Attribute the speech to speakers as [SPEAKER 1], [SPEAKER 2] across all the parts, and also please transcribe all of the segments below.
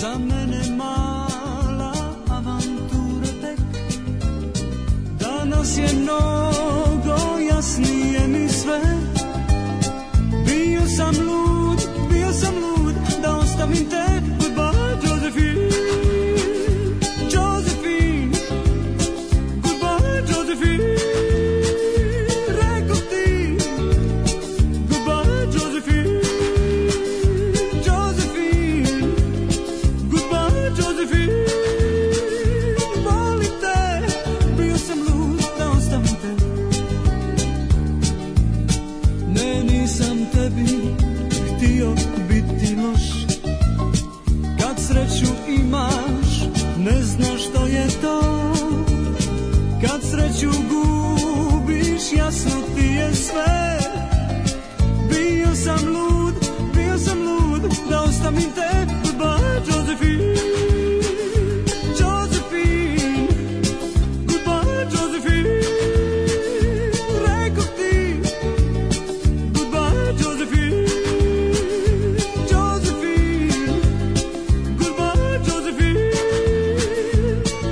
[SPEAKER 1] Za mene mala avantura tek Danas je mnogo jasnije mi sve Bio sam lud, bio sam lud Da ostavim te Goodbye Josephine Josephine Goodbye Josephine Rekoh ti Goodbye Josephine Josephine Goodbye, Josephine. Volim te, bio sam lud da ostavim te. Ne, nisam tebi htio biti loš. Kad sreću imaš, ne znaš što je to. Kad sreću gubiš, jasno ti je sve. Bio sam lud, bio sam lud Da ostavim te, goodbye Josephine Josephine, goodbye Josephine Rekoh ti, goodbye Josephine Josephine, goodbye Josephine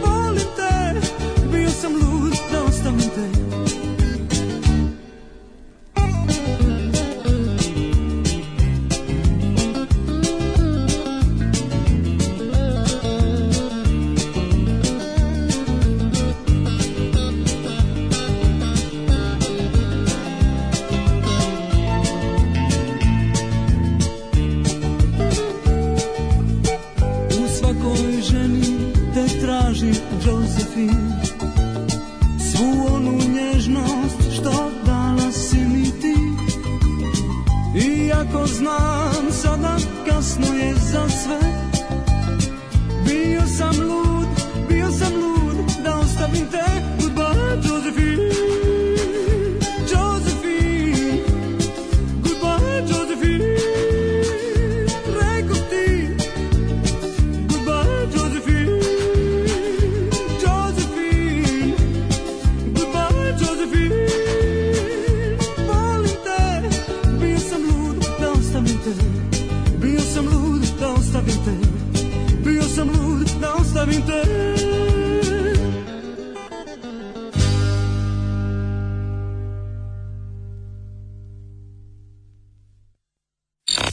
[SPEAKER 1] Volim te, bio sam lud da ostavim te U svakoj ženi te tražim, Josephine Svu onu nježnost što dala si mi ti Iako znam sada kasno je za sve Bio sam lud, bio sam lud da ostavim te Goodbye Josephine Josephine Goodbye Josephine Rekoh ti Goodbye, Josephine. Josephine. Goodbye, Josephine. Volim te. Bio sam lud da ostavim te. Bio sam lud da ostavim te. Bio sam lud da ostavim te.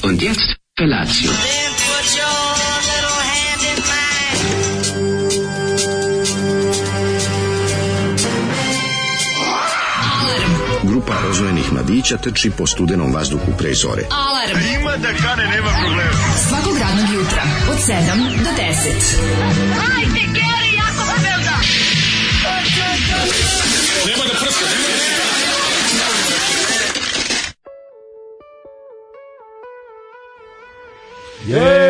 [SPEAKER 2] Und jetzt Felatio.
[SPEAKER 3] Then put your little hand in mine.
[SPEAKER 4] Grupa rozvojenih mladića trči po studenom vazduhu pre zore.
[SPEAKER 5] Alarm. Ima da kane, nema problema. Svakog radnog jutra, od 7 do 10.
[SPEAKER 3] Hajde, Geri, jako se velda.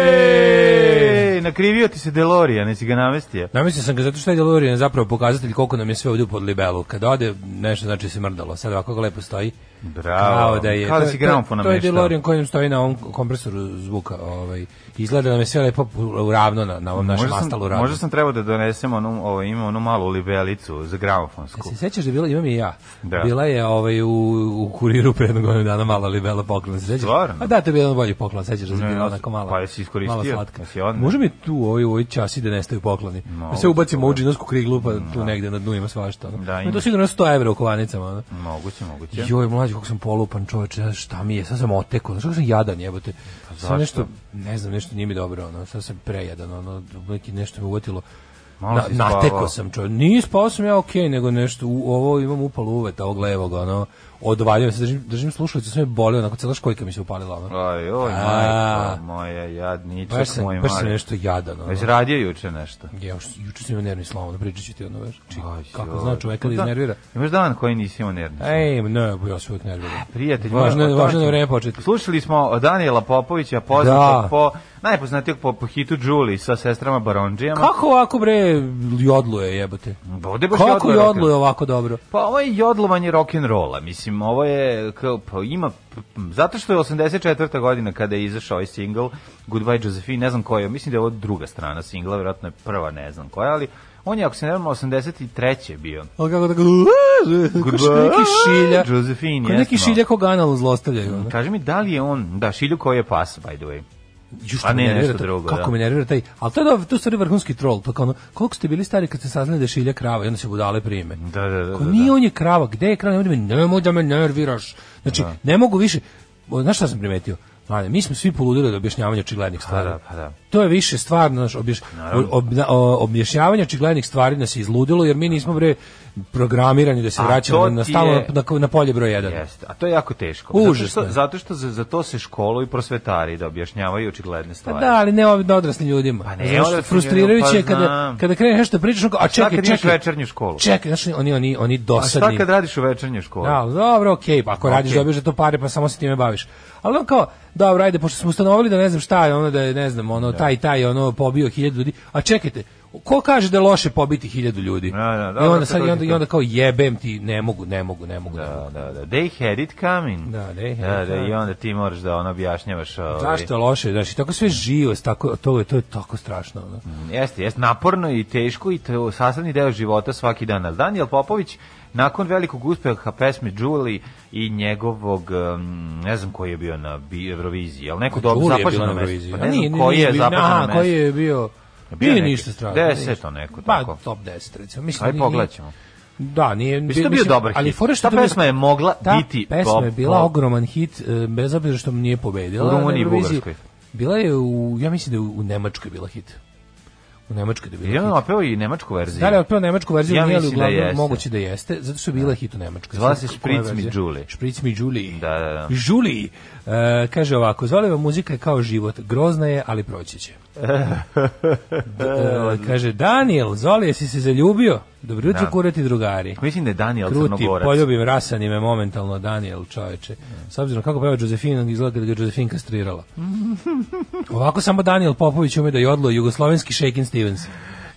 [SPEAKER 6] Jej! Nakrivio ti se Delorija, nisi ga namestio.
[SPEAKER 7] Namislio sam ga zato što je DeLorean zapravo pokazatelj koliko nam je sve ovdje u podlibelu. Kad ode, nešto znači se mrdalo. Sad ovako ga lepo stoji.
[SPEAKER 6] Bravo.
[SPEAKER 7] Kao da je,
[SPEAKER 6] Kao da
[SPEAKER 7] to-
[SPEAKER 6] si
[SPEAKER 7] to-
[SPEAKER 6] gramofon
[SPEAKER 7] To je
[SPEAKER 6] nameštao.
[SPEAKER 7] DeLorean koji nam stoji na ovom kompresoru zvuka. Ovaj. Izgleda da nam je sve lepo u- ravno na, na ovom našem
[SPEAKER 6] Možda sam,
[SPEAKER 7] mastalu ravno.
[SPEAKER 6] možda sam trebao da donesem onu, ovo, ima onu malu libelicu za gramofonsku.
[SPEAKER 7] E, Se sećaš da je bila, imam i ja.
[SPEAKER 6] Da.
[SPEAKER 7] Bila je ovaj, u, u kuriru pre jednog godinu dana mala libela poklon, se sećaš?
[SPEAKER 6] Stvarno?
[SPEAKER 7] A da, to je bio jedan bolji poklon, sećaš da je
[SPEAKER 6] Ne,
[SPEAKER 7] bila
[SPEAKER 6] ja sam-
[SPEAKER 7] onako mala.
[SPEAKER 6] pa jesi iskoristio?
[SPEAKER 7] Mala slatka.
[SPEAKER 6] Jesi odneo?
[SPEAKER 7] Može mi tu ovaj ovaj časi da nestaju pokloni.
[SPEAKER 6] Mogu,
[SPEAKER 7] Da se ubacimo u džinovsku kriglu pa tu negde na dnu ima svašta. ono.
[SPEAKER 6] Da,
[SPEAKER 7] Ma
[SPEAKER 6] ima.
[SPEAKER 7] to sigurno 100 evra u kovanicama, ono.
[SPEAKER 6] Moguće, moguće.
[SPEAKER 7] Joj, mlađi, kako sam polupan čoveče, znaš šta mi je, sad sam oteko, znaš kako sam jadan, jebote.
[SPEAKER 6] Pa zašto?
[SPEAKER 7] Sam nešto, ne znam, nešto nije mi dobro, ono, sad sam prejadan, ono, neki nešto me uvatilo.
[SPEAKER 6] Malo si spavao.
[SPEAKER 7] nateko sam čovječe, nije spao sam ja okej, nego nešto, u, ovo imam upalu uveta ovog levog, ono, odvaljujem se, držim, držim slušalicu, sve me boli, onako, cela školjka mi se upalila, ono.
[SPEAKER 6] Aj, oj,
[SPEAKER 7] A.
[SPEAKER 6] majko moja, jadničak
[SPEAKER 7] Baš sam,
[SPEAKER 6] moj
[SPEAKER 7] baš sam
[SPEAKER 6] mali.
[SPEAKER 7] nešto jadan, ono.
[SPEAKER 6] Već radio juče nešto.
[SPEAKER 7] Ja, još, juče sam imao nervni slom, ono, pričat ću ti, ono, veš, či,
[SPEAKER 6] Aj,
[SPEAKER 7] kako
[SPEAKER 6] joj. Pa
[SPEAKER 7] zna čoveka da
[SPEAKER 6] Da,
[SPEAKER 7] iznervira.
[SPEAKER 6] Imaš dan koji nisi imao nervni slom.
[SPEAKER 7] Ej, ne, bo ja se uvijek nerviram.
[SPEAKER 6] Prijatelj,
[SPEAKER 7] Važno
[SPEAKER 6] moja,
[SPEAKER 7] je-
[SPEAKER 6] o tome
[SPEAKER 7] važno je
[SPEAKER 6] ćemo-
[SPEAKER 7] vreme početi.
[SPEAKER 6] Slušali smo Daniela Popovića, poznatog
[SPEAKER 7] Da.
[SPEAKER 6] po, najpoznatijeg po, po hitu Đuli sa sestrama Baronđijama.
[SPEAKER 7] Kako ovako, bre, jodluje, jebote?
[SPEAKER 6] Ovde baš
[SPEAKER 7] Kako
[SPEAKER 6] rock and-
[SPEAKER 7] jodluje ovako dobro?
[SPEAKER 6] Pa ovo je jodlovanje rock'n'rolla, mislim, ovo je, kao, pa ima, zato što je 84. godina kada je izašao ovaj single, Goodbye Josephine, ne znam koja je, mislim da je ovo druga strana singla, vjerojatno je prva, ne znam koja, ali on je, ako se ne vrlo, 83. bio.
[SPEAKER 7] Ali kako tako...
[SPEAKER 6] Goodbye,
[SPEAKER 7] Neki šilja.
[SPEAKER 6] Josephine,
[SPEAKER 7] Ko neki
[SPEAKER 6] jesmo.
[SPEAKER 7] šilja koga analu zlostavljaju. ono.
[SPEAKER 6] Kaži mi, da li je on, da, Šilju koji je pas, by the way.
[SPEAKER 7] Ju što
[SPEAKER 6] Pa
[SPEAKER 7] me
[SPEAKER 6] ne,
[SPEAKER 7] nervira
[SPEAKER 6] nešto
[SPEAKER 7] to-
[SPEAKER 6] drugo,
[SPEAKER 7] Kako
[SPEAKER 6] da.
[SPEAKER 7] me nervira taj. Al to je dobro, to je stari vrhunski troll, pa kao ono, koliko ste bili stari kad ste saznali da je šilja krava i onda se budale prime.
[SPEAKER 6] Da, da, da,
[SPEAKER 7] Ko
[SPEAKER 6] da,
[SPEAKER 7] nije
[SPEAKER 6] da.
[SPEAKER 7] on je krava, gde je krava? Nemoj da me, nemoj da me nerviraš. Znači, ne mogu više. O, Znaš šta sam primetio? Mlade, mi smo svi poludili od objašnjavanja očiglednih stvari.
[SPEAKER 6] da, pa da.
[SPEAKER 7] To je više stvarno, znaš, objaš, ob, o, objašnjavanje očiglednih stvari nas je izludilo, jer mi nismo bre programirani da se
[SPEAKER 6] A
[SPEAKER 7] vraćamo
[SPEAKER 6] to
[SPEAKER 7] na,
[SPEAKER 6] ti
[SPEAKER 7] stalno
[SPEAKER 6] je-
[SPEAKER 7] na, na, na polje broj 1.
[SPEAKER 6] Jeste, a to je jako teško.
[SPEAKER 7] Užasno
[SPEAKER 6] Zato
[SPEAKER 7] je.
[SPEAKER 6] što, zato što za, za to se školu i prosvetari da objašnjavaju očigledne
[SPEAKER 7] Pa
[SPEAKER 6] stvari.
[SPEAKER 7] da, ali ne ovdje odraslim ljudima.
[SPEAKER 6] Pa ne,
[SPEAKER 7] Znaš,
[SPEAKER 6] odraslim
[SPEAKER 7] frustrirajuće je
[SPEAKER 6] ljudima, pa
[SPEAKER 7] kada,
[SPEAKER 6] znam.
[SPEAKER 7] kada kreneš nešto da pričaš, ono kao, a
[SPEAKER 6] Šta
[SPEAKER 7] čekaj,
[SPEAKER 6] kad ideš
[SPEAKER 7] čekaj,
[SPEAKER 6] večernju školu?
[SPEAKER 7] čekaj, znaš, oni, oni, oni
[SPEAKER 6] A šta
[SPEAKER 7] dosadni.
[SPEAKER 6] kad radiš u večernjoj školi?
[SPEAKER 7] Da, ali dobro, okej, pa ako radiš
[SPEAKER 6] Okej.
[SPEAKER 7] dobiješ za to pare, pa samo se time baviš. Ali on kao, dobro, ajde, pošto smo ustanovili da ne znam šta je, ono da je, ne znam, ono, taj, taj, ono, pobio hiljadu ljudi, a čekajte, ko kaže da je loše pobiti hiljadu ljudi?
[SPEAKER 6] Da, da,
[SPEAKER 7] I
[SPEAKER 6] dobro,
[SPEAKER 7] onda,
[SPEAKER 6] to
[SPEAKER 7] sad, i, onda,
[SPEAKER 6] dođe
[SPEAKER 7] i
[SPEAKER 6] to.
[SPEAKER 7] onda kao jebem ti, ne mogu, ne mogu, ne mogu. ne mogu.
[SPEAKER 6] Da, da, da. They had it coming.
[SPEAKER 7] Da, they had
[SPEAKER 6] da,
[SPEAKER 7] it
[SPEAKER 6] da,
[SPEAKER 7] coming.
[SPEAKER 6] I onda ti moraš da ono objašnjavaš. Ovaj,
[SPEAKER 7] Zašto je loše? Znači, tako sve živo, tako, to, je, to je tako strašno. Ono.
[SPEAKER 6] Jeste, jeste naporno i teško i to je sastavni deo života svaki dan. Ali Daniel Popović nakon velikog uspeha pesme Julie i njegovog em, ne znam koji je bio na bi- Euroviziji, al neko Pa dobro
[SPEAKER 7] Đulija Pa je
[SPEAKER 6] zapaženo
[SPEAKER 7] bila
[SPEAKER 6] mesto.
[SPEAKER 7] Euroviziji.
[SPEAKER 6] Pa
[SPEAKER 7] A
[SPEAKER 6] ne
[SPEAKER 7] nije,
[SPEAKER 6] znam
[SPEAKER 7] nije,
[SPEAKER 6] koji
[SPEAKER 7] nije
[SPEAKER 6] je
[SPEAKER 7] bio-
[SPEAKER 6] zapaženo
[SPEAKER 7] aha,
[SPEAKER 6] mesto.
[SPEAKER 7] koji je bio...
[SPEAKER 6] Bio
[SPEAKER 7] Bio nije
[SPEAKER 6] neki
[SPEAKER 7] ništa strašno.
[SPEAKER 6] deseto
[SPEAKER 7] ništa.
[SPEAKER 6] neko,
[SPEAKER 7] Pa,
[SPEAKER 6] tako.
[SPEAKER 7] top 10, recimo. Mislim,
[SPEAKER 6] Ajde
[SPEAKER 7] nije-
[SPEAKER 6] pogledaćemo.
[SPEAKER 7] Da, nije...
[SPEAKER 6] Mislim, to bio dobar
[SPEAKER 7] ali
[SPEAKER 6] hit.
[SPEAKER 7] fora što
[SPEAKER 6] Ta
[SPEAKER 7] je to bio-
[SPEAKER 6] pesma je mogla
[SPEAKER 7] ta
[SPEAKER 6] biti
[SPEAKER 7] pesma
[SPEAKER 6] pop-
[SPEAKER 7] je bila
[SPEAKER 6] pop.
[SPEAKER 7] ogroman hit, e, bez obzira što nije pobedila.
[SPEAKER 6] U Rumuniji i
[SPEAKER 7] na Euroviziji.
[SPEAKER 6] Bugarskoj.
[SPEAKER 7] Bila je u, ja mislim da je u u Nemačkoj bila hit. U Nemačkoj da je bila
[SPEAKER 6] I on
[SPEAKER 7] hit.
[SPEAKER 6] je opeo i nemačku verziju.
[SPEAKER 7] Da li je otpeo nemačku verziju,
[SPEAKER 6] Ja
[SPEAKER 7] nije li
[SPEAKER 6] mislim da
[SPEAKER 7] uglavnom
[SPEAKER 6] jeste.
[SPEAKER 7] moguće da jeste, zato što je bila hit u Nemačkoj.
[SPEAKER 6] Zvala
[SPEAKER 7] Sad,
[SPEAKER 6] se
[SPEAKER 7] koja
[SPEAKER 6] Špric mi
[SPEAKER 7] verzija?
[SPEAKER 6] Đuli.
[SPEAKER 7] Špric mi Đuli.
[SPEAKER 6] Da, da, da.
[SPEAKER 7] Đuli, e, kaže ovako, zvaleva muzika je kao život, grozna je, ali proći će. D- e, kaže, Daniel, Zoli, jesi se zaljubio? Dobro jutro,
[SPEAKER 6] Da.
[SPEAKER 7] kurati drugari.
[SPEAKER 6] Mislim da je Daniel
[SPEAKER 7] Kruti,
[SPEAKER 6] Crnogorac.
[SPEAKER 7] poljubim rasanime momentalno Daniel čoveče. S obzirom kako peva Josefina, izgleda da ga je Josefin kastrirala. Ovako samo Daniel Popović ume da jodlo jugoslovenski Shakin' Stevens.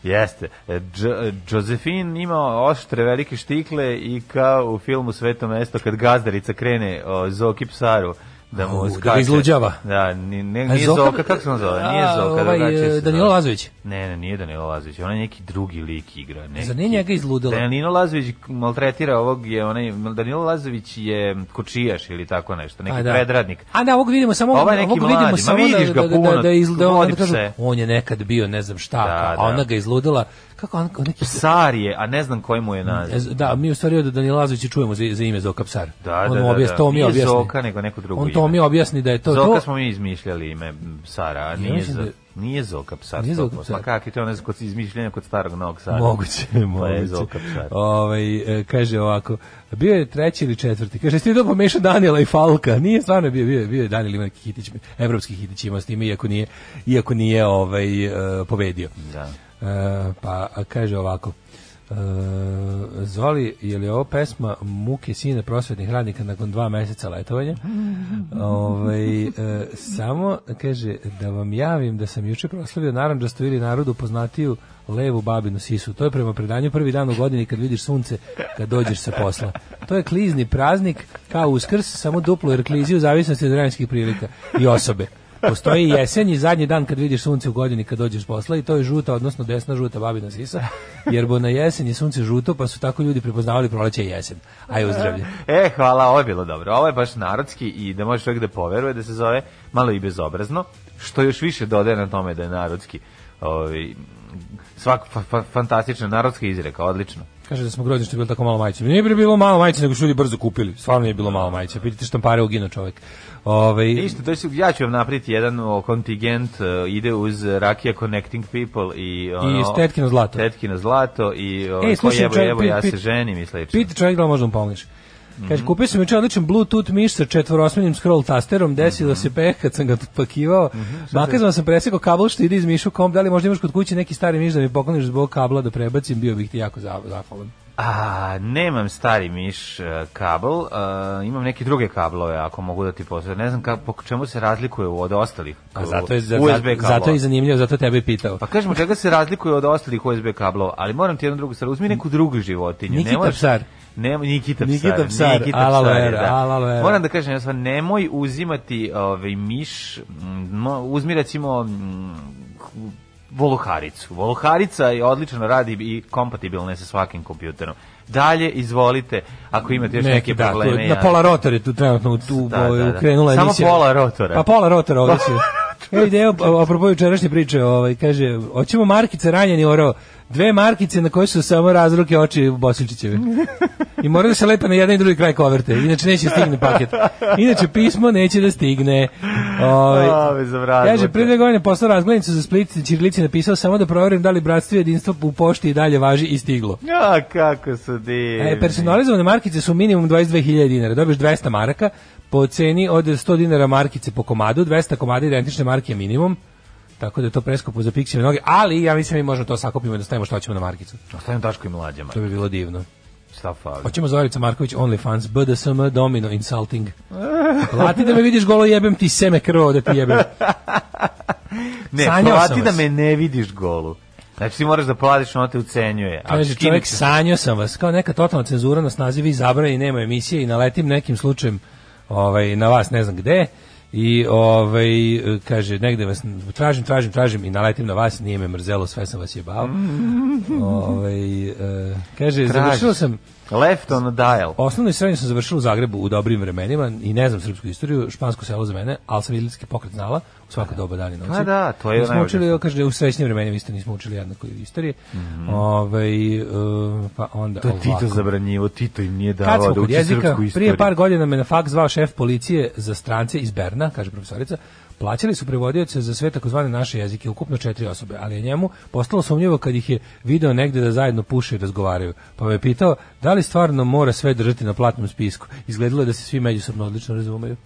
[SPEAKER 6] Jeste. E, Dž- Josephine ima oštre velike štikle i kao u filmu Sveto mesto kad gazdarica krene o, Zoki psaru da mu
[SPEAKER 7] O, da
[SPEAKER 6] skače.
[SPEAKER 7] ga izluđava.
[SPEAKER 6] Da, ni, ne,
[SPEAKER 7] A
[SPEAKER 6] nije Zoka, kako se on zove? Pa Nije
[SPEAKER 7] A,
[SPEAKER 6] Zoka,
[SPEAKER 7] ovaj,
[SPEAKER 6] drugačije se
[SPEAKER 7] Danilo
[SPEAKER 6] zove.
[SPEAKER 7] Lazović.
[SPEAKER 6] Ne, ne, nije Danilo Lazović, on je neki drugi lik igra. Neki.
[SPEAKER 7] Zar nije njega izludila?
[SPEAKER 6] Danilo Lazović maltretira ovog, je onaj, Danilo Lazović je kočijaš ili tako nešto, neki
[SPEAKER 7] A, da.
[SPEAKER 6] predradnik.
[SPEAKER 7] A da, ovog vidimo samo,
[SPEAKER 6] Ovaj
[SPEAKER 7] ovaj
[SPEAKER 6] neki
[SPEAKER 7] ovog
[SPEAKER 6] mladi,
[SPEAKER 7] vidimo
[SPEAKER 6] ma
[SPEAKER 7] samo
[SPEAKER 6] vidiš
[SPEAKER 7] da,
[SPEAKER 6] ga
[SPEAKER 7] da, da,
[SPEAKER 6] puno,
[SPEAKER 7] da, da, izluda, on,
[SPEAKER 6] vodi
[SPEAKER 7] da kažu,
[SPEAKER 6] pse.
[SPEAKER 7] on je nekad bio ne znam šta,
[SPEAKER 6] Da,
[SPEAKER 7] a
[SPEAKER 6] da.
[SPEAKER 7] ona ga izludila, kako on, on neki
[SPEAKER 6] Psar je, a ne znam koji mu je naziv.
[SPEAKER 7] Da, mi u stvari od Danila Lazovića čujemo za, za ime Zoka Psar.
[SPEAKER 6] Da, da,
[SPEAKER 7] on mu
[SPEAKER 6] da,
[SPEAKER 7] objasni,
[SPEAKER 6] da.
[SPEAKER 7] to mi
[SPEAKER 6] Nije
[SPEAKER 7] objasni.
[SPEAKER 6] Zoka, nego neko drugo
[SPEAKER 7] On to
[SPEAKER 6] ime.
[SPEAKER 7] mi objasni da je to
[SPEAKER 6] Zoka
[SPEAKER 7] to.
[SPEAKER 6] smo mi izmišljali ime m, Sara, a
[SPEAKER 7] Ja
[SPEAKER 6] nije,
[SPEAKER 7] mislim
[SPEAKER 6] za,
[SPEAKER 7] da-
[SPEAKER 6] nije Zoka psar.
[SPEAKER 7] Nije
[SPEAKER 6] Nije
[SPEAKER 7] Zoka
[SPEAKER 6] Zoka
[SPEAKER 7] psar.
[SPEAKER 6] Pa kakvi to ne znam, kod izmišljenja kod starog novog Sara.
[SPEAKER 7] Moguće,
[SPEAKER 6] Pa je
[SPEAKER 7] moguće.
[SPEAKER 6] Zoka psar.
[SPEAKER 7] Ovaj, e, kaže ovako, bio je treći ili četvrti. Kaže, ste to pomešao Daniela i Falka. Nije stvarno bio, bio, je- bio je Daniel ima neki hitić, evropski hitić ima s time, iako nije, iako nije ovaj, e, pobedio.
[SPEAKER 6] Da.
[SPEAKER 7] E, pa a kaže ovako, e, Zoli, je li ovo pesma muke sine prosvetnih radnika nakon dva meseca letovanja?
[SPEAKER 6] Mm.
[SPEAKER 7] Ovaj, e, samo, kaže, da vam javim da sam juče proslavio naranđastu ili narodu poznatiju levu babinu sisu. To je prema predanju prvi dan u godini kad vidiš sunce, kad dođeš sa posla. To je klizni praznik, kao uskrs, samo duplo jer klizi u zavisnosti od vremenskih prilika i osobe. Postoji jesen i zadnji dan kad vidiš sunce u godini kad dođeš s posla i to je žuta, odnosno desna žuta babina sisa, jer bo na jesen je sunce žuto, pa su tako ljudi prepoznavali proleće i jesen. Aj uzdravlje.
[SPEAKER 6] E, hvala, ovo je bilo dobro. Ovo je baš narodski i da može čovjek da poveruje da se zove malo i bezobrazno, što još više dodaje na tome da je narodski. Ovi, svak, fa, fa, fantastična narodska izreka, odlično.
[SPEAKER 7] Kaže da smo grozni što je bilo tako malo majice. Nije bre bilo malo majice, nego su ljudi brzo kupili. Stvarno je bilo malo majice. Pitajte štampare, ugino čovek. Ovaj,
[SPEAKER 6] Isto, to je, ja ću vam napriti jedan o, kontingent, e, ide uz Rakija Connecting People i... Ono,
[SPEAKER 7] I tetkino zlato.
[SPEAKER 6] Tetkino zlato i o,
[SPEAKER 7] Ej,
[SPEAKER 6] ko
[SPEAKER 7] E, slušaj,
[SPEAKER 6] jebo,
[SPEAKER 7] čovjek,
[SPEAKER 6] jebo,
[SPEAKER 7] pit-
[SPEAKER 6] ja se
[SPEAKER 7] pit-
[SPEAKER 6] ženim i slično. Mhm.
[SPEAKER 7] Pita čovjek da li možda mu pomogneš. Kaže, kupio sam juče odličan Bluetooth miš sa četvorosmenim scroll tasterom, desilo
[SPEAKER 6] Mhm.
[SPEAKER 7] se peh kad sam ga pakivao. Makazom sam presekao kabel što ide iz mišu kom, da li možda imaš kod kuće neki stari miš da mi pokloniš zbog kabla da prebacim, bio bih ti jako za- zahvalan.
[SPEAKER 6] A, nemam stari miš e, kabel, e, imam neke druge kablove ako mogu da ti posle. Ne znam kako, po čemu se razlikuje od ostalih
[SPEAKER 7] A zato je, za-
[SPEAKER 6] USB
[SPEAKER 7] za-
[SPEAKER 6] kablova.
[SPEAKER 7] zato je i zanimljivo, zato tebe je pitao.
[SPEAKER 6] Pa kažemo čega se razlikuje od ostalih USB kablova, ali moram ti jednu drugu stvar, uzmi neku drugu životinju.
[SPEAKER 7] Nikita
[SPEAKER 6] ne možeš-
[SPEAKER 7] psar.
[SPEAKER 6] Ne, Nikita,
[SPEAKER 7] Nikita
[SPEAKER 6] Nikita
[SPEAKER 7] psar,
[SPEAKER 6] psar,
[SPEAKER 7] ala
[SPEAKER 6] je,
[SPEAKER 7] vera,
[SPEAKER 6] da.
[SPEAKER 7] ala vera.
[SPEAKER 6] Moram da kažem, ja sam, nemoj uzimati ovaj, miš, mm, mo- uzmi recimo mm, voluharicu. Voluharica je odlično radi i kompatibilna je sa svakim kompjuterom. Dalje, izvolite, ako imate još neke,
[SPEAKER 7] da,
[SPEAKER 6] probleme.
[SPEAKER 7] tu, na
[SPEAKER 6] ja-
[SPEAKER 7] pola rotor je tu trenutno u, tu,
[SPEAKER 6] Da, da, da.
[SPEAKER 7] krenula
[SPEAKER 6] Samo
[SPEAKER 7] emisija.
[SPEAKER 6] pola rotora.
[SPEAKER 7] Pa pola rotora ovdje će. Evo ideja, a- apropo jučerašnje priče, ovaj, kaže, hoćemo markice ranjeni oro, dve markice na koje su samo razruke oči Bosilčićeve. I mora da se lepe na jedan i drugi kraj koverte, inače neće stigne paket. Inače pismo neće da stigne. Ovaj,
[SPEAKER 6] Ove, zavradilo
[SPEAKER 7] Kaže,
[SPEAKER 6] te.
[SPEAKER 7] pre dve godine poslao razglednicu za Split, Čirilici napisao samo da proverim da li bratstvo i jedinstvo u pošti i dalje važi i stiglo.
[SPEAKER 6] A, kako su divni.
[SPEAKER 7] E, personalizovane markice su minimum 22.000 dinara. Dobiješ 200 maraka po ceni od 100 dinara markice po komadu, 200 komada identične marke je minimum. Tako da je to preskupo za pikseve noge, ali ja mislim mi možemo to sakupimo i da stavimo što hoćemo na markicu.
[SPEAKER 6] Ostavim Daško i mlađama.
[SPEAKER 7] To bi bilo divno.
[SPEAKER 6] Šta fali?
[SPEAKER 7] Hoćemo Zorica Marković, OnlyFans, BDSM, Domino, Insulting. Plati da me vidiš golo jebem ti seme krvo da ti jebem.
[SPEAKER 6] Ne,
[SPEAKER 7] sanjao sam
[SPEAKER 6] plati da
[SPEAKER 7] vas.
[SPEAKER 6] me ne vidiš golu. Znači ti moraš da platiš, ona te ucenjuje. A
[SPEAKER 7] Kaže,
[SPEAKER 6] skinut
[SPEAKER 7] čovjek
[SPEAKER 6] ćeš-
[SPEAKER 7] sanjao sam vas, kao neka totalna cenzura nas nazivi i zabrani, nema emisije i naletim nekim slučajem ovaj, na vas ne znam gde i ovaj, kaže, negde vas tražim, tražim, tražim i naletim na vas, nije me mrzelo, sve sam vas jebao. ovaj, eh, kaže,
[SPEAKER 6] Mm. Tražiš.
[SPEAKER 7] završio sam
[SPEAKER 6] Left on a dial.
[SPEAKER 7] Osnovno i srednje sam završila u Zagrebu u dobrim vremenima i ne znam srpsku istoriju, špansko selo za mene, ali sam idilski pokret znala u svako doba dana i noći.
[SPEAKER 6] Pa da, to je
[SPEAKER 7] Nismo
[SPEAKER 6] najvažnije.
[SPEAKER 7] učili, evo, kaže, u srećnim vremenima isto nismo učili jednako i istorije. Ovaj, e, pa onda
[SPEAKER 6] Mhm. To je Tito
[SPEAKER 7] ovako.
[SPEAKER 6] zabranjivo, Tito im nije
[SPEAKER 7] Kad
[SPEAKER 6] davao
[SPEAKER 7] smo
[SPEAKER 6] da
[SPEAKER 7] kod
[SPEAKER 6] uči
[SPEAKER 7] jezika,
[SPEAKER 6] srpsku istoriju.
[SPEAKER 7] prije par godina me na faks zvao šef policije za strance iz Berna, kaže profesorica, plaćali su prevodioce za sve takozvane naše jezike, ukupno četiri osobe, ali je njemu postalo sumnjivo kad ih je video negde da zajedno puše i razgovaraju. Pa me je pitao, da li stvarno mora sve držati na platnom spisku? Izgledalo je da se svi međusobno odlično razumeju.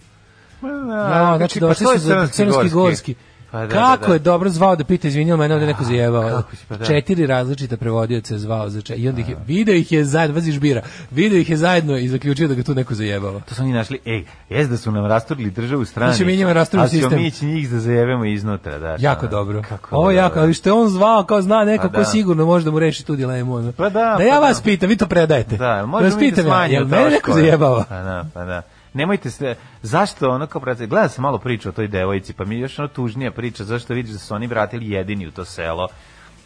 [SPEAKER 7] Ja, znači,
[SPEAKER 6] da
[SPEAKER 7] došli su za Crnski Gorski.
[SPEAKER 6] Pa da,
[SPEAKER 7] kako
[SPEAKER 6] da, da.
[SPEAKER 7] je dobro zvao da pita, izvinjamo, mene ovde neko zajebao.
[SPEAKER 6] kako si, pa da.
[SPEAKER 7] Četiri različita prevodioca je zvao za četiri. I onda ih je, video ih je zajedno, vaziš bira, video ih je zajedno i zaključio da ga tu neko zajebava.
[SPEAKER 6] To su oni našli, ej, jes da su nam rasturili državu strani,
[SPEAKER 7] Znači, mi njima rasturili
[SPEAKER 6] ali ćemo
[SPEAKER 7] sistem.
[SPEAKER 6] mi ići njih da zajevemo iznutra. Da,
[SPEAKER 7] Jako
[SPEAKER 6] ono,
[SPEAKER 7] dobro.
[SPEAKER 6] Kako
[SPEAKER 7] Ovo je
[SPEAKER 6] dobro.
[SPEAKER 7] jako, ali što je on zvao, kao zna neko
[SPEAKER 6] Pa
[SPEAKER 7] ko
[SPEAKER 6] da.
[SPEAKER 7] sigurno može da mu reši tu dilemu. ono.
[SPEAKER 6] Pa da,
[SPEAKER 7] da
[SPEAKER 6] pa
[SPEAKER 7] ja
[SPEAKER 6] da.
[SPEAKER 7] vas pitam, vi to predajete.
[SPEAKER 6] Da,
[SPEAKER 7] vas
[SPEAKER 6] možemo mi da
[SPEAKER 7] pitam ja,
[SPEAKER 6] smanjimo
[SPEAKER 7] jel mene neko
[SPEAKER 6] troškove.
[SPEAKER 7] zajebava?
[SPEAKER 6] Pa da, pa da. Nemojte se, zašto ono kao prate, gleda sam malo priču o toj devojci, pa mi je još ono tužnija priča, zašto vidiš da su oni vratili jedini u to selo,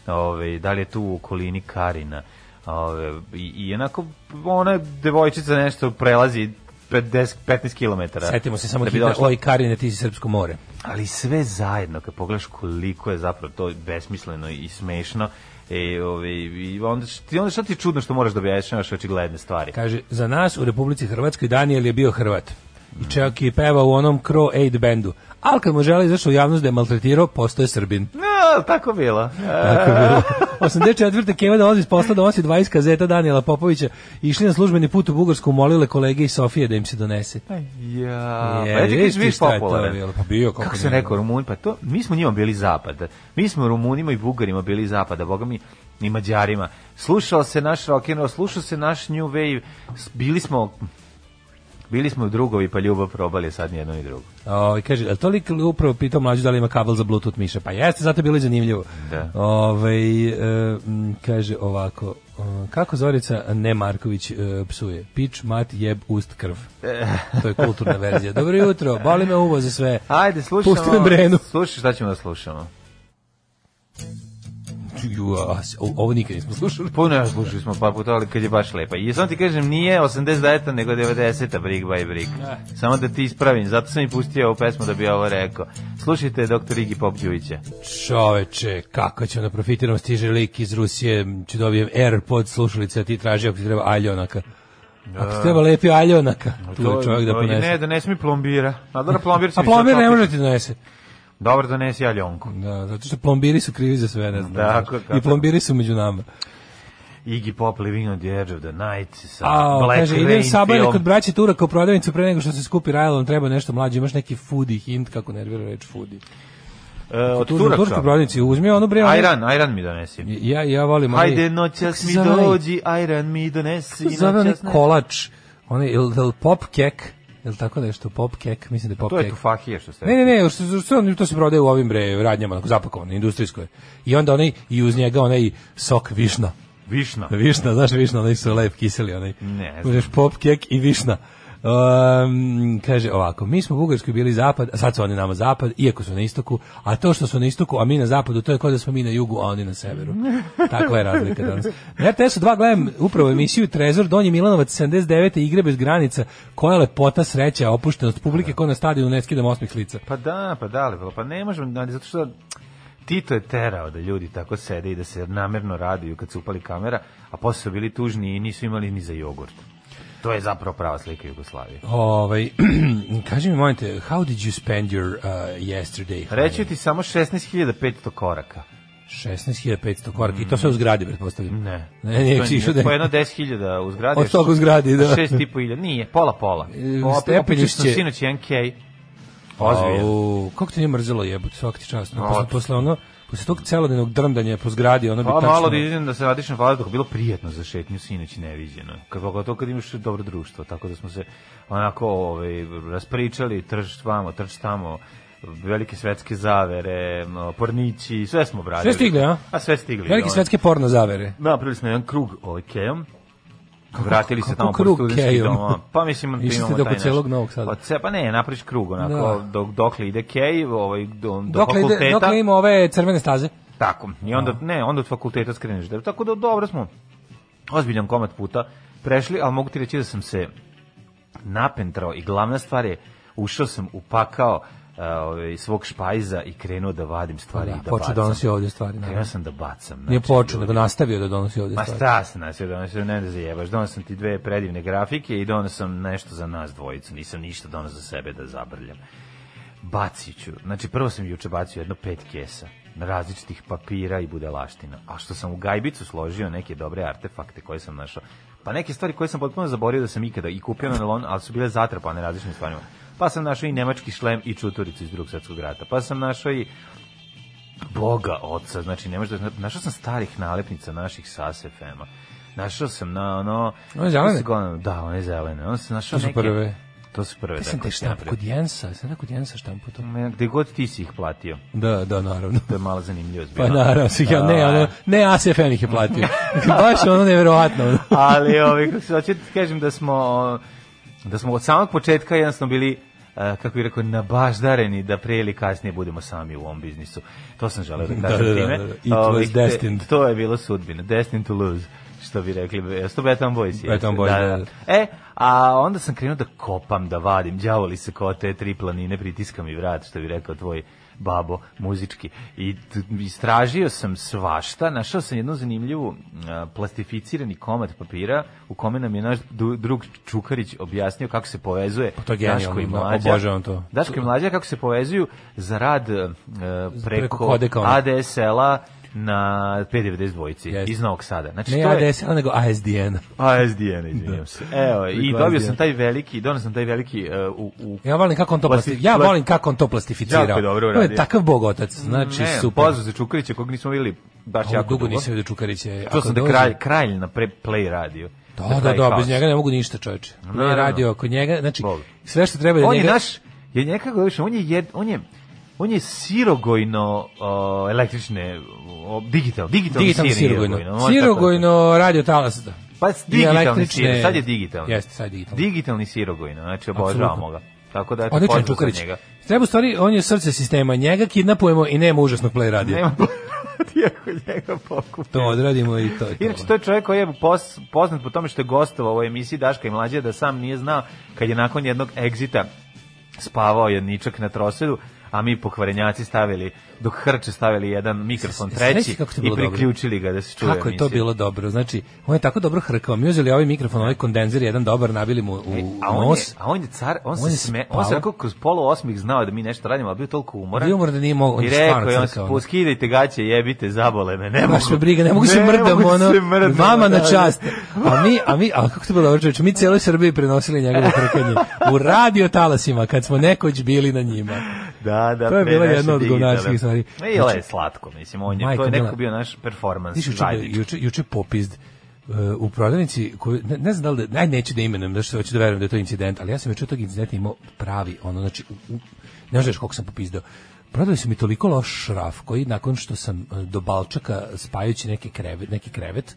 [SPEAKER 6] ove, da li je tu u okolini Karina, ove, i, i onako, ona devojčica nešto prelazi 50, 15 km.
[SPEAKER 7] Setimo se samo hita, oj Karine, ti si Srpsko more.
[SPEAKER 6] ali sve zajedno kad pogledaš koliko je zapravo to besmisleno i smešno e, ove, i onda, š- ti, onda šta ti je čudno što moraš da objašnjavaš očigledne stvari
[SPEAKER 7] Kaže, za nas u Republici Hrvatskoj Daniel je bio Hrvat. I čak i peva u onom Crow Aid bandu. Ali kad mu žele izašao u javnost da je maltretirao, postoje Srbin.
[SPEAKER 6] no, ali tako bilo
[SPEAKER 7] Tako je bilo. 84. Keva dolazi iz posla donosi 20 kazeta Danijela Popovića. Išli na službeni put u Bugarsku, molile kolege iz Sofije da im se donese.
[SPEAKER 6] ja,
[SPEAKER 7] Je,
[SPEAKER 6] pa eto
[SPEAKER 7] vidiš
[SPEAKER 6] kažeš
[SPEAKER 7] ti
[SPEAKER 6] viš
[SPEAKER 7] šta je to
[SPEAKER 6] popularan
[SPEAKER 7] bilo, pa bio, kako
[SPEAKER 6] kako se
[SPEAKER 7] ne.
[SPEAKER 6] rekao Rumun pa to, mi smo njima bili zapad mi smo Rumunima i Bugarima bili zapada boga mi i Mađarima slušao se naš rock'n'roll, slušao se naš new wave s- bili smo bili smo drugovi pa ljubav probali sad nijedno i drugo
[SPEAKER 7] Ovaj kaže, el tolik upravo pitao mlađu da li ima kabel za Bluetooth miša. Pa jeste, zato je bilo i zanimljivo.
[SPEAKER 6] Da.
[SPEAKER 7] Ovaj, e, m, kaže ovako, e, kako Zorica ne Marković e, psuje? Pič, mat, jeb, ust, krv. To je kulturna verzija. Dobro jutro, boli me uvo za sve.
[SPEAKER 6] Ajde, slušamo.
[SPEAKER 7] Pusti me Brenu.
[SPEAKER 6] Slušaj, šta ćemo da slušamo?
[SPEAKER 7] Ju, a, s- o- ovo nikad nismo slušali.
[SPEAKER 6] Puno ja slušali Pa smo par puta, ali kad je baš lepa. I samo ti kažem, nije 89-a, nego 90-a, Brick by Brick. Samo da ti ispravim, zato sam i pustio ovu pesmu da bi ovo rekao. Slušajte doktor Igi Popđevića.
[SPEAKER 7] Čoveče, kako će ona profitiram, stiže lik iz Rusije, će dobijem AirPod slušalice, a ti traži ako ti treba aljonaka. Ako ti treba lepi aljonaka, tu je čovjek da
[SPEAKER 6] to je-
[SPEAKER 7] ponese.
[SPEAKER 6] Ne, donesi mi plombira. A dobro, plombir si
[SPEAKER 7] A
[SPEAKER 6] mi sad
[SPEAKER 7] plombir ne
[SPEAKER 6] opet-
[SPEAKER 7] može da ti donese.
[SPEAKER 6] Dobro, donesi aljonku.
[SPEAKER 7] Da, zato što plombiri su krivi za sve, ne znam.
[SPEAKER 6] Tako, tako.
[SPEAKER 7] I plombiri su među nama.
[SPEAKER 6] Iggy Pop, Living on the Edge of the Night, sa
[SPEAKER 7] A,
[SPEAKER 6] Black
[SPEAKER 7] kaže,
[SPEAKER 6] Rain
[SPEAKER 7] idem sabajne
[SPEAKER 6] film.
[SPEAKER 7] kod braće Turaka u prodavnicu pre nego što se skupi Rajlon, treba nešto mlađe, imaš neki foodie hint, kako nervira reč foodie.
[SPEAKER 6] E, od
[SPEAKER 7] Tu u Turskoj
[SPEAKER 6] Turaka.
[SPEAKER 7] prodavnici, uzmi ono bre. ono-
[SPEAKER 6] Ajran, Ajran mi donesi.
[SPEAKER 7] Ja, ja volim. onaj-
[SPEAKER 6] Hajde noćas
[SPEAKER 7] Kako
[SPEAKER 6] mi
[SPEAKER 7] se zove onaj-
[SPEAKER 6] dođi, Ajran mi donesi.
[SPEAKER 7] kako se Zove onaj
[SPEAKER 6] noćas ne-
[SPEAKER 7] kolač, onaj, ili pop kek, ili tako nešto, pop kek, mislim da je pop
[SPEAKER 6] To je
[SPEAKER 7] kek.
[SPEAKER 6] tu fahije što ste
[SPEAKER 7] Ne, ne, ne, što, što, što, to se prodaje u ovim bre radnjama, onako zapakovano, industrijskoj. I onda onaj, i uz njega onaj sok višna.
[SPEAKER 6] Višna.
[SPEAKER 7] Višna, znaš višna, onaj su lep kiseli, onaj.
[SPEAKER 6] Ne znam.
[SPEAKER 7] Uzmeš pop kek i višna. Um, kaže ovako, mi smo u Bugarskoj bili zapad, a sad su oni nama zapad, iako su na istoku, a to što su na istoku, a mi na zapadu, to je kao da smo mi na jugu, a oni na severu. Takva je razlika danas. Na RTS-u 2 gledam upravo emisiju Trezor, Donji Milanovac 79. igre bez granica, koja lepota sreća, opuštenost publike, ko na stadionu ne skidam osmih lica.
[SPEAKER 6] Pa da, pa da, lepo. pa ne možemo, ali zato što Tito je terao da ljudi tako sede i da se namerno raduju kad se upali kamera, a posle su bili tužni i nisu imali ni za jogurt. To je zapravo prava slika Jugoslavije.
[SPEAKER 7] Ovaj, kaži mi, molim te, how did you spend your uh, yesterday?
[SPEAKER 6] Reći ti samo 16.500 koraka.
[SPEAKER 7] 16.500 koraka i to sve u zgradi, pretpostavljam.
[SPEAKER 6] Ne.
[SPEAKER 7] Ne, nije,
[SPEAKER 6] To
[SPEAKER 7] išao da-
[SPEAKER 6] Po jedno 10.000 u zgradi.
[SPEAKER 7] Od toga u zgradi, da.
[SPEAKER 6] 6.500, nije, pola, pola.
[SPEAKER 7] E,
[SPEAKER 6] Opet- Opet
[SPEAKER 7] stepenišće.
[SPEAKER 6] ću sinoć jedan kej. Ozbiljno.
[SPEAKER 7] Au, kako te nije mrzelo jebote, svaki ti čast. No,
[SPEAKER 6] No,
[SPEAKER 7] posle,
[SPEAKER 6] otišao.
[SPEAKER 7] posle ono, posle tog celodnevnog drndanja po zgradi, ono bi
[SPEAKER 6] Pa
[SPEAKER 7] tačno...
[SPEAKER 6] malo da idem da se radiš na vazduhu, bilo prijetno za šetnju sinoć i neviđeno. Kako to kad imaš dobro društvo, tako da smo se onako ovaj, raspričali, trč vamo, trč tamo, velike svetske zavere, m, pornići, sve smo bradili.
[SPEAKER 7] Sve stigli, a?
[SPEAKER 6] A sve stigli.
[SPEAKER 7] Velike
[SPEAKER 6] ono.
[SPEAKER 7] svetske porno zavere.
[SPEAKER 6] Napravili smo jedan krug ovaj, kejom, Vratili se
[SPEAKER 7] kako
[SPEAKER 6] tamo
[SPEAKER 7] krug
[SPEAKER 6] po studentski
[SPEAKER 7] kejom?
[SPEAKER 6] dom. Pa mislim da
[SPEAKER 7] Išli ste
[SPEAKER 6] imamo
[SPEAKER 7] do
[SPEAKER 6] taj
[SPEAKER 7] oko cijelog
[SPEAKER 6] naš-
[SPEAKER 7] Novog Sada?
[SPEAKER 6] Pa, ce- pa ne, napraviš krug onako,
[SPEAKER 7] Da.
[SPEAKER 6] dok, dokle ide kej, ovaj, do, do
[SPEAKER 7] Dokle,
[SPEAKER 6] fakulteta.
[SPEAKER 7] ide, dokle ima ove crvene staze?
[SPEAKER 6] Tako. I onda ne, onda od fakulteta skreneš. Da, tako da dobro smo. Ozbiljan komad puta prešli, ali mogu ti reći da sam se napentrao i glavna stvar je ušao sam upakao e, ovaj, svog špajza i krenuo da vadim stvari
[SPEAKER 7] Da,
[SPEAKER 6] i da
[SPEAKER 7] počeo
[SPEAKER 6] bacam.
[SPEAKER 7] donosi ovdje stvari.
[SPEAKER 6] Krenuo
[SPEAKER 7] Da.
[SPEAKER 6] sam da bacam.
[SPEAKER 7] Nije
[SPEAKER 6] znači,
[SPEAKER 7] počeo,
[SPEAKER 6] ljudi.
[SPEAKER 7] nego nastavio da donosi ovdje
[SPEAKER 6] Ma
[SPEAKER 7] stvari.
[SPEAKER 6] šta se nas je donosio, ne da zajebaš. Donos sam ti dve predivne grafike i donos sam nešto za nas dvojicu. Nisam ništa donos za sebe da zabrljam. Bacit ću. Znači, prvo sam juče bacio jedno pet kesa različitih papira i budalaština. A što sam u gajbicu složio neke dobre artefakte koje sam našao. Pa neke stvari koje sam potpuno zaborio da sam ikada i kupio na nalon, ali su bile zatrpane različitim stvarima. Pa sam našao i nemački šlem i čuturicu iz drugog svetskog rata. Pa sam našao i Boga oca, znači ne možeš da... Našao sam starih nalepnica naših sa SFM-a. Našao sam na ono...
[SPEAKER 7] One zelene?
[SPEAKER 6] kako se go- Da, one zelene. Onda sam našao
[SPEAKER 7] To su
[SPEAKER 6] neke...
[SPEAKER 7] prve.
[SPEAKER 6] To su prve.
[SPEAKER 7] Ja sam
[SPEAKER 6] tako
[SPEAKER 7] taj
[SPEAKER 6] sam ja
[SPEAKER 7] štamp
[SPEAKER 6] pre-
[SPEAKER 7] kod Jensa, sam ja kod Jensa štampu to.
[SPEAKER 6] Ma, Gde god ti si ih platio.
[SPEAKER 7] Da, da, naravno.
[SPEAKER 6] To je malo zanimljivo.
[SPEAKER 7] Pa
[SPEAKER 6] zbilo.
[SPEAKER 7] naravno, svih ja, ne,
[SPEAKER 6] A,
[SPEAKER 7] ono, ne ASFN ih je platio. Baš ono nevjerovatno. ono.
[SPEAKER 6] ali ovaj kako se hoće ti kažem da smo da smo od samog početka jednostavno bili eh, kako bih rekao, nabaždareni da pre ili kasnije budemo sami u ovom biznisu. To sam želeo da kažem
[SPEAKER 7] da, da,
[SPEAKER 6] time.
[SPEAKER 7] da, da. It was
[SPEAKER 6] Ovaj, te-
[SPEAKER 7] destined.
[SPEAKER 6] To je bilo sudbina. Destined to lose što bi rekli, jesu to Beton Boys? jeste?
[SPEAKER 7] Beton Boys, da, da.
[SPEAKER 6] E, a onda sam krenuo da kopam, da vadim, đavoli se ko te tri planine, pritiskam i vrat, što bi rekao tvoj babo muzički. I t- istražio sam svašta, našao sam jednu zanimljivu a, plastificirani komad papira u kome nam je naš du- drug Čukarić objasnio kako se povezuje
[SPEAKER 7] Pa to je genijalno,
[SPEAKER 6] Daško i
[SPEAKER 7] da,
[SPEAKER 6] Mlađa.
[SPEAKER 7] obožavam to.
[SPEAKER 6] Daško i Mlađa kako se povezuju za rad e,
[SPEAKER 7] preko
[SPEAKER 6] preko,
[SPEAKER 7] kodeka, ono.
[SPEAKER 6] ADSL-a na 592 dvojici
[SPEAKER 7] Jeste.
[SPEAKER 6] iz Novog Sada. Znači,
[SPEAKER 7] Ne
[SPEAKER 6] to je-
[SPEAKER 7] ADSL, nego ASDN.
[SPEAKER 6] ASDN, izvinjam se. Evo, i
[SPEAKER 7] Preko
[SPEAKER 6] dobio
[SPEAKER 7] ASDN.
[SPEAKER 6] sam taj veliki, donio sam taj veliki uh, u, u
[SPEAKER 7] Ja volim kako on to
[SPEAKER 6] Plasti-
[SPEAKER 7] plasti, ja
[SPEAKER 6] pla-
[SPEAKER 7] volim kako on to plastificirao.
[SPEAKER 6] Jako je dobro
[SPEAKER 7] To je
[SPEAKER 6] uradio.
[SPEAKER 7] takav bogotac, znači
[SPEAKER 6] ne,
[SPEAKER 7] super.
[SPEAKER 6] pozdrav za Čukarića kog nismo videli baš
[SPEAKER 7] Ovo
[SPEAKER 6] jako
[SPEAKER 7] dugo
[SPEAKER 6] dugo.
[SPEAKER 7] nisam vidio Čukarića.
[SPEAKER 6] Čuo
[SPEAKER 7] Ako
[SPEAKER 6] sam da
[SPEAKER 7] dođe-
[SPEAKER 6] kralj, kralj na pre, play radio.
[SPEAKER 7] Da, da, da, bez njega ne mogu ništa, čoveče. Ne je
[SPEAKER 6] Naravno.
[SPEAKER 7] radio oko njega, znači
[SPEAKER 6] Bog.
[SPEAKER 7] sve što treba da
[SPEAKER 6] On je
[SPEAKER 7] njega...
[SPEAKER 6] naš, je nekako više, on je, jed, on je on je sirogojno uh, električne, uh, digital, digitalni,
[SPEAKER 7] Digitalni
[SPEAKER 6] sir,
[SPEAKER 7] sirogojno.
[SPEAKER 6] može tako da
[SPEAKER 7] Sirogojno radio talas. Da.
[SPEAKER 6] kažem. Pa
[SPEAKER 7] I
[SPEAKER 6] digitalni
[SPEAKER 7] električne-
[SPEAKER 6] sir, sad je digitalni.
[SPEAKER 7] Jeste, sad je digitalni.
[SPEAKER 6] Digitalni sirogojno, znači
[SPEAKER 7] Apsolutno.
[SPEAKER 6] obožavamo ga. Tako da, eto,
[SPEAKER 7] Odličan
[SPEAKER 6] pozdrav za
[SPEAKER 7] Čukarić.
[SPEAKER 6] njega.
[SPEAKER 7] Treba u stvari, on je srce sistema, njega kidnapujemo i nema užasnog play radio.
[SPEAKER 6] Nema iako njega pokupio.
[SPEAKER 7] To odradimo i to je to.
[SPEAKER 6] Inače, to je čovjek koji je pos- poznat po tome što je gostovao u ovoj emisiji Daška i Mlađe, da sam nije znao kad je nakon jednog egzita spavao jedničak na trosedu, a mi pokvarenjaci stavili, dok hrče stavili jedan mikrofon
[SPEAKER 7] S- sreći
[SPEAKER 6] treći
[SPEAKER 7] kako to
[SPEAKER 6] i
[SPEAKER 7] bilo dobro.
[SPEAKER 6] priključili ga da se čuje
[SPEAKER 7] Kako je to
[SPEAKER 6] emisija.
[SPEAKER 7] bilo dobro? Znači, on je tako dobro hrkao. Mi uzeli ovaj mikrofon, ovaj kondenzer, jedan dobar, nabili mu u,
[SPEAKER 6] E,
[SPEAKER 7] u
[SPEAKER 6] a on, je,
[SPEAKER 7] nos.
[SPEAKER 6] a on je car, on,
[SPEAKER 7] On je
[SPEAKER 6] se sme, on
[SPEAKER 7] spavao.
[SPEAKER 6] se rekao kroz polu osmih znao da mi nešto radimo, ali bio toliko umoran.
[SPEAKER 7] Bio umoran da nije mogao, on
[SPEAKER 6] I
[SPEAKER 7] je stvarno
[SPEAKER 6] rekao je, on se,
[SPEAKER 7] crkao, ono.
[SPEAKER 6] poskidajte gaće, jebite, zabole me, ne
[SPEAKER 7] Baš
[SPEAKER 6] mogu.
[SPEAKER 7] me briga, ne mogu se mrdam,
[SPEAKER 6] mogu
[SPEAKER 7] ono,
[SPEAKER 6] se mrdam,
[SPEAKER 7] vama na
[SPEAKER 6] da, da.
[SPEAKER 7] čast. A mi, a mi, a kako to bilo dobro čovječe, mi cijeloj Srbiji prenosili njegovo hrkanje u radio talasima, kad smo nekoć bili na njima.
[SPEAKER 6] Da, da,
[SPEAKER 7] To je
[SPEAKER 6] pre
[SPEAKER 7] bila
[SPEAKER 6] naše
[SPEAKER 7] jedna od
[SPEAKER 6] digitale.
[SPEAKER 7] govnačkih stvari. Znači,
[SPEAKER 6] E, jel je slatko, mislim, on je,
[SPEAKER 7] Majko
[SPEAKER 6] to je
[SPEAKER 7] mila.
[SPEAKER 6] neko bio naš performans
[SPEAKER 7] Pa Znaš, juče,
[SPEAKER 6] zajednički.
[SPEAKER 7] juče, juče popizd e, u prodavnici, koju, ne, ne znam da li da, aj, neću da imenujem, da što hoću da verujem da je to incident, ali ja sam juče od tog incidenta imao pravi, ono, znači, u, u, ne znaš koliko sam popizdao. Prodali su mi toliko uh, loš šraf koji nakon što sam e, do balčaka spajajući neki krevet, neki krevet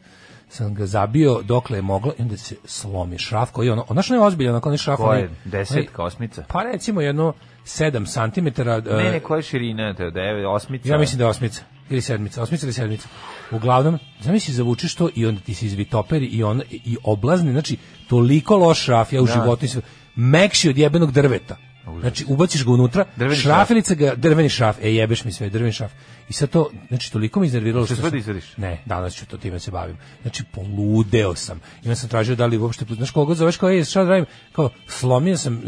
[SPEAKER 7] sam ga zabio dokle je mogla i onda se slomi šraf koji je ono, ono što je ozbiljno, onako onaj šraf.
[SPEAKER 6] Koja je
[SPEAKER 7] onaj-
[SPEAKER 6] desetka, osmica?
[SPEAKER 7] Pa recimo jedno uh, 7 cm.
[SPEAKER 6] Ne, ne, koja je širina? To je devet, osmica?
[SPEAKER 7] Ja mislim da je osmica ili sedmica, osmica ili sedmica. Uglavnom, zamisli zavučeš to i onda ti se izvitoperi i on i oblazni, znači toliko loš šraf ja u životu nisam mekši od jebenog drveta. Znači ubaciš ga unutra,
[SPEAKER 6] Drveni šraf.
[SPEAKER 7] šrafilica ga, drveni šraf, e jebeš mi sve, drveni šraf. I sad to, znači toliko me iznerviralo
[SPEAKER 6] Što
[SPEAKER 7] što
[SPEAKER 6] sve da
[SPEAKER 7] sam-
[SPEAKER 6] izvadiš?
[SPEAKER 7] Ne, danas ću to time se bavim. Znači poludeo sam. I onda sam tražio da li uopšte, znaš koga zoveš kao, ej, šta da radim? Kao, slomio sam, e,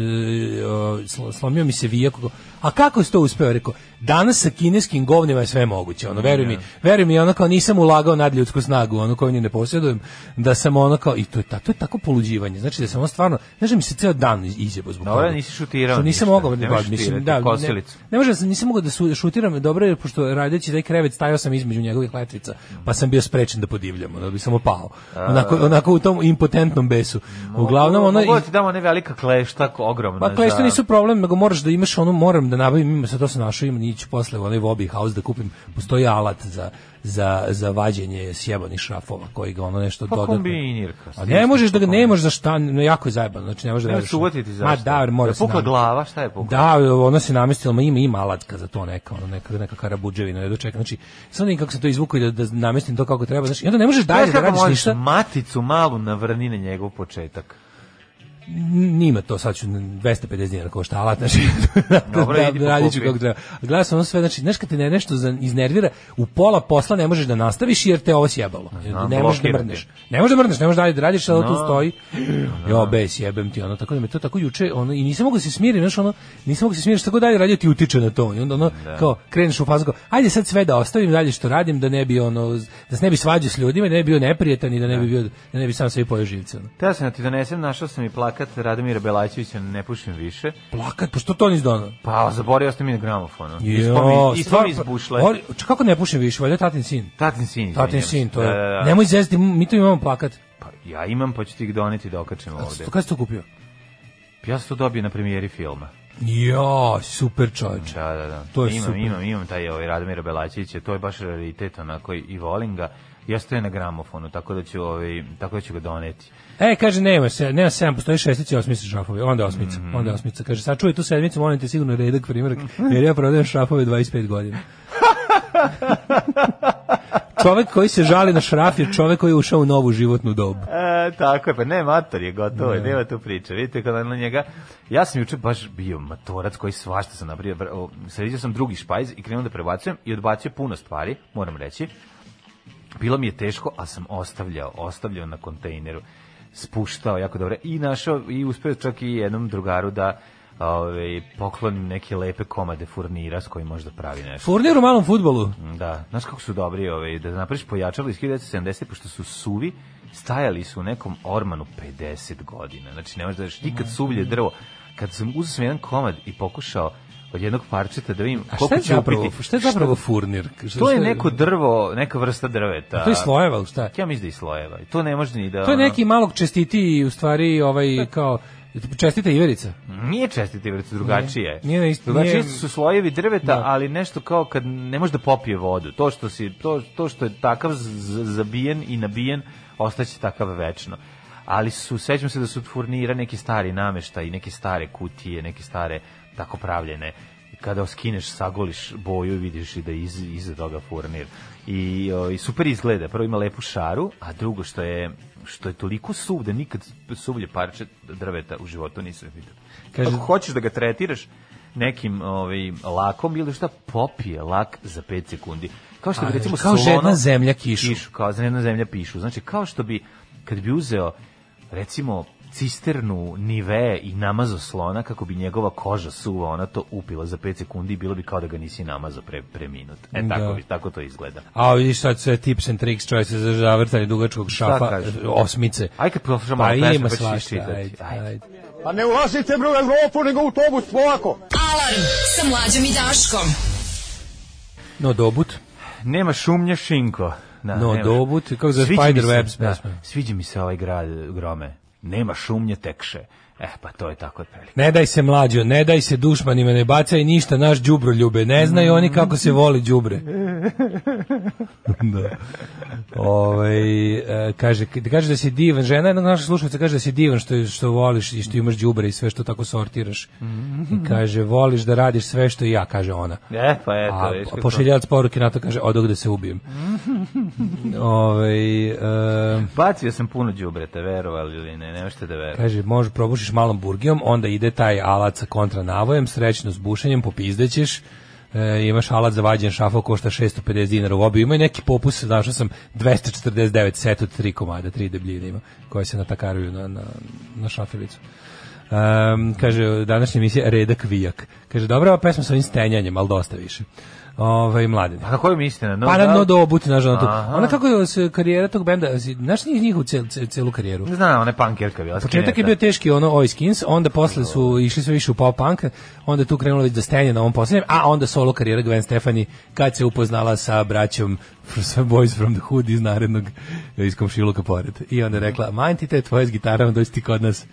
[SPEAKER 7] o, slo- slomio mi se vijak. A kako si to uspeo? Rekao, danas sa kineskim govnima je sve moguće. Ono, veruj mi, veruj mi, ono kao nisam ulagao nadljudsku snagu, ono koju ni ne posjedujem, da sam ono kao, i to je, ta, to je tako poluđivanje. Znači da sam ono stvarno, znaš da mi se ceo dan iz- izjebo zbog
[SPEAKER 6] Dobro,
[SPEAKER 7] toga.
[SPEAKER 6] nisi šutirao
[SPEAKER 7] Što nisam
[SPEAKER 6] ništa.
[SPEAKER 7] mogao,
[SPEAKER 6] Ne
[SPEAKER 7] ba,
[SPEAKER 6] možeš
[SPEAKER 7] mislim,
[SPEAKER 6] šutirati,
[SPEAKER 7] da, ne,
[SPEAKER 6] kosilicu.
[SPEAKER 7] ne može, da sam- nisam mogao da su- šutiram dobro, jer pošto radeći taj krevet stajao sam između njegovih letvica, pa sam bio sprečen da podivljam, ono bi samo pao. Onako, onako u tom impotentnom besu. Uglavnom, ono...
[SPEAKER 6] Mogu
[SPEAKER 7] i-
[SPEAKER 6] ti damo ne velika klešta, ogromna.
[SPEAKER 7] Pa klešta
[SPEAKER 6] za-
[SPEAKER 7] nisu problem, nego moraš da imaš ono, moram da nabavim, ima se to sam našao, ima ići posle u onaj Wobby House da kupim, postoji alat za, za, za vađenje sjebanih šrafova, koji ga ono nešto
[SPEAKER 6] Pa
[SPEAKER 7] dodatno...
[SPEAKER 6] kombinirka.
[SPEAKER 7] A ne možeš da ga, ne možeš za šta, no jako je zajebano, znači ne možeš da
[SPEAKER 6] Ne
[SPEAKER 7] radiš
[SPEAKER 6] možeš
[SPEAKER 7] ono.
[SPEAKER 6] uvotiti
[SPEAKER 7] Ma
[SPEAKER 6] zašto.
[SPEAKER 7] da, mora
[SPEAKER 6] Da
[SPEAKER 7] se
[SPEAKER 6] pukla
[SPEAKER 7] nam-
[SPEAKER 6] glava, šta je pukla?
[SPEAKER 7] da, ona se namestila, ma ima, ima alatka za to neka, ono, neka, neka karabuđevina, ne dočekam. Znači, sad vidim kako se to izvuku i da, da namestim to kako treba. Znači, i onda ne možeš dalje
[SPEAKER 6] Znaš
[SPEAKER 7] da
[SPEAKER 6] kako
[SPEAKER 7] radiš
[SPEAKER 6] možeš
[SPEAKER 7] ništa.
[SPEAKER 6] maticu malu navrni na njegov početak.
[SPEAKER 7] Nima to, sad ću 250 dinara košta alat, znači,
[SPEAKER 6] Dobro,
[SPEAKER 7] da,
[SPEAKER 6] idi
[SPEAKER 7] da, radit ću
[SPEAKER 6] pokupi.
[SPEAKER 7] kako treba. Gledao sam ono sve, znači, znaš kad te ne nešto za- iznervira, u pola posla ne možeš da nastaviš jer te ovo sjebalo.
[SPEAKER 6] Znam,
[SPEAKER 7] ne možeš da
[SPEAKER 6] blokira te.
[SPEAKER 7] mrneš. Ne možeš da mrneš, ne možeš dalje da radiš, sad tu stoji. Jo, bes, jebem ti, ono, tako da me to tako juče, ono, i nisam mogao da se smirim, znaš, ono, nisam mogao da se smirim, šta god dalje radio ti utiče na to. I onda, ono, kao, kreneš u fazu, kao, ajde sad sve da ostavim dalje što radim, da ne bi, ono, da se ne bi svađao s ljudima, da ne bi bio neprijetan i da ne bi, bio, da ne bi sam sebi pojeo živce, ono.
[SPEAKER 6] Teo sam da ti donesem, našao sam i plakat Radomira Belaćevića, ne pušim više.
[SPEAKER 7] Plakat, pa što to nisi donao?
[SPEAKER 6] Pa, zaborio sam i na gramofonu.
[SPEAKER 7] Jo,
[SPEAKER 6] Ispao mi- Ispao mi iz
[SPEAKER 7] stvarno, pa,
[SPEAKER 6] bušle.
[SPEAKER 7] ori- čak kako ne pušim više, valjda tatin sin.
[SPEAKER 6] Tatin sin.
[SPEAKER 7] Tatin
[SPEAKER 6] izvinjam
[SPEAKER 7] sin,
[SPEAKER 6] se.
[SPEAKER 7] to je.
[SPEAKER 6] Da, da, da.
[SPEAKER 7] Nemoj zezati, mi to imamo plakat.
[SPEAKER 6] Pa, ja imam, pa ću ti ih doneti da okačem ovde.
[SPEAKER 7] Sto- Kada si to kupio?
[SPEAKER 6] Ja sam to dobio na premijeri filma.
[SPEAKER 7] Jo, super čovječe.
[SPEAKER 6] Da, da, da.
[SPEAKER 7] To je
[SPEAKER 6] imam,
[SPEAKER 7] super.
[SPEAKER 6] imam, imam taj ovaj Radomira Belaćevića, to je baš raritet onako i- i volim ga. Jeste je na gramofonu, tako da ću, ovaj, tako da ću ga doneti.
[SPEAKER 7] E, kaže, nema, se, nema sedam, postoji šestica i osmica šrafovi, onda osmica,
[SPEAKER 6] Mhm.
[SPEAKER 7] onda osmica. Kaže, sad čuje tu sedmicu, molim te sigurno redak primjerak, jer ja prodajem šrafove 25 godina. čovek koji se žali na šraf je čovek koji je ušao u novu životnu dobu.
[SPEAKER 6] E, tako je, pa ne, mator je gotovo, je, nema tu priče. Vidite kada na njega, ja sam juče baš bio matorac koji svašta sam napravio. Vr- o, Sredio sam drugi špajz i krenuo da prebacujem i odbacio puno stvari, moram reći. Bilo mi je teško, ali sam ostavljao, ostavljao na kontejneru. Spuštao jako dobro i našao i uspeo čak i jednom drugaru da ovaj, poklonim neke lepe komade furnira s kojim možda pravi nešto.
[SPEAKER 7] Furnir u malom futbolu.
[SPEAKER 6] Da, znaš kako su dobri ove, da napraviš pojačalo iz 1970, pošto su suvi, stajali su u nekom ormanu 50 godina. Znači, ne možeš da veš,
[SPEAKER 7] Mm.
[SPEAKER 6] nikad suvlje drvo. Kad sam uzeo sam jedan komad i pokušao od jednog parčeta da vidim
[SPEAKER 7] A šta
[SPEAKER 6] koliko
[SPEAKER 7] je
[SPEAKER 6] će
[SPEAKER 7] zapravo,
[SPEAKER 6] upiti.
[SPEAKER 7] šta je zapravo furnir? Šta-
[SPEAKER 6] To je
[SPEAKER 7] šta-
[SPEAKER 6] neko drvo, neka vrsta drveta.
[SPEAKER 7] To je slojeva, ili šta?
[SPEAKER 6] Ja mislim da je iz slojeva. I To ne može ni da...
[SPEAKER 7] To je
[SPEAKER 6] ono,
[SPEAKER 7] neki malog čestiti u stvari ovaj kao čestita Iverica.
[SPEAKER 6] Nije čestiti vrcu, drugačije. je.
[SPEAKER 7] Nije na isti-
[SPEAKER 6] drugačije
[SPEAKER 7] nije-
[SPEAKER 6] su slojevi drveta,
[SPEAKER 7] Da.
[SPEAKER 6] ali nešto kao kad ne može da popije vodu. To što, si, to, to što je takav z- zabijen i nabijen, ostaće takav večno. Ali su, sećam se da su od furnira neki stari namešta i neke stare kutije, neke stare tako pravljene. I Kada skineš, sagoliš boju i vidiš i da je iz, iza toga furnir. I, o, I super izgleda. Prvo ima lepu šaru, a drugo što je što je toliko suv da nikad suvlje parče drveta u životu nisam vidio.
[SPEAKER 7] Kaže-
[SPEAKER 6] Ako hoćeš da ga tretiraš nekim ovaj, lakom ili šta popije lak za 5 sekundi. Kao što bi
[SPEAKER 7] A,
[SPEAKER 6] recimo
[SPEAKER 7] kao
[SPEAKER 6] slono-
[SPEAKER 7] žedna zemlja kišu.
[SPEAKER 6] Kao žedna zemlja pišu. Znači kao što bi kad bi uzeo recimo cisternu nive i namazo slona kako bi njegova koža suva ona to upila za 5 sekundi i bilo bi kao da ga nisi namazao pre, pre minut. E tako,
[SPEAKER 7] Da.
[SPEAKER 6] bi, tako to izgleda.
[SPEAKER 7] A vidiš sad sve tips and tricks čovjek se za zavrtanje dugačkog šafa
[SPEAKER 6] kažeš?
[SPEAKER 7] osmice.
[SPEAKER 6] Aj kad poslušamo
[SPEAKER 7] Pa
[SPEAKER 6] malo pesmu,
[SPEAKER 7] ima
[SPEAKER 6] pa ćeš
[SPEAKER 7] svašta,
[SPEAKER 6] čitati.
[SPEAKER 7] ajde,
[SPEAKER 6] Ajde.
[SPEAKER 7] ajde.
[SPEAKER 8] Pa ne ulazite bre u Evropu, nego u autobus, polako.
[SPEAKER 5] Alarm sa mlađom i Daškom.
[SPEAKER 7] No dobut.
[SPEAKER 6] Nema šumnja šinko. Da,
[SPEAKER 7] No,
[SPEAKER 6] nema.
[SPEAKER 7] dobut, kako za
[SPEAKER 6] Sviđa mi
[SPEAKER 7] Spider
[SPEAKER 6] se,
[SPEAKER 7] Webs
[SPEAKER 6] da,
[SPEAKER 7] pesma.
[SPEAKER 6] Sviđa mi se ovaj grad grome. Nema šumnje tekše. E, pa to je tako otprilike.
[SPEAKER 7] Ne daj se mlađo, ne daj se dušmanima, ne bacaj ništa, naš đubro ljube. Ne znaju oni kako se voli đubre. da. Ovaj, e, kaže, da kaže da si divan, žena jednog našeg slušalca kaže da si divan što, što voliš i što imaš đubre i sve što tako sortiraš. I kaže, voliš da radiš sve što i ja, kaže ona.
[SPEAKER 6] E, pa eto,
[SPEAKER 7] A,
[SPEAKER 6] viš kako.
[SPEAKER 7] pošiljac poruke na to kaže, odog da se ubijem. Ovaj e,
[SPEAKER 6] Bacio sam puno đubreta, verovali ili ne, ne možete da verujete.
[SPEAKER 7] Kaže, može probušiš malom burgijom, onda ide taj alat sa kontranavojem, srećno s bušenjem, popizdećeš, e, imaš alat za vađen šafo, košta 650 dinara u obi, ima i neki popus, našao sam 249 set od tri komada, tri debljine ima, koje se natakaruju na, na, na šafilicu. Um, kaže, današnja emisija Redak Vijak. Kaže, dobra ova pesma sa ovim stenjanjem, ali dosta više. Ove, mladine.
[SPEAKER 6] A kako je mislina? No,
[SPEAKER 7] Pa na
[SPEAKER 6] doubt?
[SPEAKER 7] dno do obuti, znaš, ona tu.
[SPEAKER 6] Aha.
[SPEAKER 7] Ona kako je se karijera tog benda, znaš njih njihovu cel, cel- celu karijeru?
[SPEAKER 6] Ne znam, ona je pankerka bila.
[SPEAKER 7] Početak je bio teški ono Oi Skins, onda posle su išli sve više u pop punk, onda je tu krenulo već da stenje na ovom poslednjem, a onda solo karijera Gwen Stefani kad se upoznala sa braćom fr- sa Boys from the Hood iz narednog eh, iz komšiluka pored. I onda je
[SPEAKER 6] Mhm.
[SPEAKER 7] rekla, manj ti te tvoje s gitarom, dođi ti kod nas.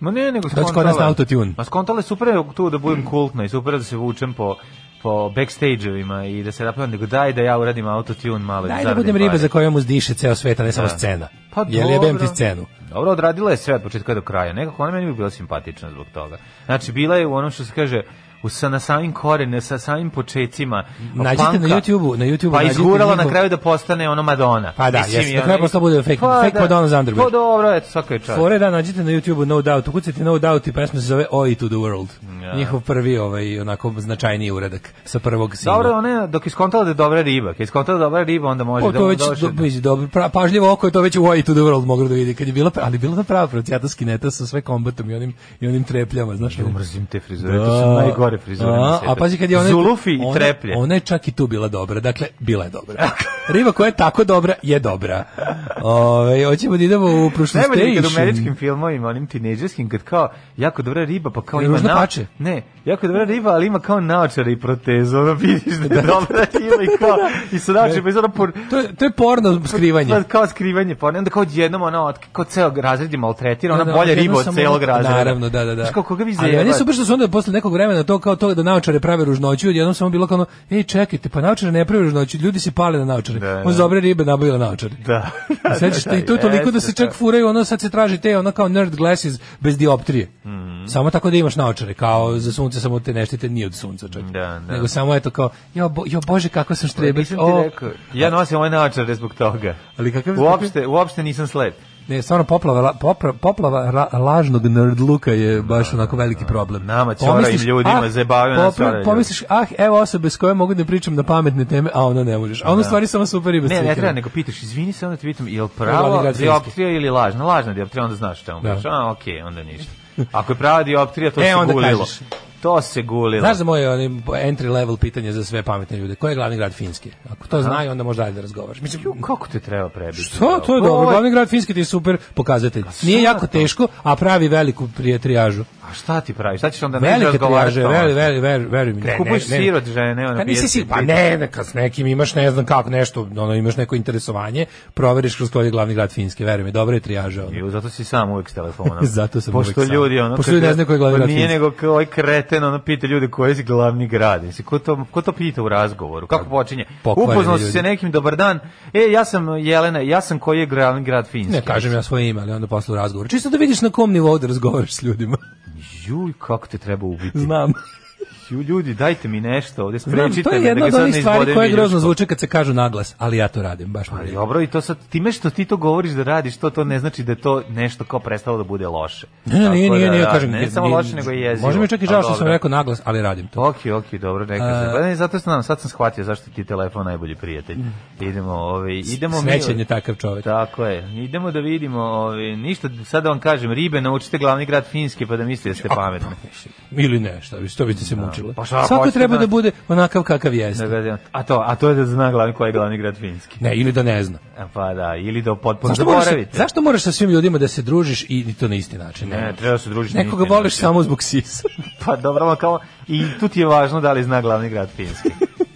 [SPEAKER 6] Ma ne, nego
[SPEAKER 7] Dođi kod
[SPEAKER 6] skontala.
[SPEAKER 7] Znači, nas na autotune.
[SPEAKER 6] Ma skontala je super je tu da budem kultna i super je da se vučem po po backstage-evima i da se napravim, nego daj da ja uradim autotune malo.
[SPEAKER 7] Daj da
[SPEAKER 6] zaradim
[SPEAKER 7] budem riba
[SPEAKER 6] pare.
[SPEAKER 7] za kojom uzdiše ceo svet, a ne samo
[SPEAKER 6] Da.
[SPEAKER 7] scena.
[SPEAKER 6] Pa
[SPEAKER 7] Jer jebem ti
[SPEAKER 6] dobro.
[SPEAKER 7] scenu.
[SPEAKER 6] Dobro, odradila je sve od početka do kraja. Nekako ona meni bi bila simpatična zbog toga. Znači, bila je u onom što se kaže, u, sa, na samim korene, sa samim počecima.
[SPEAKER 7] Nađite
[SPEAKER 6] punka.
[SPEAKER 7] na YouTubeu- na YouTubeu
[SPEAKER 6] Pa
[SPEAKER 7] nađite
[SPEAKER 6] izgurala na
[SPEAKER 7] njihov-
[SPEAKER 6] kraju da postane ono Madonna.
[SPEAKER 7] Pa da,
[SPEAKER 6] Mislim,
[SPEAKER 7] jes,
[SPEAKER 6] i
[SPEAKER 7] na
[SPEAKER 6] ona-
[SPEAKER 7] kraju postala bude fake- fake Madonna za Underwear.
[SPEAKER 6] Pa dobro, eto, svaka je čast.
[SPEAKER 7] Fore da nađite na YouTubeu No Doubt, ukucajte No Doubt i pesma se zove Oi to the World.
[SPEAKER 6] Ja.
[SPEAKER 7] Njihov prvi ovaj onako značajniji uradak sa prvog singla.
[SPEAKER 6] Dobro, ona je, dok je skontala da je dobra riba. Kad je skontala da je dobra riba, onda može
[SPEAKER 7] O,
[SPEAKER 6] da
[SPEAKER 7] Pa to već
[SPEAKER 6] dođe-
[SPEAKER 7] do, već dobro, pra, pažljivo oko je to već u Way to the World moglo da vidi kad je bila, pra- ali bila to prava procijata skineta sa sve kombatom i onim, i onim trepljama, znaš.
[SPEAKER 6] Ja mrzim te frizure, to su najgore frizure na
[SPEAKER 7] A,
[SPEAKER 6] svijetu.
[SPEAKER 7] a pazi kad je ona
[SPEAKER 6] Zulufi i
[SPEAKER 7] ona-
[SPEAKER 6] treplje.
[SPEAKER 7] Ona je čak i tu bila dobra, dakle bila je dobra. Riba koja je tako dobra je dobra. Ovaj hoćemo da idemo u prošlu
[SPEAKER 6] Najbolje je kad u
[SPEAKER 7] station.
[SPEAKER 6] američkim filmovima, onim tinejdžerskim, kad kao jako dobra riba, pa kao ima
[SPEAKER 7] Ružno
[SPEAKER 6] na...
[SPEAKER 7] plače.
[SPEAKER 6] Ne, jako dobra riba, ali ima kao naočare i protezu, ono vidiš da je dobra riba i kao, i sa naočarima, i sa ono pur...
[SPEAKER 7] To je, to je porno skrivanje.
[SPEAKER 6] Pa, kao skrivanje, pa onda kao odjednom ona otk- kao ceo razred je maltretira, ona
[SPEAKER 7] Da, da,
[SPEAKER 6] bolja
[SPEAKER 7] jedno
[SPEAKER 6] riba od
[SPEAKER 7] samo-
[SPEAKER 6] celog razreda.
[SPEAKER 7] Naravno, da, da, da.
[SPEAKER 6] Znaš kao koga vi
[SPEAKER 7] Ali meni je
[SPEAKER 6] zajebate?
[SPEAKER 7] super što su onda posle nekog vremena to kao to da naočare prave ružnoću, odjednom samo bilo kao ono, ej, čekajte, pa naočare ne prave ružnoću, ljudi se pale na naočare.
[SPEAKER 6] Da, da.
[SPEAKER 7] On za dobre ribe nabavila naočare.
[SPEAKER 6] Da.
[SPEAKER 7] I sad ćete i to toliko da se
[SPEAKER 6] Jeste,
[SPEAKER 7] čak furaju, ono sad se traži te ono kao nerd glasses bez dioptrije.
[SPEAKER 6] Mhm.
[SPEAKER 7] Samo tako da imaš naočare, kao za sunce samo te ne štite ni od sunca čak.
[SPEAKER 6] Da, da.
[SPEAKER 7] Nego samo eto kao, jo, bo, jo bože kako sam
[SPEAKER 6] da.
[SPEAKER 7] štrebel.
[SPEAKER 6] Nisam ti
[SPEAKER 7] O,
[SPEAKER 6] rekao. Ja nosim ove naočare zbog toga.
[SPEAKER 7] ali kakav
[SPEAKER 6] Uopšte, uopšte nisam slep.
[SPEAKER 7] Ne, stvarno poplava, la- popra, poplava ra, lažnog nerd luka je baš onako veliki problem.
[SPEAKER 6] Nama ćorajim
[SPEAKER 7] Pomisliš,
[SPEAKER 6] ljudima,
[SPEAKER 7] ah,
[SPEAKER 6] zabavaju nas
[SPEAKER 7] popra-
[SPEAKER 6] ćoraj
[SPEAKER 7] Pomisliš, ah, evo osobe s kojom mogu da pričam na pametne teme, a ono ne možeš. A ono stvari samo super ibe
[SPEAKER 6] Ne, ne treba, nego pitaš, izvini se, onda ti pitam, je li
[SPEAKER 7] Pravo, ali
[SPEAKER 6] pravo
[SPEAKER 7] ga
[SPEAKER 6] dioptrija ili lažna? Lažna dioptrija, onda znaš o čemu
[SPEAKER 7] Da.
[SPEAKER 6] pričaš. A, okej, onda ništa. Ako je prava dioptrija, to
[SPEAKER 7] E,
[SPEAKER 6] se
[SPEAKER 7] onda
[SPEAKER 6] gulilo.
[SPEAKER 7] kažeš.
[SPEAKER 6] To se gulilo.
[SPEAKER 7] Znaš za moje onim entry level pitanje za sve pametne ljude, koji je glavni grad Finske? Ako to znaju, onda možda dalje da razgovaraš. Mislim,
[SPEAKER 6] Ju, kako te treba prebiti?
[SPEAKER 7] to, to je
[SPEAKER 6] Ovo-
[SPEAKER 7] dobro, glavni grad Finske ti je super pokazatelj. Nije
[SPEAKER 6] Pa šta to?
[SPEAKER 7] jako teško, a pravi veliku prije trijažu.
[SPEAKER 6] A šta ti praviš? Šta ćeš onda neći
[SPEAKER 7] Velike
[SPEAKER 6] Pa razgovarati?
[SPEAKER 7] trijaže, veri, veri, veri, veri mi. Ne,
[SPEAKER 6] Kupuješ
[SPEAKER 7] ne, ne.
[SPEAKER 6] sir od žene, ono,
[SPEAKER 7] Pa nisi
[SPEAKER 6] piješ
[SPEAKER 7] si,
[SPEAKER 6] i
[SPEAKER 7] pa
[SPEAKER 6] pitaš.
[SPEAKER 7] ne, ne, kad s nekim imaš ne znam kako nešto, ono imaš neko interesovanje, proveriš kroz koji je glavni grad Finske, veruj mi, dobro je trijaža. Ono.
[SPEAKER 6] Ju, zato si sam uvek s telefonom.
[SPEAKER 7] Zato sam
[SPEAKER 6] Pošto
[SPEAKER 7] uvek sam.
[SPEAKER 6] ljudi, ono...
[SPEAKER 7] Pošto
[SPEAKER 6] kad
[SPEAKER 7] ljudi ne
[SPEAKER 6] ja-
[SPEAKER 7] znaju koji je glavni
[SPEAKER 6] Pa
[SPEAKER 7] grad
[SPEAKER 6] Nije
[SPEAKER 7] Finske.
[SPEAKER 6] nego kao ovaj kreten, ono, pita ljude koji si glavni grad. Mislim, ko to, ko to pita u razgovoru? Kako počinje?
[SPEAKER 7] Pa, Pokvareni
[SPEAKER 6] Upoznao si
[SPEAKER 7] ljudi.
[SPEAKER 6] se nekim, dobar dan. E, ja sam Jelena, ja sam koji je glavni grad Finjske.
[SPEAKER 7] Ne kažem ja svoje ime, ali onda posle u razgovoru. Čisto da vidiš na kom nivou da razgovaraš s ljudima.
[SPEAKER 6] Juj, kako te treba ubiti.
[SPEAKER 7] Znam.
[SPEAKER 6] Ju, ljudi, dajte mi nešto ovde,
[SPEAKER 7] Znam,
[SPEAKER 6] sprečite
[SPEAKER 7] to je
[SPEAKER 6] me
[SPEAKER 7] jedna
[SPEAKER 6] da ga sad
[SPEAKER 7] od onih
[SPEAKER 6] ne
[SPEAKER 7] stvari
[SPEAKER 6] izbodem
[SPEAKER 7] koje
[SPEAKER 6] viljuškom.
[SPEAKER 7] grozno zvuče kad se kažu naglas, ali ja to radim, baš mi
[SPEAKER 6] Ali
[SPEAKER 7] je.
[SPEAKER 6] Dobro, i to sad, time što ti to govoriš da radiš, to to ne znači da je to nešto kao prestalo da bude loše.
[SPEAKER 7] Ne, ne,
[SPEAKER 6] Tako
[SPEAKER 7] nije,
[SPEAKER 6] da,
[SPEAKER 7] nije, nije,
[SPEAKER 6] da,
[SPEAKER 7] kažem.
[SPEAKER 6] Ne,
[SPEAKER 7] nije-
[SPEAKER 6] samo
[SPEAKER 7] nije-
[SPEAKER 6] loše, nego i jezivo.
[SPEAKER 7] Može mi čak i žao
[SPEAKER 6] Ali
[SPEAKER 7] što sam
[SPEAKER 6] dobro.
[SPEAKER 7] rekao naglas, ali radim to.
[SPEAKER 6] Ok, ok, dobro, neka se. Pa ne, zato sam nam, sad sam shvatio zašto ti je telefon najbolji prijatelj.
[SPEAKER 7] Mm.
[SPEAKER 6] Idemo, ovaj, idemo
[SPEAKER 7] Srećan je takav čovjek.
[SPEAKER 6] Tako je. Idemo da vidimo, ovaj, ništa, sad da vam kažem, ribe naučite glavni grad Finjske pa da mislite da ste pametni.
[SPEAKER 7] Ili ne, šta bi, što biste se mučili.
[SPEAKER 6] Pa šta,
[SPEAKER 7] Svako
[SPEAKER 6] hoćete
[SPEAKER 7] treba
[SPEAKER 6] da-
[SPEAKER 7] da bude onakav kakav jeste.
[SPEAKER 6] Da gledamo. A to, a to je da zna glavni koji je glavni grad Finjski.
[SPEAKER 7] Ne, ili da ne zna.
[SPEAKER 6] A Pa da, ili da potpuno
[SPEAKER 7] E, Zašto moraš,
[SPEAKER 6] zaboravite.
[SPEAKER 7] zašto moraš sa svim ljudima da se družiš i, i to na isti način?
[SPEAKER 6] Ne, treba se družiti.
[SPEAKER 7] E, Nekoga
[SPEAKER 6] niti,
[SPEAKER 7] voliš
[SPEAKER 6] niti.
[SPEAKER 7] samo zbog sisa.
[SPEAKER 6] Pa dobro, ma kao, i tu ti je važno da li zna glavni grad Finjski.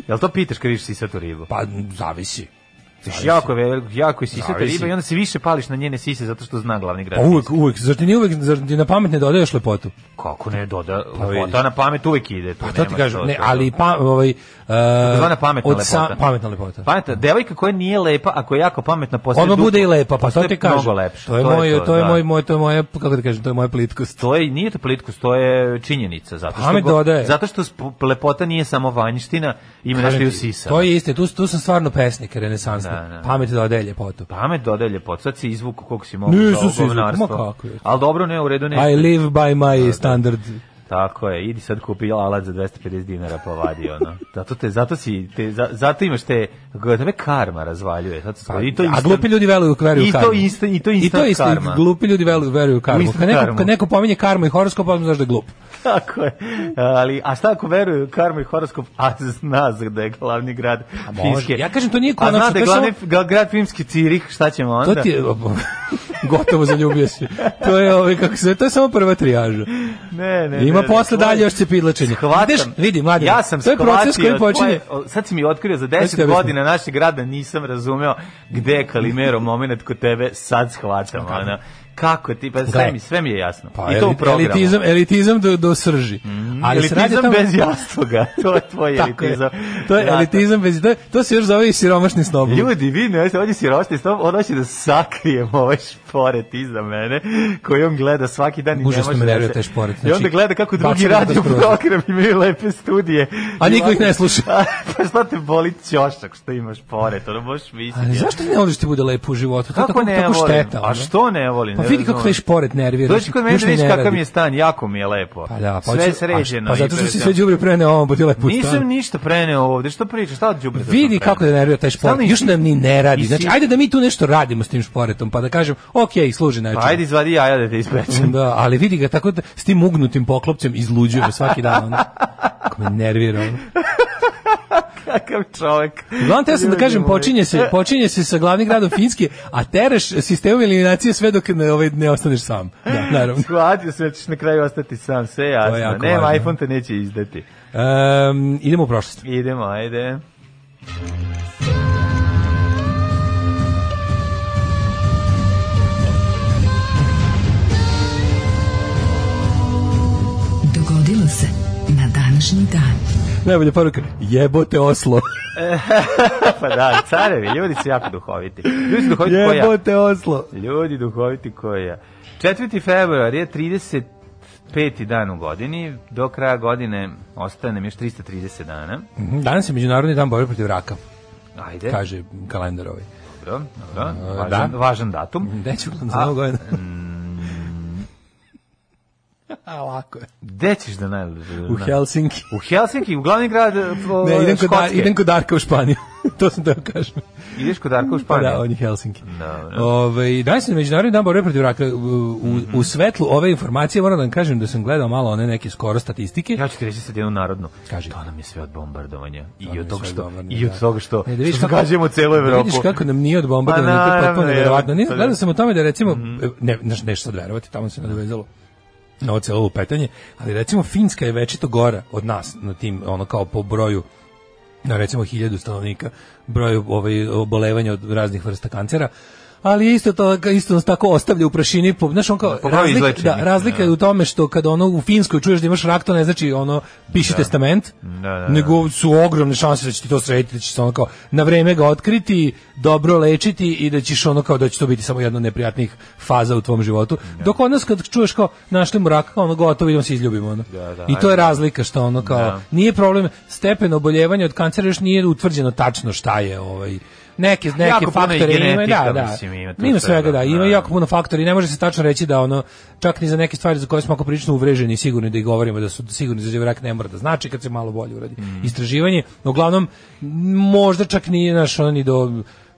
[SPEAKER 6] Jel to pitaš kad vidiš sisatu ribu?
[SPEAKER 7] Pa, zavisi.
[SPEAKER 6] Pa, Znaš, jako, je, jako je sisata
[SPEAKER 7] Zavisi.
[SPEAKER 6] riba i onda se više pališ na njene sise zato što zna glavni grad.
[SPEAKER 7] Pa uvek, uvek, zar ti ni uvek, zar ti na pamet ne dodaješ lepotu?
[SPEAKER 6] Kako ne doda,
[SPEAKER 7] Pa
[SPEAKER 6] lepota
[SPEAKER 7] vidiš.
[SPEAKER 6] na pamet uvek ide. Tu
[SPEAKER 7] Pa to ti
[SPEAKER 6] nema
[SPEAKER 7] kažem,
[SPEAKER 6] što
[SPEAKER 7] ne,
[SPEAKER 6] to-
[SPEAKER 7] ali pa, ovaj... Uh,
[SPEAKER 6] Takozvana pametna
[SPEAKER 7] od sa-
[SPEAKER 6] lepota.
[SPEAKER 7] pametna lepota.
[SPEAKER 6] Pametna, devojka koja nije lepa, ako je jako pametna, postaje
[SPEAKER 7] Ono
[SPEAKER 6] duplo-
[SPEAKER 7] bude i lepa, pa to
[SPEAKER 6] postaje
[SPEAKER 7] ti kažem.
[SPEAKER 6] Mnogo lepša.
[SPEAKER 7] To je, moj, to je
[SPEAKER 6] da.
[SPEAKER 7] moj, moj, to je moje, kako da kažem, to je moja plitkost.
[SPEAKER 6] To je, nije to plitkost, to je činjenica. Zato što,
[SPEAKER 7] Pamet dodaje.
[SPEAKER 6] zato što sp- lepota nije samo vanjština, ima nešto i u sisama.
[SPEAKER 7] To je isto, tu, tu sam stvarno pesnik renesansni.
[SPEAKER 6] Da, da.
[SPEAKER 7] Pamet da odelje potu.
[SPEAKER 6] Pamet dodaje ljepotu, sad si izvuku koliko si mogu
[SPEAKER 7] Nisu
[SPEAKER 6] za ovo
[SPEAKER 7] se izvukli,
[SPEAKER 6] govnarstvo.
[SPEAKER 7] ma kako je.
[SPEAKER 6] Ali dobro, ne, u redu Pa, ne.
[SPEAKER 7] I live by my standard.
[SPEAKER 6] Tako je, idi sad kupi alat za 250 dinara pa vadi ono. Zato te zato si te za, zato imaš te kako tebe karma razvaljuje. Sad
[SPEAKER 7] Pa,
[SPEAKER 6] pa, i to
[SPEAKER 7] a
[SPEAKER 6] instant-
[SPEAKER 7] glupi ljudi veruju, veruju
[SPEAKER 6] I
[SPEAKER 7] u
[SPEAKER 6] to
[SPEAKER 7] karmu.
[SPEAKER 6] isto i to
[SPEAKER 7] I
[SPEAKER 6] isto
[SPEAKER 7] to isto,
[SPEAKER 6] karma.
[SPEAKER 7] glupi ljudi veruju, veruju u karmu.
[SPEAKER 6] instant
[SPEAKER 7] Kad neko,
[SPEAKER 6] karmu.
[SPEAKER 7] kad neko pominje karmu i horoskop, onda znaš da je glup.
[SPEAKER 6] Tako je. Ali a šta ako veruju u karmu i horoskop, a zna se da je glavni grad
[SPEAKER 7] može.
[SPEAKER 6] Finske.
[SPEAKER 7] Ja kažem, to nije
[SPEAKER 6] A
[SPEAKER 7] konačno,
[SPEAKER 6] zna da
[SPEAKER 7] to
[SPEAKER 6] je
[SPEAKER 7] je
[SPEAKER 6] glavni ga- grad Finski Cirih, šta ćemo onda?
[SPEAKER 7] To ti je... Gotovo zaljubio si. To je, ovaj, kako se, to je samo prva trijaža.
[SPEAKER 6] Ne, ne,
[SPEAKER 7] Ima
[SPEAKER 6] ne, ne,
[SPEAKER 7] posle
[SPEAKER 6] tvoje-
[SPEAKER 7] dalje još cepidlačenje.
[SPEAKER 6] Hvatam.
[SPEAKER 7] Ideš, vidi, mladen,
[SPEAKER 6] ja sam
[SPEAKER 7] to je proces
[SPEAKER 6] shvatio
[SPEAKER 7] koji počinje.
[SPEAKER 6] tvoje- o, sad si mi otkrio za
[SPEAKER 7] Hoćeš ti
[SPEAKER 6] 10
[SPEAKER 7] objasnim?
[SPEAKER 6] godina našeg grada nisam razumeo gde je Kalimero moment kod tebe, sad shvatam. Ona. Kako ti, pa sve
[SPEAKER 7] Gle.
[SPEAKER 6] mi, sve mi je jasno.
[SPEAKER 7] Pa,
[SPEAKER 6] I to u
[SPEAKER 7] elit-
[SPEAKER 6] programu. Mhm.
[SPEAKER 7] Elitizam, elitizam do, do srži. ali se radi
[SPEAKER 6] elitizam
[SPEAKER 7] tamo-
[SPEAKER 6] bez jastoga, to je tvoj
[SPEAKER 7] Tako je.
[SPEAKER 6] elitizam.
[SPEAKER 7] To je
[SPEAKER 6] Ja,
[SPEAKER 7] elitizam bez... To, je- to se još zove i siromašni snob.
[SPEAKER 6] Ljudi, vi ne znate, on je sirošni stop, on hoće da sakrijem ovaj šporet iza mene, koji on gleda svaki dan i ne
[SPEAKER 7] Užasno
[SPEAKER 6] može
[SPEAKER 7] me
[SPEAKER 6] da
[SPEAKER 7] nervira
[SPEAKER 6] se-
[SPEAKER 7] taj šporet,
[SPEAKER 6] I onda
[SPEAKER 7] znači,
[SPEAKER 6] gleda kako drugi
[SPEAKER 7] bacam ga
[SPEAKER 6] radio
[SPEAKER 7] kroz prozor.
[SPEAKER 6] program imaju lepe studije.
[SPEAKER 7] A
[SPEAKER 6] I
[SPEAKER 7] niko ih ne
[SPEAKER 6] ovako-
[SPEAKER 7] sluša.
[SPEAKER 6] A, pa šta te boli ćošak što imaš šporet, ono možeš
[SPEAKER 7] Ali
[SPEAKER 6] misliti.
[SPEAKER 7] zašto ne voliš ti bude lepo u životu? To je
[SPEAKER 6] Kako
[SPEAKER 7] tako,
[SPEAKER 6] ne
[SPEAKER 7] tako
[SPEAKER 6] volim?
[SPEAKER 7] šteta.
[SPEAKER 6] A
[SPEAKER 7] ono.
[SPEAKER 6] što ne volim?
[SPEAKER 7] Pa
[SPEAKER 6] Ne
[SPEAKER 7] vidi kako
[SPEAKER 6] razumem.
[SPEAKER 7] taj šporet nervira.
[SPEAKER 6] Dođi kod mene
[SPEAKER 7] Još
[SPEAKER 6] da
[SPEAKER 7] ni
[SPEAKER 6] vidiš
[SPEAKER 7] ne
[SPEAKER 6] kakav
[SPEAKER 7] radi.
[SPEAKER 6] mi je stan, jako mi je lepo.
[SPEAKER 7] Pa da, pa
[SPEAKER 6] sve je
[SPEAKER 7] hoćeš-
[SPEAKER 6] sređeno.
[SPEAKER 7] a š- Pa
[SPEAKER 6] i
[SPEAKER 7] zato što si sve
[SPEAKER 6] prevedeno.
[SPEAKER 7] đubre preneo ovom, pa ti lepo u stan.
[SPEAKER 6] Nisam ništa preneo ovde, što pričaš, šta od đubreta sam
[SPEAKER 7] Vidi
[SPEAKER 6] preneo?
[SPEAKER 7] kako da nervira taj šporet.
[SPEAKER 6] Stalno
[SPEAKER 7] Još nam ni ne radi.
[SPEAKER 6] i
[SPEAKER 7] Znači,
[SPEAKER 6] si-
[SPEAKER 7] ajde da mi tu nešto radimo s tim šporetom, pa da kažem, ok, služi na
[SPEAKER 6] Pa ajde izvadi jaja da te ispečem.
[SPEAKER 7] Da, ali vidi ga tako da s tim ugnutim poklopcem izluđuje me svaki dan. Ono. Kako me nervira. Ono.
[SPEAKER 6] Kakav čovek.
[SPEAKER 7] Uglavnom, teo sam da
[SPEAKER 6] Ljudi
[SPEAKER 7] kažem,
[SPEAKER 6] moji.
[SPEAKER 7] počinje se, počinje se sa glavnim gradom Finske, a tereš sistem eliminacije sve dok ne, ovaj, ne ostaneš sam. Da, naravno.
[SPEAKER 6] Shvatio sam da ćeš na kraju ostati sam, sve je jasno.
[SPEAKER 7] je jako
[SPEAKER 6] Nema,
[SPEAKER 7] važno.
[SPEAKER 6] iPhone te neće izdati.
[SPEAKER 7] Um, idemo u prošlost.
[SPEAKER 6] Idemo, ajde.
[SPEAKER 5] Dogodilo se na današnji dan.
[SPEAKER 7] Najbolja poruka, jebote Oslo.
[SPEAKER 6] Pa da, carevi, ljudi su jako duhoviti. Ljudi su duhoviti koja.
[SPEAKER 7] jebote Oslo.
[SPEAKER 6] Ljudi duhoviti koja. 4. februar je 30 peti dan u godini, do kraja godine ostaje nam još 330 dana.
[SPEAKER 7] Mhm, Danas je Međunarodni dan borbe protiv raka,
[SPEAKER 6] Ajde,
[SPEAKER 7] kaže kalendar ovaj.
[SPEAKER 6] dobro, dobro. Važan,
[SPEAKER 7] da.
[SPEAKER 6] važan datum.
[SPEAKER 7] Gde ću za novu godinu? A, lako je.
[SPEAKER 6] Gde ćeš da najluđe?
[SPEAKER 7] U Helsinki.
[SPEAKER 6] U Helsinki, u glavni grad o,
[SPEAKER 7] Ne, idem kod, Dar-
[SPEAKER 6] Škotske.
[SPEAKER 7] idem kod Darka u Španiju. to sam teo kažem.
[SPEAKER 6] Ideš kod Darka u
[SPEAKER 7] Pa
[SPEAKER 6] Španiju.
[SPEAKER 7] da, on je Helsinki.
[SPEAKER 6] Dobro.
[SPEAKER 7] Ove, danas je Međunarodni dan borbe protiv raka. U, u, u svetlu ove informacije moram da vam kažem da sam gledao malo one neke skoro statistike.
[SPEAKER 6] Ja ću ti reći sad jednu narodnu.
[SPEAKER 7] Kaži.
[SPEAKER 6] To nam je sve od bombardovanja.
[SPEAKER 7] To
[SPEAKER 6] I
[SPEAKER 7] nam
[SPEAKER 6] od
[SPEAKER 7] je
[SPEAKER 6] toga
[SPEAKER 7] sve
[SPEAKER 6] što,
[SPEAKER 7] bombardovanje,
[SPEAKER 6] i od
[SPEAKER 7] da.
[SPEAKER 6] toga što,
[SPEAKER 7] Ne, E, da vidiš
[SPEAKER 6] što
[SPEAKER 7] kako-
[SPEAKER 6] zagađujemo celu
[SPEAKER 7] Da
[SPEAKER 6] Evropu.
[SPEAKER 7] vidiš kako nam nije od bombardovanja,
[SPEAKER 6] Pa
[SPEAKER 7] to je
[SPEAKER 6] naravno,
[SPEAKER 7] potpuno
[SPEAKER 6] je,
[SPEAKER 7] neverovatno. Nije,
[SPEAKER 6] to je. Mhm.
[SPEAKER 7] gledao sam o tome da recimo, ne, ne, nešto sad verovati, tamo se nadovezalo na ovo celo lupetanje, ali recimo Finska je večito gora od nas na tim, ono kao po broju na recimo hiljadu stanovnika broju ovaj, obolevanja od raznih vrsta kancera, ali isto to isto nas tako ostavlja u prašini po, znaš, on kao,
[SPEAKER 6] Po broju
[SPEAKER 7] razlika, da,
[SPEAKER 6] izlečenih,
[SPEAKER 7] razlika je u tome što kada ono u Finskoj čuješ da imaš rak, to ne znači ono piši testament,
[SPEAKER 6] Da, da, da.
[SPEAKER 7] nego su ogromne šanse da će ti to srediti, da će se ono kao na vreme ga otkriti, dobro lečiti i da ćeš ono kao da će to biti samo jedna od neprijatnih faza u tvom životu. Dok kod nas kad čuješ kao našli mu raka, kao ono gotovo, idemo se izljubimo. Ono.
[SPEAKER 6] Da, da,
[SPEAKER 7] I to je razlika što ono kao, nije problem, stepen oboljevanja od kancera još nije utvrđeno tačno šta je ovaj, neke neke
[SPEAKER 6] Jako puno i
[SPEAKER 7] faktore ima
[SPEAKER 6] genetika,
[SPEAKER 7] da da
[SPEAKER 6] mislim, ima tu
[SPEAKER 7] ima svega
[SPEAKER 6] svega,
[SPEAKER 7] da
[SPEAKER 6] da.
[SPEAKER 7] ima jako puno faktori ne može se tačno reći da ono čak ni za neke stvari za koje smo ako prilično uvreženi i sigurni da i govorimo da su sigurni za rak ne mora da znači kad se malo bolje uradi
[SPEAKER 6] Mhm.
[SPEAKER 7] istraživanje no uglavnom m, možda čak nije naš ono ni do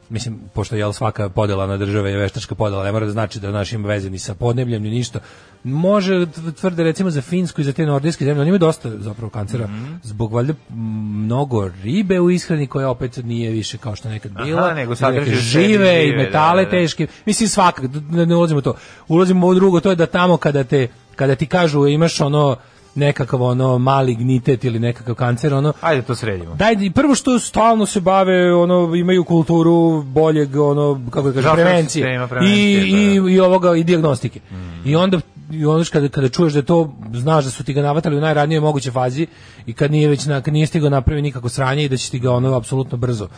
[SPEAKER 7] mislim pošto je svaka podela na države je veštačka podela ne mora da znači da naš ima veze ni sa podnebljem ni ništa može tv- tvrde recimo za Finsku i za te nordijske zemlje oni imaju dosta zapravo kancera
[SPEAKER 6] Mhm.
[SPEAKER 7] zbog valjda m, mnogo ribe u ishrani koja opet nije više kao što je nekad
[SPEAKER 6] Aha,
[SPEAKER 7] bila
[SPEAKER 6] nego
[SPEAKER 7] neke
[SPEAKER 6] sadrži u sebi
[SPEAKER 7] žive i
[SPEAKER 6] žive, da,
[SPEAKER 7] metale
[SPEAKER 6] da, da.
[SPEAKER 7] te teške. Mislim svakak, ne, ne ulazimo u to. Ulazimo u ovo drugo, to je da tamo kada te kada ti kažu imaš ono nekakav ono malignitet ili nekakav kancer, ono
[SPEAKER 6] Ajde to sredimo.
[SPEAKER 7] Daj, i prvo što stalno se bave, ono, imaju kulturu boljeg, ono, kako da kažem,
[SPEAKER 6] Zdravstvenog
[SPEAKER 7] prevencije.
[SPEAKER 6] sistema,
[SPEAKER 7] I,
[SPEAKER 6] prevencije, da, Mm.
[SPEAKER 7] i, i ovoga, i diagnostike. I onda, i onda kada, kada čuješ da je to, znaš da su ti ga navatali u najranijoj mogućoj fazi i kad nije već, na, kad nije stigao napravi nikako sranje i da će ti ga ono apsolutno brzo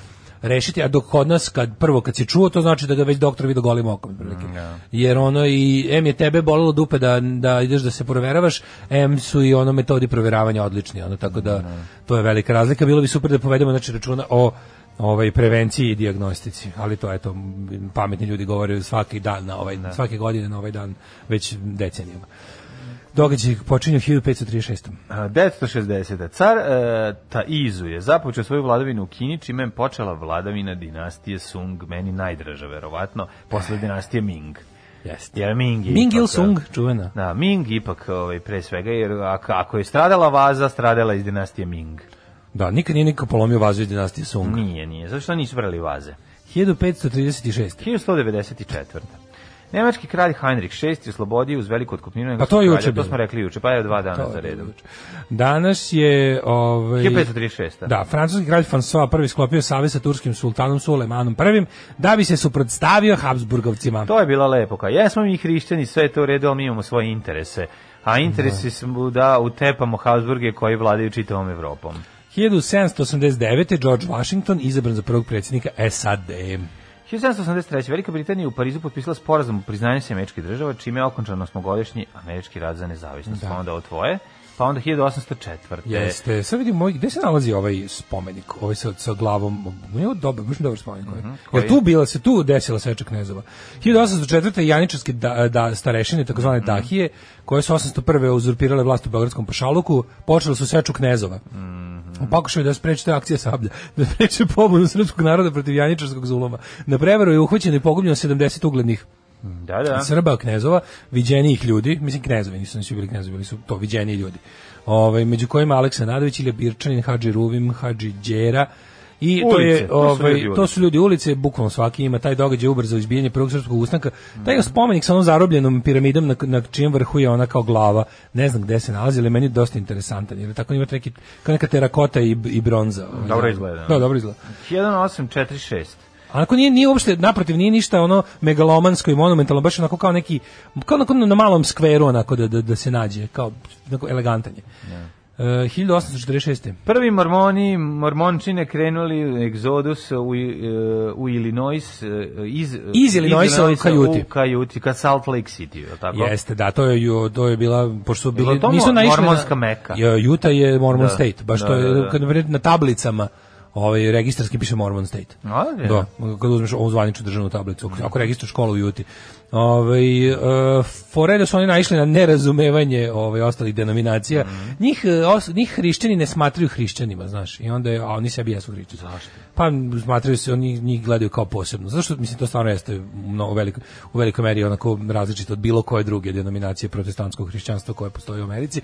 [SPEAKER 7] rešiti, a dok kod nas, kad, prvo kad si čuo, to znači da ga već doktor vidio golim okom. otprilike.
[SPEAKER 6] Mm,
[SPEAKER 7] Jer ono i, em je tebe bolelo dupe da, da ideš da se proveravaš, em su i ono metodi proveravanja odlični, ono, tako
[SPEAKER 6] Mm,
[SPEAKER 7] da to je velika razlika. Bilo bi super da povedemo znači, računa o ovaj prevenciji i dijagnostici, ali to eto m, pametni ljudi govore svaki dan na ovaj svake godine na ovaj dan već decenijama. Događaj počinje u 1536.
[SPEAKER 6] A, 960. Car e, Taizu je započeo svoju vladavinu u Kini, čime je počela vladavina dinastije Sung, meni najdraža verovatno, posle dinastije Ming.
[SPEAKER 7] Jeste.
[SPEAKER 6] Jer Ming je
[SPEAKER 7] Ming Il
[SPEAKER 6] ipak, e,
[SPEAKER 7] Sung, čuvena.
[SPEAKER 6] Da, Ming ipak ovaj, pre svega, jer ako, ako je stradala vaza, stradala je iz dinastije Ming.
[SPEAKER 7] Da, nikad nije niko polomio vazu iz dinastije Sung.
[SPEAKER 6] Nije, nije. Zašto nisu brali vaze?
[SPEAKER 7] 1536.
[SPEAKER 6] 1194. Nemački kralj Heinrich VI je oslobodio uz veliku otkupninu
[SPEAKER 7] Pa
[SPEAKER 6] engleskog
[SPEAKER 7] to je
[SPEAKER 6] kralja.
[SPEAKER 7] juče
[SPEAKER 6] To
[SPEAKER 7] bilo.
[SPEAKER 6] smo rekli juče, pa je dva dana
[SPEAKER 7] To je
[SPEAKER 6] za redom.
[SPEAKER 7] Danas je ovaj
[SPEAKER 6] 1536.
[SPEAKER 7] Da, francuski kralj François prvi sklopio savez sa turskim sultanom Sulejmanom I da bi se suprotstavio Habsburgovcima.
[SPEAKER 6] To je bila lepoka. Jesmo mi hrišćani, sve je to u redu, ali mi imamo svoje interese. A interesi smo da utepamo Habsburge koji vladaju čitavom Evropom.
[SPEAKER 7] 1789. George Washington izabran za prvog predsjednika SAD.
[SPEAKER 6] 1783. Velika Britanija je u Parizu potpisala sporazum o priznanju se američke država, čime je okončan osmogodišnji američki rad za nezavisnost. Pa onda ovo tvoje, pa onda 1804.
[SPEAKER 7] Jeste, sad vidim, ovaj, gde se nalazi ovaj spomenik, ovaj sa, sa glavom, je ovo dobar, baš dobar spomenik. ovaj.
[SPEAKER 6] koji?
[SPEAKER 7] Jer tu bila se, tu desila seča knezova. 1804. janičarske da, da, starešine, takozvane Dahije, koje su 801. uzurpirale vlast u Beogradskom pašaluku, počele su seču knezova. U pokušaju da spreče te akcije sablja, da spreče pobunu srpskog naroda protiv janičarskog zuloma. Na prevaru je uhvaćeno i pogubljeno 70 uglednih
[SPEAKER 6] Da, da.
[SPEAKER 7] Srba, knezova, viđenijih ljudi, mislim knezovi nisu, nisu bili knezovi, bili su to viđeniji ljudi. Ovaj među kojima Aleksa Nadović ili Birčanin, Hadži Ruvim, Hadži Đera, I to
[SPEAKER 6] Ulice, to
[SPEAKER 7] je
[SPEAKER 6] su
[SPEAKER 7] ovaj
[SPEAKER 6] ljudi
[SPEAKER 7] to su ljudi ulice, bukvalno svaki ima taj događaj ubrzao izbijanje prvog srpskog ustanka. Taj spomenik sa onom zarobljenom piramidom na, na čijem vrhu je ona kao glava, ne znam gde se nalazi, ali meni je dosta interesantan, jer je tako ima neki kao neka terakota i, i bronza. ovaj,
[SPEAKER 6] Dobro
[SPEAKER 7] da.
[SPEAKER 6] izgleda.
[SPEAKER 7] Da, dobro izgleda.
[SPEAKER 6] 1846.
[SPEAKER 7] A Onako nije, nije uopšte, naprotiv, nije ništa ono megalomansko i monumentalno, baš onako kao neki, kao onako na malom skveru onako da, da, da se nađe, kao onako elegantan je. E, 1846.
[SPEAKER 6] Prvi mormoni, mormončine krenuli egzodus u, e, u Illinois, e, iz,
[SPEAKER 7] Iz Illinoisa u Kajuti.
[SPEAKER 6] U Kajuti, ka Salt Lake City, je li tako?
[SPEAKER 7] Jeste, da, to je, ju- to je bila, pošto su
[SPEAKER 6] Jel
[SPEAKER 7] bili,
[SPEAKER 6] to
[SPEAKER 7] nisu
[SPEAKER 6] mo-
[SPEAKER 7] naišli
[SPEAKER 6] mormonska
[SPEAKER 7] na,
[SPEAKER 6] Meka?
[SPEAKER 7] Jo, Utah je Mormon
[SPEAKER 6] Da.
[SPEAKER 7] State, baš
[SPEAKER 6] Da,
[SPEAKER 7] to je,
[SPEAKER 6] da, da.
[SPEAKER 7] kad na primjer, na tablicama, ovaj, registarski piše Mormon State.
[SPEAKER 6] A, je.
[SPEAKER 7] Da, kad uzmeš ovu zvaničnu državnu tablicu, ako- ako registruješ školu u Juti. Ovaj e, fore da su oni naišli na nerazumevanje ovaj ostalih denominacija.
[SPEAKER 6] Mhm.
[SPEAKER 7] Njih e, os- njih hrišćani ne smatraju hrišćanima, znaš. I onda je, a oni sebi jesu hrišćani. Zašto? Pa m, smatraju se oni njih gledaju kao posebno. Zašto mislim to stvarno jeste mnogo veliko u velikoj meri onako različito od bilo koje druge denominacije protestantskog hrišćanstva koje postoji u Americi.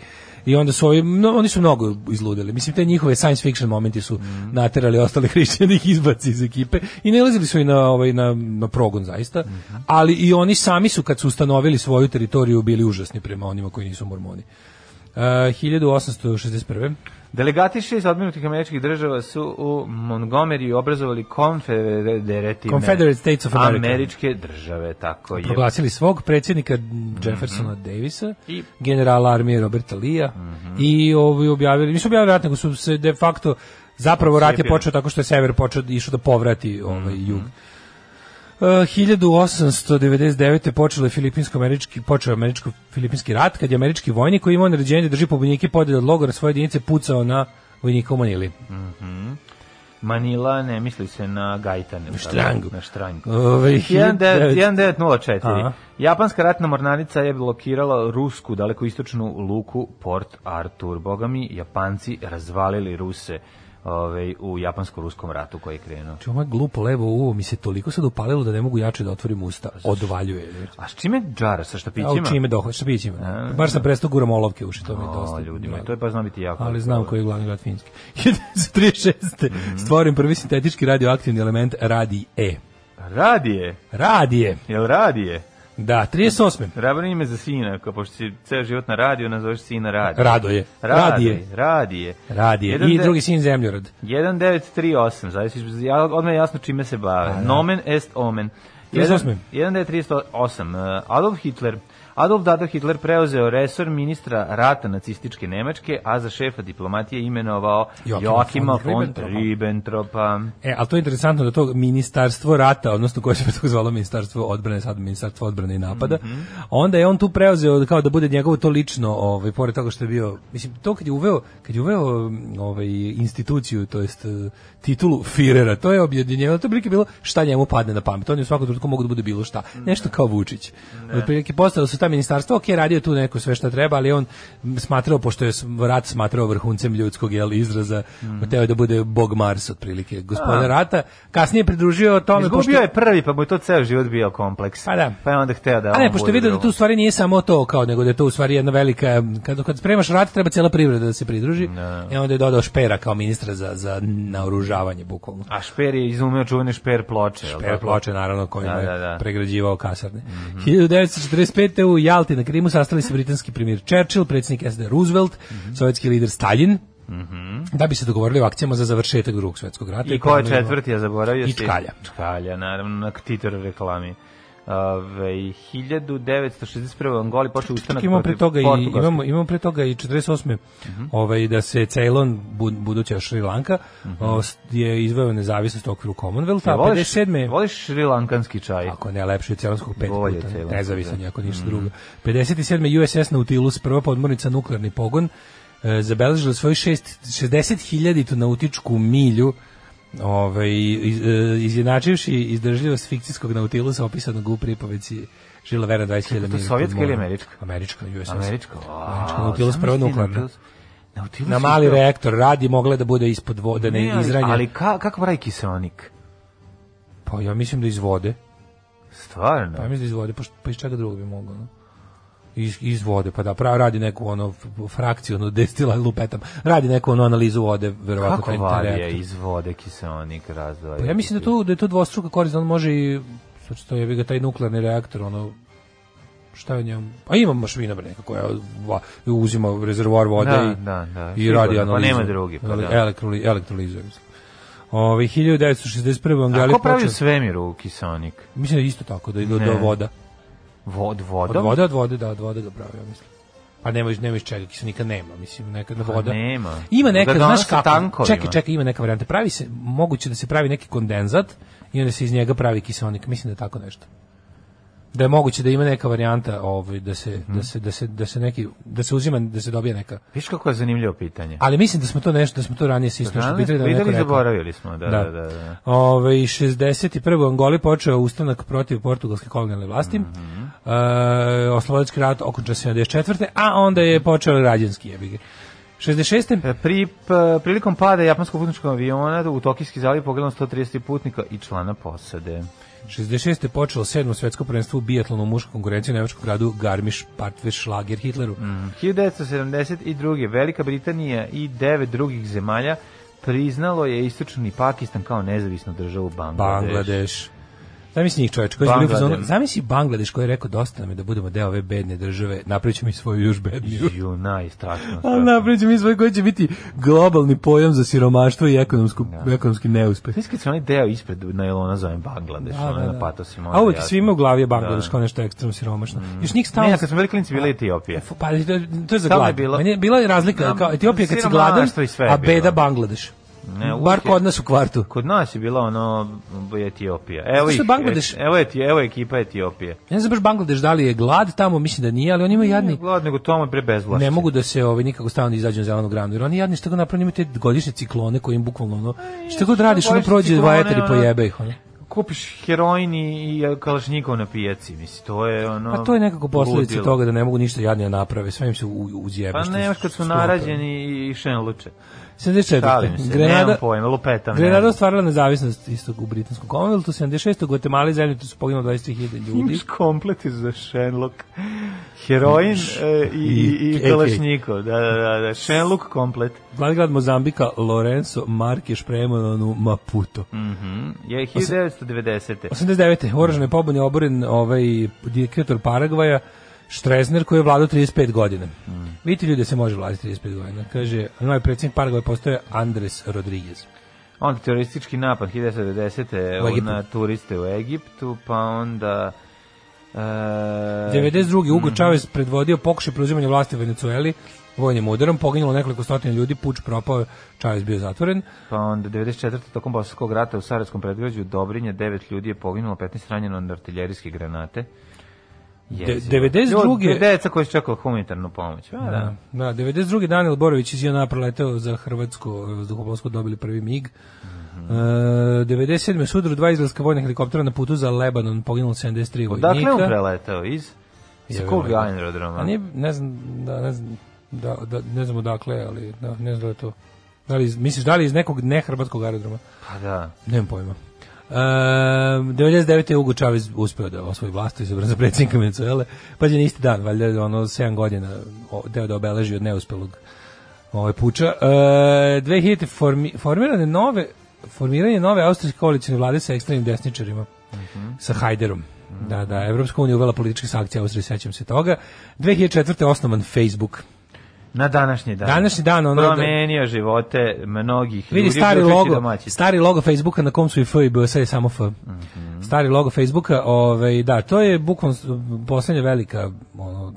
[SPEAKER 7] I onda su ovi, mno- oni su mnogo izludili. Mislim te njihove science fiction momenti su naterali ostale hrišćane da ih izbaci iz ekipe i nalazili su i na ovaj na, na progon zaista. Ali i oni sami su kad su ustanovili svoju teritoriju bili užasni prema onima koji nisu mormoni. Uh, 1861.
[SPEAKER 6] Delegati šest odminutih američkih država su u Montgomery obrazovali konfederativne
[SPEAKER 7] Confederate States of America.
[SPEAKER 6] američke države, tako je.
[SPEAKER 7] proglasili svog predsjednika Jeffersona Davisa,
[SPEAKER 6] I-
[SPEAKER 7] generala armije Roberta Lea i ovi objavili, nisu objavili rat, nego su se de facto zapravo rat je
[SPEAKER 6] Cijepili.
[SPEAKER 7] počeo tako što je sever počeo išao da povrati ovaj jug. E, 1899. je počelo je filipinsko-američki, počeo je američko-filipinski rat, kad je američki vojnik koji imao naređenje da drži pobunjike podjede od logora svoje jedinice pucao na vojnika u Manili.
[SPEAKER 6] Manila, ne misli se na Gajtan. jel tako?
[SPEAKER 7] štrangu.
[SPEAKER 6] Na štrangu.
[SPEAKER 7] Ovaj,
[SPEAKER 6] 19-
[SPEAKER 7] 1900
[SPEAKER 6] 1904.
[SPEAKER 7] Aha.
[SPEAKER 6] Japanska ratna mornarica je blokirala rusku dalekoistočnu luku Port Arthur. Bogami, Japanci razvalili Ruse ovaj, u japansko-ruskom ratu koji je krenuo.
[SPEAKER 7] Znači, ovo je glupo levo uvo mi se toliko sad upalilo da ne mogu jače da otvorim usta. Odvaljuje.
[SPEAKER 6] A s čime džara? Sa štapićima?
[SPEAKER 7] A u čime dohod, šta biće ima? Baš sam prestao guram olovke u uši, to mi je dosta.
[SPEAKER 6] O, ljudima,
[SPEAKER 7] drago.
[SPEAKER 6] to je pa zna biti jako.
[SPEAKER 7] Ali znam koji je glavni grad Finjske. 1936. Stvorim prvi sintetički radioaktivni element radij E.
[SPEAKER 6] Radije.
[SPEAKER 7] Radije.
[SPEAKER 6] Jel radije?
[SPEAKER 7] Da, 38.
[SPEAKER 6] Rabro ime za sina, kao pošto si ceo život na radiju, nazoveš sina radio.
[SPEAKER 7] Radoje. Radije.
[SPEAKER 6] Radije.
[SPEAKER 7] Radije. I drugi sin zemljorod.
[SPEAKER 6] 1938, zavisiš, ja, odmah je jasno čime se bave. Nomen est omen.
[SPEAKER 7] 38.
[SPEAKER 6] 1938. e, Adolf Hitler. Adolf Dado Hitler preuzeo resor ministra rata nacističke Nemačke, a za šefa diplomatije imenovao
[SPEAKER 7] Joachima
[SPEAKER 6] Joakima,
[SPEAKER 7] von
[SPEAKER 6] von,
[SPEAKER 7] Ribbentropa.
[SPEAKER 6] Ribbentropa.
[SPEAKER 7] E, ali to je interesantno da to ministarstvo rata, odnosno koje se pre toga zvalo ministarstvo odbrane, sad ministarstvo odbrane i napada, onda je on tu preuzeo kao da bude njegovo to lično, ovaj, pored toga što je bio, mislim, to kad je uveo, kad je uveo ovaj, instituciju, to jest eh, titulu Firera, to je objedinjeno, to je prilike bilo šta njemu padne na pamet, on je u svakom trenutku mogu da bude bilo šta, nešto kao Vučić. Ne. Otprilike postalo su ta ministarstva, ok, radio tu neko sve šta treba, ali je on smatrao, pošto je s- rat smatrao vrhuncem ljudskog jel, izraza, mm. teo je da bude Bog Mars, otprilike, gospodina rata, kasnije je pridružio tome, pošto,
[SPEAKER 6] Izgubio je prvi, pa mu je to ceo život bio kompleks.
[SPEAKER 7] Pa da.
[SPEAKER 6] Pa je onda hteo da
[SPEAKER 7] a
[SPEAKER 6] on
[SPEAKER 7] ne, pošto je
[SPEAKER 6] bude
[SPEAKER 7] vidio da
[SPEAKER 6] drugo.
[SPEAKER 7] tu u stvari nije samo to, kao, nego da je to u stvari jedna velika, kad, kad spremaš rat, treba cijela privreda da se pridruži, i onda je dodao Špera kao ministra za, za naoružavanje, bukvalno.
[SPEAKER 6] A Šper je izumeo čuvene Šper ploče. jel
[SPEAKER 7] Per
[SPEAKER 6] tako?
[SPEAKER 7] ploče, naravno, kojima
[SPEAKER 6] Da,
[SPEAKER 7] je
[SPEAKER 6] da, da. Mhm.
[SPEAKER 7] pregrađivao kasarne. 1945. u Jalti na Krimu sastali se britanski premijer Churchill, predsjednik SD Roosevelt,
[SPEAKER 6] Mhm.
[SPEAKER 7] sovjetski lider Stalin, da bi se dogovorili o akcijama za završetak drugog svjetskog rata.
[SPEAKER 6] I ko je
[SPEAKER 7] ponovno-
[SPEAKER 6] četvrti, ja zaboravio
[SPEAKER 7] I
[SPEAKER 6] si.
[SPEAKER 7] Čkalja.
[SPEAKER 6] Čkalja, naravno, na Titor reklami. Ove, 1961. u Angoli počeo ustanak
[SPEAKER 7] Imamo pre toga i
[SPEAKER 6] Portugalske. Mhm.
[SPEAKER 7] imamo imamo pre toga i 48. ovaj da se Ceylon bu- buduća Šri Lanka o, s- je izveo nezavisnost u okviru Commonwealtha,
[SPEAKER 6] Ja,
[SPEAKER 7] a
[SPEAKER 6] Mhm. voliš-
[SPEAKER 7] 57.
[SPEAKER 6] Voliš šrilankanski čaj?
[SPEAKER 7] Ako ne lepše od celanskog pet
[SPEAKER 6] Bolje
[SPEAKER 7] puta,
[SPEAKER 6] Ceylonskog,
[SPEAKER 7] nezavisan
[SPEAKER 6] da. Mhm.
[SPEAKER 7] je ako ništa drugo. 57. USS Nautilus, prva podmornica nuklearni pogon, e, zabeležila svoju šest- 60.000 nautičku milju ovaj, iz, e, izjednačivši izdržljivost fikcijskog Nautilusa opisanog u pripoveci Žila Vera 20.000
[SPEAKER 6] Čekaj, to
[SPEAKER 7] milja.
[SPEAKER 6] je sovjetska
[SPEAKER 7] pod
[SPEAKER 6] ili
[SPEAKER 7] morem.
[SPEAKER 6] američka?
[SPEAKER 7] Američka, USS.
[SPEAKER 6] Američka.
[SPEAKER 7] Američka
[SPEAKER 6] Wow,
[SPEAKER 7] Nautilus, prva
[SPEAKER 6] zamisli
[SPEAKER 7] nuklearna.
[SPEAKER 6] Nautilus- Nautilus
[SPEAKER 7] Na
[SPEAKER 6] je
[SPEAKER 7] mali
[SPEAKER 6] bio-
[SPEAKER 7] reaktor radi, mogla je da bude ispod vode,
[SPEAKER 6] Ne,
[SPEAKER 7] ne
[SPEAKER 6] ali-
[SPEAKER 7] izranje.
[SPEAKER 6] Ali ka, kako pravi kiselnik?
[SPEAKER 7] Pa ja mislim da iz vode.
[SPEAKER 6] Stvarno.
[SPEAKER 7] Pa ja mislim da iz vode, pa, što- pa iz čega drugog bi mogao, no? Iz, iz vode, pa da, pra, radi neku ono f- frakciju, ono destila lupetam, radi neku ono analizu vode, verovatno.
[SPEAKER 6] Kako
[SPEAKER 7] taj- taj
[SPEAKER 6] valje
[SPEAKER 7] reaktor.
[SPEAKER 6] iz vode kiselnik razdvaja?
[SPEAKER 7] Pa ja mislim da to, da je to dvostruka korist, da on može i, sad što je bi ga taj nuklearni reaktor, ono, šta je u njemu? A ima mašina bre neka koja va- uzima rezervoar vode
[SPEAKER 6] Da,
[SPEAKER 7] i,
[SPEAKER 6] da, da,
[SPEAKER 7] i
[SPEAKER 6] sigurno,
[SPEAKER 7] radi
[SPEAKER 6] pa
[SPEAKER 7] analizu.
[SPEAKER 6] nema drugi, pa da.
[SPEAKER 7] Elektroli, elektrolizuje, mislim. Ove, 1961.
[SPEAKER 6] A
[SPEAKER 7] Angali
[SPEAKER 6] ko pravi u
[SPEAKER 7] počeo-
[SPEAKER 6] svemiru kiselnik?
[SPEAKER 7] Mislim da je isto tako, da ide do,
[SPEAKER 6] Ne.
[SPEAKER 7] do voda.
[SPEAKER 6] Vod,
[SPEAKER 7] Od
[SPEAKER 6] vodom?
[SPEAKER 7] vode, Pa od vode, da, od vode ga pravi, ja mislim. Pa nema, iz- nema iz čega, kiselnika nema, mislim, neka na voda.
[SPEAKER 6] Pa nema.
[SPEAKER 7] Ima neka,
[SPEAKER 6] Ga
[SPEAKER 7] znaš
[SPEAKER 6] donose
[SPEAKER 7] kako,
[SPEAKER 6] tankovima.
[SPEAKER 7] čekaj, čekaj, ima neka varijanta. Pravi se, moguće da se pravi neki kondenzat i onda se iz njega pravi kiselnik, mislim da je tako nešto. Da je moguće da ima neka varijanta ovaj, da, se,
[SPEAKER 6] Mhm.
[SPEAKER 7] da, se, da, se, da se neki, da se uzima, da se dobije neka.
[SPEAKER 6] Viš kako je zanimljivo pitanje.
[SPEAKER 7] Ali mislim da smo to nešto, da smo to ranije se isto što
[SPEAKER 6] Danas
[SPEAKER 7] pitali da je neko
[SPEAKER 6] videli,
[SPEAKER 7] rekao.
[SPEAKER 6] zaboravili smo, da, da, da. da.
[SPEAKER 7] Ove, 61. u Angoli počeo ustanak protiv portugalske kolonijalne vlasti. Mm
[SPEAKER 6] Mhm.
[SPEAKER 7] -hmm. Oslobodački rat okončan 74. A onda je počeo rađanski jebige. 66.
[SPEAKER 6] E, Pri, p- prilikom pada japanskog putničkog aviona u Tokijski zaliv pogledano 130 putnika i člana posade.
[SPEAKER 7] 66. je počelo sedmo svetsko prvenstvo u bijatlonu u muškoj konkurenciji u nemačkom gradu Garmisch Partwisch Hitleru.
[SPEAKER 6] Mm, 1972. Velika Britanija i devet drugih zemalja priznalo je istočni Pakistan kao nezavisnu državu Bangladeš.
[SPEAKER 7] Bangladeš. Zamisli njih čoveč, koji je bio
[SPEAKER 6] Bangladeš.
[SPEAKER 7] fazonu, zamisli Bangladeš koji je rekao dosta nam je da budemo deo ove bedne države, napravit ćemo i svoju još bedniju.
[SPEAKER 6] Ju, najstrašnije.
[SPEAKER 7] A napravit ćemo i svoj koji će biti globalni pojam za siromaštvo i ekonomsku, ekonomski neuspeh.
[SPEAKER 6] Mislim kad se onaj deo ispred najlona zovem Bangladeš, da, da, Pa da. na patosima.
[SPEAKER 7] A
[SPEAKER 6] onda
[SPEAKER 7] uvijek
[SPEAKER 6] jasno.
[SPEAKER 7] svima u glavi je Bangladeš
[SPEAKER 6] Da. Mm.
[SPEAKER 7] kao nešto ekstremno siromašno. Još njih
[SPEAKER 6] Ne,
[SPEAKER 7] stalno...
[SPEAKER 6] ja kad smo bili klinci, bila je Etiopija.
[SPEAKER 7] F- Pa, to je
[SPEAKER 6] Stalno
[SPEAKER 7] za
[SPEAKER 6] je
[SPEAKER 7] glad.
[SPEAKER 6] bilo-
[SPEAKER 7] Meni je bila je razlika,
[SPEAKER 6] Da,
[SPEAKER 7] kao Etiopija kad si
[SPEAKER 6] siromaštvo
[SPEAKER 7] gladan,
[SPEAKER 6] i sve je
[SPEAKER 7] a beda
[SPEAKER 6] bilo.
[SPEAKER 7] Bangladeš.
[SPEAKER 6] Ne, uvijek
[SPEAKER 7] Bar
[SPEAKER 6] je-
[SPEAKER 7] kod nas u kvartu.
[SPEAKER 6] Kod nas je bila ono Etiopija. Evo
[SPEAKER 7] Zato što
[SPEAKER 6] ih,
[SPEAKER 7] je Bangladeš-
[SPEAKER 6] evo, je, evo je ekipa Etiopije.
[SPEAKER 7] Ja ne znam baš Bangladeš da li je glad tamo, mislim da nije, ali oni imaju jadni...
[SPEAKER 6] Glad nego tome bre bezvlašće.
[SPEAKER 7] Ne mogu da se ovaj nikako stalno izađu na zelenu granu, jer oni jadni što ga napravili imaju te godišnje ciklone koji im bukvalno ono, što god radiš, ono
[SPEAKER 6] godišnje
[SPEAKER 7] prođe dva
[SPEAKER 6] ciklone,
[SPEAKER 7] eter i
[SPEAKER 6] ono-
[SPEAKER 7] pojebe ih. Ono.
[SPEAKER 6] kupiš heroin i i kalašnjikov na pijaci, misli, to je ono...
[SPEAKER 7] Pa to je nekako posledica
[SPEAKER 6] ludilo.
[SPEAKER 7] toga da ne mogu ništa jadnije da naprave, sve im se u, u, uzjebe.
[SPEAKER 6] Pa
[SPEAKER 7] što
[SPEAKER 6] ne,
[SPEAKER 7] su-
[SPEAKER 6] kad su
[SPEAKER 7] što naprave.
[SPEAKER 6] narađeni i- i šenluče. Šalim
[SPEAKER 7] 74.
[SPEAKER 6] se, Grenada, nemam
[SPEAKER 7] Grenada,
[SPEAKER 6] pojma, lupetam. ne
[SPEAKER 7] Grenada
[SPEAKER 6] znam.
[SPEAKER 7] ostvarila nezavisnost istog u britanskom Commonwealthu, 76. u Guatemala i zemlji tu su poginulo 23.000 ljudi.
[SPEAKER 6] Imaš komplet za Shenlock. Heroin e, i, i, i
[SPEAKER 7] AK.
[SPEAKER 6] Kalašnikov, da, da, da, da. Šenluk komplet.
[SPEAKER 7] Glavni Mozambika Lorenzo Markiš Premononu Maputo.
[SPEAKER 6] Mm. Je 1990.
[SPEAKER 7] 89. u oružanoj pobuni oboren ovaj diktator Paragvaja Štrezner koji je vladao 35 godina.
[SPEAKER 6] Mm.
[SPEAKER 7] Vidite ljudi da se može vladati 35 godina. Kaže, novi predsjednik Paragvaja postoje Andres Rodriguez.
[SPEAKER 6] Onda teroristički napad 1990.
[SPEAKER 7] U
[SPEAKER 6] u-
[SPEAKER 7] Egiptu.
[SPEAKER 6] na turiste u Egiptu, pa onda... E,
[SPEAKER 7] 92.
[SPEAKER 6] Mhm.
[SPEAKER 7] Hugo Chavez predvodio pokušaj preuzimanja vlasti u Venecueli vojnim udarom, poginulo nekoliko stotina ljudi, puč propao, Chavez bio zatvoren.
[SPEAKER 6] Pa onda 94. tokom Bosanskog rata u Sarajevskom predgrađu Dobrinje 9 ljudi je poginulo, 15 ranjeno od artiljerijske granate. Jezivo.
[SPEAKER 7] 92..
[SPEAKER 6] Ljudi, Deca koji su čekali humanitarnu pomoć. A, da.
[SPEAKER 7] Da, 92. Daniel Borović iz Jona proleteo za Hrvatsko vazduhoplovstvo dobili prvi mig.
[SPEAKER 6] Mhm.
[SPEAKER 7] Uh, 97. u sudaru dva izraelska vojna helikoptera na putu za Lebanon poginulo 73 vojnika.
[SPEAKER 6] Odakle je on preletao? Iz? Sa
[SPEAKER 7] Jebe
[SPEAKER 6] kog
[SPEAKER 7] majko.
[SPEAKER 6] aerodroma?
[SPEAKER 7] A nije, ne znam, da, ne znam, da, da, ne znam odakle, ali da, ne znam da li je to. Da li, iz- misliš, da li iz nekog nehrvatskog aerodroma?
[SPEAKER 6] Pa da.
[SPEAKER 7] Nemam pojma. E, 99. je Hugo Chavez uspeo da osvoji vlast i izabran za predsjednika Venezuele. Pa je na isti dan, valjda ono 7 godina o, deo da obeleži od neuspelog ovaj puča. E, 2000. Formi, formirane nove formiranje nove austrijske koalicijne vlade sa ekstremnim desničarima, sa Hajderom. Da, da, Evropska unija uvela političke sankcije Austrije, sećam se toga. 2004. osnovan Facebook.
[SPEAKER 6] Na današnji dan.
[SPEAKER 7] Današnji dan, ono, da-
[SPEAKER 6] Promenio živote mnogih
[SPEAKER 7] Vidi
[SPEAKER 6] ljudi,
[SPEAKER 7] stari
[SPEAKER 6] uključujući
[SPEAKER 7] logo,
[SPEAKER 6] domaćih.
[SPEAKER 7] stari logo Facebooka na kom su i F i B, sad je samo F.
[SPEAKER 6] Mhm.
[SPEAKER 7] Stari logo Facebooka, ovaj da, to je bukvalno s- poslednja velika ono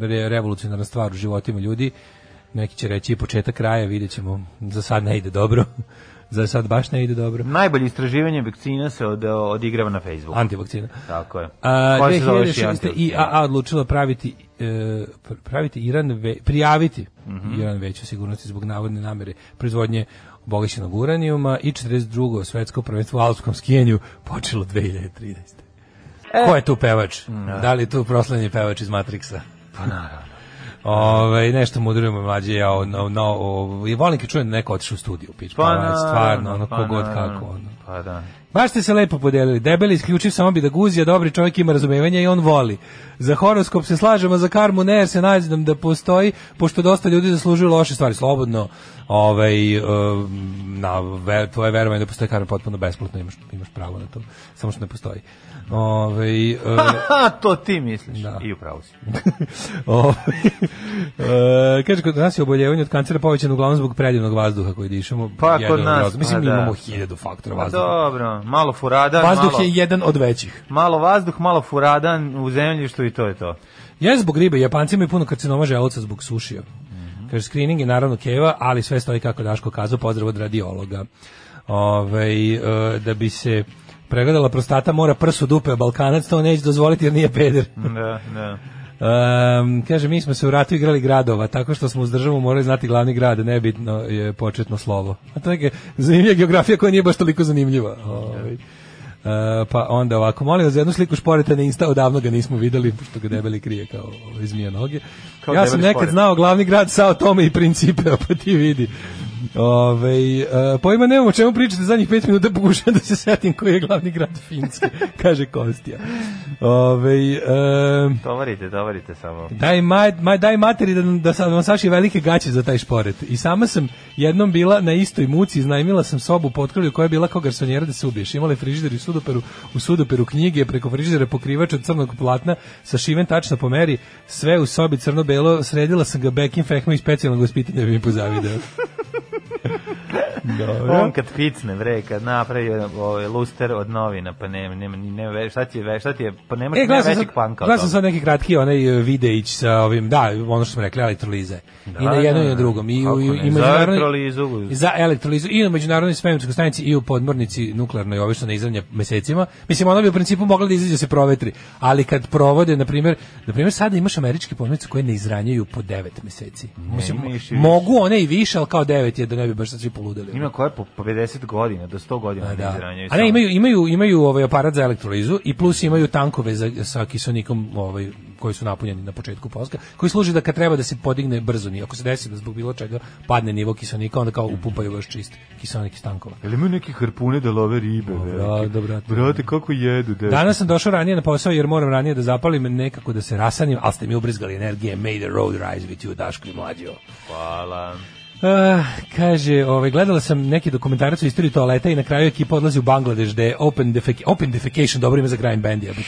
[SPEAKER 7] re, revolucionarna stvar u životima ljudi. Neki će reći i početak kraja, vidjet ćemo. Za sad ne ide dobro. Za sad baš ne ide dobro.
[SPEAKER 6] Najbolje istraživanje vakcina se od, odigrava na Facebooku.
[SPEAKER 7] Antivakcina.
[SPEAKER 6] Tako je.
[SPEAKER 7] A,
[SPEAKER 6] Koja se zove još i
[SPEAKER 7] 2006.
[SPEAKER 6] antivakcina.
[SPEAKER 7] IAA odlučila praviti, e, pr- praviti Iran ve, prijaviti
[SPEAKER 6] Mhm.
[SPEAKER 7] Iran veću sigurnosti zbog navodne namere proizvodnje obogaćenog uranijuma i 42. svetsko prvenstvo u alpskom skijenju počelo 2013. Ko je tu pevač? Da li je tu proslednji pevač iz Matrixa? Pa naravno. Ove, nešto mudrujemo mlađe ja o, no, no, o, i volim kad čujem da neko otišao u studiju pić, pa,
[SPEAKER 6] naravno,
[SPEAKER 7] stvarno, ono,
[SPEAKER 6] pa
[SPEAKER 7] kogod
[SPEAKER 6] naravno.
[SPEAKER 7] kako ono.
[SPEAKER 6] Pa da.
[SPEAKER 7] Baš ste se lepo podelili. Debeli isključiv samo bi da guzija, dobri čovjek ima razumevanja i on voli. Za horoskop se slažemo, za karmu ne, jer se nađem da postoji, pošto dosta ljudi zaslužuju loše stvari. Slobodno, ovaj, em, na, ve, tvoje verovanje da postoji karma potpuno besplatno, imaš, imaš pravo na to, samo što ne postoji. Ovaj, e,
[SPEAKER 6] Ha, to ti misliš.
[SPEAKER 7] Da.
[SPEAKER 6] I upravo si.
[SPEAKER 7] Ovaj, e, kaže, kod nas je oboljevanje od kancera povećano uglavnom zbog predivnog vazduha koji dišemo.
[SPEAKER 6] Pa, kod
[SPEAKER 7] Jedan od
[SPEAKER 6] nas,
[SPEAKER 7] razloga. Mislim,
[SPEAKER 6] pa
[SPEAKER 7] mi
[SPEAKER 6] da.
[SPEAKER 7] imamo hiljadu faktora
[SPEAKER 6] Pa
[SPEAKER 7] vazduha.
[SPEAKER 6] dobro, malo furadan,
[SPEAKER 7] Vazduh
[SPEAKER 6] malo,
[SPEAKER 7] je jedan od većih.
[SPEAKER 6] malo vazduh, malo furadan u zemljištu i to je to.
[SPEAKER 7] Ja zbog ribe, Japanci imaju puno karcinoma želuca zbog sušija. Kaže, screening je naravno keva, ali sve stoji kako je Daško kazao, pozdrav od radiologa. Ovaj, e, da bi se pregledala prostata, mora prsu dupe, a Balkanac to neće dozvoliti jer nije peder.
[SPEAKER 6] Da, da.
[SPEAKER 7] Ehm, kaže, mi smo se u ratu igrali gradova, tako što smo uz državu morali znati glavni grad, nebitno je početno slovo. A to je neka zanimljiva geografija koja nije baš toliko zanimljiva. Ovaj. E, pa onda ovako, molim vas za jednu sliku šporeta na Insta, odavno ga nismo videli, pošto ga debeli krije kao ovaj, zmija noge.
[SPEAKER 6] Kao
[SPEAKER 7] ja sam
[SPEAKER 6] debeli
[SPEAKER 7] nekad
[SPEAKER 6] šporet.
[SPEAKER 7] znao glavni grad sa o tome i principe, a pa ti vidi. Ove, pojma nemam o čemu pričate zadnjih pet minuta, pokušam da se setim koji je glavni grad Finske, kaže Kostija. Ovaj, e, Ove,
[SPEAKER 6] Tovarite, tovarite samo.
[SPEAKER 7] Daj, maj, maj, daj materi da, da sam vam saši velike gaće za taj šporet. I sama sam jednom bila na istoj muci, iznajmila sam sobu u potkrovlju koja je bila kao garsonjera da se ubiješ. Imala je frižider i sudoperu, u sudoperu knjige, preko frižidera pokrivač od crnog platna sa šiven tačno po meri, sve u sobi crno-belo, sredila sam ga Bekim Fehma i specijalnog gospitanja bi mi pozavideo.
[SPEAKER 6] On kad picne, bre, kad napravi ovaj luster od novina, pa nema, nema, ni- ne, ve- šta ti je, ve- šta ti je, pa nema,
[SPEAKER 7] E,
[SPEAKER 6] nema
[SPEAKER 7] gledao sam
[SPEAKER 6] većeg
[SPEAKER 7] sad,
[SPEAKER 6] panka od
[SPEAKER 7] gledao sam
[SPEAKER 6] toga.
[SPEAKER 7] sad neki kratki onaj e, videić sa ovim, da, ono što smo rekli, elektrolize. I na
[SPEAKER 6] Da,
[SPEAKER 7] jednom i
[SPEAKER 6] da,
[SPEAKER 7] na
[SPEAKER 6] da.
[SPEAKER 7] drugom. I, u,
[SPEAKER 6] Kako
[SPEAKER 7] i,
[SPEAKER 6] ne,
[SPEAKER 7] i
[SPEAKER 6] za
[SPEAKER 7] međunarodnoj-
[SPEAKER 6] elektrolizu.
[SPEAKER 7] Za elektrolizu i na međunarodnoj svemirskoj stanici i u podmornici nuklearnoj, ovisno na izranje mesecima. Mislim, ona bi u principu mogla da izađe da se provetri. Ali kad provode, na primjer, na primjer sada imaš američke podmornice koje ne izranjaju po 9 meseci. Mislim,
[SPEAKER 6] ima ih i više.
[SPEAKER 7] mogu one i više, ali kao 9 je da ne bi baš sa sad svi poludeli.
[SPEAKER 6] Ima koje po po 50 godina, do 100 godina
[SPEAKER 7] A,
[SPEAKER 6] ne
[SPEAKER 7] da.
[SPEAKER 6] izranjaju
[SPEAKER 7] A ne,
[SPEAKER 6] samo.
[SPEAKER 7] imaju, imaju, imaju ovaj aparat za elektrolizu i plus imaju tankove za, sa kisonikom ovaj, koji su napunjeni na početku poska, koji služi da kad treba da se podigne brzo ni Ako se desi da zbog bilo čega padne nivo kisonika, onda kao upumpaju baš čist kisonik iz tankova.
[SPEAKER 6] Jel imaju neke harpune da love ribe?
[SPEAKER 7] Dobro,
[SPEAKER 6] velike?
[SPEAKER 7] dobro.
[SPEAKER 6] Brate, kako jedu? Da.
[SPEAKER 7] Danas sam došao ranije na posao jer moram ranije da zapalim nekako da se rasanim, ali ste mi ubrizgali energije. May the road rise with you, Daško i Mlađo.
[SPEAKER 6] Hvala.
[SPEAKER 7] Ah, kaže, ovaj, gledala sam neki dokumentarac o istoriji toaleta i na kraju ekipa odlazi u Bangladeš gde je open, defeca open defecation, dobro ime za grind band. jebote.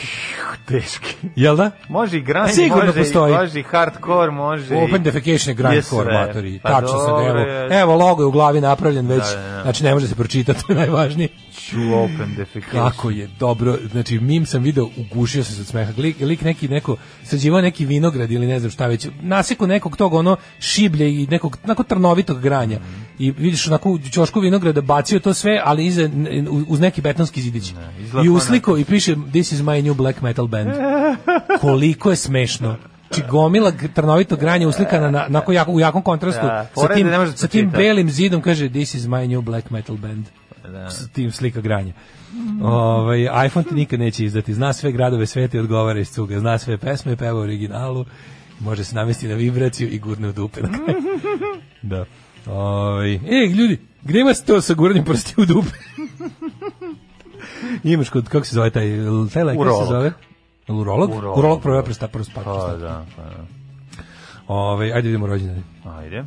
[SPEAKER 6] Teški.
[SPEAKER 7] Jel da?
[SPEAKER 6] Može i grind,
[SPEAKER 7] Sigurno
[SPEAKER 6] može,
[SPEAKER 7] postoji.
[SPEAKER 6] i, može i hardcore, može i...
[SPEAKER 7] Open defecation je
[SPEAKER 6] je
[SPEAKER 7] grindcore
[SPEAKER 6] sve.
[SPEAKER 7] matori.
[SPEAKER 6] Pa
[SPEAKER 7] Tačno sam,
[SPEAKER 6] dobro,
[SPEAKER 7] evo, E.
[SPEAKER 6] je.
[SPEAKER 7] evo logo je u glavi napravljen već,
[SPEAKER 6] Da, da, da.
[SPEAKER 7] znači ne može se pročitati, to je najvažnije.
[SPEAKER 6] Ču open defecation.
[SPEAKER 7] Kako je dobro, znači mim sam video, ugušio sam se od smeha, lik, lik neki, neko, sređivao neki vinograd ili ne znam šta već, nasiku nekog tog ono šiblje i nekog, onako trnovitog granja i vidiš onako u čošku vinograda bacio to sve, ali iza, n- uz neki betonski zidić
[SPEAKER 6] izlako
[SPEAKER 7] i usliko i piše this is my new black metal band koliko je smešno Či gomila g- trnovitog granja uslikana na, na, jako, u jakom kontrastu
[SPEAKER 6] Da,
[SPEAKER 7] sa
[SPEAKER 6] fora je
[SPEAKER 7] tim,
[SPEAKER 6] da ne možeš
[SPEAKER 7] sa tim
[SPEAKER 6] pročitati.
[SPEAKER 7] belim zidom kaže this is my new black metal band
[SPEAKER 6] Da.
[SPEAKER 7] s tim slika granja. Ovaj iPhone ti nikad neće izdati. Zna sve gradove sveta i odgovara iz cuga. Zna sve pesme, peva u originalu. Može se namesti na vibraciju i gurne u dupe. na kraju. da. Ovaj e, ljudi, gde ima to sa guranjem prsti u dupe? Imaš kod, kako se zove taj, taj lek, kako se
[SPEAKER 6] Urolog.
[SPEAKER 7] zove? Urolog? Urolog,
[SPEAKER 6] Urolog.
[SPEAKER 7] Urolog provera prsta, prst, pa,
[SPEAKER 6] Pa
[SPEAKER 7] prsta.
[SPEAKER 6] da, pa da.
[SPEAKER 7] Ovaj, ajde vidimo rođendane.
[SPEAKER 6] Ajde.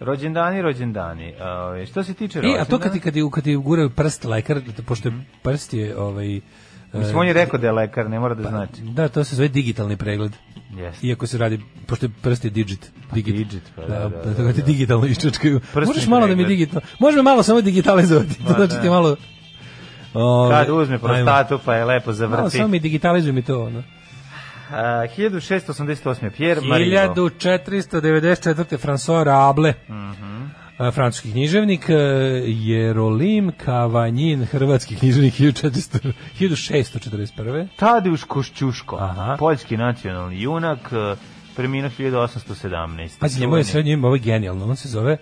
[SPEAKER 6] Rođendani, rođendani. Ove, što se tiče
[SPEAKER 7] E,
[SPEAKER 6] rođendana...
[SPEAKER 7] a to kad ti, kad ti, kad ti guraju prst lekar, pošto
[SPEAKER 6] Mhm.
[SPEAKER 7] je prst je, ovaj,
[SPEAKER 6] Mislim, on je rekao da je lekar, ne mora da znači.
[SPEAKER 7] Da, to se zove digitalni pregled.
[SPEAKER 6] Jeste.
[SPEAKER 7] Iako se radi, pošto Pa, je prst je digit. Digit,
[SPEAKER 6] digit, pa da,
[SPEAKER 7] da,
[SPEAKER 6] da,
[SPEAKER 7] da,
[SPEAKER 6] da,
[SPEAKER 7] da, ti
[SPEAKER 6] da.
[SPEAKER 7] digitalno iščačkaju.
[SPEAKER 6] Prstni
[SPEAKER 7] Možeš malo da mi
[SPEAKER 6] pregled.
[SPEAKER 7] digitalno, može me malo samo digitalizovati,
[SPEAKER 6] Ma,
[SPEAKER 7] znači ti
[SPEAKER 6] da.
[SPEAKER 7] malo... Ove,
[SPEAKER 6] Kad uzme prostatu, pa je lepo
[SPEAKER 7] ajmo. Malo
[SPEAKER 6] zavrti.
[SPEAKER 7] samo mi digitalizuj mi to, ono.
[SPEAKER 6] A, 1688. Pierre Marino.
[SPEAKER 7] 1494. François Rable, a, francuski književnik, e, Jerolim Kavanjin, hrvatski književnik 1400 1641.
[SPEAKER 6] Tadeusz Košćuško,
[SPEAKER 7] Aha.
[SPEAKER 6] poljski nacionalni junak, e, preminuo 1817.
[SPEAKER 7] Pazi, njemu je srednje ime, ovo je genijalno, on se zove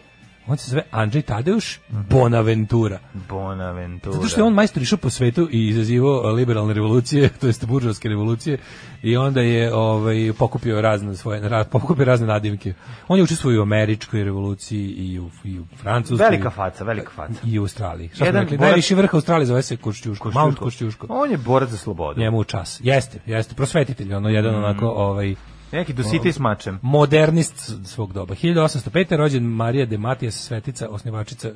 [SPEAKER 7] on se zove Andrzej Tadeuš Bonaventura.
[SPEAKER 6] Bonaventura.
[SPEAKER 7] Zato što je on majstor išao po svetu i izazivao a, liberalne revolucije, to jest buržovske revolucije, i onda je ovaj, pokupio razne svoje, ra, pokupio razne nadimke. On je učestvovao i u američkoj revoluciji i u, i u francuskoj.
[SPEAKER 6] Velika faca, velika faca.
[SPEAKER 7] I u Australiji. Šta smo
[SPEAKER 6] Jedan
[SPEAKER 7] rekli?
[SPEAKER 6] borac-
[SPEAKER 7] Najviši vrh Australije zove se Košćuško. Mount Košćuško.
[SPEAKER 6] On je borac za slobodu.
[SPEAKER 7] Njemu u čas. Jeste, jeste. Prosvetitelj, ono jedan
[SPEAKER 6] Mm.
[SPEAKER 7] onako ovaj,
[SPEAKER 6] Neki dositej s mačem.
[SPEAKER 7] modernist svog doba. 1805. rođen Marija de Matijas, svetica, osnivačica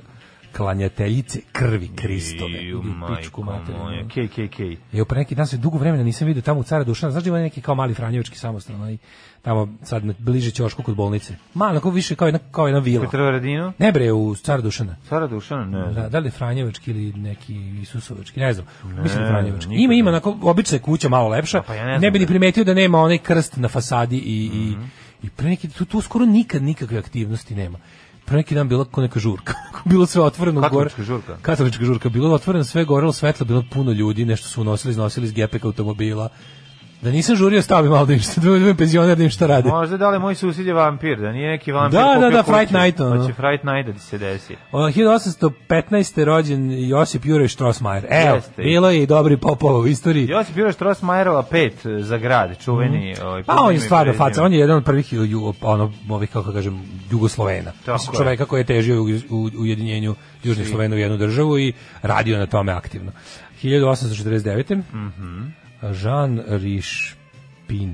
[SPEAKER 7] klanjateljice krvi Kristove.
[SPEAKER 6] Iju,
[SPEAKER 7] Vidi,
[SPEAKER 6] majko
[SPEAKER 7] pičku materinu.
[SPEAKER 6] moja. KKK.
[SPEAKER 7] Evo pre neki dan se dugo vremena nisam vidio tamo u Cara Dušana, znaš da ima neki kao mali Franjevački samostan, onaj tamo sad na- bliže ćošku kod bolnice. Malo, kao više kao jedna, kao jedna vila.
[SPEAKER 6] Petrovaradinu.
[SPEAKER 7] Ne bre, u Cara Dušana.
[SPEAKER 6] Sara Dušana, ne znam.
[SPEAKER 7] Da, da li je Franjevački ili neki Isusovački, ne znam. Mislim da
[SPEAKER 6] Ne,
[SPEAKER 7] je Franjevački.
[SPEAKER 6] nikad
[SPEAKER 7] Ima, ima,
[SPEAKER 6] ne.
[SPEAKER 7] onako, obična je kuća malo lepša.
[SPEAKER 6] pa ja ne
[SPEAKER 7] ne,
[SPEAKER 6] znam
[SPEAKER 7] bi ni
[SPEAKER 6] da je. Mhm.
[SPEAKER 7] primetio da nema onaj krst na fasadi i, i, i pre neki, tu, tu skoro nikad nikakve aktivnosti nema. Pre neki dan bila ko neka žurka. bilo sve otvoreno gore.
[SPEAKER 6] Katolička žurka.
[SPEAKER 7] Katolička žurka. Bilo je otvoreno sve, gorelo svetlo, bilo je puno ljudi, nešto su unosili, iznosili iz gepeka automobila. Da nisam žurio, stao bi malo da im šta, da budem penzioner da im šta rade.
[SPEAKER 6] Možda da li moj susjed je vampir, da nije neki vampir
[SPEAKER 7] Da, da,
[SPEAKER 6] kupio
[SPEAKER 7] da,
[SPEAKER 6] kuću,
[SPEAKER 7] Fright Night, ono.
[SPEAKER 6] Pa će Fright Night da ti se desi.
[SPEAKER 7] O, 1815. rođen Josip Juraj Strossmajer. Evo,
[SPEAKER 6] Jeste.
[SPEAKER 7] bilo je i dobri popova u istoriji.
[SPEAKER 6] Josip Juraj Strossmajerova 5 eh, za grad, čuveni. ovaj,
[SPEAKER 7] Pa
[SPEAKER 6] punim
[SPEAKER 7] on je
[SPEAKER 6] i
[SPEAKER 7] stvarno
[SPEAKER 6] prezimom.
[SPEAKER 7] faca, on je jedan od prvih ju- ju- ono, ovih, kako kažem, Jugoslovena.
[SPEAKER 6] Tako
[SPEAKER 7] Mislim,
[SPEAKER 6] je.
[SPEAKER 7] čoveka koji je težio u, u ujedinjenju Južnih Slovena u jednu državu i radio na tome aktivno. 1849. Mm
[SPEAKER 6] Mhm.
[SPEAKER 7] Jean Rišpin.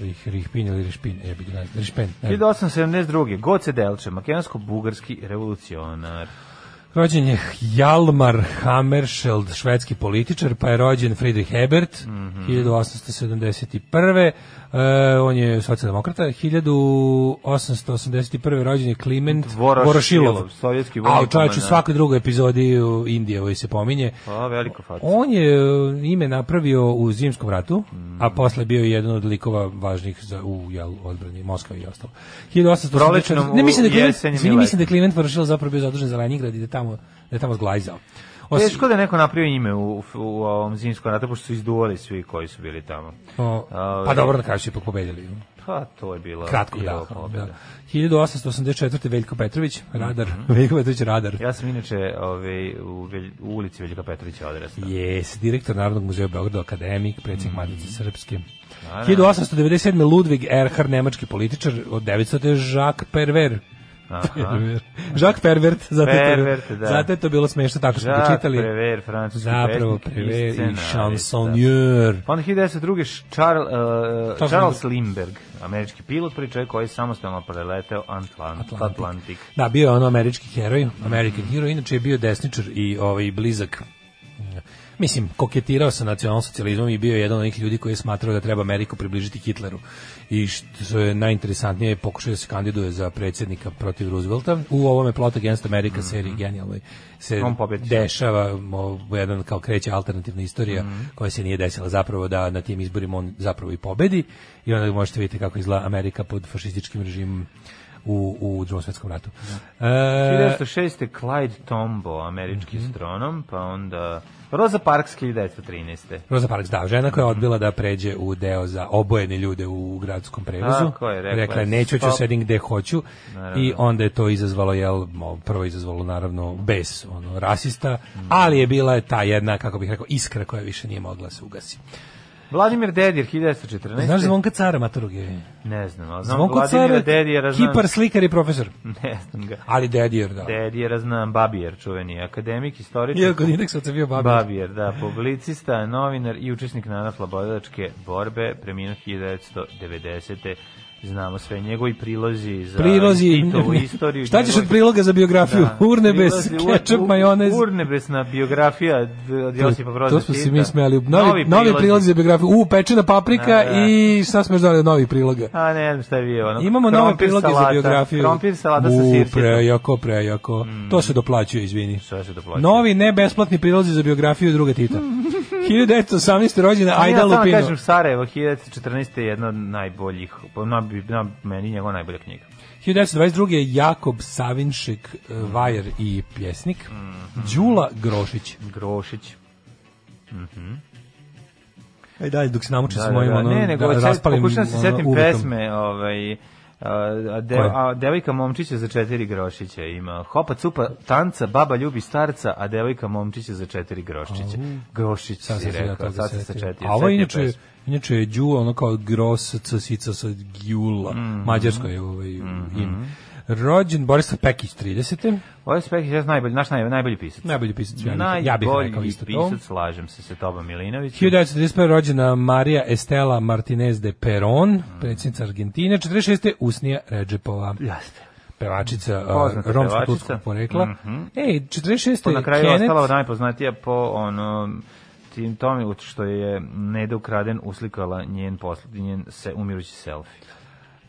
[SPEAKER 7] Rih, Rihpin ili Rišpin? E, bi ga- Rišpen. ne znam.
[SPEAKER 6] 1872. Goce Delče, makedonsko-bugarski revolucionar.
[SPEAKER 7] Rođen je Hjalmar Hammerscheld, švedski političar, pa je rođen Friedrich Ebert,
[SPEAKER 6] Mhm.
[SPEAKER 7] 1871. E, on je socijaldemokrata. 1881. rođen je Kliment
[SPEAKER 6] Vorošilov,
[SPEAKER 7] Vorošilov.
[SPEAKER 6] sovjetski vojni
[SPEAKER 7] A u čovječ, u
[SPEAKER 6] komandant.
[SPEAKER 7] svakoj drugoj epizodi u Indije ovaj se pominje.
[SPEAKER 6] A, veliko faca.
[SPEAKER 7] On je e, ime napravio u Zimskom ratu, a posle bio je jedan od likova važnih za u jel, odbrani Moskva i ostalo. 1884.
[SPEAKER 6] Prolećnom
[SPEAKER 7] Ne mislim da
[SPEAKER 6] u
[SPEAKER 7] je Kliment,
[SPEAKER 6] jesenjem i
[SPEAKER 7] izvini, mislim
[SPEAKER 6] letom.
[SPEAKER 7] da je Kliment Vorošilov zapravo bio zadužen za Leningrad i da je tamo da je tamo zglajzao. Osim-
[SPEAKER 6] Teško da je neko napravio ime u, u, u ovom zimskom ratu, pošto su izduvali svi koji su bili tamo.
[SPEAKER 7] O,
[SPEAKER 6] A,
[SPEAKER 7] pa dobro, na kraju su ipak pobedili.
[SPEAKER 6] Pa, to je bila
[SPEAKER 7] Kratko,
[SPEAKER 6] bila
[SPEAKER 7] da,
[SPEAKER 6] pobjeda.
[SPEAKER 7] da. 1884. Veljko Petrović, radar. Veljko Petrović, radar.
[SPEAKER 6] Mhm. Ja sam inače ovaj, u, Velj- u ulici Veljka Petrovića odrastao.
[SPEAKER 7] Jes, direktor Narodnog muzeja u Beogradu, akademik,
[SPEAKER 6] Mm.
[SPEAKER 7] predsjednik Matice Srpske. 1897. Ludwig Erhard, nemački političar, od 900. je Jacques Perver. Perver. Jacques Pervert, zato, je,
[SPEAKER 6] Pa. Pervert,
[SPEAKER 7] to,
[SPEAKER 6] da.
[SPEAKER 7] zato je to bilo smešno, tako što smo
[SPEAKER 6] Jacques
[SPEAKER 7] čitali.
[SPEAKER 6] Prévert, francuski
[SPEAKER 7] Zapravo
[SPEAKER 6] pesnik i
[SPEAKER 7] Prever i
[SPEAKER 6] scenarista.
[SPEAKER 7] chansonnier.
[SPEAKER 6] Pa onda 1902. š- Charles, uh,
[SPEAKER 7] To sam-
[SPEAKER 6] Charles Lindbergh, američki pilot, prvi čovjek koji je samostalno preleteo Atlant, Atlantik. Atlantik.
[SPEAKER 7] Da, bio je ono američki heroj, American hero, inače je bio desničar i ovaj blizak mislim, koketirao sa nacionalsocijalizmom i bio je jedan od onih ljudi koji je smatrao da treba Ameriku približiti Hitleru. I što je najinteresantnije, je pokušao da se kandiduje za predsjednika protiv Roosevelta. U ovome Plot Against America seriji genijalnoj se
[SPEAKER 6] Mhm. On pobedi.
[SPEAKER 7] dešava mo- jedan kao kreće alternativna istorija
[SPEAKER 6] Mhm.
[SPEAKER 7] koja se nije desila zapravo da na tim izborima on zapravo i pobedi i onda možete vidjeti kako izgleda Amerika pod fašističkim režimom u, u drugom svjetskom ratu. E,
[SPEAKER 6] 1906. Clyde Tombaugh, američki
[SPEAKER 7] Mhm.
[SPEAKER 6] astronom, pa onda Rosa Parks 1913.
[SPEAKER 7] Rosa Parks, da, žena
[SPEAKER 6] Mhm.
[SPEAKER 7] koja je odbila da pređe u deo za obojene ljude u gradskom prevozu.
[SPEAKER 6] Tako je, rekla je,
[SPEAKER 7] rekla je, neću, ću
[SPEAKER 6] stop.
[SPEAKER 7] sedim gde hoću.
[SPEAKER 6] Naravno.
[SPEAKER 7] I onda je to izazvalo, jel, mo- prvo je izazvalo naravno bez ono, rasista,
[SPEAKER 6] Mhm.
[SPEAKER 7] ali je bila je ta jedna, kako bih rekao, iskra koja više nije mogla se ugasi.
[SPEAKER 6] Vladimir Dedir 1914.
[SPEAKER 7] Znaš Zvonka Cara, Maturog je?
[SPEAKER 6] Ne znam, ali znam
[SPEAKER 7] Zvonko
[SPEAKER 6] Vladimira
[SPEAKER 7] Car,
[SPEAKER 6] Dedijera, znam.
[SPEAKER 7] kipar, slikar i profesor.
[SPEAKER 6] Ne znam ga.
[SPEAKER 7] Ali Dedijer, da.
[SPEAKER 6] Dedijera znam, Babijer, čuveni akademik, historičar.
[SPEAKER 7] Iako indeksa sam bio babi.
[SPEAKER 6] Babijer, da, publicista, novinar i učesnik Nana Flabodilačke borbe, preminuo 1990. Znamo sve njegovi prilozi za
[SPEAKER 7] Prilozi,
[SPEAKER 6] Titovu istoriju.
[SPEAKER 7] šta ćeš
[SPEAKER 6] njegove-
[SPEAKER 7] od priloga za biografiju?
[SPEAKER 6] Da,
[SPEAKER 7] urne bez
[SPEAKER 6] prilozi, ur-
[SPEAKER 7] kečap,
[SPEAKER 6] u-
[SPEAKER 7] majonez.
[SPEAKER 6] Urnebesna biografija d- od Josipa Broza
[SPEAKER 7] to smo se
[SPEAKER 6] Tita.
[SPEAKER 7] mi smijali. Novi, novi prilozi za biografiju. U, pečena paprika
[SPEAKER 6] Da, da.
[SPEAKER 7] i šta smo još dali od novih priloga?
[SPEAKER 6] A ne znam šta je bio. Ono,
[SPEAKER 7] Imamo nove
[SPEAKER 6] krompir
[SPEAKER 7] priloge za
[SPEAKER 6] salata,
[SPEAKER 7] biografiju.
[SPEAKER 6] Krompir salata sa
[SPEAKER 7] U,
[SPEAKER 6] sirćetom.
[SPEAKER 7] prejako, prejako. To se doplaćuje, izvini.
[SPEAKER 6] Sve se doplaćuje.
[SPEAKER 7] Novi ne besplatni prilozi za biografiju druga Tita. 1918. rođena
[SPEAKER 6] Ajde,
[SPEAKER 7] Ajda
[SPEAKER 6] ja samo
[SPEAKER 7] Lupino.
[SPEAKER 6] kažem Sarajevo 1914 je jedna od najboljih, po- na, na meni njegova najbolja knjiga.
[SPEAKER 7] 1922. je Jakob Savinšek, eh, vajer i pjesnik. Đula Grošić.
[SPEAKER 6] Grošić.
[SPEAKER 7] Aj dalje, dok se namuče
[SPEAKER 6] Da,
[SPEAKER 7] s
[SPEAKER 6] da,
[SPEAKER 7] mojim
[SPEAKER 6] da.
[SPEAKER 7] ono,
[SPEAKER 6] ne, nego
[SPEAKER 7] da,
[SPEAKER 6] sad
[SPEAKER 7] raspalim
[SPEAKER 6] pokušam se
[SPEAKER 7] ono,
[SPEAKER 6] setim
[SPEAKER 7] uvetom.
[SPEAKER 6] pesme, ovaj, a, a, de,
[SPEAKER 7] Koje?
[SPEAKER 6] a devojka momčića za četiri grošića ima hopa cupa tanca baba ljubi starca a devojka momčića za četiri grošića grošić
[SPEAKER 7] Sad
[SPEAKER 6] si
[SPEAKER 7] sam se ja
[SPEAKER 6] rekao
[SPEAKER 7] toga
[SPEAKER 6] sad se sa
[SPEAKER 7] setio.
[SPEAKER 6] četiri
[SPEAKER 7] A ovo
[SPEAKER 6] setio
[SPEAKER 7] inače,
[SPEAKER 6] pesmu.
[SPEAKER 7] inače je Đula, ono kao Gros, Csica sa Gjula,
[SPEAKER 6] Mhm.
[SPEAKER 7] mađarsko je ovaj ime. Rođen Borislav Pekić, 30.
[SPEAKER 6] Ovo je Spekić je najbolji, naš najbolji, najbolji pisac.
[SPEAKER 7] Najbolji pisac, ja bih-
[SPEAKER 6] najbolji
[SPEAKER 7] ja bih rekao isto to.
[SPEAKER 6] pisac, slažem se sa tobom Milinović.
[SPEAKER 7] 1935. rođena Marija Estela Martinez de
[SPEAKER 6] Mm.
[SPEAKER 7] Peron, predsjednica Argentine, 46. Usnija Ređepova.
[SPEAKER 6] Jeste.
[SPEAKER 7] Pevačica, uh,
[SPEAKER 6] Poznata pevačica.
[SPEAKER 7] romsko-turskog porekla.
[SPEAKER 6] Mhm.
[SPEAKER 7] Ej, 46.
[SPEAKER 6] Po na kraju
[SPEAKER 7] Kenneth-
[SPEAKER 6] Kenneth... ostala najpoznatija po ono tim tome što je Neda ukraden uslikala njen poslednji njen se umirući selfi.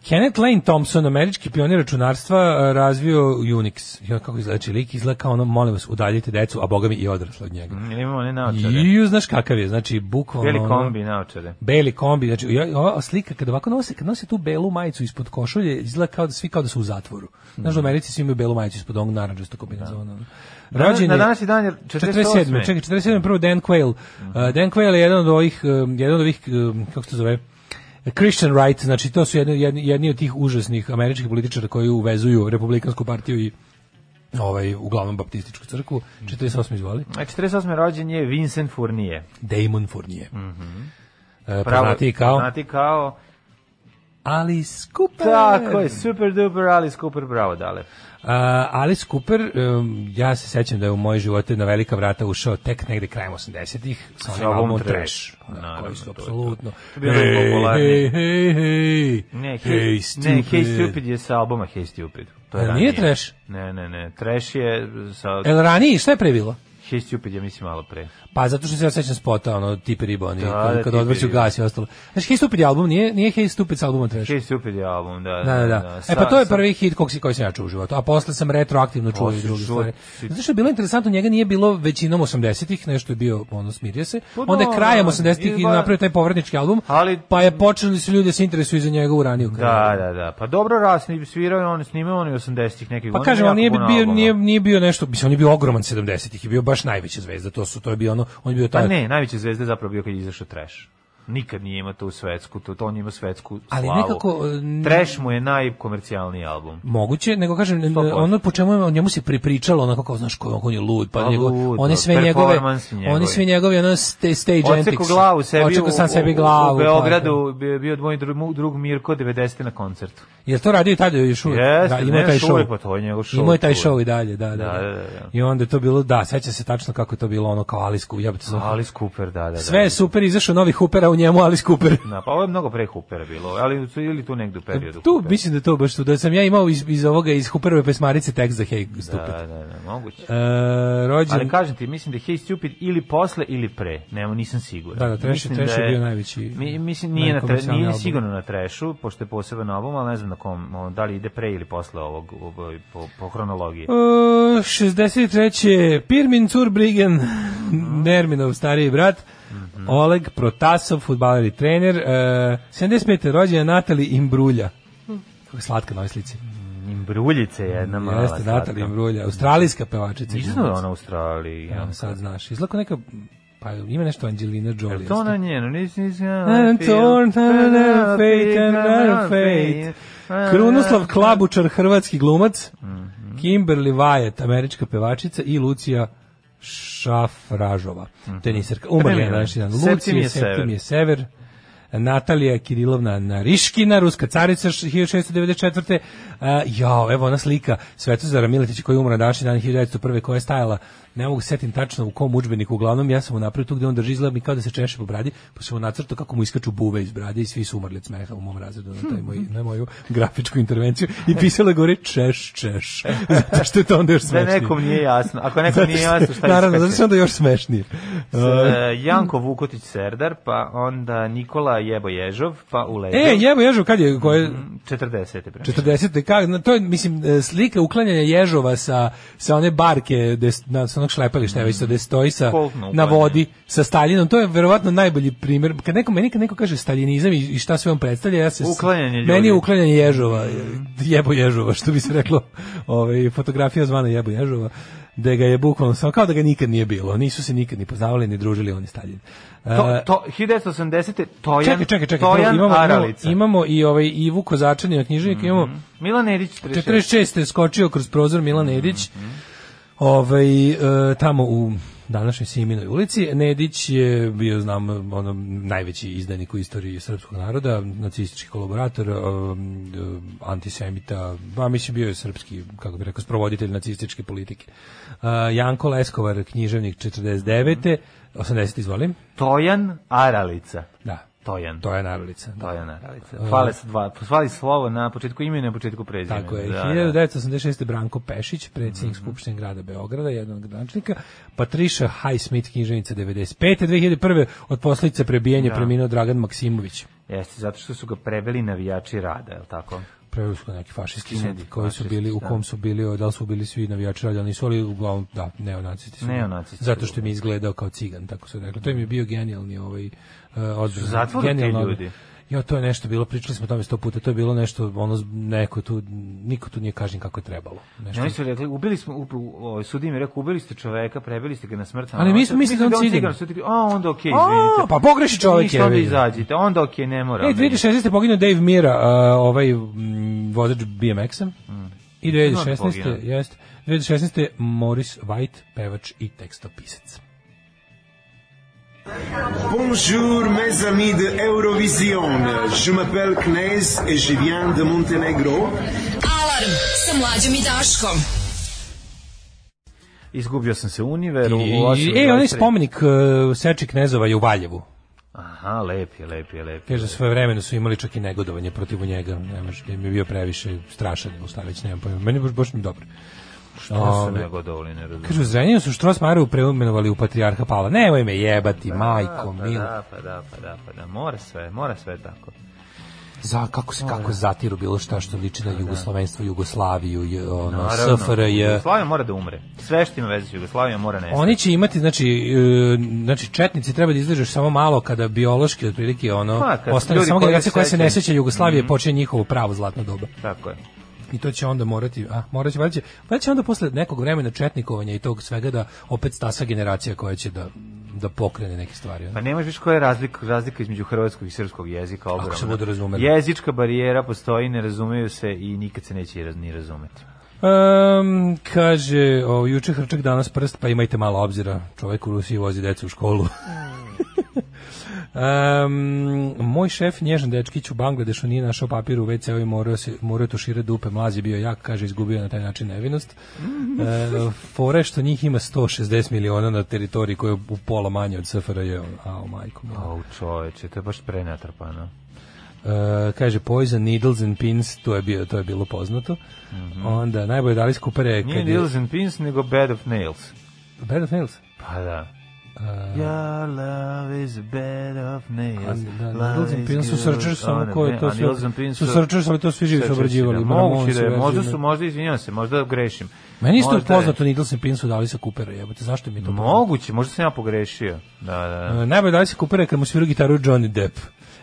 [SPEAKER 7] Kenneth Lane Thompson, američki pionir računarstva, eh, razvio Unix. I on kako izgleda znači, lik, izgleda kao ono, molim vas, udaljite decu, a boga mi i odrasla od njega.
[SPEAKER 6] Ili imamo one naočare.
[SPEAKER 7] Iju, znaš kakav je, znači, bukvalno...
[SPEAKER 6] Beli
[SPEAKER 7] ono,
[SPEAKER 6] kombi naočare.
[SPEAKER 7] Beli kombi, znači, ja- ova slika, kada ovako nose, kad nose tu belu majicu ispod košulje, izgleda kao da svi kao da su u zatvoru. Znaš, u Americi svi imaju belu majicu ispod onog naranđastog kombinazona.
[SPEAKER 6] Na-
[SPEAKER 7] Rođen
[SPEAKER 6] na
[SPEAKER 7] je-
[SPEAKER 6] današnji dan je
[SPEAKER 7] 47.
[SPEAKER 6] 48..
[SPEAKER 7] Čekaj, 47. prvo Dan Quayle. Uh, Dan Quayle je jedan od ovih, um, jedan od ovih, um, kako se to zove, Christian Right, znači to su jedni, jedni, jedni od tih užasnih američkih političara koji uvezuju republikansku partiju i ovaj, uglavnom baptističku crkvu. 48. izvoli.
[SPEAKER 6] A 48. E, rođen je Vincent Fournier.
[SPEAKER 7] Damon Fournier. Mm poznatiji kao
[SPEAKER 6] Poznati kao...
[SPEAKER 7] Alice Cooper.
[SPEAKER 6] Tako je, super duper Alice Cooper, bravo dale.
[SPEAKER 7] A, Alice Cooper, um, ja se sećam da je u moj životu na velika vrata ušao tek negde krajem 80-ih sa onim
[SPEAKER 6] albumom
[SPEAKER 7] albumom
[SPEAKER 6] Trash.
[SPEAKER 7] Trash.
[SPEAKER 6] Pa,
[SPEAKER 7] Da,
[SPEAKER 6] naravno,
[SPEAKER 7] koji su
[SPEAKER 6] to je to.
[SPEAKER 7] apsolutno.
[SPEAKER 6] To je bio najpopularniji.
[SPEAKER 7] hej, hej, hej.
[SPEAKER 6] Ne, Hey,
[SPEAKER 7] Hej,
[SPEAKER 6] ne, Hey Stupid je sa albuma Hey Stupid. To je
[SPEAKER 7] A nije
[SPEAKER 6] ranije.
[SPEAKER 7] Trash? E-
[SPEAKER 6] Ne, ne, ne. Trash je sa...
[SPEAKER 7] El raniji, šta je pre bilo?
[SPEAKER 6] Hey Stupid je, mislim, malo pre.
[SPEAKER 7] Pa zato što se ja sećam spota, ono, tipi riboni,
[SPEAKER 6] Da,
[SPEAKER 7] kad,
[SPEAKER 6] da,
[SPEAKER 7] kad
[SPEAKER 6] Tipi
[SPEAKER 7] odvrću
[SPEAKER 6] Ribbon.
[SPEAKER 7] gas i ostalo. Znaš, Hej Stupid je album, nije, nije Hej Stupid sa albumom Trash.
[SPEAKER 6] Hey Stupid je album, da.
[SPEAKER 7] Da, da, da. E pa
[SPEAKER 6] Sa-
[SPEAKER 7] to je
[SPEAKER 6] sa-
[SPEAKER 7] prvi hit kog si koji sam ja čuo u životu, a posle sam retroaktivno čuo i
[SPEAKER 6] si
[SPEAKER 7] druge
[SPEAKER 6] čuo,
[SPEAKER 7] stvari.
[SPEAKER 6] si-
[SPEAKER 7] Zato što je bilo interesantno, njega nije bilo većinom 80-ih, nešto je bio, ono, smirio se.
[SPEAKER 6] Pa
[SPEAKER 7] Onda je
[SPEAKER 6] dobro,
[SPEAKER 7] krajem 80-ih i
[SPEAKER 6] izba-
[SPEAKER 7] napravio taj povrednički album,
[SPEAKER 6] Ali-
[SPEAKER 7] pa je počeli su ljudi da se interesuju za njega u raniju
[SPEAKER 6] Da,
[SPEAKER 7] karijeru.
[SPEAKER 6] da, da. Pa dobro rasni svirao je on snimao on i 80-ih nekih
[SPEAKER 7] Pa
[SPEAKER 6] godina.
[SPEAKER 7] kažem, on
[SPEAKER 6] jako
[SPEAKER 7] nije
[SPEAKER 6] puno
[SPEAKER 7] bio,
[SPEAKER 6] albuma.
[SPEAKER 7] nije, nije bio nešto, mislim, on je bio ogroman 70-ih i bio baš najveća zvezda, to su, to je bio ono, on je bio taj...
[SPEAKER 6] Pa ne, najveća zvezda je zapravo bio kad je izašao Trash. Nikad nije imao tu svetsku, to, to on ima svetsku
[SPEAKER 7] Ali
[SPEAKER 6] slavu.
[SPEAKER 7] nekako, e, n-
[SPEAKER 6] Trash mu je najkomercijalniji album.
[SPEAKER 7] Moguće, nego kažem, n-
[SPEAKER 6] 100%.
[SPEAKER 7] ono po čemu je, o njemu se pripričalo, onako kao, znaš, ko, on je lud, pa
[SPEAKER 6] Pa
[SPEAKER 7] njegov,
[SPEAKER 6] lud,
[SPEAKER 7] one
[SPEAKER 6] da,
[SPEAKER 7] sve njegove,
[SPEAKER 6] performansi njegovi.
[SPEAKER 7] one sve njegove, ono, sta- stage
[SPEAKER 6] Oceku
[SPEAKER 7] antics.
[SPEAKER 6] glavu sebi
[SPEAKER 7] Očekao sam
[SPEAKER 6] u-
[SPEAKER 7] sebi
[SPEAKER 6] u-
[SPEAKER 7] glavu.
[SPEAKER 6] U
[SPEAKER 7] pa,
[SPEAKER 6] Beogradu bio, bio moj dru- mu- drug Mirko 90. na koncertu.
[SPEAKER 7] Jel to radio i tada još uvijek?
[SPEAKER 6] Jeste,
[SPEAKER 7] imao je
[SPEAKER 6] ne,
[SPEAKER 7] taj
[SPEAKER 6] još
[SPEAKER 7] show.
[SPEAKER 6] uvijek, pa to je njegov show
[SPEAKER 7] Imao je taj
[SPEAKER 6] čuven.
[SPEAKER 7] show i dalje, da, da. da,
[SPEAKER 6] Da, da, da.
[SPEAKER 7] I onda je to bilo, da, seća se tačno kako je to bilo ono kao Alice Cooper. jebote, sam-
[SPEAKER 6] Ali Cooper, da, da, da.
[SPEAKER 7] Sve je super, izašao novi Hoopera u njemu Alice Cooper.
[SPEAKER 6] Da, pa ovo je mnogo pre Hoopera bilo, ali su ili tu negde u periodu.
[SPEAKER 7] Tu,
[SPEAKER 6] Hoopera.
[SPEAKER 7] mislim da je to baš tu, da sam ja imao iz, iz ovoga, iz Hooperove pesmarice tekst za Hey Stupid.
[SPEAKER 6] Pa, Da, da, da, moguće.
[SPEAKER 7] E, rođen...
[SPEAKER 6] Ali kažem ti, mislim da je Hey Stupid ili posle ili pre. Nemo, nisam siguran.
[SPEAKER 7] Da, da, Trash-
[SPEAKER 6] Mislim
[SPEAKER 7] Trash je
[SPEAKER 6] je-
[SPEAKER 7] bio najveći-
[SPEAKER 6] Mi, mislim, nije, na tre,
[SPEAKER 7] najkomercijalni
[SPEAKER 6] nije
[SPEAKER 7] album.
[SPEAKER 6] sigurno na Trashu, pošto je poseban album, ali ne znam na kom, o, da li ide pre ili posle ovog, ovo- po, po hronologiji.
[SPEAKER 7] E, 63. Pirmin Curbrigen,
[SPEAKER 6] Mhm.
[SPEAKER 7] Nerminov stariji brat, Oleg Protasov, futbaler i trener, e, 75. rođena Natali Imbrulja. Kako je slatka na ovoj slici.
[SPEAKER 6] Imbruljice jedna mala.
[SPEAKER 7] Jeste,
[SPEAKER 6] slatka.
[SPEAKER 7] Natali Imbrulja, australijska pevačica. i
[SPEAKER 6] Nisam ono- da je
[SPEAKER 7] glumica.
[SPEAKER 6] ona u Australiji.
[SPEAKER 7] Ja, sad znaš. Izlako neka, pa ima nešto Angelina Jolie.
[SPEAKER 6] Jel to ona
[SPEAKER 7] jeste?
[SPEAKER 6] njeno, nisi nisi...
[SPEAKER 7] I'm torn, I'm a fate, I'm a fate. Krunoslav Klabučar, hrvatski glumac, Kimberly Wyatt, američka pevačica i Lucija Šafražova, teniserka. Umrla je na današnji dan.
[SPEAKER 6] Septimije
[SPEAKER 7] Lucija
[SPEAKER 6] Sever.
[SPEAKER 7] Septimije Sever. Natalija Kirilovna Nariškina, ruska carica š- 1694. Uh, jao, evo ona slika Svetozara Miletića koji je umro na današnji dan 1901. koja je stajala, ne mogu se setim tačno u kom udžbeniku, uglavnom ja sam mu napravio tu gde on drži izgleda mi kao da se češe po bradi, pa sam mu nacrtao kako mu iskaču buve iz brade i svi su umrli od smeha u mom razredu na, taj moj, na moju grafičku intervenciju i pisalo je gore češ, češ. Zato što je to onda još
[SPEAKER 6] Da
[SPEAKER 7] smešnije.
[SPEAKER 6] nekom nije jasno. Ako nekom nije jasno šta je
[SPEAKER 7] Naravno,
[SPEAKER 6] iskače.
[SPEAKER 7] zato što je onda još smešnije. Uh,
[SPEAKER 6] E, Janko Vukotić Serdar, pa onda Nikola Jebo Ježov, pa u Ležov.
[SPEAKER 7] E, jebo, ježu, kad je, koje,
[SPEAKER 6] 40. Pre.
[SPEAKER 7] 40. Ka, na, to je, mislim, e, slika uklanjanja ježova sa, sa one barke, des, na, sa onog šlepališta, mm. već sa gde stoji sa,
[SPEAKER 6] Koltno
[SPEAKER 7] na
[SPEAKER 6] uklanjanje.
[SPEAKER 7] vodi, sa Staljinom. To je verovatno najbolji primjer. Kad neko, meni kad neko kaže staljinizam i, i šta sve on predstavlja, ja se... s-
[SPEAKER 6] Uklanjanje ljudi.
[SPEAKER 7] Meni je uklanjanje ježova, jebo ježova, što bi se reklo. Ove, fotografija zvana jebo ježova da ga je bukvalno samo kao da ga nikad nije bilo. Nisu se nikad ni poznavali, ni družili oni Staljin. E,
[SPEAKER 6] To, to, 1980. Tojan,
[SPEAKER 7] čekaj, čekaj, čekaj. prvo
[SPEAKER 6] Tojan
[SPEAKER 7] imamo, imamo,
[SPEAKER 6] Aralica. Mhm.
[SPEAKER 7] imamo i ovaj Ivu Kozačanina knjižnik, imamo
[SPEAKER 6] Milan Erić 46.
[SPEAKER 7] 46. je skočio kroz prozor Milan Nedić. Ovaj e, tamo u današnjoj Siminoj ulici Nedić je bio znam ono najveći izdanik u istoriji srpskog naroda, nacistički kolaborator, e, e, antisemita, pa mislim bio je srpski kako bih rekao sprovoditelj nacističke politike. E, Janko Leskovar, književnik 49. 80 izvolim.
[SPEAKER 6] Tojan Aralica.
[SPEAKER 7] Da.
[SPEAKER 6] Tojan.
[SPEAKER 7] To je narolica. Da.
[SPEAKER 6] Tojan Aralica.
[SPEAKER 7] E.
[SPEAKER 6] Fale se dva, fali slovo na početku imena i na početku prezimena.
[SPEAKER 7] Tako je.
[SPEAKER 6] Da, Mhm. da.
[SPEAKER 7] 1986. Branko Pešić, predsjednik Skupštine grada Beograda, jedan od gradonačelnika. Patriša Highsmith, književnica 95. 2001. od posljedica prebijenja preminuo Dragan Maksimović.
[SPEAKER 6] Jeste, zato što su ga prebeli navijači rada, je li tako?
[SPEAKER 7] Preveli su ga neki fašisti
[SPEAKER 6] Kinedi,
[SPEAKER 7] sad, koji su
[SPEAKER 6] fašisti,
[SPEAKER 7] bili, u
[SPEAKER 6] da.
[SPEAKER 7] kom su bili, da li su bili svi navijači radi, ali nisu, ali uglavnom, da, neonacisti su. bili.
[SPEAKER 6] Neonacisti
[SPEAKER 7] Zato
[SPEAKER 6] su
[SPEAKER 7] što mi je izgledao kao cigan, tako su rekli. To im je bio genijalni ovaj, uh, odbor.
[SPEAKER 6] zatvoru te
[SPEAKER 7] Genijalno-
[SPEAKER 6] ljudi?
[SPEAKER 7] Jo, to je nešto bilo, pričali smo o tome sto puta, to je bilo nešto, ono, z- neko tu, niko tu nije kažnjen kako je trebalo. Nešto
[SPEAKER 6] Ne, oni su rekli, ubili smo, u, u, ovaj, sudi mi rekao, ubili ste čoveka, prebili ste ga na smrtan.
[SPEAKER 7] Ali mi
[SPEAKER 6] način.
[SPEAKER 7] smo mislili da on cigan.
[SPEAKER 6] cigan. Su ti rekli, a onda okej,
[SPEAKER 7] A,
[SPEAKER 6] izvinite.
[SPEAKER 7] pa pogreši čovek,
[SPEAKER 6] Ništa,
[SPEAKER 7] je,
[SPEAKER 6] onda
[SPEAKER 7] vidi.
[SPEAKER 6] izađite, onda okej, ne mora.
[SPEAKER 7] E, 2016. poginuo Dave Mira, a, ovaj mm, vozač BMX-a. I
[SPEAKER 6] Poginuo.
[SPEAKER 7] 2016. jeste. 2016. Morris White, pevač i tekstopisac.
[SPEAKER 9] Bonjour mes amis de Eurovision, je m'appelle Knez et je viens de Montenegro.
[SPEAKER 5] Alarm sa mlađom i Daškom.
[SPEAKER 6] Izgubio sam se univer. u
[SPEAKER 7] I,
[SPEAKER 6] osam
[SPEAKER 7] e, onaj
[SPEAKER 6] dvadeset tri.
[SPEAKER 7] spomenik uh, Seči Knezova je u Valjevu.
[SPEAKER 6] Aha, lep je, lep je, lep je.
[SPEAKER 7] Kaže, za svoje vremeno su imali čak i negodovanje protiv njega. Ne može, jer mi je bio previše strašan, u stavić, nemam pojma. Meni je baš, baš mi dobro.
[SPEAKER 6] Što se nego dovoljno ne razumijem.
[SPEAKER 7] Kažu, u Zrenjaninu su Štrosmaru preumenovali u Patriarha Pavla. Nemoj me jebati, majko,
[SPEAKER 6] Pa
[SPEAKER 7] milo.
[SPEAKER 6] da, pa da, pa da, pa da, mora sve, mora sve tako.
[SPEAKER 7] za kako se kako zatiru bilo šta što liči na jugoslovenstvo, Jugoslaviju, j- ono,
[SPEAKER 6] Naravno,
[SPEAKER 7] SFRJ.
[SPEAKER 6] Jugoslavija mora da umre. Sve što ima veze s Jugoslavijom mora nestati.
[SPEAKER 7] Oni će imati znači e, znači četnici treba da izdrže samo malo kada biološki otprilike ono
[SPEAKER 6] Pa, kad
[SPEAKER 7] ostane
[SPEAKER 6] ljudi
[SPEAKER 7] samo
[SPEAKER 6] koji
[SPEAKER 7] generacija
[SPEAKER 6] se
[SPEAKER 7] koja se ne
[SPEAKER 6] sećaju. Mhm.
[SPEAKER 7] seća Jugoslavije počinje njihovo pravo zlatno doba.
[SPEAKER 6] Tako je.
[SPEAKER 7] I to će onda morati, a moraće valjda će, valjda će onda posle nekog vremena četnikovanja i tog svega da opet stasa generacija koja će da da pokrene neke stvari. ono.
[SPEAKER 6] Pa nemaš više koja je razlika, razlika između hrvatskog i srpskog jezika. Ogromna.
[SPEAKER 7] se budu razumeli.
[SPEAKER 6] Jezička barijera postoji, ne razumeju se i nikad se neće raz- ni razumeti.
[SPEAKER 7] Um, kaže, o, juče hrčak danas prst, pa imajte malo obzira. Čovek u Rusiji vozi decu u školu. um, moj šef, nježan dečkić u Bangladešu, nije našao papir u WC-u i morao, se, morao tušira dupe. Mlazi bio jak, kaže, izgubio je na taj način nevinost. E, fore što njih ima 160 miliona na teritoriji koja je u pola manje od SFRJ. Ao, ono, majko. moja.
[SPEAKER 6] O, čoveče, to je baš prenatrpano.
[SPEAKER 7] E, kaže Poison, Needles and Pins, to je, bio, to je bilo poznato. Onda, najbolje dali skupere...
[SPEAKER 6] Mhm. Nije Needles and Pins, nego Bed of Nails.
[SPEAKER 7] Bad of Nails.
[SPEAKER 6] Pa da. Your love is a bed of nails.
[SPEAKER 7] Da,
[SPEAKER 6] Love
[SPEAKER 7] Needles and
[SPEAKER 6] is
[SPEAKER 7] Pins su
[SPEAKER 6] good
[SPEAKER 7] Searchers, samo
[SPEAKER 6] on a
[SPEAKER 7] ko je
[SPEAKER 6] man.
[SPEAKER 7] to
[SPEAKER 6] A
[SPEAKER 7] sve-
[SPEAKER 6] Needles and Pins
[SPEAKER 7] su Searchers, ali to svi živi su
[SPEAKER 6] Searchers,
[SPEAKER 7] obrađivali.
[SPEAKER 6] da.
[SPEAKER 7] Ramonsi
[SPEAKER 6] Moguće da je,
[SPEAKER 7] verziju,
[SPEAKER 6] možda
[SPEAKER 7] ne.
[SPEAKER 6] su, možda, izvinjavam se, možda grešim.
[SPEAKER 7] Meni isto
[SPEAKER 6] Možda je-
[SPEAKER 7] poznato Needles and Pins su dali sa Coopera, jebote, zašto mi je to poznato?
[SPEAKER 6] Moguće, možda sam ja pogrešio. Da, da, da.
[SPEAKER 7] E, Najbolje dali sa Coopera kad mu svira gitaru Johnny Depp.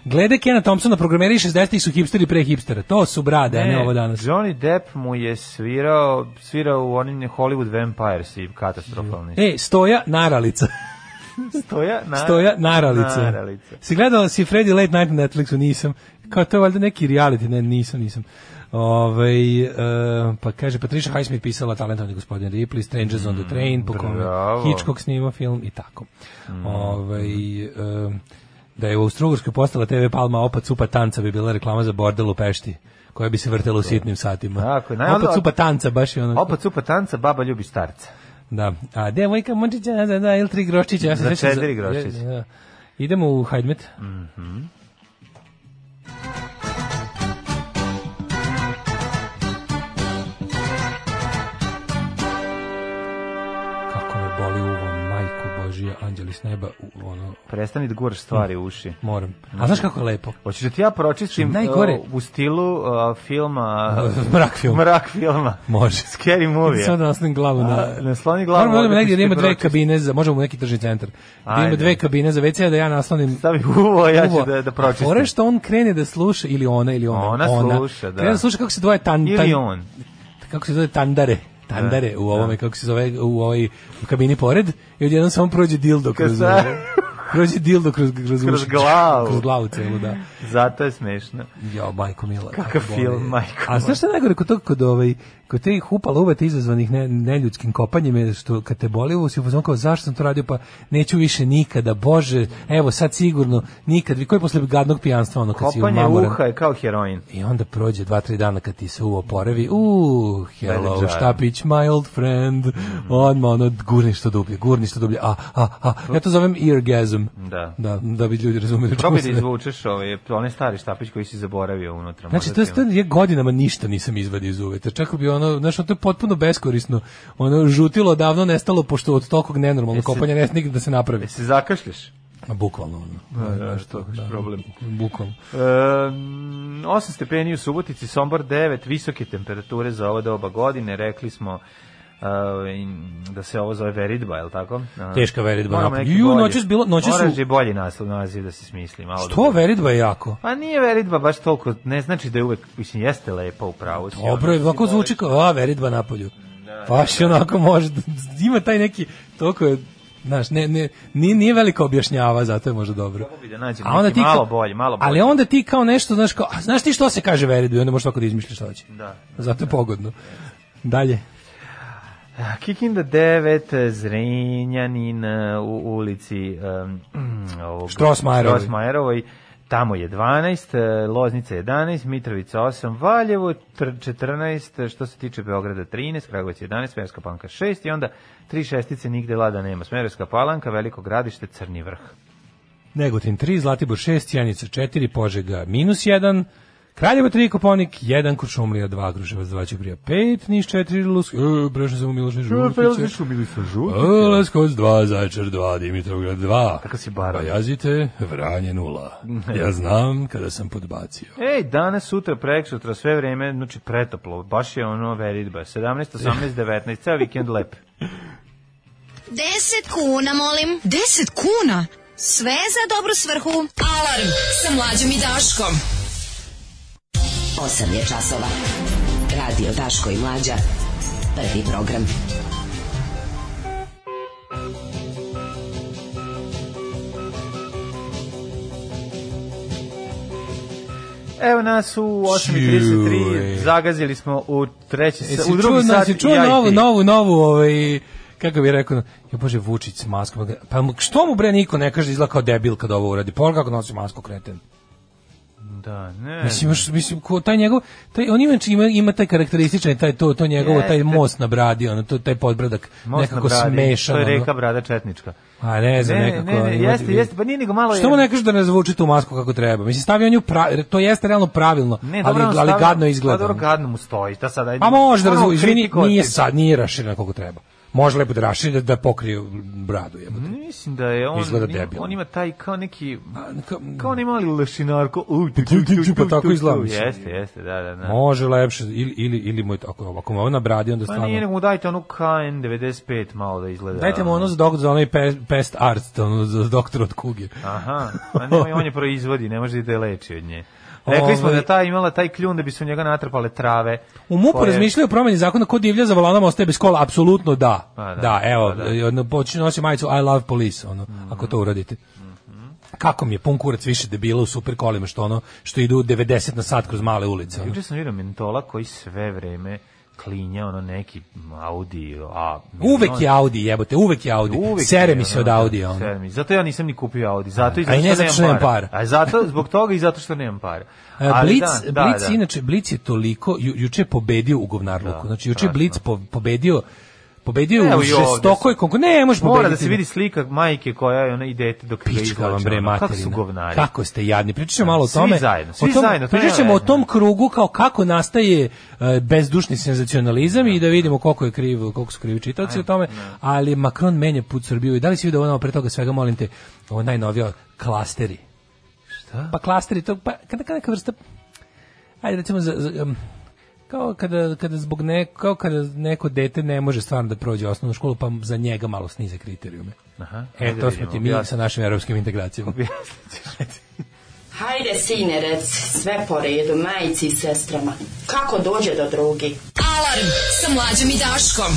[SPEAKER 7] Glede Kena Thompsona, programeri 60-ih su hipsteri pre hipstera. To su brade, a ne ovo danas.
[SPEAKER 6] E, Johnny Depp mu je svirao, svirao u onim Hollywood Vampires i katastrofalni.
[SPEAKER 7] E, stoja naralica.
[SPEAKER 6] stoja, na,
[SPEAKER 7] Stoja naralica.
[SPEAKER 6] naralica.
[SPEAKER 7] Si gledala si Freddy Late Night na Netflixu? Nisam. Kao to je valjda neki reality, ne, nisam, nisam. Ovaj e, pa kaže, Patricia Highsmith pisala talentovni gospodin Ripley, Strangers on the Train, po kome
[SPEAKER 6] Mm, bravo. Mm.
[SPEAKER 7] Hitchcock snimao film i tako. Ovaj e, da je u Austrougarskoj postala TV Palma Opa Cupa Tanca bi bila reklama za bordel u Pešti, koja bi se vrtela u sitnim satima.
[SPEAKER 6] Tako je, naj-
[SPEAKER 7] Opa Cupa Tanca, baš je ono.
[SPEAKER 6] Opa cupa tanca, baba ljubi starca.
[SPEAKER 7] Da. A devojka Mončića, da, da, ili tri groščića. Ja se
[SPEAKER 6] Za
[SPEAKER 7] sećam
[SPEAKER 6] četiri Mhm. groščića.
[SPEAKER 7] Da. Idemo u Hajdmet. Kako me boli uvo, majko Božija, anđeli s neba, u- ono,
[SPEAKER 6] Prestani da guraš stvari u uši.
[SPEAKER 7] moram. A znaš kako je lepo?
[SPEAKER 6] Hoćeš da ti ja pročistim
[SPEAKER 7] Najgore.
[SPEAKER 6] uh, u stilu uh, filma...
[SPEAKER 7] Mrak film.
[SPEAKER 6] Mrak filma.
[SPEAKER 7] Može.
[SPEAKER 6] Scary movie.
[SPEAKER 7] Sad naslim glavu na...
[SPEAKER 6] A, nasloni glavu
[SPEAKER 7] Moramo da
[SPEAKER 6] ovde, ti
[SPEAKER 7] idemo negdje da ima dve
[SPEAKER 6] pročiš.
[SPEAKER 7] kabine, za, možemo u neki tržni centar. Da ima
[SPEAKER 6] Ajde.
[SPEAKER 7] dve kabine za WC, da ja naslonim
[SPEAKER 6] Stavi uvo, ja ću
[SPEAKER 7] Uvo,
[SPEAKER 6] da, da
[SPEAKER 7] a
[SPEAKER 6] pročistim.
[SPEAKER 7] fora je što on krene da sluša, ili ona, ili ona.
[SPEAKER 6] Ona sluša, da.
[SPEAKER 7] Krene da sluša kako se dvoje tan, tan,
[SPEAKER 6] Ili on.
[SPEAKER 7] kako se zove tandare. Tandare u ovome, kako se zove, u ovoj kabini pored. I odjednom samo prođe dildo kroz...
[SPEAKER 6] Sa-
[SPEAKER 7] prođe dildo kroz, kroz,
[SPEAKER 6] Kroz
[SPEAKER 7] uši.
[SPEAKER 6] glavu.
[SPEAKER 7] Kroz glavu celu, da.
[SPEAKER 6] Zato je smešno.
[SPEAKER 7] Jo, majko mila.
[SPEAKER 6] Kakav
[SPEAKER 7] kako
[SPEAKER 6] film,
[SPEAKER 7] boli.
[SPEAKER 6] majko
[SPEAKER 7] A znaš što je najgore kod tog, kod, ovaj, kod te hupala uveta izazvanih ne, neljudskim kopanjem je što kad te boli uvo si upoznan kao zašto sam to radio, pa neću više nikada, bože, evo sad sigurno, nikad, vi koji posle gadnog pijanstva, ono kad si
[SPEAKER 6] Kopanje
[SPEAKER 7] mamoran.
[SPEAKER 6] uha je kao heroin.
[SPEAKER 7] I onda prođe dva, tri dana kad ti se uvo oporavi, uh, hello,
[SPEAKER 6] Velik žar.
[SPEAKER 7] štapić, my old friend,
[SPEAKER 6] Mhm.
[SPEAKER 7] odmah ono, gurni što dublje, gurni što dublje, a, a, a, ja to zovem eargasm.
[SPEAKER 6] Da.
[SPEAKER 7] Da, da bi ljudi razumeli. o čemu
[SPEAKER 6] Probaj da
[SPEAKER 7] se radi.
[SPEAKER 6] izvučeš ovaj, onaj stari štapić koji si zaboravio unutra.
[SPEAKER 7] Znači,
[SPEAKER 6] možda
[SPEAKER 7] to je
[SPEAKER 6] ti ima-
[SPEAKER 7] stvarno, ja godinama ništa nisam izvadio iz uveta. Čak bi ono, znaš, ono, to je potpuno beskorisno. Ono, žutilo davno nestalo, pošto od tokog nenormalnog
[SPEAKER 6] Jesi-
[SPEAKER 7] kopanja ne nikad da se napravi.
[SPEAKER 6] E, Se zakašljaš?
[SPEAKER 7] Ma, bukvalno, ono.
[SPEAKER 6] Da, da, što, da, problem.
[SPEAKER 7] Bukvalno.
[SPEAKER 6] Um, 8 stepeni u Subotici, Sombor 9, visoke temperature za ovo doba godine, rekli smo uh, in- da se ovo zove veridba, je li tako? Uh,
[SPEAKER 7] Teška veridba
[SPEAKER 6] moramo
[SPEAKER 7] napolju.
[SPEAKER 6] neki
[SPEAKER 7] Ju,
[SPEAKER 6] bolji.
[SPEAKER 7] noćas bilo- noćas su-
[SPEAKER 6] Moraš i bolji naslov naziv da se smisli. Malo
[SPEAKER 7] Što,
[SPEAKER 6] da-
[SPEAKER 7] veritba je jako.
[SPEAKER 6] Pa nije veridba baš toliko, ne znači da je uvek, mislim, jeste lepa u pravu. si,
[SPEAKER 7] Dobro,
[SPEAKER 6] ono,
[SPEAKER 7] je,
[SPEAKER 6] simbolično.
[SPEAKER 7] ovako zvuči kao, a, veritba napolju. Pa, Baš je onako može, da- ima taj neki, toliko je, znaš, ne, ne, nije, nije veliko objašnjava, zato je možda dobro.
[SPEAKER 6] Mogu bi da nađem
[SPEAKER 7] A onda
[SPEAKER 6] neki
[SPEAKER 7] ti
[SPEAKER 6] malo
[SPEAKER 7] kao,
[SPEAKER 6] bolji, malo bolji.
[SPEAKER 7] ali onda ti kao nešto, znaš, kao, a, znaš ti što se kaže veritba i onda možeš tako da izmišljaš što hoće.
[SPEAKER 6] Da.
[SPEAKER 7] Zato je pogodno. Dalje.
[SPEAKER 6] Kikinda 9, Zrenjanin e, u ulici um, ovog,
[SPEAKER 7] Strossmayerovoj.
[SPEAKER 6] Strossmayerovoj. Tamo je 12, eh, Loznica 11, Mitrovica 8, Valjevo tr- 14, što se tiče Beograda 13, Kragovac 11, Smerska palanka 6 i onda tri šestice nigde lada nema. Smerska palanka, Veliko gradište, Crni vrh.
[SPEAKER 7] Negotin 3, Zlatibor 6, Cijanica 4, Požega minus 1, Kraljevo 3, Koponik 1, Kuršumlija 2, Gruževac 2, Ćuprija 5, Niš 4, Lusk, e, Brešno sam u Milošni Žutiće, e, Leskovac 2, Zaječar 2, Dimitrovgrad 2,
[SPEAKER 6] Kako si barao.
[SPEAKER 7] Pajazite, Vranje 0, ja znam kada sam podbacio.
[SPEAKER 6] Ej, danas, sutra, prek, sutra, sve vreme, znači pretoplo, baš je ono veridba. 17, 18, 19, ceo vikend lep.
[SPEAKER 5] 10 kuna, molim. 10 kuna? Sve za dobru svrhu. Alarm sa mlađom i Daškom.
[SPEAKER 10] 8 je časova. Radio Daško i Mlađa. Prvi program.
[SPEAKER 6] Evo nas u 8.33,
[SPEAKER 7] Čuj.
[SPEAKER 6] zagazili smo u treći sat,
[SPEAKER 7] Jesi
[SPEAKER 6] u drugi
[SPEAKER 7] čuo,
[SPEAKER 6] sat
[SPEAKER 7] jesi čuo
[SPEAKER 6] ja i
[SPEAKER 7] novu,
[SPEAKER 6] ti.
[SPEAKER 7] novu, novu, ovaj, kako bi rekao, ja bože Vučić s maskom, pa mu- što mu bre niko ne kaže izgleda kao debil kad ovo uradi, pa on kako nosi masku kreten.
[SPEAKER 6] Da, ne.
[SPEAKER 7] Mislim, imaš, mislim, ko, taj njegov, taj, on ima, ima, ima taj karakterističan, taj to, to njegovo, taj
[SPEAKER 6] Jeste.
[SPEAKER 7] most na bradi, ono, to, taj podbradak,
[SPEAKER 6] Most
[SPEAKER 7] nekako
[SPEAKER 6] na bradi,
[SPEAKER 7] smešan.
[SPEAKER 6] To je
[SPEAKER 7] ono.
[SPEAKER 6] reka brada Četnička.
[SPEAKER 7] A ne znam,
[SPEAKER 6] Ne, ne,
[SPEAKER 7] nekako.
[SPEAKER 6] ne, ne,
[SPEAKER 7] ima-
[SPEAKER 6] jeste, jeste, pa nije nego malo...
[SPEAKER 7] Što mu ne kažeš da ne zvuči tu masku kako treba? Mislim, stavio on nju pra- to jeste realno pravilno,
[SPEAKER 6] Ne,
[SPEAKER 7] ali,
[SPEAKER 6] dobro, on
[SPEAKER 7] ali
[SPEAKER 6] stavlja-
[SPEAKER 7] gadno
[SPEAKER 6] Pa
[SPEAKER 7] izgleda.
[SPEAKER 6] dobro, gadno mu stoji, da sad... ajde-
[SPEAKER 7] Pa može da
[SPEAKER 6] Ono,
[SPEAKER 7] razvuče, izvini,
[SPEAKER 6] kritikovati-
[SPEAKER 7] nije sad, nije raširena koliko treba. Može lepo da raširi, da, da pokrije bradu. jebote.
[SPEAKER 6] Mislim da je on,
[SPEAKER 7] Izgleda
[SPEAKER 6] ima-
[SPEAKER 7] debilno.
[SPEAKER 6] on ima taj kao neki,
[SPEAKER 7] A, ka-
[SPEAKER 6] kao onaj mali lešinarko. Uj, tu,
[SPEAKER 7] tu, tu, pa tako
[SPEAKER 6] tu.
[SPEAKER 7] izgleda, mislim.
[SPEAKER 6] Jeste, jeste, da, da, da.
[SPEAKER 7] Može lepše, ili, ili, ili mu je tako, ako mu je ovo na bradi, onda
[SPEAKER 6] Pa
[SPEAKER 7] stvarno...
[SPEAKER 6] nije, nego mu dajte onu KN95 malo da izgleda.
[SPEAKER 7] Dajte mu ono za, dok, za onaj pe, pest art, ono za doktor od kuge.
[SPEAKER 6] Aha, a nema, on je proizvodi, ne može da je leči od nje. Rekli smo
[SPEAKER 7] Ovaj-
[SPEAKER 6] da ta imala taj kljun da bi se u njega natrpale trave.
[SPEAKER 7] U MUP-u
[SPEAKER 6] koje-
[SPEAKER 7] razmišljaju o promeni zakona ko divlja za volanom ostaje bez kola, apsolutno da.
[SPEAKER 6] Pa
[SPEAKER 7] Da,
[SPEAKER 6] da,
[SPEAKER 7] evo,
[SPEAKER 6] pa da.
[SPEAKER 7] i ono, počinje nosi majicu I love police, ono, ako to uradite. Mhm. Kako mi je pun kurac više debila u super kolima što ono što idu 90 na sat kroz male ulice. Ono.
[SPEAKER 6] Juče sam vidio mentola koji sve vreme klinja ono neki Audi a
[SPEAKER 7] Uvek
[SPEAKER 6] ono-
[SPEAKER 7] je Audi, jebote, uvek je Audi.
[SPEAKER 6] Uvek
[SPEAKER 7] Sere
[SPEAKER 6] je,
[SPEAKER 7] mi
[SPEAKER 6] ono,
[SPEAKER 7] se od Audija. Ono.
[SPEAKER 6] Sere mi. Zato ja nisam ni kupio Audi. Zato i
[SPEAKER 7] A i ne zato što nemam para.
[SPEAKER 6] A zato, zbog toga i zato što nemam para.
[SPEAKER 7] E,
[SPEAKER 6] Ali
[SPEAKER 7] Blic,
[SPEAKER 6] da,
[SPEAKER 7] Blic
[SPEAKER 6] da,
[SPEAKER 7] je
[SPEAKER 6] da.
[SPEAKER 7] inače Blic je toliko ju, juče je pobedio u govnarluku.
[SPEAKER 6] Da,
[SPEAKER 7] znači juče je
[SPEAKER 6] strašno.
[SPEAKER 7] Blic po, pobedio pobedio je
[SPEAKER 6] Evo
[SPEAKER 7] u
[SPEAKER 6] i ovde
[SPEAKER 7] žestokoj konku. Ne, možeš pobediti.
[SPEAKER 6] Mora da se vidi slika majke koja je ona i dete dok ga
[SPEAKER 7] Pička vam bre
[SPEAKER 6] izlače. ono. Kako su
[SPEAKER 7] materina.
[SPEAKER 6] govnari.
[SPEAKER 7] Kako ste jadni. Pričat ćemo malo o
[SPEAKER 6] Svi
[SPEAKER 7] tome.
[SPEAKER 6] zajedno, svi
[SPEAKER 7] o tom,
[SPEAKER 6] zajedno, to
[SPEAKER 7] Pričat
[SPEAKER 6] nema
[SPEAKER 7] ćemo o
[SPEAKER 6] veze.
[SPEAKER 7] tom krugu kao kako nastaje e, bezdušni senzacionalizam i da vidimo koliko je kriv, koliko su krivi čitaoci o tome. Ali Macron menja put Srbiju i da li si vidio ono pre toga svega, molim te, ovo najnovija klasteri.
[SPEAKER 6] Šta?
[SPEAKER 7] Pa klasteri, to, pa kada, kada neka vrsta, ajde recimo za, za, em, kao kada, kada zbog neko, kao kada neko dete ne može stvarno da prođe osnovnu školu, pa za njega malo snize kriterijume.
[SPEAKER 6] Aha.
[SPEAKER 7] E,
[SPEAKER 6] Ajde
[SPEAKER 7] to smo
[SPEAKER 6] vidimo,
[SPEAKER 7] ti mi
[SPEAKER 6] objasni.
[SPEAKER 7] sa našim evropskim integracijama.
[SPEAKER 10] Hajde, sinerec, sve po redu, majici i sestrama. Kako dođe do drugi?
[SPEAKER 5] Alarm sa mlađom i Daškom.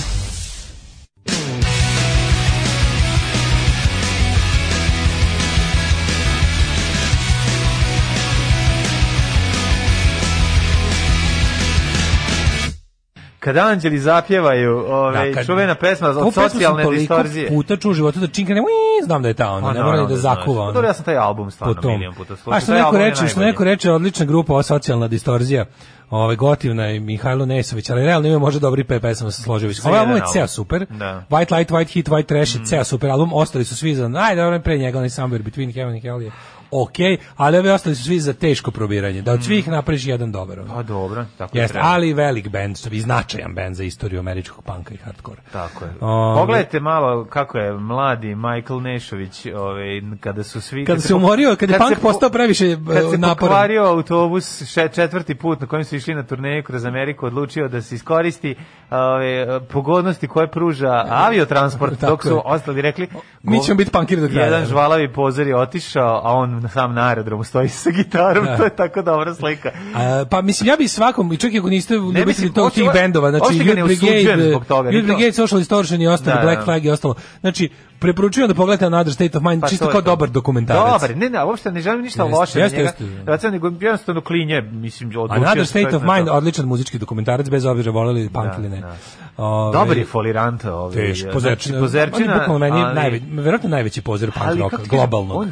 [SPEAKER 6] Kada anđeli zapjevaju ove,
[SPEAKER 7] Da, kad-
[SPEAKER 6] Ovaj, čuvena pesma
[SPEAKER 7] Ovu
[SPEAKER 6] od
[SPEAKER 7] pesmu sam
[SPEAKER 6] socijalne
[SPEAKER 7] toliko
[SPEAKER 6] distorzije.
[SPEAKER 7] puta čuo u životu da činkane, uii, znam da je ta ona, Pa ne mora
[SPEAKER 6] Pa naravno
[SPEAKER 7] ni da zakuva
[SPEAKER 6] znaš. Pa
[SPEAKER 7] ona.
[SPEAKER 6] Dobro, ja sam taj album
[SPEAKER 7] po
[SPEAKER 6] stvarno
[SPEAKER 7] tom.
[SPEAKER 6] milion puta slušao.
[SPEAKER 7] A što
[SPEAKER 6] Taj
[SPEAKER 7] neko
[SPEAKER 6] album je
[SPEAKER 7] reče, što
[SPEAKER 6] najbolji.
[SPEAKER 7] neko reče, odlična grupa, ova socijalna distorzija. Ove gotivna je Mihajlo Nesović, ali realno ima možda dobri pe pesama sa Složević.
[SPEAKER 6] Za
[SPEAKER 7] Ovaj album je
[SPEAKER 6] jedan
[SPEAKER 7] ceo
[SPEAKER 6] album.
[SPEAKER 7] super.
[SPEAKER 6] Da. Mm.
[SPEAKER 7] White Light, White Heat, White Trash je ceo super album. Ostali su svi za, aj dobro, pre njega, onaj Somewhere Between Heaven and Hell je okej, ali ovi ostali su svi za teško probiranje. Da od svih napraviš jedan dobar. ono.
[SPEAKER 6] Mm. Pa dobro, tako je
[SPEAKER 7] Jeste,
[SPEAKER 6] treba.
[SPEAKER 7] ali velik band, i značajan band za istoriju američkog panka i hardkora.
[SPEAKER 6] Tako je.
[SPEAKER 7] Ove-
[SPEAKER 6] Pogledajte malo kako je mladi Michael Nešović, ovaj kada su svi
[SPEAKER 7] Kad se umorio, kad je punk
[SPEAKER 6] se po-
[SPEAKER 7] postao previše e,
[SPEAKER 6] Kad se
[SPEAKER 7] naporan.
[SPEAKER 6] pokvario autobus še, četvrti put na kojem su išli na turneju kroz Ameriku, odlučio da se iskoristi ove, pogodnosti koje pruža aviotransport,
[SPEAKER 7] Tako
[SPEAKER 6] dok su
[SPEAKER 7] je.
[SPEAKER 6] ostali rekli
[SPEAKER 7] Mi
[SPEAKER 6] go-
[SPEAKER 7] ćemo biti punkiri do kraja.
[SPEAKER 6] Jedan žvalavi pozor je otišao, a on sam na aerodromu stoji sa gitarom, to je tako dobra slika.
[SPEAKER 7] A, pa mislim ja bi svakom i čak i ako niste ljubitelji
[SPEAKER 6] mislim,
[SPEAKER 7] tog
[SPEAKER 6] uopšte-
[SPEAKER 7] tih bendova, znači
[SPEAKER 6] uopšte ga ne
[SPEAKER 7] Youth
[SPEAKER 6] osuđujem
[SPEAKER 7] Brigade,
[SPEAKER 6] zbog toga, ni
[SPEAKER 7] Youth
[SPEAKER 6] to.
[SPEAKER 7] Brigade, Social Distortion i ostalo,
[SPEAKER 6] Da,
[SPEAKER 7] Black
[SPEAKER 6] da.
[SPEAKER 7] Flag i ostalo. Znači preporučujem da pogledate Another State of Mind
[SPEAKER 6] Pa
[SPEAKER 7] čisto
[SPEAKER 6] to je
[SPEAKER 7] kao
[SPEAKER 6] to.
[SPEAKER 7] dobar dokumentarac.
[SPEAKER 6] Dobar, ne, ne, uopšte ne želim ništa
[SPEAKER 7] Jeste,
[SPEAKER 6] loše
[SPEAKER 7] jeste,
[SPEAKER 6] na njega.
[SPEAKER 7] jeste, da.
[SPEAKER 6] Recimo, nego jednostavno klinje, mislim, odlučio
[SPEAKER 7] Another
[SPEAKER 6] se čovjek
[SPEAKER 7] State of
[SPEAKER 6] na to.
[SPEAKER 7] Mind ovaj, odličan muzički dokumentarac bez obzira voleli punk
[SPEAKER 6] Da,
[SPEAKER 7] ili ne.
[SPEAKER 6] da.
[SPEAKER 7] Ovaj,
[SPEAKER 6] Dobar je folirant ovaj.
[SPEAKER 7] Teško,
[SPEAKER 6] znači,
[SPEAKER 7] pozerčina.
[SPEAKER 6] pozerčina,
[SPEAKER 7] on je bukvalno meni
[SPEAKER 6] ali-
[SPEAKER 7] najveći, verovatno najveći pozor punk
[SPEAKER 6] ali
[SPEAKER 7] roka,
[SPEAKER 6] kako ti kažem,
[SPEAKER 7] globalnog.
[SPEAKER 6] on-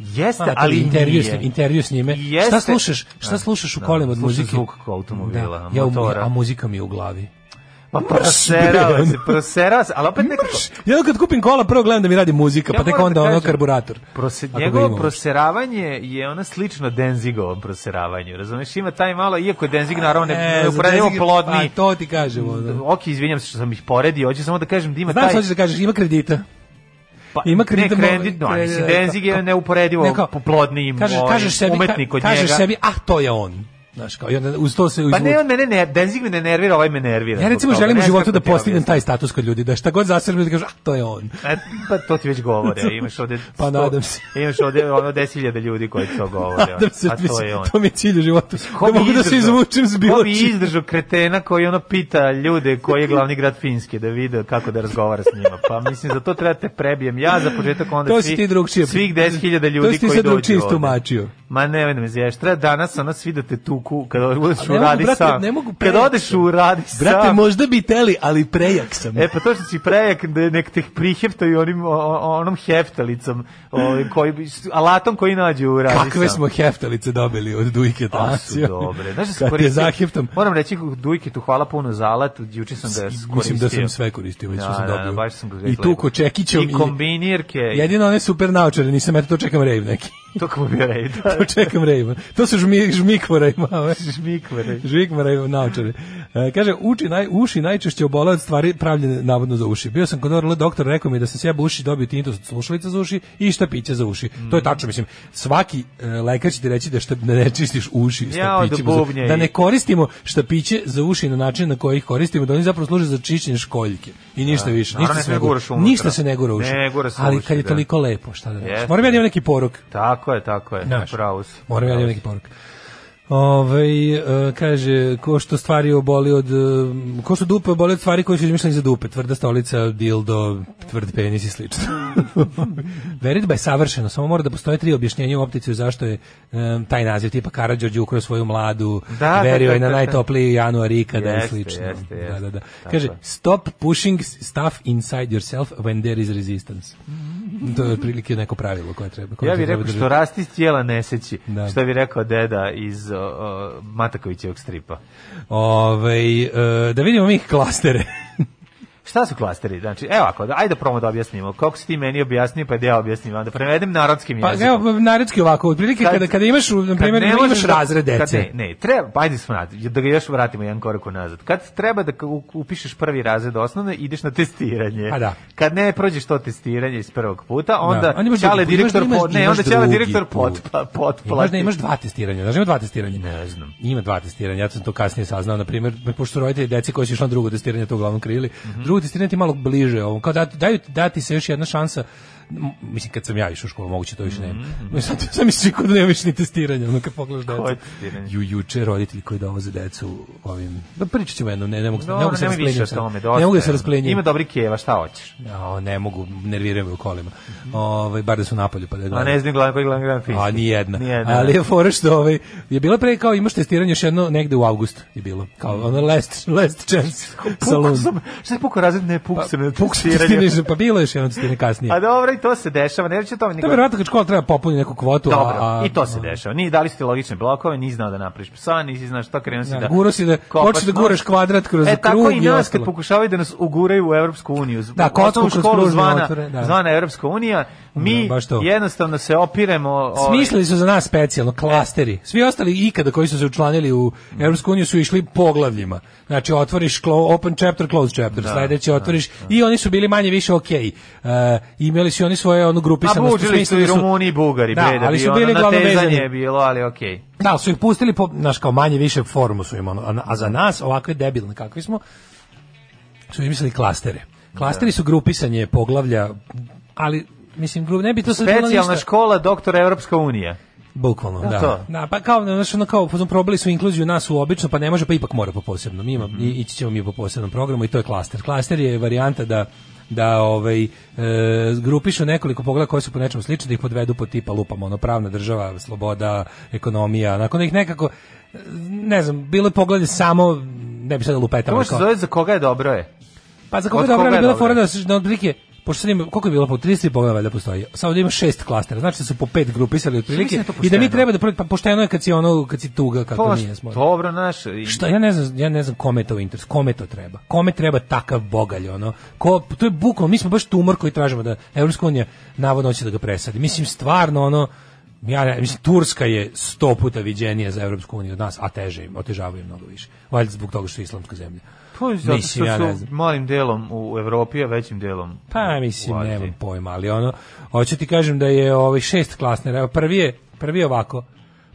[SPEAKER 6] Jeste,
[SPEAKER 7] Znate,
[SPEAKER 6] ali
[SPEAKER 7] intervju s
[SPEAKER 6] nije.
[SPEAKER 7] njim, intervju s njime.
[SPEAKER 6] Jeste.
[SPEAKER 7] Šta slušaš? Šta
[SPEAKER 6] Da,
[SPEAKER 7] slušaš u
[SPEAKER 6] da,
[SPEAKER 7] kolima od
[SPEAKER 6] slušam
[SPEAKER 7] muzike?
[SPEAKER 6] zvuk kao automobila,
[SPEAKER 7] Da, ja, u-
[SPEAKER 6] motora.
[SPEAKER 7] a muzika mi je u glavi.
[SPEAKER 6] Pa proserao
[SPEAKER 7] Mrš,
[SPEAKER 6] se, proserao se, ali opet nekako...
[SPEAKER 7] Ja kad kupim kola, prvo gledam da mi radi muzika,
[SPEAKER 6] Ja
[SPEAKER 7] pa tek
[SPEAKER 6] moram
[SPEAKER 7] onda
[SPEAKER 6] da
[SPEAKER 7] ono
[SPEAKER 6] kažem,
[SPEAKER 7] karburator.
[SPEAKER 6] Prose,
[SPEAKER 7] Ako ga
[SPEAKER 6] njegovo
[SPEAKER 7] imamo.
[SPEAKER 6] proseravanje je ono slično Denzigovom proseravanju, razumeš? Ima taj malo, iako je Denzig naravno ne,
[SPEAKER 7] E,
[SPEAKER 6] ne,
[SPEAKER 7] za
[SPEAKER 6] uporedivo
[SPEAKER 7] Jessica-
[SPEAKER 6] plodni.
[SPEAKER 7] Pa, to ti kažem. Ono.
[SPEAKER 6] Ok, izvinjam se što sam ih poredio, hoću samo da kažem da ima
[SPEAKER 7] Znam
[SPEAKER 6] taj...
[SPEAKER 7] što hoćeš da kažeš, ima kredita.
[SPEAKER 6] Pa,
[SPEAKER 7] Ima kredit,
[SPEAKER 6] ne, kredit, no,
[SPEAKER 7] mo-
[SPEAKER 6] mislim,
[SPEAKER 7] kredit,
[SPEAKER 6] Denzig je
[SPEAKER 7] kao-
[SPEAKER 6] neuporedivo
[SPEAKER 7] Ne, kao-
[SPEAKER 6] plodniji
[SPEAKER 7] Kažeš,
[SPEAKER 6] ovaj,
[SPEAKER 7] kažeš sebi,
[SPEAKER 6] umetnik
[SPEAKER 7] ka,
[SPEAKER 6] od
[SPEAKER 7] kažeš
[SPEAKER 6] njega.
[SPEAKER 7] sebi, ah, to je on. Znaš, kao, i onda uz to se
[SPEAKER 6] Pa
[SPEAKER 7] izvuče.
[SPEAKER 6] ne, on mene ne, Denzig me ne nervira, ovaj me nervira.
[SPEAKER 7] Ja
[SPEAKER 6] zbog
[SPEAKER 7] recimo
[SPEAKER 6] toga,
[SPEAKER 7] želim u
[SPEAKER 6] ne znam
[SPEAKER 7] životu
[SPEAKER 6] kako
[SPEAKER 7] da
[SPEAKER 6] ti
[SPEAKER 7] postignem
[SPEAKER 6] objasnim.
[SPEAKER 7] taj status kod ljudi, da šta god zasrbim da kažu, ah, to je on.
[SPEAKER 6] E, pa to ti već govore, imaš ovde... sto-
[SPEAKER 7] Pa nadam se.
[SPEAKER 6] Imaš ovde ono 10.000 ljudi koji to govore.
[SPEAKER 7] Nadam se,
[SPEAKER 6] a to je
[SPEAKER 7] mislim,
[SPEAKER 6] on.
[SPEAKER 7] to mi je cilj u životu.
[SPEAKER 6] Ko
[SPEAKER 7] Da
[SPEAKER 6] bi
[SPEAKER 7] mogu da se
[SPEAKER 6] izdržao-
[SPEAKER 7] izvučem s
[SPEAKER 6] Ko
[SPEAKER 7] bilo
[SPEAKER 6] bi
[SPEAKER 7] čim.
[SPEAKER 6] izdržao kretena koji ono pita ljude koji je glavni grad Finske da vide kako da razgovara s njima. Pa mislim, za to trebate prebijem ja za početak onda
[SPEAKER 7] To
[SPEAKER 6] svi,
[SPEAKER 7] si ti drugčije.
[SPEAKER 6] svih 10.000
[SPEAKER 7] to
[SPEAKER 6] ljudi
[SPEAKER 7] si ti
[SPEAKER 6] koji
[SPEAKER 7] sad
[SPEAKER 6] dođu
[SPEAKER 7] drugčije
[SPEAKER 6] ovde.
[SPEAKER 7] istumačio.
[SPEAKER 6] Ma ne, ne me zješ. Treba danas ona svi da te tuku kada odeš
[SPEAKER 7] A
[SPEAKER 6] u
[SPEAKER 7] ne mogu,
[SPEAKER 6] radi
[SPEAKER 7] brate,
[SPEAKER 6] sam.
[SPEAKER 7] ne mogu
[SPEAKER 6] kada
[SPEAKER 7] prejak
[SPEAKER 6] odeš
[SPEAKER 7] sam.
[SPEAKER 6] u radi
[SPEAKER 7] Brate,
[SPEAKER 6] sam.
[SPEAKER 7] možda bi teli, ali prejak sam.
[SPEAKER 6] E pa to što si prejak, da nek te priheftaju onim, o- o- onom heftalicom, ovaj, koji, bi- alatom koji nađe u radi
[SPEAKER 7] Kakve
[SPEAKER 6] sam.
[SPEAKER 7] smo heftalice dobili od Dujke
[SPEAKER 6] A su
[SPEAKER 7] Tasio.
[SPEAKER 6] dobre. Znaš da sam
[SPEAKER 7] Kad je
[SPEAKER 6] koristio-
[SPEAKER 7] zaheftam,
[SPEAKER 6] Moram reći dujke tu hvala puno za alat, juče sam ga koristio.
[SPEAKER 7] mislim da sam sve koristio, već
[SPEAKER 6] Da,
[SPEAKER 7] što sam
[SPEAKER 6] da, da,
[SPEAKER 7] dobio.
[SPEAKER 6] baš sam ga
[SPEAKER 7] I tu ko čekićom
[SPEAKER 6] I kombinirke. Jedin...
[SPEAKER 7] Jedino one super naučare, nisam, eto to čekam rave neki.
[SPEAKER 6] To kako bi rejda.
[SPEAKER 7] to čekam rave. To su žmi, žmikvora i mame.
[SPEAKER 6] Žmikvere.
[SPEAKER 7] Žmikvora i naučare. E, kaže, uči naj, uši najčešće obole od stvari pravljene navodno za uši. Bio sam kod orla doktor, rekao mi da sam sjeba uši dobio tintus od slušalica za uši i štapića za uši. To je
[SPEAKER 6] Mm.
[SPEAKER 7] tačno, mislim. Svaki e, lekar će ti reći da šta, ne čistiš uši
[SPEAKER 6] Jao, da
[SPEAKER 7] štapićima. za-
[SPEAKER 6] bubnje
[SPEAKER 7] da
[SPEAKER 6] i-
[SPEAKER 7] ne koristimo štapiće za uši na način na koji ih koristimo, da oni zapravo služe za čišćenje školjke. I ništa više.
[SPEAKER 6] Naravno,
[SPEAKER 7] Ništa
[SPEAKER 6] ne
[SPEAKER 7] se
[SPEAKER 6] smije
[SPEAKER 7] ne gura,
[SPEAKER 6] guraš unutra.
[SPEAKER 7] ništa se ne gura u uši.
[SPEAKER 6] Ne gura se u
[SPEAKER 7] Ali
[SPEAKER 6] uši,
[SPEAKER 7] kad je
[SPEAKER 6] da.
[SPEAKER 7] toliko lepo, šta da radiš?
[SPEAKER 6] Jeste.
[SPEAKER 7] Moram ja da imam neki poruk.
[SPEAKER 6] Tako je, tako je.
[SPEAKER 7] Znaš,
[SPEAKER 6] Pravo si.
[SPEAKER 7] Moram ja da
[SPEAKER 6] Pravo
[SPEAKER 7] imam neki poruk. Ovaj e, kaže, ko što stvari oboli od, e, ko što dupe oboli od stvari koje su izmišljene za dupe, tvrda stolica, dildo, tvrd penis i slično. Veritba je savršena, samo mora da postoje tri objašnjenja u opticiju zašto je e, taj naziv, tipa Karađorđe ukrao svoju mladu,
[SPEAKER 6] Da, da,
[SPEAKER 7] verio je
[SPEAKER 6] da,
[SPEAKER 7] na
[SPEAKER 6] da,
[SPEAKER 7] najtopliji januar ikada
[SPEAKER 6] Jeste,
[SPEAKER 7] i slično.
[SPEAKER 6] jeste, jeste.
[SPEAKER 7] Da, da, da.
[SPEAKER 6] Tako
[SPEAKER 7] Kaže,
[SPEAKER 6] je.
[SPEAKER 7] stop pushing stuff inside yourself when there is resistance. To je otprilike neko pravilo koje treba. koje
[SPEAKER 6] Ja bih
[SPEAKER 7] treba
[SPEAKER 6] rekao
[SPEAKER 7] držati.
[SPEAKER 6] što rasti iz tijela ne seći,
[SPEAKER 7] Da.
[SPEAKER 6] što bi rekao deda iz o, o, Matakovićevog stripa.
[SPEAKER 7] Ovaj e, da vidimo mi klastere.
[SPEAKER 6] Šta su klasteri? Znači, evo ako, da- ajde da promo da objasnimo. Kako si ti meni objasnio, pa da ja objasnim, onda prevedem narodskim
[SPEAKER 7] Pa
[SPEAKER 6] jezikom.
[SPEAKER 7] evo narodski ovako, otprilike kada kada imaš na
[SPEAKER 6] kad
[SPEAKER 7] primjer
[SPEAKER 6] ne
[SPEAKER 7] imaš
[SPEAKER 6] možeš da-
[SPEAKER 7] razred
[SPEAKER 6] kad
[SPEAKER 7] dece.
[SPEAKER 6] Ne, ne, treba, pa ajde smo nat- da ga još vratimo jedan korak unazad. Kad treba da ka- u- upišeš prvi razred osnovne, ideš na testiranje.
[SPEAKER 7] A Pa da.
[SPEAKER 6] Kad ne prođeš to testiranje iz prvog puta, onda
[SPEAKER 7] onda imaš
[SPEAKER 6] ćale
[SPEAKER 7] drugi put, imaš da
[SPEAKER 6] direktor
[SPEAKER 7] imaš-
[SPEAKER 6] po, ne,
[SPEAKER 7] imaš
[SPEAKER 6] onda ćale
[SPEAKER 7] drugi
[SPEAKER 6] direktor
[SPEAKER 7] put.
[SPEAKER 6] potpa, potplati.
[SPEAKER 7] Imaš da imaš dva testiranja, znaš ima dva testiranja.
[SPEAKER 6] Ne znam.
[SPEAKER 7] Ima dva testiranja, ja sam to kasnije saznao, na primjer, pošto roditelji deci koji su išli na drugo testiranje to uglavnom krili.
[SPEAKER 6] Mhm.
[SPEAKER 7] Drugo testiranje ti je malo bliže ovom, kao da, daju, dati se još jedna šansa, M, mislim kad sam ja išao u školu, moguće to više nema. Sad, sad mi se čini kao da nema više ni testiranja, ono kad pogledaš decu.
[SPEAKER 6] Mhm. Koje testiranje?
[SPEAKER 7] Ju, juče roditelji koji dovoze decu ovim, da pričat ćemo jedno, ne, ne mogu,
[SPEAKER 6] Dobro,
[SPEAKER 7] ne mogu se
[SPEAKER 6] nemoj više
[SPEAKER 7] rasplenjem
[SPEAKER 6] o
[SPEAKER 7] sad.
[SPEAKER 6] tome,
[SPEAKER 7] Ne
[SPEAKER 6] dosta
[SPEAKER 7] mogu da
[SPEAKER 6] je,
[SPEAKER 7] se
[SPEAKER 6] ono.
[SPEAKER 7] rasplenjem.
[SPEAKER 6] Ima dobri keva, šta hoćeš?
[SPEAKER 7] Ja, ne mogu, nerviraju me u kolima. Ovaj bar da su napolju pa da
[SPEAKER 6] Mhm. A
[SPEAKER 7] gledam.
[SPEAKER 6] ne znam glavno koji glavno glavno
[SPEAKER 7] A ni jedna.
[SPEAKER 6] Nijedna.
[SPEAKER 7] Ali je fora što ovaj je bilo pre kao imaš testiranje još jedno negde u avgustu je bilo. Kao ono last last chance
[SPEAKER 6] Pukao
[SPEAKER 7] salon.
[SPEAKER 6] sam, šta je pukao razred, ne pukao sam na
[SPEAKER 7] Puk se
[SPEAKER 6] testiranju.
[SPEAKER 7] testiranje, pa bilo je još jedno testiranje
[SPEAKER 6] A
[SPEAKER 7] kasnije.
[SPEAKER 6] dobro, i to se dešava, ne reći o tome.
[SPEAKER 7] To
[SPEAKER 6] nego-
[SPEAKER 7] je verovatno kad škola treba popuni neku kvotu, a,
[SPEAKER 6] Dobro,
[SPEAKER 7] a
[SPEAKER 6] i to se dešava. Ni dali ste logične blokove, ni znao da napraviš psa, nisi znaš šta krenuo si
[SPEAKER 7] Da,
[SPEAKER 6] da.
[SPEAKER 7] guro si da-
[SPEAKER 6] kopaš
[SPEAKER 7] hoćeš da guraš
[SPEAKER 6] nož.
[SPEAKER 7] kvadrat kroz
[SPEAKER 6] e, tako
[SPEAKER 7] krug
[SPEAKER 6] i
[SPEAKER 7] i
[SPEAKER 6] nas
[SPEAKER 7] ostalo.
[SPEAKER 6] kad pokušavaju da nas uguraju u Evropsku uniju. Z-
[SPEAKER 7] Da, kocku
[SPEAKER 6] osnovnu
[SPEAKER 7] kroz
[SPEAKER 6] školu
[SPEAKER 7] kružne
[SPEAKER 6] zvana,
[SPEAKER 7] otvore, da.
[SPEAKER 6] zvana Evropska unija, mi
[SPEAKER 7] baš to.
[SPEAKER 6] jednostavno se opiremo... ovaj,
[SPEAKER 7] Smislili su za nas specijalno klasteri. Svi ostali ikada koji su se učlanili u Evropsku uniju su išli poglavljima. Znači otvoriš clo- open chapter, close chapter, sledeći otvoriš i oni su bili manje više okej. E, imali su oni svoje ono
[SPEAKER 6] A
[SPEAKER 7] grupisano
[SPEAKER 6] Pa buđili su i Rumuni i Bugari,
[SPEAKER 7] da,
[SPEAKER 6] bre, da
[SPEAKER 7] ali
[SPEAKER 6] bi
[SPEAKER 7] su
[SPEAKER 6] ono
[SPEAKER 7] bili uglavnom
[SPEAKER 6] natezanje je
[SPEAKER 7] vezani.
[SPEAKER 6] bilo, ali okej.
[SPEAKER 7] Da, su ih pustili po, znaš, kao manje više formu su im, ono, a, a za nas, ovakve debilne kakvi smo, su im mislili klastere. Klasteri su grupisanje poglavlja, ali mislim gru- ne bi to sad bilo
[SPEAKER 6] Specijalna
[SPEAKER 7] ništa-
[SPEAKER 6] škola doktora Evropska unija.
[SPEAKER 7] Bukvalno, da.
[SPEAKER 6] to.
[SPEAKER 7] Da, pa kao, znaš, ono kao, fazon, probali su inkluziju nas u obično, pa ne može, pa ipak mora po posebnom. Ima, i, ići ćemo mi po posebnom programu i to je klaster. Klaster je varijanta da da ovaj e, grupišu nekoliko pogleda koji su po nečemu slični da ih podvedu po tipa lupama ono pravna država sloboda ekonomija nakon da ih nekako e, ne znam bilo je poglede samo ne bi sada
[SPEAKER 6] To
[SPEAKER 7] lupetamo
[SPEAKER 6] može se zove za koga je dobro je.
[SPEAKER 7] pa za koga
[SPEAKER 6] Od
[SPEAKER 7] je dobro,
[SPEAKER 6] koga
[SPEAKER 7] ali
[SPEAKER 6] je
[SPEAKER 7] bila
[SPEAKER 6] dobro?
[SPEAKER 7] fora da se da otprilike pošto sad ima, koliko je bilo po 30 poglava da postoji. Samo da ima šest klastera. Znači da su po pet grupisali
[SPEAKER 6] Mislim
[SPEAKER 7] otprilike.
[SPEAKER 6] da je to
[SPEAKER 7] I da mi
[SPEAKER 6] pošteno. Pa
[SPEAKER 7] treba da prođe pa pošteno je kad si ono kad si tuga kako
[SPEAKER 6] To,
[SPEAKER 7] nije smo.
[SPEAKER 6] dobro, znaš, i-
[SPEAKER 7] Šta ja ne znam, ja ne znam kome je to interes, kome to treba. Kome treba takav bogalj ono. Ko to je bukvalno mi smo baš tumor koji tražimo da Evropska unija navodno hoće da ga presadi. Mislim stvarno ono Ja ne, mislim, Turska je sto puta viđenija za Evropsku uniju od nas, a teže im, otežavaju im mnogo više. Valjda zbog toga što je islamska zemlja.
[SPEAKER 6] To je Pa zato što
[SPEAKER 7] Mislim, ja ne
[SPEAKER 6] su
[SPEAKER 7] znam.
[SPEAKER 6] malim delom u Evropi, a većim delom
[SPEAKER 7] Pa
[SPEAKER 6] u
[SPEAKER 7] mislim,
[SPEAKER 6] Aziji.
[SPEAKER 7] nemam pojma, ali ono, hoću ti kažem da je ovaj šest klasnera, evo prvi je, prvi je ovako,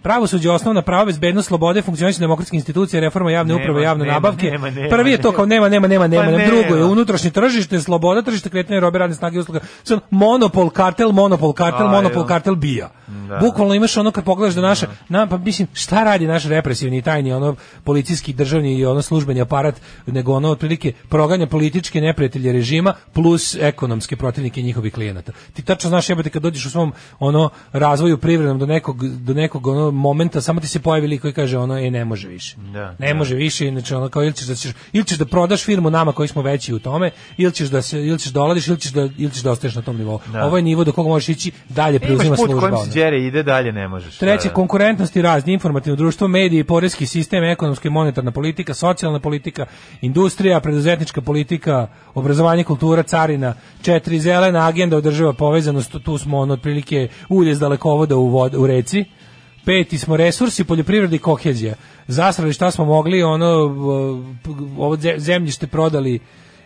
[SPEAKER 7] Pravosuđe je osnovna prava bezbednost slobode, funkcionisanje demokratske institucije, reforma javne
[SPEAKER 6] Nema,
[SPEAKER 7] uprave, javne
[SPEAKER 6] nema,
[SPEAKER 7] nabavke.
[SPEAKER 6] nema, nema,
[SPEAKER 7] Prvi je to kao nema, nema, nema, nema.
[SPEAKER 6] Pa
[SPEAKER 7] nema. Drugo je
[SPEAKER 6] nema.
[SPEAKER 7] unutrašnje tržište, sloboda tržište kretanja robe, radne snage i usluga. Sad, monopol, kartel, monopol, kartel,
[SPEAKER 6] Aj,
[SPEAKER 7] monopol,
[SPEAKER 6] jo.
[SPEAKER 7] kartel bija.
[SPEAKER 6] Da.
[SPEAKER 7] Bukvalno imaš ono kad pogledaš da naša, nam pa mislim šta radi naš represivni i tajni ono policijski državni i ono službeni aparat, nego ono otprilike proganja političke neprijatelje režima plus ekonomske protivnike njihovih klijenata. Ti tačno znaš jebote kad dođeš u svom ono razvoju privrednom do nekog do nekog ono momenta samo ti se pojavi lik koji kaže ono e ne može više.
[SPEAKER 6] Da,
[SPEAKER 7] ne može više, inače ono kao ili ćeš da ćeš ili ćeš da prodaš firmu nama koji smo veći u tome, ili ćeš da se ili ćeš da oladiš, ili ćeš da ili ćeš da ostaneš na tom nivou.
[SPEAKER 6] Da.
[SPEAKER 7] Ovo je nivo do kog možeš ići dalje
[SPEAKER 6] Pa Imaš
[SPEAKER 7] preuzima
[SPEAKER 6] put
[SPEAKER 7] služba.
[SPEAKER 6] kojim
[SPEAKER 7] ono.
[SPEAKER 6] se đere ide, dalje ne možeš.
[SPEAKER 7] Treće,
[SPEAKER 6] Da, da.
[SPEAKER 7] konkurentnost i razni, informativno društvo, mediji, poreski sistem, ekonomska i monetarna politika, socijalna politika, industrija, preduzetnička politika, obrazovanje, kultura, carina, četiri zelena agenda održava povezanost, tu smo ono otprilike ulje s dalekovoda u, vod, u reci, peti smo resursi, poljoprivreda i kohezija. Zasrali šta smo mogli, ono, ovo ze- zemljište prodali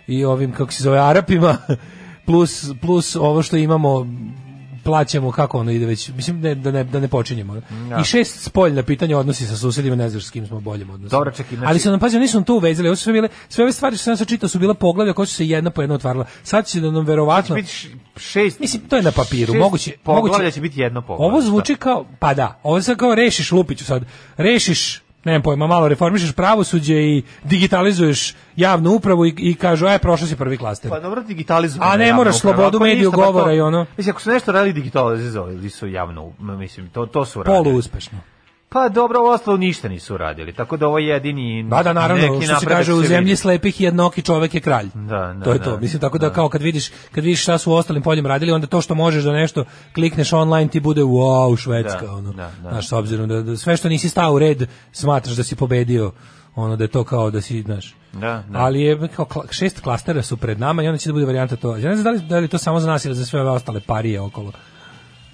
[SPEAKER 7] i ovim, kako se zove, Arapima, plus, plus ovo što imamo plaćamo kako ono ide već mislim ne, da ne da ne počinjemo i šest spoljna pitanja odnosi sa susedima ne znaš s kim smo u boljem odnosu
[SPEAKER 6] Dobro, čekaj, znači-
[SPEAKER 7] ali su nam pazi nisu nam to uvezali ovo su sve bile sve ove stvari što sam sad čitao su bila poglavlja koja su se jedna po jedna otvarala sad će da nam verovatno
[SPEAKER 6] Biti š- šest...
[SPEAKER 7] Mislim, to je na papiru,
[SPEAKER 6] Znači, šest
[SPEAKER 7] moguće-
[SPEAKER 6] Poglavlja
[SPEAKER 7] moguće-
[SPEAKER 6] će biti jedno poglavlje.
[SPEAKER 7] ovo zvuči kao pa da ovo sad kao rešiš lupiću sad rešiš nemam pojma, malo reformišeš pravosuđe i digitalizuješ javnu upravu i, i kažu, aj, prošao si prvi klaster.
[SPEAKER 6] Pa dobro, digitalizovano.
[SPEAKER 7] A ne
[SPEAKER 6] je javna
[SPEAKER 7] moraš
[SPEAKER 6] uprava.
[SPEAKER 7] slobodu
[SPEAKER 6] Ako
[SPEAKER 7] mediju
[SPEAKER 6] ništa, pa
[SPEAKER 7] govora
[SPEAKER 6] to-
[SPEAKER 7] i ono.
[SPEAKER 6] Mislim, ako su nešto radili digitalizovali su javno, m, mislim, to, to su radili.
[SPEAKER 7] Polu uspešno.
[SPEAKER 6] Pa dobro, u ostalo ništa nisu radili, tako da ovo je jedini
[SPEAKER 7] Da, da, naravno,
[SPEAKER 6] neki
[SPEAKER 7] što se
[SPEAKER 6] napredak
[SPEAKER 7] kaže, u
[SPEAKER 6] vidi.
[SPEAKER 7] zemlji slepih jednoki čovek je kralj.
[SPEAKER 6] Da, da,
[SPEAKER 7] to je
[SPEAKER 6] da.
[SPEAKER 7] to. Mislim, tako da, kao kad vidiš, kad vidiš šta su u ostalim poljem radili, onda to što možeš da nešto klikneš online ti bude wow, švedska,
[SPEAKER 6] Da,
[SPEAKER 7] ono.
[SPEAKER 6] da, da.
[SPEAKER 7] Znaš, s obzirom da, da sve što nisi stao u red, smatraš da si pobedio, ono, da je to kao da si, znaš.
[SPEAKER 6] Da, da.
[SPEAKER 7] Ali je kao kla- šest klastera su pred nama i onda će da bude varijanta to. Ja ne znam da li, da li je to samo za nas ili za sve ove ostale parije okolo.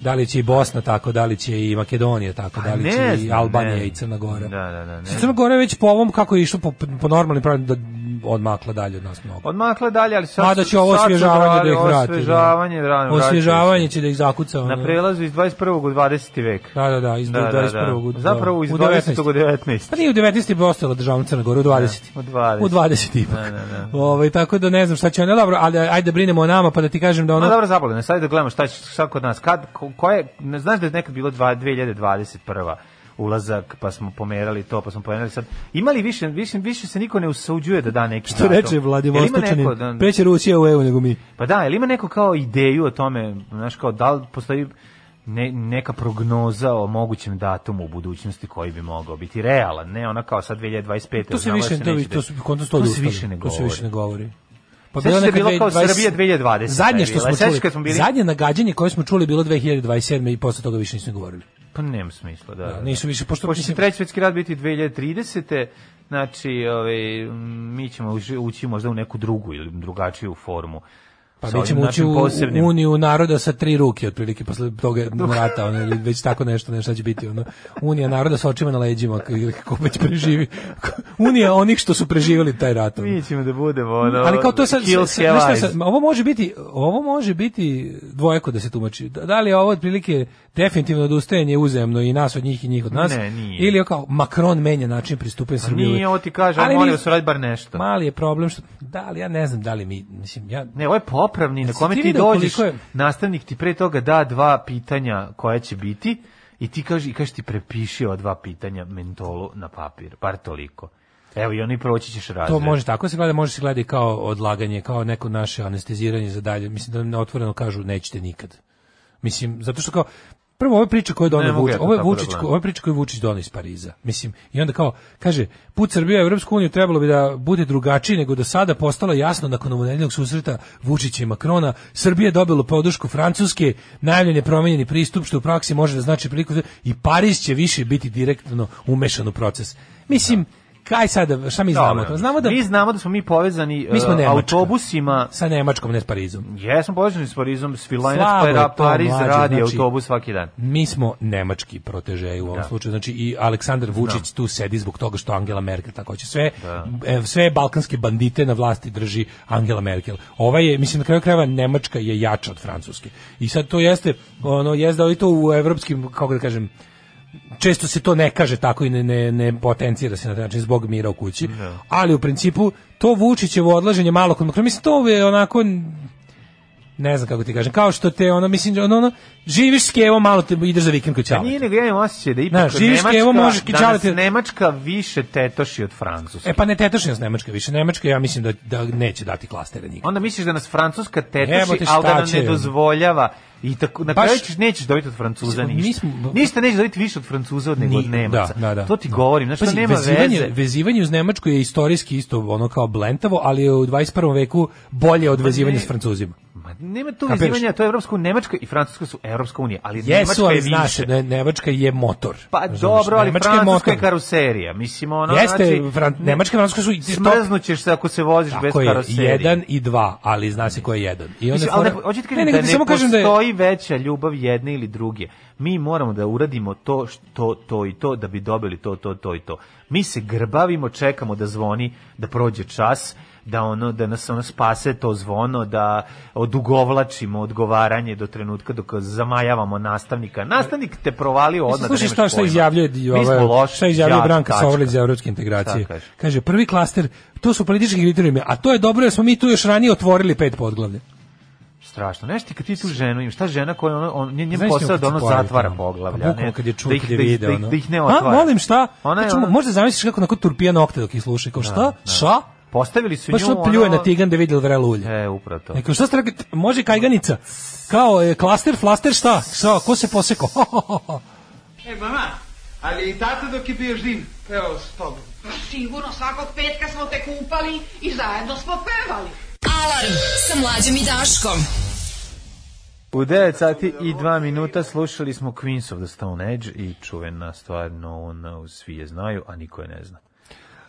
[SPEAKER 7] Da li će i Bosna tako, da li će i Makedonija tako, da li
[SPEAKER 6] Pa ne
[SPEAKER 7] će i
[SPEAKER 6] znam,
[SPEAKER 7] Albanija
[SPEAKER 6] ne.
[SPEAKER 7] i Crna Gora.
[SPEAKER 6] Da, da, da, ne.
[SPEAKER 7] Crna Gora je već po ovom kako je išlo po, po normalnim pravilima da odmakla dalje od nas mnogo.
[SPEAKER 6] Odmakle dalje, ali sad...
[SPEAKER 7] Mada će ovo
[SPEAKER 6] sad su
[SPEAKER 7] osvježavanje da ih
[SPEAKER 6] dali-
[SPEAKER 7] vrati. da.
[SPEAKER 6] Osvježavanje, da. vratit će se.
[SPEAKER 7] Osvježavanje će da ih zakuca. ono.
[SPEAKER 6] Na prelazu iz 21. u 20. vek.
[SPEAKER 7] Da, da, da, iz
[SPEAKER 6] Da, da, da. Pa
[SPEAKER 7] 21. u-
[SPEAKER 6] Zapravo iz
[SPEAKER 7] u
[SPEAKER 6] 20. u
[SPEAKER 7] 19. Pa
[SPEAKER 6] 19.
[SPEAKER 7] nije u 19. bi ostala državna Crna Gora, u 20.
[SPEAKER 6] u 20.
[SPEAKER 7] U 20 ipak. Ovaj, tako da ne znam šta će ono, dobro, ali ajde brinemo o nama pa da ti kažem da
[SPEAKER 6] No
[SPEAKER 7] ono...
[SPEAKER 6] dobro zabavljeno, sad da gledamo šta će šta kod nas. Kad, ko- koje, ne, znaš da je nekad bilo dva- 2021 ulazak, pa smo pomerali to, pa smo pomerali sad. Ima li više, više, više se niko ne usuđuje da da neki
[SPEAKER 7] Što
[SPEAKER 6] datum?
[SPEAKER 7] reče Vladivostočanin,
[SPEAKER 6] Jel ima neko da-
[SPEAKER 7] preće Rusija u EU nego mi.
[SPEAKER 6] Pa da, ili ima neko kao ideju o tome, znaš, kao da li postoji ne, neka prognoza o mogućem datumu u budućnosti koji bi mogao biti realan, ne ona kao sad 2025.
[SPEAKER 7] To se
[SPEAKER 6] znamo da
[SPEAKER 7] više, to,
[SPEAKER 6] neće
[SPEAKER 7] to, su, kod nas to,
[SPEAKER 6] to se
[SPEAKER 7] odustalo.
[SPEAKER 6] više ne
[SPEAKER 7] To se više ne
[SPEAKER 6] govori.
[SPEAKER 7] govori. Pa
[SPEAKER 6] Sećaš
[SPEAKER 7] bila
[SPEAKER 6] se
[SPEAKER 7] neka
[SPEAKER 6] bilo kao
[SPEAKER 7] 2020
[SPEAKER 6] Srbija 2020
[SPEAKER 7] Zadnje što
[SPEAKER 6] je bila.
[SPEAKER 7] smo
[SPEAKER 6] Sećaš
[SPEAKER 7] čuli,
[SPEAKER 6] kad smo bili-
[SPEAKER 7] zadnje nagađanje koje smo čuli bilo 2027. i posle toga više nismo govorili.
[SPEAKER 6] Pa nema smisla, da. da.
[SPEAKER 7] nisu više, pošto-
[SPEAKER 6] Pošto će
[SPEAKER 7] mislim-
[SPEAKER 6] treći svjetski rad biti 2030. Znači, ovaj, m, mi ćemo uži- ući možda u neku drugu ili drugačiju formu.
[SPEAKER 7] Pa
[SPEAKER 6] Sa
[SPEAKER 7] mi ćemo
[SPEAKER 6] ovim
[SPEAKER 7] ući
[SPEAKER 6] našim
[SPEAKER 7] u
[SPEAKER 6] posebnim-
[SPEAKER 7] Uniju naroda sa tri ruke, otprilike, posle toga rata, ono, ili već tako nešto, nešto će biti, ono, Unija naroda sa očima na leđima, k- ili kako već preživi. Unija onih što su preživjeli taj rat. ono.
[SPEAKER 6] Mi ćemo da budemo, ono,
[SPEAKER 7] Ali kao to sad,
[SPEAKER 6] kill
[SPEAKER 7] sad- znaš šta
[SPEAKER 6] Skellies.
[SPEAKER 7] sad, ovo može biti, ovo može biti dvojako da se tumači. Da, da li je ovo otprilike definitivno odustajanje uzemno i nas od njih i njih od nas?
[SPEAKER 6] Ne, nije. Pa
[SPEAKER 7] Ili je kao Macron menja način pristupanja Srbije.
[SPEAKER 6] Nije, ovo ti kaže, ali molim vas, uradi bar nešto.
[SPEAKER 7] Mali je problem što da li ja ne znam da li mi mislim ja
[SPEAKER 6] Ne, ovo je popravni, na
[SPEAKER 7] Jesi
[SPEAKER 6] kome
[SPEAKER 7] ti
[SPEAKER 6] ti
[SPEAKER 7] video
[SPEAKER 6] dođeš,
[SPEAKER 7] koliko je-
[SPEAKER 6] nastavnik ti pre toga da dva pitanja koja će biti i ti kaže, i kaže ti prepiši ova dva pitanja mentolu na papir, bar toliko. Evo i oni proći ćeš razred.
[SPEAKER 7] To može tako se gleda, može se gleda i kao odlaganje, kao neko naše anesteziranje za dalje. Mislim da nam otvoreno kažu nećete nikad. Mislim, zato što kao prvo ove priče koje je
[SPEAKER 6] Ne
[SPEAKER 7] doneo
[SPEAKER 6] mogu
[SPEAKER 7] Vučić,
[SPEAKER 6] ja to
[SPEAKER 7] ovo je
[SPEAKER 6] tako da
[SPEAKER 7] Vučić,
[SPEAKER 6] gledam.
[SPEAKER 7] ovo je priča koju je Vučić doneo iz Pariza. Mislim, i onda kao kaže put Srbije u Evropsku uniju trebalo bi da bude drugačiji nego do sada postalo jasno nakon ovonedeljnog susreta Vučića i Makrona, Srbija je dobila podršku Francuske, najavljen je promenjeni pristup što u praksi može da znači priliku za- i Pariz će više biti direktno umešan u proces. Mislim, kaj sada, šta mi znamo? o tome? Znamo da
[SPEAKER 6] Mi znamo da smo mi povezani
[SPEAKER 7] Mi smo
[SPEAKER 6] e,
[SPEAKER 7] Nemačka.
[SPEAKER 6] autobusima
[SPEAKER 7] sa Nemačkom, ne s Parizom.
[SPEAKER 6] Jesmo povezani s Parizom, s Filajnac,
[SPEAKER 7] Slabo
[SPEAKER 6] pa
[SPEAKER 7] je
[SPEAKER 6] je ra-
[SPEAKER 7] to,
[SPEAKER 6] Pariz
[SPEAKER 7] mlađe,
[SPEAKER 6] radi
[SPEAKER 7] znači-
[SPEAKER 6] autobus svaki dan.
[SPEAKER 7] Mi smo nemački protežeji u ovom slučaju, znači i Aleksandar Vučić tu sedi zbog toga što Angela Merkel tako hoće. Sve, e, sve balkanske bandite na vlasti drži Angela Merkel. Ova je, mislim, na kraju krajeva Nemačka je jača od Francuske. I sad to jeste, ono, jeste da li to u evropskim, kako da kažem, često se to ne kaže tako i ne, ne, ne potencira se na taj način zbog mira u kući, ali u principu to Vučićevo odlaženje malo kod Makrona, mislim to je onako ne znam kako ti kažem, kao što te ono, mislim, ono, ono živiš s Kevom, malo te ideš za vikend kod
[SPEAKER 6] Pa
[SPEAKER 7] Ćaleta.
[SPEAKER 6] nije nego ja imam osjećaj da ipak
[SPEAKER 7] Znaš, živiš
[SPEAKER 6] Nemačka,
[SPEAKER 7] Kevo, možeš
[SPEAKER 6] danas
[SPEAKER 7] kićaliti-
[SPEAKER 6] Nemačka više tetoši od Francuske.
[SPEAKER 7] E pa ne tetošenja s Nemačka više, Nemačka ja mislim da, da neće dati klastere nikad.
[SPEAKER 6] Onda misliš da nas Francuska
[SPEAKER 7] Evo
[SPEAKER 6] tetoši,
[SPEAKER 7] ti šta
[SPEAKER 6] ali da nam
[SPEAKER 7] će,
[SPEAKER 6] ne
[SPEAKER 7] ono.
[SPEAKER 6] dozvoljava. I tako, na
[SPEAKER 7] Baš-
[SPEAKER 6] kraju ćeš, nećeš dobiti od Francuza
[SPEAKER 7] Mi
[SPEAKER 6] ništa.
[SPEAKER 7] smo-
[SPEAKER 6] Ništa nećeš dobiti više od Francuza od nego od Nemaca.
[SPEAKER 7] Da, da, da.
[SPEAKER 6] to ti
[SPEAKER 7] Da.
[SPEAKER 6] govorim, znači to
[SPEAKER 7] Pazi,
[SPEAKER 6] nema
[SPEAKER 7] vezivanje,
[SPEAKER 6] veze.
[SPEAKER 7] Vezivanje uz Nemačku je istorijski isto ono kao blentavo, ali je u 21. veku bolje od vezivanja
[SPEAKER 6] Pa ne.
[SPEAKER 7] s Francuzima.
[SPEAKER 6] Ma, nema tu
[SPEAKER 7] Kapiraš?
[SPEAKER 6] vezivanja, to je Evropska unija. Nemačka i Francuska su Evropska unija, ali
[SPEAKER 7] Jesu,
[SPEAKER 6] Nemačka je
[SPEAKER 7] ali
[SPEAKER 6] više.
[SPEAKER 7] znaš, ne, Nemačka je motor.
[SPEAKER 6] Pa
[SPEAKER 7] Razumeš?
[SPEAKER 6] dobro, ali
[SPEAKER 7] Nemačka
[SPEAKER 6] Francuska je
[SPEAKER 7] motor.
[SPEAKER 6] karuserija. Mislim, ono,
[SPEAKER 7] Jeste,
[SPEAKER 6] znači,
[SPEAKER 7] Fran- Nemačka i Francuska su top-
[SPEAKER 6] smrznućeš se ako se voziš bez
[SPEAKER 7] Tako je,
[SPEAKER 6] karoserije.
[SPEAKER 7] jedan i dva, ali zna se ko je jedan. I onda
[SPEAKER 6] Mislim,
[SPEAKER 7] je
[SPEAKER 6] ali ne,
[SPEAKER 7] fora-
[SPEAKER 6] hoćete
[SPEAKER 7] Ne,
[SPEAKER 6] kažem
[SPEAKER 7] nego
[SPEAKER 6] da
[SPEAKER 7] ti
[SPEAKER 6] ne
[SPEAKER 7] samo kažem da je-
[SPEAKER 6] postoji veća ljubav jedne ili druge. Mi moramo da uradimo to, š- to, to i to, da bi dobili to, to, to i to. Mi se grbavimo, čekamo da zvoni, da prođe čas, da ono da nas ono spase to zvono da odugovlačimo odgovaranje do trenutka dok zamajavamo nastavnika nastavnik te provalio odmah
[SPEAKER 7] Slušaj
[SPEAKER 6] da
[SPEAKER 7] šta
[SPEAKER 6] nemaš
[SPEAKER 7] šta
[SPEAKER 6] pojma.
[SPEAKER 7] izjavljuje
[SPEAKER 6] Mi smo
[SPEAKER 7] ovaj
[SPEAKER 6] loši,
[SPEAKER 7] šta izjavljuje
[SPEAKER 6] đaci,
[SPEAKER 7] Branka
[SPEAKER 6] tačka.
[SPEAKER 7] Sovrlić za evropske integracije.
[SPEAKER 6] Šta kaže?
[SPEAKER 7] Kaže prvi klaster to su politički kriterijumi, a to je dobro jer smo mi tu još ranije otvorili pet podglavlja.
[SPEAKER 6] strašno. Znaš ti kad ti tu ženu imaš, ta žena koja ono, on, njen, njen
[SPEAKER 7] Znaš
[SPEAKER 6] posao je
[SPEAKER 7] njemu
[SPEAKER 6] da
[SPEAKER 7] kad
[SPEAKER 6] ono
[SPEAKER 7] se pojavi
[SPEAKER 6] zatvara
[SPEAKER 7] tamo?
[SPEAKER 6] poglavlja.
[SPEAKER 7] Pa bukvalno
[SPEAKER 6] ne?
[SPEAKER 7] kad je čuo,
[SPEAKER 6] Da ih-
[SPEAKER 7] kad je
[SPEAKER 6] da ih-
[SPEAKER 7] video,
[SPEAKER 6] da ih-
[SPEAKER 7] ono.
[SPEAKER 6] Da ih ne
[SPEAKER 7] A,
[SPEAKER 6] otvara.
[SPEAKER 7] molim, šta?
[SPEAKER 6] Ona je
[SPEAKER 7] Znači, mo-
[SPEAKER 6] ono-
[SPEAKER 7] možda zamisliš kako onako turpija nokte dok ih sluša. Kao, šta? Šta?
[SPEAKER 6] Postavili su
[SPEAKER 7] Baš
[SPEAKER 6] nju
[SPEAKER 7] ono pljuje
[SPEAKER 6] ono-
[SPEAKER 7] na tigan da vidi jel vrelo ulje.
[SPEAKER 6] E, upravo to.
[SPEAKER 7] Neko, šta ste rekli? Može kajganica? Kao, e, klaster, flaster, šta? Šta? Ko se posekao?
[SPEAKER 1] E, mama, ali i tata dok je bio živ, peo s tobom.
[SPEAKER 10] Pa Sigurno svakog petka smo te kupali i zajedno smo pevali.
[SPEAKER 5] Alarm sa mlađom i Daškom.
[SPEAKER 6] U 9 sati i 2 minuta slušali smo Queens of the Stone Age i čuvena stvar No One Knows, svi je znaju, a niko je ne zna.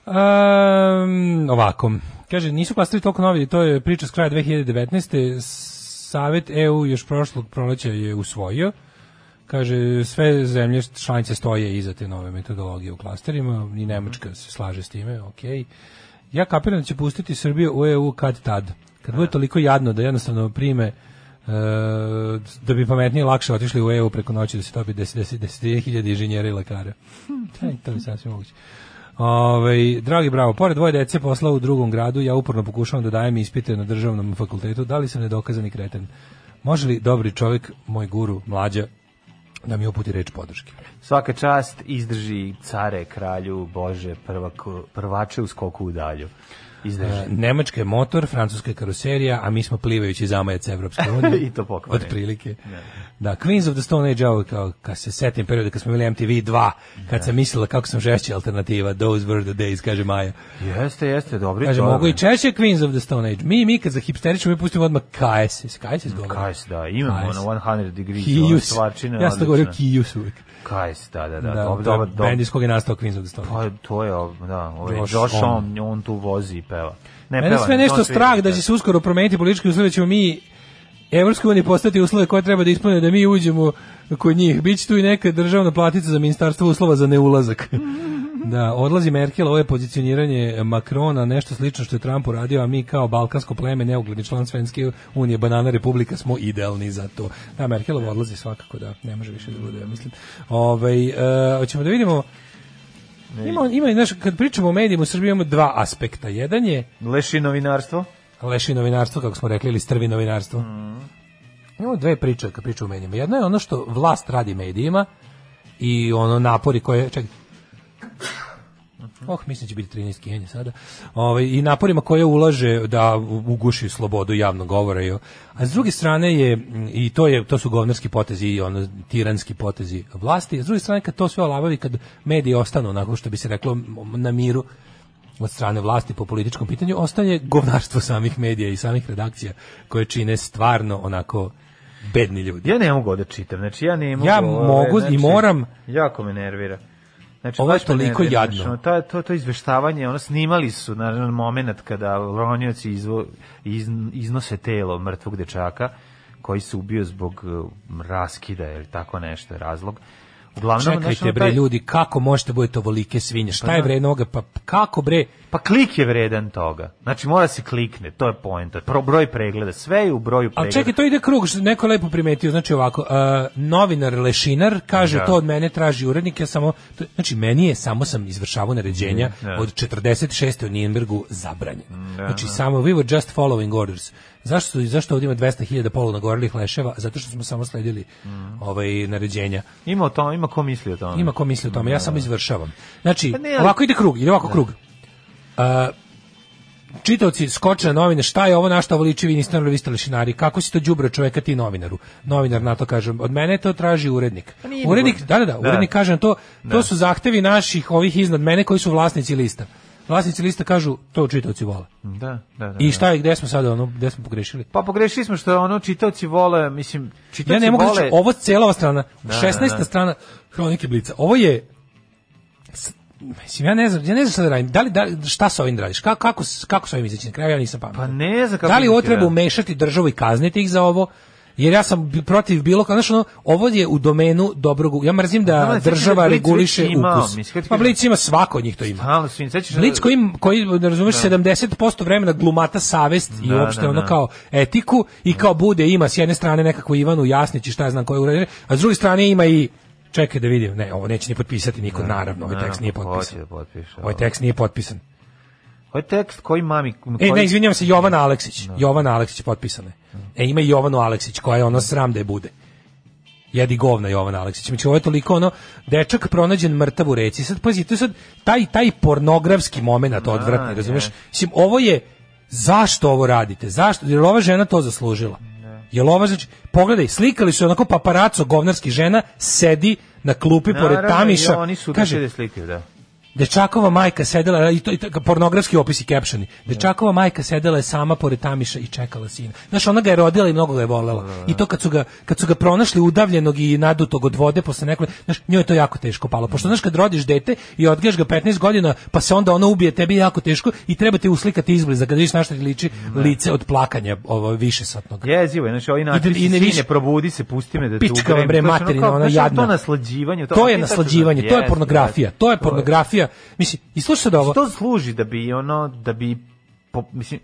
[SPEAKER 7] Um, ovako. Kaže, nisu klasteri toliko novi, to je priča s kraja 2019. Savet EU još prošlog proleća je usvojio. Kaže, sve zemlje članice stoje iza te nove metodologije u klasterima i Nemačka se slaže s time, ok. Ja kapiram da će pustiti Srbiju u EU kad tad. Kad bude toliko jadno da jednostavno prime e, da bi pametnije lakše otišli u EU preko noći da se topi 10 10.000 inženjera i lekara. Taj, to je sasvim moguće. Ove, dragi bravo, pored dvoje dece posla u drugom gradu, ja uporno pokušavam da dajem ispite na državnom fakultetu, da li sam nedokazani kreten? Može li dobri čovjek, moj guru, mlađa, da mi uputi reč podrške?
[SPEAKER 6] Svaka čast izdrži care, kralju, bože, prvaku, prvače u skoku u dalju. Izdrži.
[SPEAKER 7] E, Nemačka je motor, francuska je karoserija, a mi smo plivajući zamajac Evropske unije.
[SPEAKER 6] I to pokvareni.
[SPEAKER 7] Otprilike. Da, Queens of the Stone Age, ovo je kao, kad se setim perioda kad smo bili MTV 2, kad sam mislila kako sam žešća alternativa, those were the days, kaže Maja.
[SPEAKER 6] Jeste, jeste, dobri
[SPEAKER 7] Kaže,
[SPEAKER 6] čovek.
[SPEAKER 7] mogu i češće Queens of the Stone Age. Mi, mi kad za hipsteriču, mi pustimo odmah KS. KS izgovara.
[SPEAKER 6] Kajs, da, imamo
[SPEAKER 7] Kajs.
[SPEAKER 6] ono 100 degrees, ono
[SPEAKER 7] Kijus.
[SPEAKER 6] stvarčine.
[SPEAKER 7] Ja sam to govorio Kijus uvijek.
[SPEAKER 6] Kajs, da, da, da,
[SPEAKER 7] Da,
[SPEAKER 6] dobro,
[SPEAKER 7] to je
[SPEAKER 6] dobro, dobro.
[SPEAKER 7] bend iz kog je nastao Queens of the Stone
[SPEAKER 6] Pa
[SPEAKER 7] Age.
[SPEAKER 6] to je, ov- da, ovaj
[SPEAKER 7] Josh
[SPEAKER 6] Josh, on,
[SPEAKER 7] on.
[SPEAKER 6] on tu vozi i peva. Ne,
[SPEAKER 7] Mene
[SPEAKER 6] peva,
[SPEAKER 7] sve
[SPEAKER 6] ne,
[SPEAKER 7] nešto
[SPEAKER 6] on svira,
[SPEAKER 7] strah da
[SPEAKER 6] da.
[SPEAKER 7] će se uskoro promeniti politički uslovi, da ćemo mi Evropskoj uniji postati uslove koje treba da ispune da mi uđemo kod njih. Biće tu i neka državna platica za ministarstvo uslova za neulazak. Da, odlazi Merkel, ovo je pozicioniranje Makrona, nešto slično što je Trump uradio, a mi kao balkansko pleme, neugledni član Svenske unije, banana republika, smo idealni za to. Da, Merkelov odlazi svakako, da, ne može više da bude, ja mislim. Ovaj, e, hoćemo da vidimo, ima, ima, znaš, kad pričamo o medijima u Srbiji imamo dva aspekta. Jedan je
[SPEAKER 6] Leši novinarstvo?
[SPEAKER 7] leši novinarstvo, kako smo rekli, ili strvi novinarstvo. Imamo dve priče kad pričamo o medijima. Jedna je ono što vlast radi medijima i ono napori koje... Čekaj. Oh, mislim će biti 13 kijenja sada. Ovaj, I naporima koje ulaže da u- uguši slobodu javnog govora. i o- A s druge strane je, mm, i to, je, to su govnarski potezi i ono, tiranski potezi vlasti, a s druge strane kad to sve olabavi, kad mediji ostanu onako što bi se reklo m- na miru, od strane vlasti po političkom pitanju ostane govnarstvo samih medija i samih redakcija koje čine stvarno onako bedni ljudi.
[SPEAKER 6] Ja ne mogu da čitam, znači ja ne mogu...
[SPEAKER 7] Ja
[SPEAKER 6] ovaj,
[SPEAKER 7] mogu i moram.
[SPEAKER 6] Jako me nervira. Znači,
[SPEAKER 7] Ovo je
[SPEAKER 6] baš me
[SPEAKER 7] toliko
[SPEAKER 6] nervira,
[SPEAKER 7] jadno.
[SPEAKER 6] znači, ono, ta, to, to izveštavanje, ono, snimali su na, na moment kada ronioci izvo, iz, iznose telo mrtvog dečaka koji se ubio zbog eh, raskida ili tako nešto je razlog. Uglavnom, znaš,
[SPEAKER 7] Čekajte
[SPEAKER 6] ono,
[SPEAKER 7] bre
[SPEAKER 6] taj-
[SPEAKER 7] ljudi, kako možete budete ovolike svinje? Šta je
[SPEAKER 6] da.
[SPEAKER 7] bre noga? Pa kako bre?
[SPEAKER 6] Pa klik je vredan toga. Znači mora se klikne, to je poenta. Pro, broj pregleda, sve je u broju pregleda.
[SPEAKER 7] Ali čekaj, to ide krug, što neko je lepo primetio, znači ovako, e, novinar Lešinar kaže
[SPEAKER 6] Da.
[SPEAKER 7] to od mene traži urednik, ja samo, to, znači meni je, samo sam izvršavao naređenja
[SPEAKER 6] Mm, da. Mm,
[SPEAKER 7] od 46. u Nijenbergu zabranjeno.
[SPEAKER 6] Da,
[SPEAKER 7] znači
[SPEAKER 6] da.
[SPEAKER 7] samo, we were just following orders. Zašto, su- zašto ovdje ima 200.000 polunagorelih leševa? Zato što smo samo sledili
[SPEAKER 6] Mm.
[SPEAKER 7] ovaj, naređenja.
[SPEAKER 6] Ima o tome, ima ko misli o tome.
[SPEAKER 7] Ima ko misli o tome, ja samo izvršavam. Znači,
[SPEAKER 6] Pa ne, ali-
[SPEAKER 7] ovako ide krug, ide ovako krug. A, čitaoci skoče na novine, šta je ovo našta ovo liči, vi niste novinari, vi ste lešinari, kako si to đubro čoveka ti novinaru? Novinar na to kaže, od mene to traži urednik.
[SPEAKER 6] Pa nije
[SPEAKER 7] Urednik,
[SPEAKER 6] nego-
[SPEAKER 7] da, da, da,
[SPEAKER 6] Da.
[SPEAKER 7] urednik kaže na to, to su zahtevi naših ovih iznad mene koji su vlasnici lista. Vlasnici lista kažu, to čitaoci vole.
[SPEAKER 6] Da, da, da.
[SPEAKER 7] I
[SPEAKER 6] da.
[SPEAKER 7] šta je, gde smo sada, ono, gde smo pogrešili?
[SPEAKER 6] Pa pogrešili smo što ono čitaoci vole, mislim, čitaoci
[SPEAKER 7] Ja ne mogu
[SPEAKER 6] Znači, vole...
[SPEAKER 7] reći, ovo je cijela ova strana,
[SPEAKER 6] Da,
[SPEAKER 7] 16.
[SPEAKER 6] da, da.
[SPEAKER 7] strana Hronike Blica. Ovo je s- Mislim, ja ne znam, ja ne znam šta da radim. Da li, da, li- šta sa ovim da radiš? Kako, kako, s- kako sa ovim izaći na kraju? Ja nisam pametan.
[SPEAKER 6] Pa ne znam kako
[SPEAKER 7] Da li ovo
[SPEAKER 6] biti,
[SPEAKER 7] treba
[SPEAKER 6] da.
[SPEAKER 7] umešati državu i kazniti ih za ovo? Jer ja sam bi- protiv bilo kako, znaš ono, ovo je u domenu dobrog, ja mrzim da
[SPEAKER 6] Znam, ali sećaš
[SPEAKER 7] država
[SPEAKER 6] da Blic
[SPEAKER 7] reguliše
[SPEAKER 6] već imao,
[SPEAKER 7] ukus.
[SPEAKER 6] mislim, kad ti
[SPEAKER 7] Pa
[SPEAKER 6] kažem-
[SPEAKER 7] Blic ima, svako od njih to ima.
[SPEAKER 6] Halo, svim, sećaš...
[SPEAKER 7] Blic koji, koji ne razumeš, 70% vremena glumata savest i
[SPEAKER 6] Da,
[SPEAKER 7] uopšte
[SPEAKER 6] da,
[SPEAKER 7] ono
[SPEAKER 6] da.
[SPEAKER 7] kao etiku i kao bude ima s jedne strane nekakvu Ivanu Jasnić i šta ja znam koje uređenje, a s druge strane ima i čekaj da vidim, ne, ovo neće ni potpisati niko, naravno, ovaj tekst nije
[SPEAKER 6] Naravno,
[SPEAKER 7] potpisan.
[SPEAKER 6] hoće da potpiše,
[SPEAKER 7] Ovaj
[SPEAKER 6] ali.
[SPEAKER 7] tekst nije potpisan.
[SPEAKER 6] Ovo je tekst koji mami...
[SPEAKER 7] E,
[SPEAKER 6] koji-
[SPEAKER 7] ne, izvinjavam se, Jovana Aleksić. Jovana Aleksić potpisana je. E, ima i Jovanu Aleksić, koja je ono sram da je bude. Jedi govna Jovan Aleksić. Znači, ovo je toliko ono, dečak pronađen mrtav u reci. Sad, pazi, to je sad taj, taj pornografski moment odvratni, razumeš? Mislim, ovo je, zašto ovo radite? Zašto? Jer ova žena to zaslužila. Jel ova, znači, pogledaj, slikali su je onako paparaco govnarski žena, sedi na klupi pored
[SPEAKER 6] Naravno, i
[SPEAKER 7] tamiša.
[SPEAKER 6] oni su
[SPEAKER 7] kaže,
[SPEAKER 6] kaže, slike, da.
[SPEAKER 7] Dečakova majka sedela i to, i to pornografski opisi i captioni. Dečakova majka sedela je sama pored Tamiša i čekala sina. Znaš, ona ga je rodila i mnogo ga je volela. I to kad su ga, kad su ga pronašli udavljenog i nadutog od vode posle nekog, znaš, njoj je to jako teško palo. Pošto znaš kad rodiš dete i odgajaš ga 15 godina, pa se onda ona ubije tebi je jako teško i treba te uslikati izbliza kad vidiš na šta ti liči lice od plakanja ovo višesatnog.
[SPEAKER 6] Jezivo je, znači ovi
[SPEAKER 7] i
[SPEAKER 6] način,
[SPEAKER 7] ne
[SPEAKER 6] ne,
[SPEAKER 7] više-
[SPEAKER 6] ne probudi se, pusti me da te
[SPEAKER 7] Pička vam
[SPEAKER 6] ugrem.
[SPEAKER 7] bre
[SPEAKER 6] To je ono
[SPEAKER 7] materina,
[SPEAKER 6] kao,
[SPEAKER 7] ona
[SPEAKER 6] znaš,
[SPEAKER 7] jadna.
[SPEAKER 6] To naslađivanje.
[SPEAKER 7] To je
[SPEAKER 6] a ti tačno
[SPEAKER 7] naslađivanje, to
[SPEAKER 6] znaš,
[SPEAKER 7] je pornografija,
[SPEAKER 6] jeste,
[SPEAKER 7] to je pornografija. Mislim, i slušaj sad ovo.
[SPEAKER 6] To služi da bi ono, da bi, po, mislim,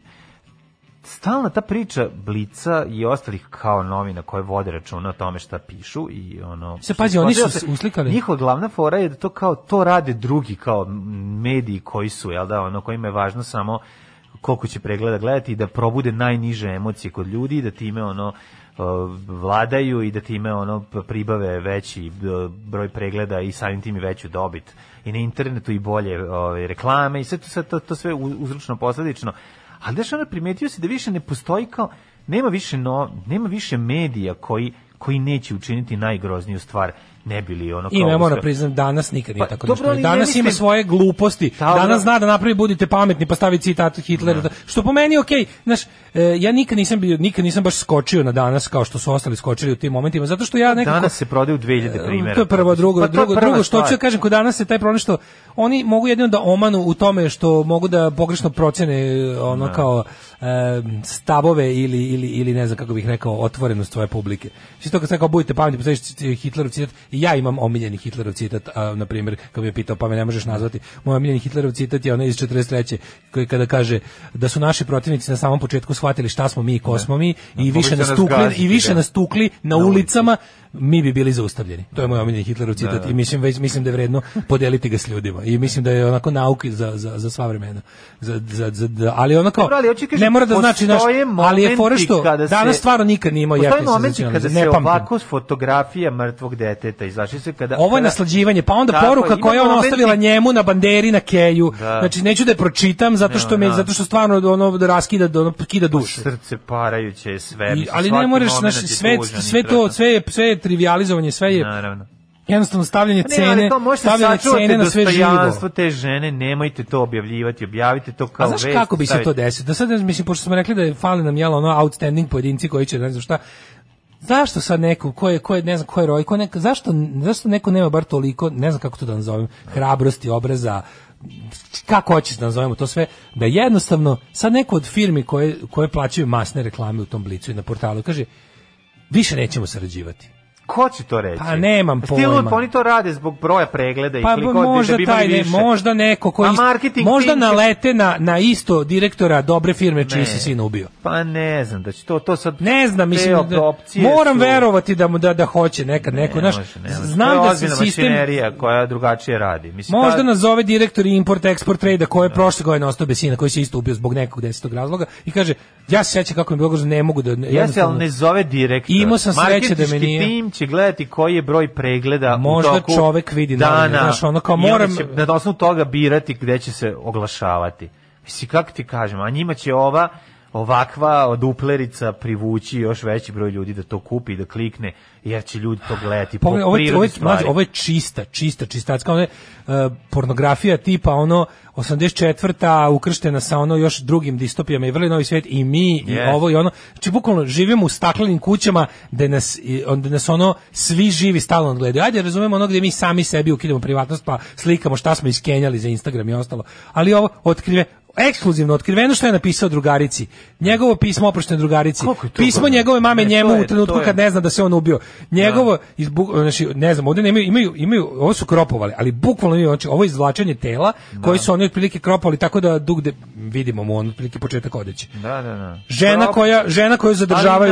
[SPEAKER 6] stalna ta priča Blica i ostalih kao novina koje vode računa o tome šta pišu i ono...
[SPEAKER 7] Se pazi, oni su
[SPEAKER 6] Shodilo se-
[SPEAKER 7] uslikali.
[SPEAKER 6] Njihova glavna fora je da to kao, to rade drugi kao m, mediji koji su, jel da, ono, kojima je važno samo koliko će pregleda gledati i da probude najniže emocije kod ljudi i da time ono e, vladaju i da time ono p- pribave veći e, broj pregleda i samim tim i veću dobit i na internetu i bolje ove, reklame i sve to, sve to, to sve u- uzročno posledično ali znaš, ono, primetio se da više ne postoji kao, nema više, no, nema više medija koji, koji neće učiniti najgrozniju stvar, ne bili ono kao...
[SPEAKER 7] Ima, ja moram
[SPEAKER 6] uspeo.
[SPEAKER 7] priznam, danas nikad nije
[SPEAKER 6] Pa,
[SPEAKER 7] tako
[SPEAKER 6] dobro,
[SPEAKER 7] nešto.
[SPEAKER 6] ali
[SPEAKER 7] Danas
[SPEAKER 6] ne mislim-
[SPEAKER 7] ima svoje gluposti.
[SPEAKER 6] Ta, dobro.
[SPEAKER 7] danas zna da napravi budite pametni, pa stavi citat Hitlera. Da- Što po meni je okej. Znaš, e, ja nikad nisam, bio, nikad nisam baš skočio na danas kao što su ostali skočili u tim momentima. Zato što ja nekako...
[SPEAKER 6] Danas se prodaju 2000 primjera.
[SPEAKER 7] E, To je prvo, drugo,
[SPEAKER 6] Pa to je
[SPEAKER 7] drugo,
[SPEAKER 6] prva
[SPEAKER 7] drugo što
[SPEAKER 6] stvar.
[SPEAKER 7] ću ja kažem kod danas je taj problem što oni mogu jedino da omanu u tome što mogu da pogrešno procene e, ono kao e, stavove ili, ili, ili ne znam kako bih rekao otvorenost svoje publike. Znači to kad sad kao budete pametni, postaviš Hitlerov citat, i ja imam omiljeni Hitlerov citat, a, na primjer, kad bi je pitao, pa me ne možeš nazvati, moj omiljeni Hitlerov citat je onaj iz 43. koji kada kaže da su naši protivnici na samom početku shvatili šta smo mi i ko smo mi i
[SPEAKER 6] Mogli
[SPEAKER 7] više
[SPEAKER 6] ste
[SPEAKER 7] nas
[SPEAKER 6] nas
[SPEAKER 7] tukli, i
[SPEAKER 6] gaziti,
[SPEAKER 7] više
[SPEAKER 6] da.
[SPEAKER 7] nas tukli na, ulicama, mi bi bili zaustavljeni. To je moj omiljeni Hitlerov citat i mislim, već, mislim da je vredno podeliti ga s ljudima. I mislim da je onako nauki za, za, za sva vremena. Za, za, za, da- ali onako,
[SPEAKER 6] Dobro, ali hoću kažem,
[SPEAKER 7] ne mora da znači naš,
[SPEAKER 6] postoje
[SPEAKER 7] ali je fora
[SPEAKER 6] momenti
[SPEAKER 7] što
[SPEAKER 6] kada se-
[SPEAKER 7] danas stvarno nikad nije imao
[SPEAKER 6] Postoje
[SPEAKER 7] jeftin
[SPEAKER 6] momenti kada
[SPEAKER 7] senzacionalizam.
[SPEAKER 6] se
[SPEAKER 7] Ne pamtim.
[SPEAKER 6] ovako s fotografija mrtvog deteta izašli se kada...
[SPEAKER 7] Ovo je
[SPEAKER 6] kada-
[SPEAKER 7] naslađivanje, pa onda
[SPEAKER 6] Tako je,
[SPEAKER 7] poruka
[SPEAKER 6] ima
[SPEAKER 7] koja je ona
[SPEAKER 6] momenti-
[SPEAKER 7] ostavila njemu na banderi na keju.
[SPEAKER 6] Da.
[SPEAKER 7] Znači neću da je pročitam zato što me
[SPEAKER 6] da.
[SPEAKER 7] zato što stvarno ono raskida ono kida dušu.
[SPEAKER 6] Srce parajuće je sve.
[SPEAKER 7] I,
[SPEAKER 6] mislim,
[SPEAKER 7] ali ne
[SPEAKER 6] svaki
[SPEAKER 7] moraš
[SPEAKER 6] moment
[SPEAKER 7] znaš,
[SPEAKER 6] je
[SPEAKER 7] sve
[SPEAKER 6] tužan i
[SPEAKER 7] sve to
[SPEAKER 6] strašan.
[SPEAKER 7] sve je sve je trivijalizovanje, sve je
[SPEAKER 6] Naravno.
[SPEAKER 7] jednostavno stavljanje
[SPEAKER 6] Pa Ne, ali
[SPEAKER 7] cene,
[SPEAKER 6] to možete
[SPEAKER 7] stavljanje
[SPEAKER 6] sačuvati
[SPEAKER 7] cene na sve
[SPEAKER 6] dostojanstvo
[SPEAKER 7] živo.
[SPEAKER 6] te žene, nemojte to objavljivati, objavite to kao
[SPEAKER 7] A
[SPEAKER 6] vest.
[SPEAKER 7] znaš kako bi se to
[SPEAKER 6] stavite-
[SPEAKER 7] desilo? Da sad, mislim, pošto smo rekli da je fali nam jela ono outstanding pojedinci koji će, ne znam šta, zašto sad neko, ko je, ko je, ne znam, ko je roj, ko je neko, zašto, zašto neko nema bar toliko, ne znam kako to da nazovem, hrabrosti, obraza, kako hoćeš da nazovemo to sve, da jednostavno sad neko od firmi koje, koje plaćaju masne reklame u tom blicu i na portalu kaže, više nećemo sarađivati.
[SPEAKER 6] Ko će to reći?
[SPEAKER 7] Pa nemam
[SPEAKER 6] Jesi ti lud,
[SPEAKER 7] pojma.
[SPEAKER 6] Pa oni to rade zbog broja pregleda i
[SPEAKER 7] Pa
[SPEAKER 6] klikova,
[SPEAKER 7] možda
[SPEAKER 6] da bi imali
[SPEAKER 7] taj ne,
[SPEAKER 6] više.
[SPEAKER 7] možda neko koji
[SPEAKER 6] A
[SPEAKER 7] ist-
[SPEAKER 6] marketing
[SPEAKER 7] možda
[SPEAKER 6] tim će-
[SPEAKER 7] nalete na na isto direktora dobre firme čiji
[SPEAKER 6] Ne.
[SPEAKER 7] se sin ubio.
[SPEAKER 6] Pa ne znam, da će to, to sad...
[SPEAKER 7] Ne znam,
[SPEAKER 6] te
[SPEAKER 7] mislim da,
[SPEAKER 6] opcije
[SPEAKER 7] moram
[SPEAKER 6] su-
[SPEAKER 7] verovati da mu da da hoće nekad
[SPEAKER 6] Ne
[SPEAKER 7] neko, znaš.
[SPEAKER 6] može, ne može. To
[SPEAKER 7] Znam
[SPEAKER 6] je
[SPEAKER 7] da se
[SPEAKER 6] ozbiljna
[SPEAKER 7] sistem
[SPEAKER 6] mašinerija koja drugačije radi. Mislim,
[SPEAKER 7] Možda
[SPEAKER 6] ta-
[SPEAKER 7] nas zove direktor import export trade koji je prošle godine ostao bez sina, koji se isto ubio zbog nekog desetog razloga i kaže ja se sećam kako mi je bilo grozno, ne mogu da
[SPEAKER 6] Jeste,
[SPEAKER 7] jednostavno-
[SPEAKER 6] ali ne zove direktor.
[SPEAKER 7] Imao sam sreće da me
[SPEAKER 6] Marketinški
[SPEAKER 7] nije.
[SPEAKER 6] tim će gledati koji je broj pregleda
[SPEAKER 7] Možda
[SPEAKER 6] u toku
[SPEAKER 7] čovek vidi
[SPEAKER 6] dana.
[SPEAKER 7] novine, znaš, ono kao
[SPEAKER 6] i onda
[SPEAKER 7] moram-
[SPEAKER 6] će na osnovu toga birati gde će se oglašavati. Mislim, kako ti kažem, a njima će ova ovakva duplerica privući još veći broj ljudi da to kupi, da klikne, jer će ljudi to gledati po
[SPEAKER 7] Pogledaj, ovo je, ovo,
[SPEAKER 6] prirodi
[SPEAKER 7] je,
[SPEAKER 6] stvari.
[SPEAKER 7] mlađe, ovo je čista, čista, čistacka, ono je e, pornografija tipa ono 84. ukrštena sa ono još drugim distopijama i vrli novi svijet i mi
[SPEAKER 6] Yes.
[SPEAKER 7] i ovo i ono. Znači bukvalno živimo u staklenim kućama gde nas, i, on- gde nas ono svi živi stalno gledaju. Ajde razumemo ono gde mi sami sebi ukidamo privatnost pa slikamo šta smo iskenjali za Instagram i ostalo. Ali ovo otkrive ekskluzivno otkriveno što je napisao drugarici. Njegovo pismo oproštene drugarici.
[SPEAKER 6] Koliko je to
[SPEAKER 7] Pismo
[SPEAKER 6] godina?
[SPEAKER 7] njegove mame
[SPEAKER 6] Ne, to
[SPEAKER 7] njemu
[SPEAKER 6] je-
[SPEAKER 7] u trenutku
[SPEAKER 6] to je-
[SPEAKER 7] kad ne zna da se on ubio. Njegovo izbu, znači ne znam, ovde nemaju imaju imaju ovo su kropovali, ali bukvalno imaju znači ovo je izvlačenje tela koji su oni otprilike kropovali tako da dugde vidimo mu on otprilike početak odeće.
[SPEAKER 6] Da, da, da.
[SPEAKER 7] Žena
[SPEAKER 6] Prop-
[SPEAKER 7] koja žena koju zadržavaju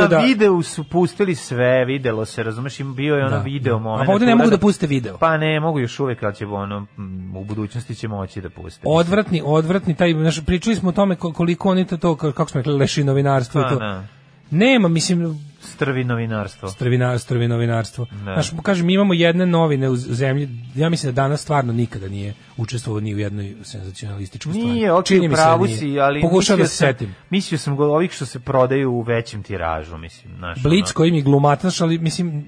[SPEAKER 6] Ali na
[SPEAKER 7] da
[SPEAKER 6] videu su pustili sve, videlo se, razumeš, im bio je ono
[SPEAKER 7] Da.
[SPEAKER 6] video
[SPEAKER 7] A
[SPEAKER 6] moment.
[SPEAKER 7] ovde ne mogu
[SPEAKER 6] uradak.
[SPEAKER 7] da puste video.
[SPEAKER 6] Pa ne, mogu još uvek, ali će ono, mm, u budućnosti će moći da puste.
[SPEAKER 7] odvratni, odvratni taj znaš, pričali smo o tome ko- koliko oni to, to kako smo rekli leši novinarstvo i
[SPEAKER 6] Pa,
[SPEAKER 7] to.
[SPEAKER 6] da.
[SPEAKER 7] Nema, mislim,
[SPEAKER 6] Strvi novinarstvo.
[SPEAKER 7] strvina, strvi novinarstvo. Znaš, kažem, mi imamo jedne novine u z- zemlji, ja mislim da danas stvarno nikada nije učestvovao ni u jednoj senzacionalističkoj stvari.
[SPEAKER 6] Nije, ok,
[SPEAKER 7] Čini mi se da
[SPEAKER 6] pravu
[SPEAKER 7] nije.
[SPEAKER 6] si, ali
[SPEAKER 7] Pokušavam
[SPEAKER 6] mislio
[SPEAKER 7] da se
[SPEAKER 6] sam-
[SPEAKER 7] setim.
[SPEAKER 6] Mislio sam go- ovih što se prodaju u većem tiražu, mislim, znaš.
[SPEAKER 7] Blic
[SPEAKER 6] ono.
[SPEAKER 7] koji mi glumataš, ali mislim,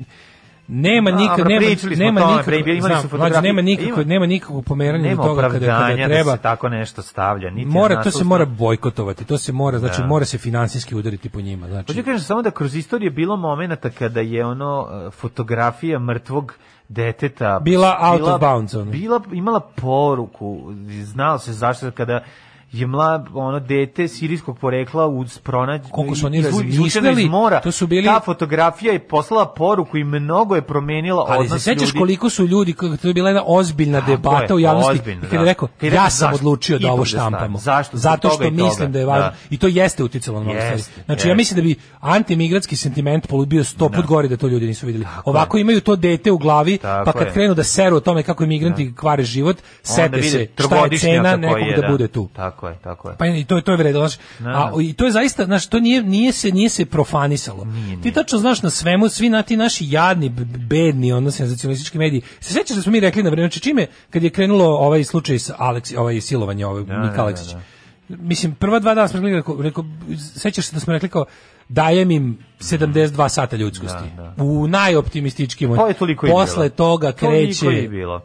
[SPEAKER 7] Nema
[SPEAKER 6] Dobro,
[SPEAKER 7] nikad nema
[SPEAKER 6] pričali smo
[SPEAKER 7] nema
[SPEAKER 6] o tome,
[SPEAKER 7] nikakvog-
[SPEAKER 6] pre- imali su
[SPEAKER 7] znam,
[SPEAKER 6] fotografije.
[SPEAKER 7] mlađe, nema nikakvog
[SPEAKER 6] Ima-
[SPEAKER 7] nema nikakvog pomeranja do
[SPEAKER 6] ono, nema
[SPEAKER 7] toga kada, kada
[SPEAKER 6] opravdanja da
[SPEAKER 7] treba
[SPEAKER 6] se tako nešto stavlja, niti je
[SPEAKER 7] mora to
[SPEAKER 6] naslov
[SPEAKER 7] se mora bojkotovati to se mora znači mora se finansijski udariti po njima znači
[SPEAKER 6] Hoću Pa kažem samo da kroz istoriju je bilo momenata kada je ono e, fotografija mrtvog deteta
[SPEAKER 7] Bila out of bounds, ono.
[SPEAKER 6] Bila imala poruku, znao se zašto kada je mla ono dete sirijskog porekla uz pronađ
[SPEAKER 7] Koliko su oni
[SPEAKER 6] izvu-
[SPEAKER 7] razmišljali,
[SPEAKER 6] izvučeno iz mora
[SPEAKER 7] to su bili-
[SPEAKER 6] ta fotografija je poslala poruku i mnogo je promenila
[SPEAKER 7] Ali
[SPEAKER 6] odnos
[SPEAKER 7] se sećaš
[SPEAKER 6] ljudi.
[SPEAKER 7] koliko su ljudi, kako to je bila jedna ozbiljna
[SPEAKER 6] Tako
[SPEAKER 7] debata
[SPEAKER 6] je,
[SPEAKER 7] u javnosti,
[SPEAKER 6] ozbiljna,
[SPEAKER 7] i kada je
[SPEAKER 6] da.
[SPEAKER 7] rekao,
[SPEAKER 6] Kada je
[SPEAKER 7] ja
[SPEAKER 6] rekao,
[SPEAKER 7] sam
[SPEAKER 6] zašto?
[SPEAKER 7] odlučio da
[SPEAKER 6] Ipak
[SPEAKER 7] ovo
[SPEAKER 6] da stanem.
[SPEAKER 7] štampamo.
[SPEAKER 6] Zašto? Zbog
[SPEAKER 7] Zato
[SPEAKER 6] toga
[SPEAKER 7] što
[SPEAKER 6] i toga.
[SPEAKER 7] mislim da je važno.
[SPEAKER 6] Da.
[SPEAKER 7] I to jeste uticalo na mnogo
[SPEAKER 6] Jeste,
[SPEAKER 7] stvari. Znači, ja
[SPEAKER 6] jeste.
[SPEAKER 7] mislim da bi antimigratski sentiment polu- bio sto put gori da to ljudi nisu vidjeli. Ovako imaju to dete u glavi,
[SPEAKER 6] Tako
[SPEAKER 7] pa kad
[SPEAKER 6] je.
[SPEAKER 7] krenu da seru o tome kako imigranti kvare život, sete
[SPEAKER 6] vide
[SPEAKER 7] se šta je
[SPEAKER 6] trogodišnjaka
[SPEAKER 7] cena
[SPEAKER 6] koji
[SPEAKER 7] nekog
[SPEAKER 6] je,
[SPEAKER 7] da bude tu.
[SPEAKER 6] Tako je, tako je.
[SPEAKER 7] Pa i to je to je vredno, znaš.
[SPEAKER 6] Da.
[SPEAKER 7] A i to je zaista, znaš, to nije nije se nije se profanisalo. Ti tačno znaš na svemu, svi na ti naši jadni, b- bedni, ono senzacionalistički mediji. Se sećaš da smo mi rekli na vreme, znači čime kad je krenulo ovaj slučaj sa Aleks, ovaj silovanje ovaj Nik
[SPEAKER 6] da,
[SPEAKER 7] Aleksić. Mislim prva dva dana smo rekli rekao, rekao, sećaš se da smo rekli kao dajem im 72 sata ljudskosti. U najoptimističkim.
[SPEAKER 6] Pa je toliko i bilo.
[SPEAKER 7] Posle toga kreće
[SPEAKER 6] Toliko je bilo.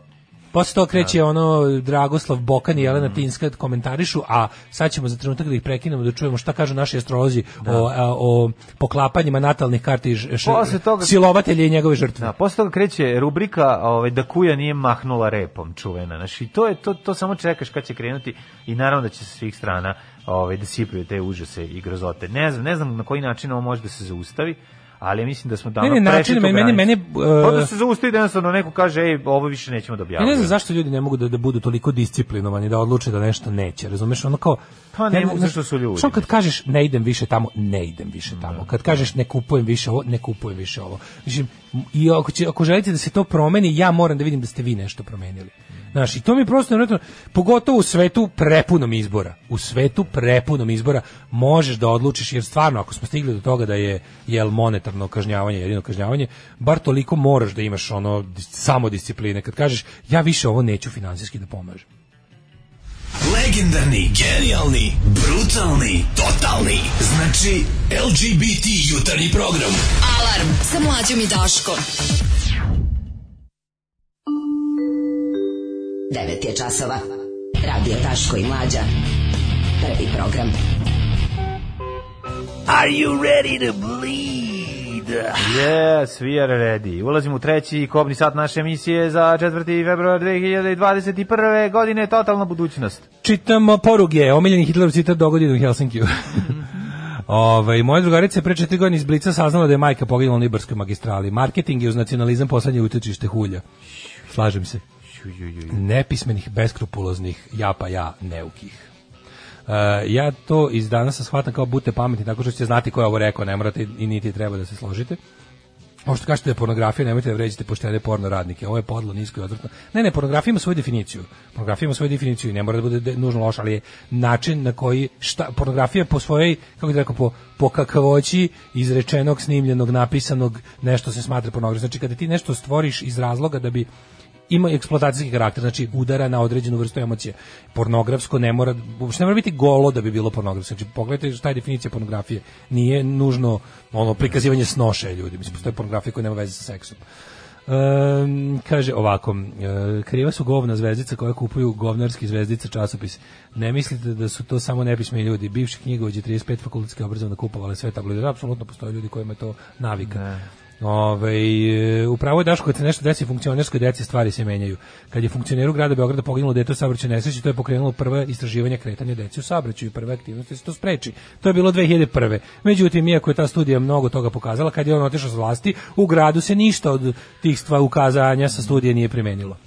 [SPEAKER 7] posle toga kreće ono Dragoslav Bokan i
[SPEAKER 6] Mm.
[SPEAKER 7] Jelena Tinska da komentarišu, a sad ćemo za trenutak da ih prekinemo da čujemo šta kažu naši astrolozi o, a, o poklapanjima natalnih karti i ž- š-
[SPEAKER 6] Posle toga-
[SPEAKER 7] silovatelja i njegove žrtve.
[SPEAKER 6] Da, posle toga kreće rubrika ovaj, da kuja nije mahnula repom čuvena. Znači, to, je, to, to samo čekaš kad će krenuti i naravno da će sa svih strana ovaj, da sipaju te užase i grozote. Ne znam, ne znam na koji način ovo može da se zaustavi, ali mislim da smo davno
[SPEAKER 7] ne,
[SPEAKER 6] prešli
[SPEAKER 7] način,
[SPEAKER 6] tu
[SPEAKER 7] meni- meni-
[SPEAKER 6] granicu.
[SPEAKER 7] meni, e,
[SPEAKER 6] Pa da se zaustavi da jednostavno neko kaže, ej, ovo više nećemo da
[SPEAKER 7] Ja
[SPEAKER 6] objavljamo.
[SPEAKER 7] ne znam zašto ljudi ne mogu da, da budu toliko disciplinovani da odluče da nešto neće, razumeš? Ono kao
[SPEAKER 6] Pa ne
[SPEAKER 7] znam,
[SPEAKER 6] mogu,
[SPEAKER 7] znaš,
[SPEAKER 6] zašto su ljudi?
[SPEAKER 7] Što kad kažeš ne idem više tamo, ne idem više tamo. Kad kažeš ne kupujem više ovo, ne kupujem više ovo. Mislim i ako će ako želite da se to promeni, ja moram da vidim da ste vi nešto promenili. Znaš, i to mi je prosto nevjerojatno, pogotovo u svetu prepunom izbora. U svetu prepunom izbora možeš da odlučiš, jer stvarno, ako smo stigli do toga da je jel monetarno kažnjavanje, jedino kažnjavanje, bar toliko moraš da imaš ono dis- samodiscipline. Kad kažeš, ja više ovo neću finansijski da pomažem.
[SPEAKER 11] Legendarni, genijalni, brutalni, totalni. Znači, LGBT jutarnji program.
[SPEAKER 5] Alarm sa mlađom i Daškom. 9 je časova. Radio Daško i Mlađa. Prvi program.
[SPEAKER 11] Are you ready to bleed?
[SPEAKER 6] Yes, we are ready. Ulazimo u treći kobni sat naše emisije za 4. februar 2021. godine, totalna budućnost.
[SPEAKER 7] Čitamo poruge, omiljeni Hitlerov citat dogodinu u Helsinkiju. Ove, Ovaj, moja drugarica je pre četiri godine iz Blica saznala da je majka poginula na Ibarskoj magistrali. Marketing je uz nacionalizam poslednje utočište hulja. Slažem se. Nepismenih, beskrupuloznih, ja pa ja, neukih. Uh, ja to iz danas shvatam kao bute pametni, tako što ćete znati ko je ovo rekao, ne morate i niti treba da se složite. Ovo što kažete da je pornografija, nemojte da vređate poštene porno radnike. Ovo je podlo, nisko i odvratno. Ne, ne, pornografija ima svoju definiciju. Pornografija ima svoju definiciju i ne mora da bude de- nužno loša, ali je način na koji šta, pornografija po svojoj, kako bih rekao, po, po kakavoći izrečenog, snimljenog, napisanog, nešto se smatra pornografijom. Znači, kada ti nešto stvoriš iz razloga da bi ima eksploatacijski karakter, znači udara na određenu vrstu emocije. Pornografsko ne mora, uopšte ne mora biti golo da bi bilo pornografsko. Znači, pogledajte šta je definicija pornografije. Nije nužno ono prikazivanje snoše ljudi. Mislim, postoje pornografija koja nema veze sa seksom. Um, kaže ovako e, kriva su govna zvezdica koje kupuju govnarski zvezdica časopis ne mislite da su to samo nepismeni ljudi bivši knjigovođe 35 fakultetski obrazovna kupovali sve tabloide apsolutno postoje ljudi kojima je to navika Ove, e, upravo je Daško, kad se nešto desi funkcionerskoj deci, stvari se menjaju. Kad je funkcioneru grada Beograda poginulo dete u saobraćaju nesreći, to je pokrenulo prva istraživanja kretanja dece u saobraćaju i prve aktivnosti da se to spreči. To je bilo 2001. Međutim, iako je ta studija mnogo toga pokazala, kad je on otišao s vlasti, u gradu se ništa od tih stva ukazanja sa studije nije primenilo.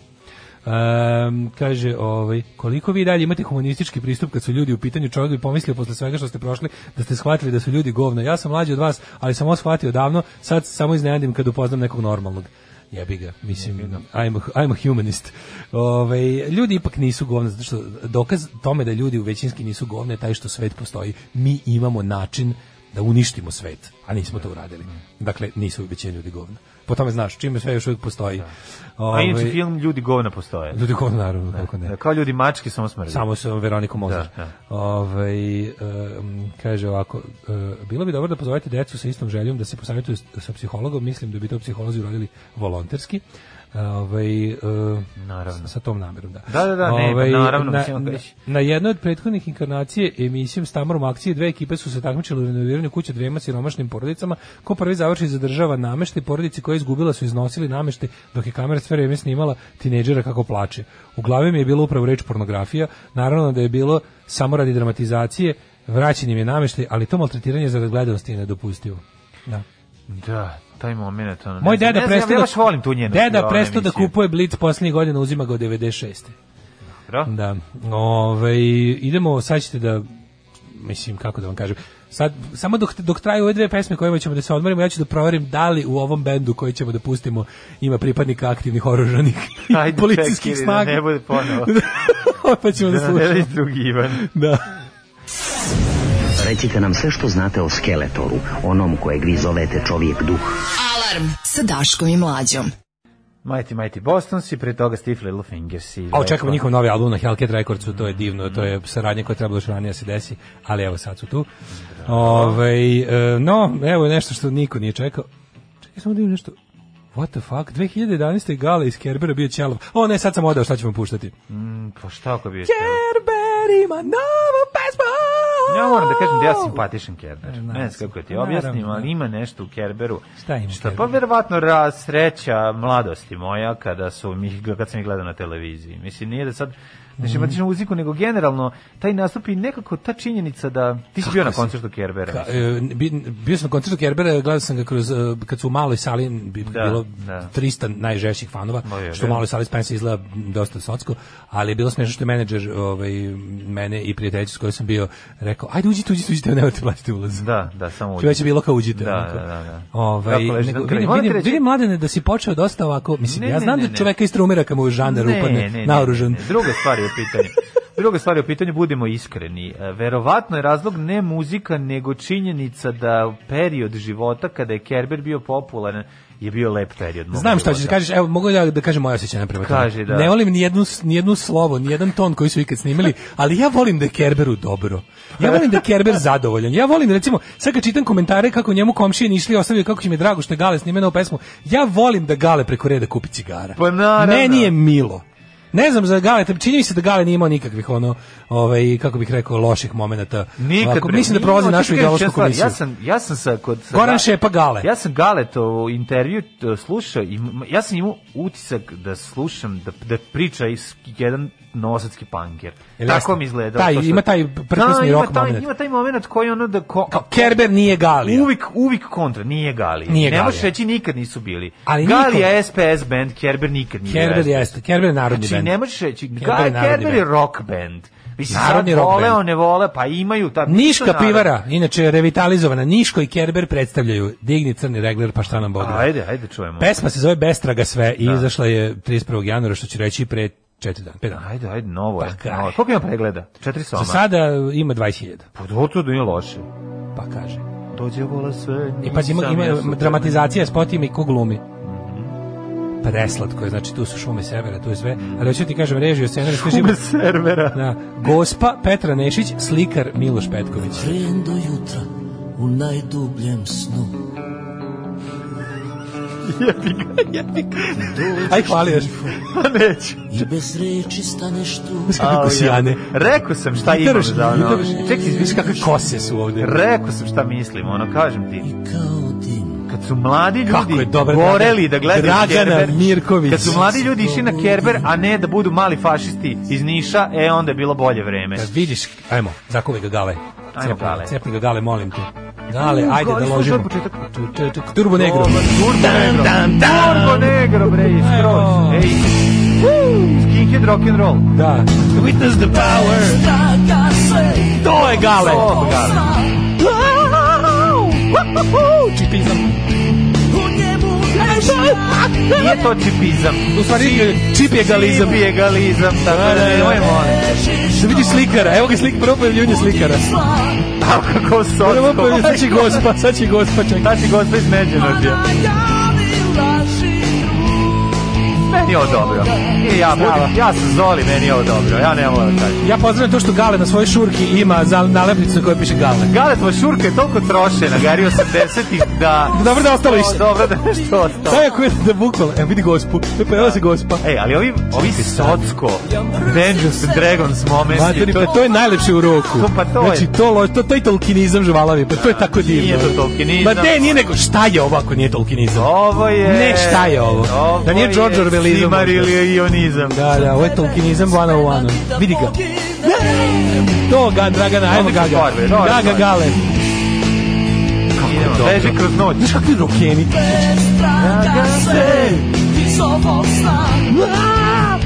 [SPEAKER 7] Um, kaže, ovaj, koliko vi dalje imate humanistički pristup kad su ljudi u pitanju, čovjek bi pomislio posle svega što ste prošli da ste shvatili da su ljudi govno. Ja sam mlađi od vas, ali sam ovo shvatio davno, sad samo iznenadim kad upoznam nekog normalnog. Jebi ga, mislim, I'm a, I'm a humanist. Ove, ljudi ipak nisu govne, zato što dokaz tome da ljudi u većinski nisu govne je taj što svet postoji. Mi imamo način da uništimo svet, a nismo to uradili. Dakle, nisu u većini ljudi govna. Po tome znaš, čime sve još uvijek postoji.
[SPEAKER 6] A inače
[SPEAKER 7] Ovaj,
[SPEAKER 6] film Ljudi govna postoje.
[SPEAKER 7] Ljudi govna, naravno, kako ne.
[SPEAKER 6] Kao ljudi mačke, samo smrdi.
[SPEAKER 7] Samo sa Veronikom Mozart.
[SPEAKER 6] Da,
[SPEAKER 7] Ovaj, em, kaže ovako, e, bilo bi dobro da pozovete decu sa istom željom da se posavjetuju s- sa psihologom, mislim da bi to psiholozi uradili volonterski. E, Ovaj, e,
[SPEAKER 6] Naravno.
[SPEAKER 7] s- Sa tom namerom, da.
[SPEAKER 6] Da, da, da, ne, pa naravno,
[SPEAKER 7] Ovaj, na,
[SPEAKER 6] mislim,
[SPEAKER 7] na,
[SPEAKER 6] već.
[SPEAKER 7] na jednoj od prethodnih inkarnacije emisijom Stamorom akcije dve ekipe su se takmičile u renoviranju kuće dvema siromašnim porodicama. Ko prvi završi zadržava nameštaj, porodici koja je izgubila su iznosili nameštaj dok je kamera sve vreme snimala tinejdžera kako plače. U glavi mi je bilo upravo reč pornografija, naravno da je bilo samo radi dramatizacije, vraćen im je nameštaj, ali to maltretiranje za gledanosti je nedopustivo. Da.
[SPEAKER 6] Da, taj moment. Ono,
[SPEAKER 7] Moj
[SPEAKER 6] ne znam,
[SPEAKER 7] deda
[SPEAKER 6] ne znam,
[SPEAKER 7] prestao
[SPEAKER 6] ja
[SPEAKER 7] da,
[SPEAKER 6] baš volim tu njenu.
[SPEAKER 7] deda
[SPEAKER 6] ono
[SPEAKER 7] prestao da
[SPEAKER 6] emisiju.
[SPEAKER 7] kupuje Blitz poslednjih godina, uzima ga od 96.
[SPEAKER 6] Dobro.
[SPEAKER 7] Da. Ove, idemo, sad ćete da, mislim, kako da vam kažem, sad, samo dok, dok traju ove dve pesme kojima ćemo da se odmorimo, ja ću da proverim da li u ovom bendu koji ćemo da pustimo ima pripadnika aktivnih oružanih i
[SPEAKER 6] Ajde,
[SPEAKER 7] policijskih
[SPEAKER 6] čekaj,
[SPEAKER 7] snaga.
[SPEAKER 6] Da ne bude ponovo.
[SPEAKER 7] pa ćemo da
[SPEAKER 6] da ne bude
[SPEAKER 7] slušamo.
[SPEAKER 6] drugi Ivan.
[SPEAKER 7] Da.
[SPEAKER 2] Recite nam sve što znate o Skeletoru, onom kojeg vi zovete čovjek duh.
[SPEAKER 5] Alarm sa Daškom i Mlađom.
[SPEAKER 6] Mighty Mighty Boston si, pre toga Steve Littlefingers. i
[SPEAKER 7] A
[SPEAKER 6] Lepo.
[SPEAKER 7] očekujemo njihov novi album na Hellcat Recordsu, to je divno, to je saradnja koja je trebala još ranije da se desi, ali evo sad su tu. Ovaj, e, no, evo je nešto što niko nije čekao. Čekaj, samo da vidim nešto. What the fuck? 2011. Gala iz Kerbera bio Ćelov. O ne, sad sam odao, šta ćemo puštati?
[SPEAKER 6] Mm, Pa šta ako bi...
[SPEAKER 7] Kerber ima novu pesmu!
[SPEAKER 6] Ja moram da kažem da ja pa- simpatišan Kerber. Ne znam kako ti objasnim,
[SPEAKER 7] Naravno.
[SPEAKER 6] ali ima nešto u Kerberu.
[SPEAKER 7] Šta ima u
[SPEAKER 6] Što pa
[SPEAKER 7] Kerberu?
[SPEAKER 6] verovatno raz, sreća mladosti moja kada su mi kad sam ih gledao na televiziji. Mislim nije da sad ne
[SPEAKER 7] Mhm.
[SPEAKER 6] simpatičan muziku, nego generalno taj nastup i nekako ta činjenica da ti si bio na
[SPEAKER 7] si?
[SPEAKER 6] koncertu Kerbera.
[SPEAKER 7] Ka,
[SPEAKER 6] mislim.
[SPEAKER 7] e, bi- bio sam na koncertu Kerbera, gledao sam ga kroz, e, kad su u maloj sali bi
[SPEAKER 6] Da,
[SPEAKER 7] bilo
[SPEAKER 6] da.
[SPEAKER 7] 300 najžešćih fanova,
[SPEAKER 6] Ma je,
[SPEAKER 7] što u
[SPEAKER 6] da.
[SPEAKER 7] maloj sali Spence izgleda dosta socko, ali je bilo smešno što je menadžer ovaj, mene i prijateljicu s kojoj sam bio rekao, ajde uđite, uđite, uđite, nemojte platiti ulaz.
[SPEAKER 6] Da, da, samo uđe.
[SPEAKER 7] Što već je bilo kao uđite.
[SPEAKER 6] Da,
[SPEAKER 7] onako.
[SPEAKER 6] da, da, da.
[SPEAKER 7] Ovaj,
[SPEAKER 6] Kako leži
[SPEAKER 7] nego,
[SPEAKER 6] na kraju.
[SPEAKER 7] vidim,
[SPEAKER 6] Moram ti
[SPEAKER 7] vidim,
[SPEAKER 6] reći-
[SPEAKER 7] vidim, mladene, da si počeo dosta ovako, mislim,
[SPEAKER 6] Ne,
[SPEAKER 7] ja
[SPEAKER 6] ne,
[SPEAKER 7] znam
[SPEAKER 6] ne,
[SPEAKER 7] da
[SPEAKER 6] ne.
[SPEAKER 7] čoveka iz trumira kad mu žandar upadne, naoružan.
[SPEAKER 6] ne, ne. Druga stvar je u pitanju. Druga stvar je u pitanju, budemo iskreni. E, Verovatno je razlog ne muzika, nego činjenica da period života kada je Kerber bio popularan je bio lep period. mog
[SPEAKER 7] Znam šta ćeš da
[SPEAKER 6] života.
[SPEAKER 7] kažeš, evo mogu ja da kažem moje osjećanje prema tome.
[SPEAKER 6] Kaži, da.
[SPEAKER 7] Ne volim ni jednu ni jednu slovo, ni jedan ton koji su ikad snimili, ali ja volim da je Kerberu dobro. Ja volim da je Kerber zadovoljan. Ja volim recimo sad kad čitam komentare kako njemu komšije nišli i ostavio kako će mi je drago što je Gale snimio novu pesmu. Ja volim da Gale preko reda kupi cigara.
[SPEAKER 6] Pa naravno.
[SPEAKER 7] Meni je milo. Ne znam za Gale, čini mi se da Gale nije imao nikakvih ono, ovaj kako bih rekao loših momenata.
[SPEAKER 6] Nikad
[SPEAKER 7] Ovako,
[SPEAKER 6] bre,
[SPEAKER 7] mislim da
[SPEAKER 6] nije
[SPEAKER 7] prolazi
[SPEAKER 6] imao,
[SPEAKER 7] našu
[SPEAKER 6] čekaj,
[SPEAKER 7] ideološku
[SPEAKER 6] čekaj, stvar,
[SPEAKER 7] komisiju.
[SPEAKER 6] Ja sam, ja sam sa, kod, sa
[SPEAKER 7] Goran
[SPEAKER 6] Ga-
[SPEAKER 7] Šepa Gale.
[SPEAKER 6] Ja sam Galetovu intervju t- slušao i m- ja sam imao utisak da slušam, da, da priča iz jedan nosatski panker.
[SPEAKER 7] Jel
[SPEAKER 6] Tako
[SPEAKER 7] jasno?
[SPEAKER 6] mi izgledalo.
[SPEAKER 7] Taj,
[SPEAKER 6] to što-
[SPEAKER 7] ima taj
[SPEAKER 6] Da,
[SPEAKER 7] prkosni
[SPEAKER 6] ima
[SPEAKER 7] rock
[SPEAKER 6] taj-
[SPEAKER 7] moment.
[SPEAKER 6] Ima taj moment koji ono da... Ko,
[SPEAKER 7] Kao Kerber nije Galija.
[SPEAKER 6] Uvijek, uvijek kontra, nije Galija.
[SPEAKER 7] Nije
[SPEAKER 6] ne možeš
[SPEAKER 7] Galija.
[SPEAKER 6] reći nikad nisu bili.
[SPEAKER 7] Ali
[SPEAKER 6] Galija je SPS band, Kerber nikad nije.
[SPEAKER 7] Kerber jeste, Kerber je narodni
[SPEAKER 6] Znači,
[SPEAKER 7] bend.
[SPEAKER 6] ne možeš reći,
[SPEAKER 7] Kerber
[SPEAKER 6] Ga-
[SPEAKER 7] je narodni
[SPEAKER 6] Kerber je
[SPEAKER 7] bend.
[SPEAKER 6] rock band. Mislim,
[SPEAKER 7] Narodni
[SPEAKER 6] sad
[SPEAKER 7] rock
[SPEAKER 6] vole,
[SPEAKER 7] band.
[SPEAKER 6] on ne vole, pa imaju. Ta,
[SPEAKER 7] Niška
[SPEAKER 6] to narod-
[SPEAKER 7] pivara, inače revitalizovana, Niško i Kerber predstavljaju Digni crni regler, pa šta nam Bog da.
[SPEAKER 6] Ajde, ajde čujemo.
[SPEAKER 7] Pesma se zove Bestraga sve i izašla je 31. januara, što ću reći pre 4 dana, 5 dana.
[SPEAKER 6] Ajde, ajde, novo je.
[SPEAKER 7] Pa kaj.
[SPEAKER 6] novo je. Koliko ima pregleda? Četiri soma.
[SPEAKER 7] Za sada ima 20.000,
[SPEAKER 6] Pa do to da nije loše.
[SPEAKER 7] pa kaže.
[SPEAKER 6] Dođe vola sve.
[SPEAKER 7] I pa ima,
[SPEAKER 6] nisam
[SPEAKER 7] ima
[SPEAKER 6] ja super.
[SPEAKER 7] dramatizacija spot ima i ko glumi.
[SPEAKER 6] Mhm.
[SPEAKER 7] Preslatko je, znači tu su šume severa, tu je sve. Ali hoću ti kažem, režiju scenariju, što
[SPEAKER 6] Ume servera.
[SPEAKER 7] Da. Gospa Petra Nešić, slikar Miloš Petković.
[SPEAKER 11] Tren do jutra u najdubljem snu.
[SPEAKER 7] Aj, hvali još.
[SPEAKER 6] Pa neću.
[SPEAKER 11] I bez reči staneš tu.
[SPEAKER 7] Kako
[SPEAKER 6] Au,
[SPEAKER 7] sjane.
[SPEAKER 6] ja. Rekao sam šta imam
[SPEAKER 7] Gitaroš,
[SPEAKER 6] za ono.
[SPEAKER 7] gitaroš.
[SPEAKER 6] Čekaj,
[SPEAKER 7] Viš
[SPEAKER 6] izviš
[SPEAKER 7] kakve kose su ovde.
[SPEAKER 6] Rekao sam šta mislim, ono, kažem ti.
[SPEAKER 11] Kao dim.
[SPEAKER 6] Kad su mladi
[SPEAKER 7] Kako
[SPEAKER 6] ljudi
[SPEAKER 7] je dobra
[SPEAKER 6] goreli da
[SPEAKER 7] Dragana-
[SPEAKER 6] gledaju
[SPEAKER 7] Dragana
[SPEAKER 6] Kerber,
[SPEAKER 7] Mirković.
[SPEAKER 6] kad su mladi ljudi išli na Kerber, a ne da budu mali fašisti iz Niša, e, onda je bilo bolje vreme.
[SPEAKER 7] Kad vidiš, ajmo, zakuvaj ga gale.
[SPEAKER 6] Ajmo,
[SPEAKER 7] Cepni-
[SPEAKER 6] Gale.
[SPEAKER 7] Cepni ga gale, molim te. Gale,
[SPEAKER 6] U,
[SPEAKER 7] ajde
[SPEAKER 6] Gale,
[SPEAKER 7] da
[SPEAKER 6] slušaj
[SPEAKER 7] ložimo.
[SPEAKER 6] od početka.
[SPEAKER 7] Tu- tu- tu- Turbo negro.
[SPEAKER 6] Dobar, Turbo negro. Turbo negro, bre, i
[SPEAKER 7] Evo.
[SPEAKER 6] skroz. Ej, skinhead rock'n'roll.
[SPEAKER 7] Da. Witness the power. To je gale.
[SPEAKER 6] Ovo, Gale.
[SPEAKER 7] Čipizam.
[SPEAKER 6] Nije to čipizam.
[SPEAKER 7] U stvari, čip je galizam.
[SPEAKER 6] Čip je galizam, tako
[SPEAKER 7] Da, da,
[SPEAKER 6] da
[SPEAKER 7] da.
[SPEAKER 6] nemoj, molim.
[SPEAKER 7] Da vidiš slikara. Evo ga slik, prvo pojavljivanje slikara.
[SPEAKER 6] Tako kako
[SPEAKER 7] Prvo
[SPEAKER 6] sotko.
[SPEAKER 7] pojavljivanje, sad će gospa, sad će gospa, čekaj.
[SPEAKER 6] Tači gospa iz Međunođa. Meni je ovo dobro. Nije ja,
[SPEAKER 7] Bravo.
[SPEAKER 6] ja sam Zoli, meni je ovo dobro. Ja ne moram da kažem.
[SPEAKER 7] Ja pozdravljam to što Gale na svojoj šurki ima za nalepnicu na kojoj piše Gale.
[SPEAKER 6] Galet Vašurka je toliko trošena, gari 80-ih, da...
[SPEAKER 7] Dobro da ostalo išta.
[SPEAKER 6] Dobro da nešto ostalo.
[SPEAKER 7] Da je koji da bukvalno, evo vidi gospu, e, pojavila se gospa.
[SPEAKER 6] Ej, ali ovi, ovi socko, Vengeance and Dragons momenti,
[SPEAKER 7] Materi,
[SPEAKER 6] to,
[SPEAKER 7] pa to je najlepše u roku.
[SPEAKER 6] To- pa to je.
[SPEAKER 7] znači, to, lo- to, to je tolkinizam žvalavi, pa to je tako divno.
[SPEAKER 6] Nije to tolkinizam.
[SPEAKER 7] Ma de, nije nego, šta je ovo ako nije tolkinizam?
[SPEAKER 6] Ovo je...
[SPEAKER 7] Ne, šta je ovo? Da nije George Orwellizam
[SPEAKER 6] Simar
[SPEAKER 7] možda.
[SPEAKER 6] ili ionizam.
[SPEAKER 7] Da, da, ovo je tolkinizam 101. Vidi ga. To ga, Dragana, ajmo
[SPEAKER 6] Odlična
[SPEAKER 7] ga ga.
[SPEAKER 6] stvar, bre, dobra
[SPEAKER 7] Ga ga
[SPEAKER 6] stvar.
[SPEAKER 7] gale.
[SPEAKER 6] Idemo,
[SPEAKER 7] dobro.
[SPEAKER 6] beži kroz noć.
[SPEAKER 7] Znaš kakvi rokeni?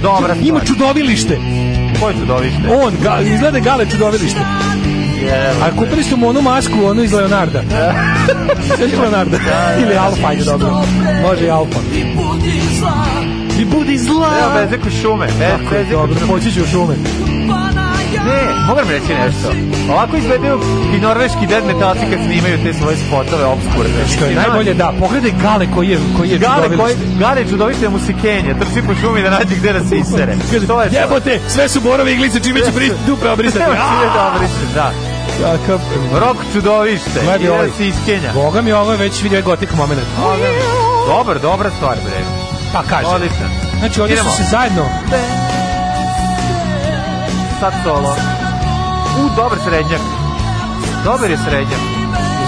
[SPEAKER 6] Dobra stvar.
[SPEAKER 7] Ima čudovilište.
[SPEAKER 6] Koje čudovište?
[SPEAKER 7] On, ga, izgleda gale čudovilište.
[SPEAKER 6] Jevo.
[SPEAKER 7] A kupili su mu onu masku, onu iz Leonarda. Sveći Leonarda. Ili Alfa, ajde dobro. Može i Alfa. I budi zla.
[SPEAKER 6] Evo, beži kroz šume. Be- Beži
[SPEAKER 7] Dobro,
[SPEAKER 6] kroz šume.
[SPEAKER 7] poći ću u šume.
[SPEAKER 6] Ne, moram reći nešto. Ovako izgledaju i norveški dead metalci kad snimaju te svoje spotove obskurne.
[SPEAKER 7] Što je
[SPEAKER 6] Znaš,
[SPEAKER 7] najbolje, da, pogledaj Znači, Gale koji je, koji je
[SPEAKER 6] Gale, koji,
[SPEAKER 7] čudovilište.
[SPEAKER 6] gale čudovište mu se kenja, trči po šumi da nađe gde da se isere.
[SPEAKER 7] Kaže,
[SPEAKER 6] To je to.
[SPEAKER 7] jebote, sve su borove iglice, čime će bris, dupe obrisati.
[SPEAKER 6] Evo čime da obrišeš, da.
[SPEAKER 7] Kakav...
[SPEAKER 6] Rok čudovište,
[SPEAKER 7] Gledaj
[SPEAKER 6] ide
[SPEAKER 7] ovaj.
[SPEAKER 6] da se iskenja.
[SPEAKER 7] Boga mi, ovo je već vidio je gotik moment.
[SPEAKER 6] Dobar, dobra stvar, bre.
[SPEAKER 7] Pa kaže.
[SPEAKER 6] Odlično.
[SPEAKER 7] Znači, oni
[SPEAKER 6] Idemo.
[SPEAKER 7] su se zajedno...
[SPEAKER 6] Sad solo. U, dobar srednjak. Dobar je srednjak.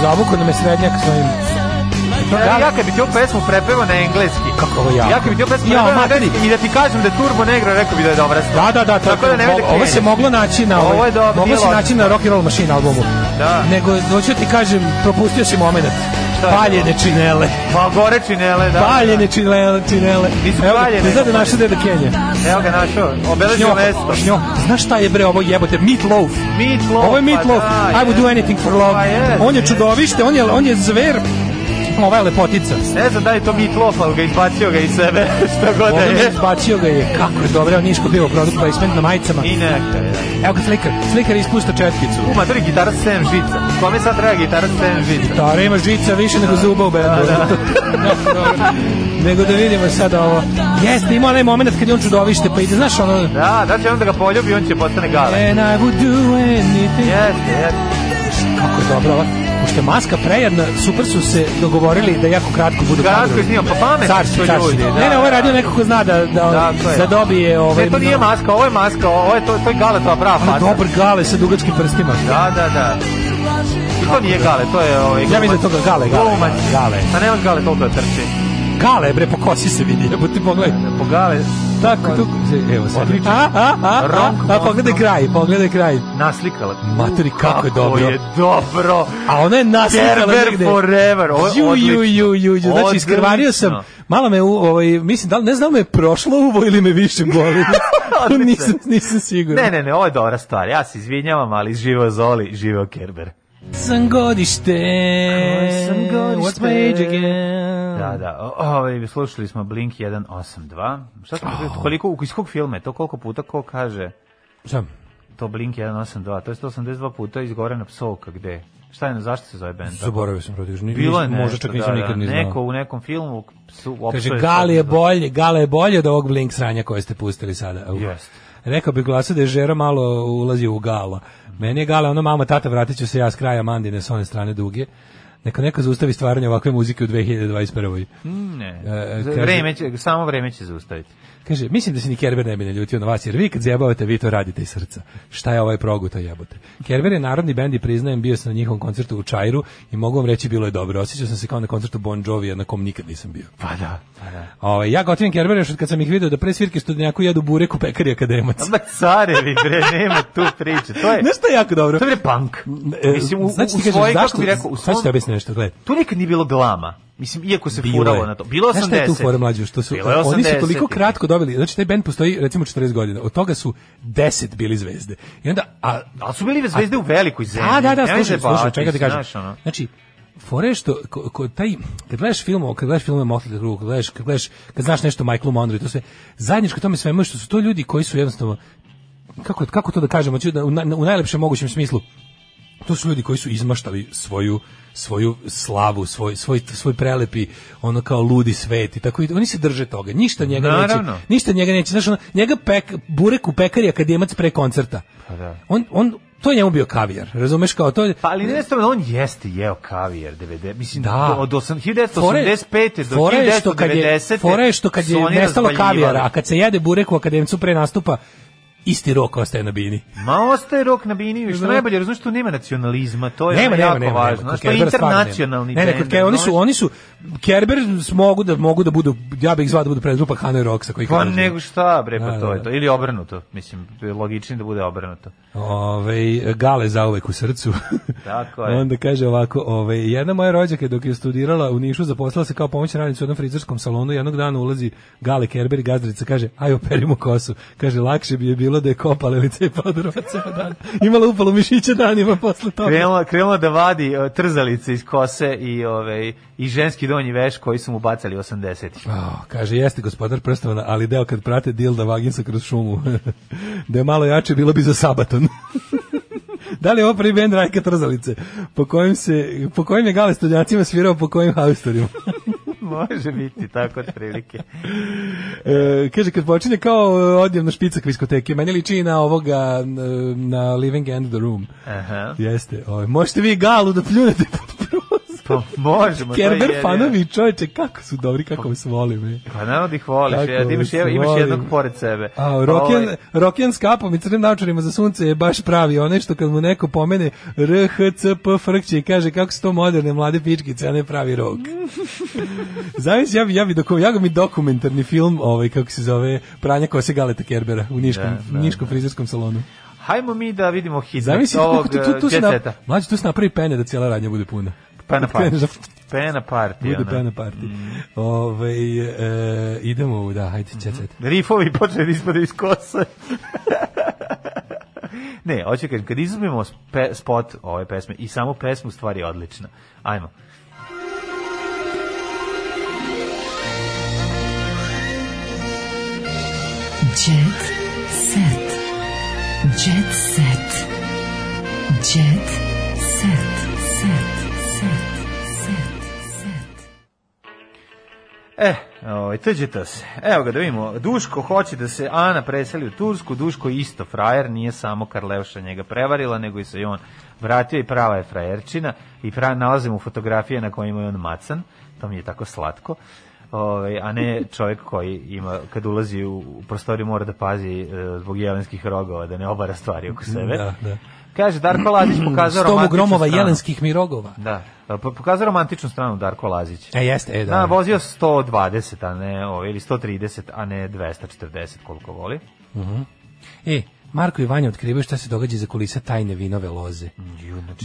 [SPEAKER 7] Zavuku nam je srednjak svojim... E To
[SPEAKER 6] Ja,
[SPEAKER 7] Gale,
[SPEAKER 6] ja kad bi ti ovu pesmu prepevao na engleski.
[SPEAKER 7] Kako ovo jako?
[SPEAKER 6] Ja kad bi ti ovu pesmu
[SPEAKER 7] Ja,
[SPEAKER 6] prepevao na
[SPEAKER 7] materi.
[SPEAKER 6] engleski i da ti kažem da je Turbo Negro, rekao bi da je dobra stvar.
[SPEAKER 7] Da, da, da, to,
[SPEAKER 6] Tako da nemoj da
[SPEAKER 7] ovo se
[SPEAKER 6] kreneš.
[SPEAKER 7] moglo naći na ovaj,
[SPEAKER 6] Ovo je dobro,
[SPEAKER 7] moglo
[SPEAKER 6] nije
[SPEAKER 7] se
[SPEAKER 6] loše.
[SPEAKER 7] naći na Rock and Roll Machine albumu.
[SPEAKER 6] Da.
[SPEAKER 7] Nego hoću ti kažem, propustio si momenat.
[SPEAKER 6] Šta je
[SPEAKER 7] Paljene činele.
[SPEAKER 6] Pa gore činele, da.
[SPEAKER 7] Paljene činele, činele.
[SPEAKER 6] Nisu
[SPEAKER 7] Evo,
[SPEAKER 6] paljene,
[SPEAKER 7] Ne znam da
[SPEAKER 6] nego-
[SPEAKER 7] naše deda Kenja.
[SPEAKER 6] Evo ga našao, obeležio
[SPEAKER 7] Šnjo,
[SPEAKER 6] mesto.
[SPEAKER 7] šnjo. Znaš šta je bre ovo jebote? Meat loaf.
[SPEAKER 6] Meatloaf. e.
[SPEAKER 7] Ovo je Meat Loaf. I would do anything for love.
[SPEAKER 6] Pa je,
[SPEAKER 7] On je
[SPEAKER 6] je.
[SPEAKER 7] čudovište, on je, on je zver. Ova je lepotica.
[SPEAKER 6] Ne znam da li je to Meatloaf, ali ga izbacio ga iz sebe, što god da
[SPEAKER 7] Ovo je
[SPEAKER 6] je.
[SPEAKER 7] izbacio ga je. Kako je dobro, on niško bio produkt placement na majicama.
[SPEAKER 6] I neka, je.
[SPEAKER 7] Evo ga slikar. Slikar ispušta četkicu.
[SPEAKER 6] U, mater, gitara sa 7 žica. Kome sad treba gitara sa 7 žica?
[SPEAKER 7] Gitara ima žica više nego zuba u bendu. nego da vidimo sad ovo. Jeste, ima onaj moment kad je on čudovište, pa ide, znaš ono...
[SPEAKER 6] Da, da će onda ga poljubi, on će postane gale.
[SPEAKER 7] And I would do anything.
[SPEAKER 6] Jeste, jeste.
[SPEAKER 7] Kako je dobro, ova. pošto je maska prejedna, super su se dogovorili da jako kratko budu
[SPEAKER 6] Kratko
[SPEAKER 7] kadrovi.
[SPEAKER 6] je snimam, pa pametni
[SPEAKER 7] Carski,
[SPEAKER 6] su
[SPEAKER 7] carski.
[SPEAKER 6] ljudi, da,
[SPEAKER 7] ne, ne, ovo je
[SPEAKER 6] da.
[SPEAKER 7] radio neko ko zna da, da,
[SPEAKER 6] Tako je.
[SPEAKER 7] zadobije... Ovaj,
[SPEAKER 6] Ne, to nije maska, ovo je maska, ovo je to, to je galetova prava
[SPEAKER 7] Ali
[SPEAKER 6] faca.
[SPEAKER 7] dobar gale sa dugačkim prstima.
[SPEAKER 6] Da, da, da. I to nije gale, to je ovaj...
[SPEAKER 7] Ja mislim da je to gale, gale,
[SPEAKER 6] Glumac.
[SPEAKER 7] gale.
[SPEAKER 6] A nema gale toliko da trči.
[SPEAKER 7] Gale, bre, po kosi se vidi, jebote, pogledaj.
[SPEAKER 6] Po gale...
[SPEAKER 7] Tako, tu, evo sad.
[SPEAKER 6] Odlično.
[SPEAKER 7] A, a, a, a,
[SPEAKER 6] Ronk
[SPEAKER 7] a, pogledaj kraj, pogledaj kraj.
[SPEAKER 6] Naslikala.
[SPEAKER 7] Maturi, kako je dobro.
[SPEAKER 6] je dobro.
[SPEAKER 7] A ona je naslikala
[SPEAKER 6] Gerber forever, ovo je
[SPEAKER 7] Ju, ju,
[SPEAKER 6] odlično.
[SPEAKER 7] ju, ju, ju. Znači,
[SPEAKER 6] Odlično.
[SPEAKER 7] iskrvario sam. Malo me, u- ovaj, mislim, da, li- ne znam da li me je prošlo uvo ili me više boli. To nisam, nisam siguran.
[SPEAKER 6] Ne, ne, ne, ovo je dobra stvar. Ja se izvinjavam, ali živeo Zoli, živeo Kerber.
[SPEAKER 7] Sam godište.
[SPEAKER 6] sam godište.
[SPEAKER 7] What's my age again?
[SPEAKER 6] Da, da. O- Ovaj slušali smo Blink 182. Šta smo oh. koliko iz kog filma je to koliko puta ko kaže?
[SPEAKER 7] Šta?
[SPEAKER 6] To Blink 182, to je 182 puta izgorena psovka gde? Šta je, zašto se zove bend? tako?
[SPEAKER 7] Zaboravio sam protiv.
[SPEAKER 6] Bilo je nešto,
[SPEAKER 7] Možda čak nisam
[SPEAKER 6] da,
[SPEAKER 7] nikad
[SPEAKER 6] da.
[SPEAKER 7] ni znao.
[SPEAKER 6] Neko u nekom filmu su
[SPEAKER 7] Kaže,
[SPEAKER 6] opsuje
[SPEAKER 7] Gali je
[SPEAKER 6] 182.
[SPEAKER 7] bolje, Gala je bolje od ovog Blink sranja koje ste pustili sada. Uh.
[SPEAKER 6] Jeste.
[SPEAKER 7] Rekao bih glasu da je Žero malo ulazi u Gala. Meni je Gala, ono, mama, tata, vratit ću se ja s kraja Mandine s one strane duge. Neka neko zaustavi stvaranje ovakve muzike u 2021.
[SPEAKER 6] Ne.
[SPEAKER 7] E,
[SPEAKER 6] Za-
[SPEAKER 7] kaže-
[SPEAKER 6] vreme će, samo vreme će zaustaviti.
[SPEAKER 7] Kaže, mislim da se ni Kerber ne bi naljutio na vas, jer vi kad zjebavate, vi to radite iz srca. Šta je ovaj proguta jebote? Kerber je narodni bend i priznajem, bio sam na njihovom koncertu u Čajru i mogu vam reći, bilo je dobro. Osjećao sam se kao na koncertu Bon Jovi, na kom nikad nisam bio.
[SPEAKER 6] Pa da.
[SPEAKER 7] Ovaj ja gotivim Kerber još od kad sam ih video da pre svirke studnjaku jedu burek u pekari akademac.
[SPEAKER 6] Ma carevi, bre, nema tu priče. To je,
[SPEAKER 7] Znaš šta je jako dobro?
[SPEAKER 6] to je bre punk.
[SPEAKER 7] E,
[SPEAKER 6] Mislim, u,
[SPEAKER 7] znači
[SPEAKER 6] u
[SPEAKER 7] ti kažeš,
[SPEAKER 6] svojoj,
[SPEAKER 7] zašto-
[SPEAKER 6] kako bi rekao, u
[SPEAKER 7] sad ću ti
[SPEAKER 6] svom
[SPEAKER 7] objasniti nešto, gledaj.
[SPEAKER 6] Tu nikad nije bilo glama. Mislim, iako se
[SPEAKER 7] Bilo
[SPEAKER 6] furalo
[SPEAKER 7] je.
[SPEAKER 6] na to. Bilo 80.
[SPEAKER 7] Znaš šta je tu fora mlađu? Što su,
[SPEAKER 6] Bilo je
[SPEAKER 7] oni su toliko
[SPEAKER 6] 80-ih.
[SPEAKER 7] kratko dobili, znači taj band postoji recimo 40 godina, od toga su 10 bili zvezde. I onda, a,
[SPEAKER 6] Ali su bili zvezde u velikoj zemlji.
[SPEAKER 7] a da, da,
[SPEAKER 6] Nemoj
[SPEAKER 7] slušaj,
[SPEAKER 6] zajebavati,
[SPEAKER 7] slušaj, čekaj ti
[SPEAKER 6] znaš,
[SPEAKER 7] kažem.
[SPEAKER 6] ono.
[SPEAKER 7] Znači, fore je što ko, ko taj kad gledaš film, kad gledaš filmove Motley Crue, kad gledaš, kad gledaš, kad znaš nešto o Michaelu Monroe i to sve, zajedničko tome svemu je što su to ljudi koji su jednostavno kako kako to da kažemo, hoću da u, na, u najlepšem mogućem smislu to su ljudi koji su izmaštali svoju svoju slavu, svoj, svoj, svoj prelepi ono kao ludi svet i tako i oni se drže toga, ništa njega
[SPEAKER 6] Naravno.
[SPEAKER 7] neće ništa njega neće, znaš ono, njega pek, burek u pekari akademac pre koncerta
[SPEAKER 6] Pa da.
[SPEAKER 7] on, on, to je njemu bio kavijar razumeš kao to je
[SPEAKER 6] Pa ali ne stavno, on jeste jeo kavijer 90, mislim,
[SPEAKER 7] Da.
[SPEAKER 6] da. od 8 1985. do
[SPEAKER 7] fore je što kad je,
[SPEAKER 6] 1990.
[SPEAKER 7] fore je što kad
[SPEAKER 6] su
[SPEAKER 7] je
[SPEAKER 6] oni
[SPEAKER 7] nestalo
[SPEAKER 6] razvaljivali.
[SPEAKER 7] kavijara, a kad se jede burek u akademcu pre nastupa, isti rok ostaje na bini.
[SPEAKER 6] Ma ostaje rok na biniju, i što najbolje, razumiješ, tu nema nacionalizma, to je
[SPEAKER 7] Nema,
[SPEAKER 6] ono
[SPEAKER 7] nema,
[SPEAKER 6] jako
[SPEAKER 7] nema.
[SPEAKER 6] važno.
[SPEAKER 7] nema.
[SPEAKER 6] Znaš, to je
[SPEAKER 7] Kerbera stvarno nema.
[SPEAKER 6] internacionalni
[SPEAKER 7] Ne, ne, kod
[SPEAKER 6] bend,
[SPEAKER 7] Kerber, oni su,
[SPEAKER 6] znaš.
[SPEAKER 7] oni su, Kerber mogu da, mogu da budu, ja bih ih zvao da budu predgrupa Hanoi Rocksa. Koji
[SPEAKER 6] Pa
[SPEAKER 7] kažu.
[SPEAKER 6] nego šta, bre,
[SPEAKER 7] Da,
[SPEAKER 6] pa
[SPEAKER 7] da,
[SPEAKER 6] to je
[SPEAKER 7] da.
[SPEAKER 6] to. Ili obrnuto, mislim, logičnije da bude obrnuto.
[SPEAKER 7] Ove, ovaj, gale zauvek u srcu.
[SPEAKER 6] Tako je.
[SPEAKER 7] Onda kaže ovako, ove, jedna moja rođaka dok je studirala u Nišu zaposlala se kao pomoćna radnica u jednom frizerskom salonu, jednog dana ulazi Gale Kerber i gazdarica kaže, aj operimo kosu. Kaže, lakše bi je bilo da je kopala lice i podrova ceo dan. Imala upalu mišića danima posle toga.
[SPEAKER 6] Krenula, krenula da vadi e, trzalice iz kose i ove i ženski donji veš koji su mu bacali 80-ih.
[SPEAKER 7] Oh, kaže, jeste gospodar prstova, ali deo kad prate dilda vaginsa kroz šumu. da je malo jače, bilo bi za sabaton. da li je ovo prvi band Rajka Trzalice? Po kojim, se, po kojim je Gale studjacima svirao, po kojim haustorima?
[SPEAKER 6] Može biti tako otprilike.
[SPEAKER 7] E, kaže, kad počinje kao e, odjevna špica kviskoteke, meni liči na ovoga, e, na Living End of the Room.
[SPEAKER 6] Aha.
[SPEAKER 7] Jeste, ovaj, možete vi galu da pljunete pod prozor.
[SPEAKER 6] Pa možemo, to je
[SPEAKER 7] Kerber
[SPEAKER 6] jedino.
[SPEAKER 7] fanovi, čovječe, kako su dobri, kako vas volim. e.
[SPEAKER 6] Pa naravno da ih voliš,
[SPEAKER 7] Kako
[SPEAKER 6] ja, imaš,
[SPEAKER 7] vas
[SPEAKER 6] jed- imaš
[SPEAKER 7] volim.
[SPEAKER 6] jednog pored sebe.
[SPEAKER 7] A, Roken,
[SPEAKER 6] Ovaj,
[SPEAKER 7] Roken s kapom i crnim naočarima za sunce je baš pravi, onaj što kad mu neko pomene RHCP frkće i kaže kako su to moderne mlade pičkice, a ne pravi rok. Zavis, ja bi, ja bi, doku, ja bi dokumentarni film, ovaj, kako se zove, pranja kose Galeta Kerbera u Niškom,
[SPEAKER 6] Da, da,
[SPEAKER 7] Niškom frizerskom salonu.
[SPEAKER 6] Hajmo mi da vidimo hit
[SPEAKER 7] Zavis,
[SPEAKER 6] ovog
[SPEAKER 7] kako tu, tu, tu, se
[SPEAKER 6] jet
[SPEAKER 7] na,
[SPEAKER 6] seta.
[SPEAKER 7] mlađe, tu se napravi pene da cijela radnja bude puna.
[SPEAKER 6] e, Pena
[SPEAKER 7] Kad kreneš
[SPEAKER 6] party.
[SPEAKER 7] da-
[SPEAKER 6] Pena party.
[SPEAKER 7] Bude
[SPEAKER 6] ono.
[SPEAKER 7] pena party. Ovaj, e, idemo, u- da, hajde, jet set.
[SPEAKER 6] Rifovi počeli da ispadaju iz kose. ne, hoću kažem, kad izuzmemo spe- spot ove pesme i samo pesmu, stvar je odlična. Ajmo.
[SPEAKER 5] Jet set. Jet set. Jet set. Set. Set. Set. Set.
[SPEAKER 6] E, Ovaj tuđite se. Evo ga da vidimo. Duško hoće da se Ana preseli u Tursku. Duško je isto frajer, nije samo Karlevša njega prevarila, nego i se i on vratio i prava je frajerčina i pra nalazimo fotografije na kojima je on macan. To mi je tako slatko. Ovaj a ne čovjek koji ima kad ulazi u u prostoriju mora da pazi e, zbog jelenskih rogova da ne obara stvari oko sebe.
[SPEAKER 7] Da, da.
[SPEAKER 6] Kaže Darko Lazić pokazao
[SPEAKER 7] Stomu
[SPEAKER 6] romantičnu
[SPEAKER 7] gromova
[SPEAKER 6] stranu.
[SPEAKER 7] jelenskih mirogova.
[SPEAKER 6] Da. Pa Pokazao romantičnu stranu Darko Lazić.
[SPEAKER 7] E, jeste, e, da.
[SPEAKER 6] Da, vozio 120, a ne, o, ili 130, a ne 240, koliko voli.
[SPEAKER 7] Mhm. E, Marko i Vanja otkrivaju šta se događa za kulisa tajne vinove loze.
[SPEAKER 6] Mm,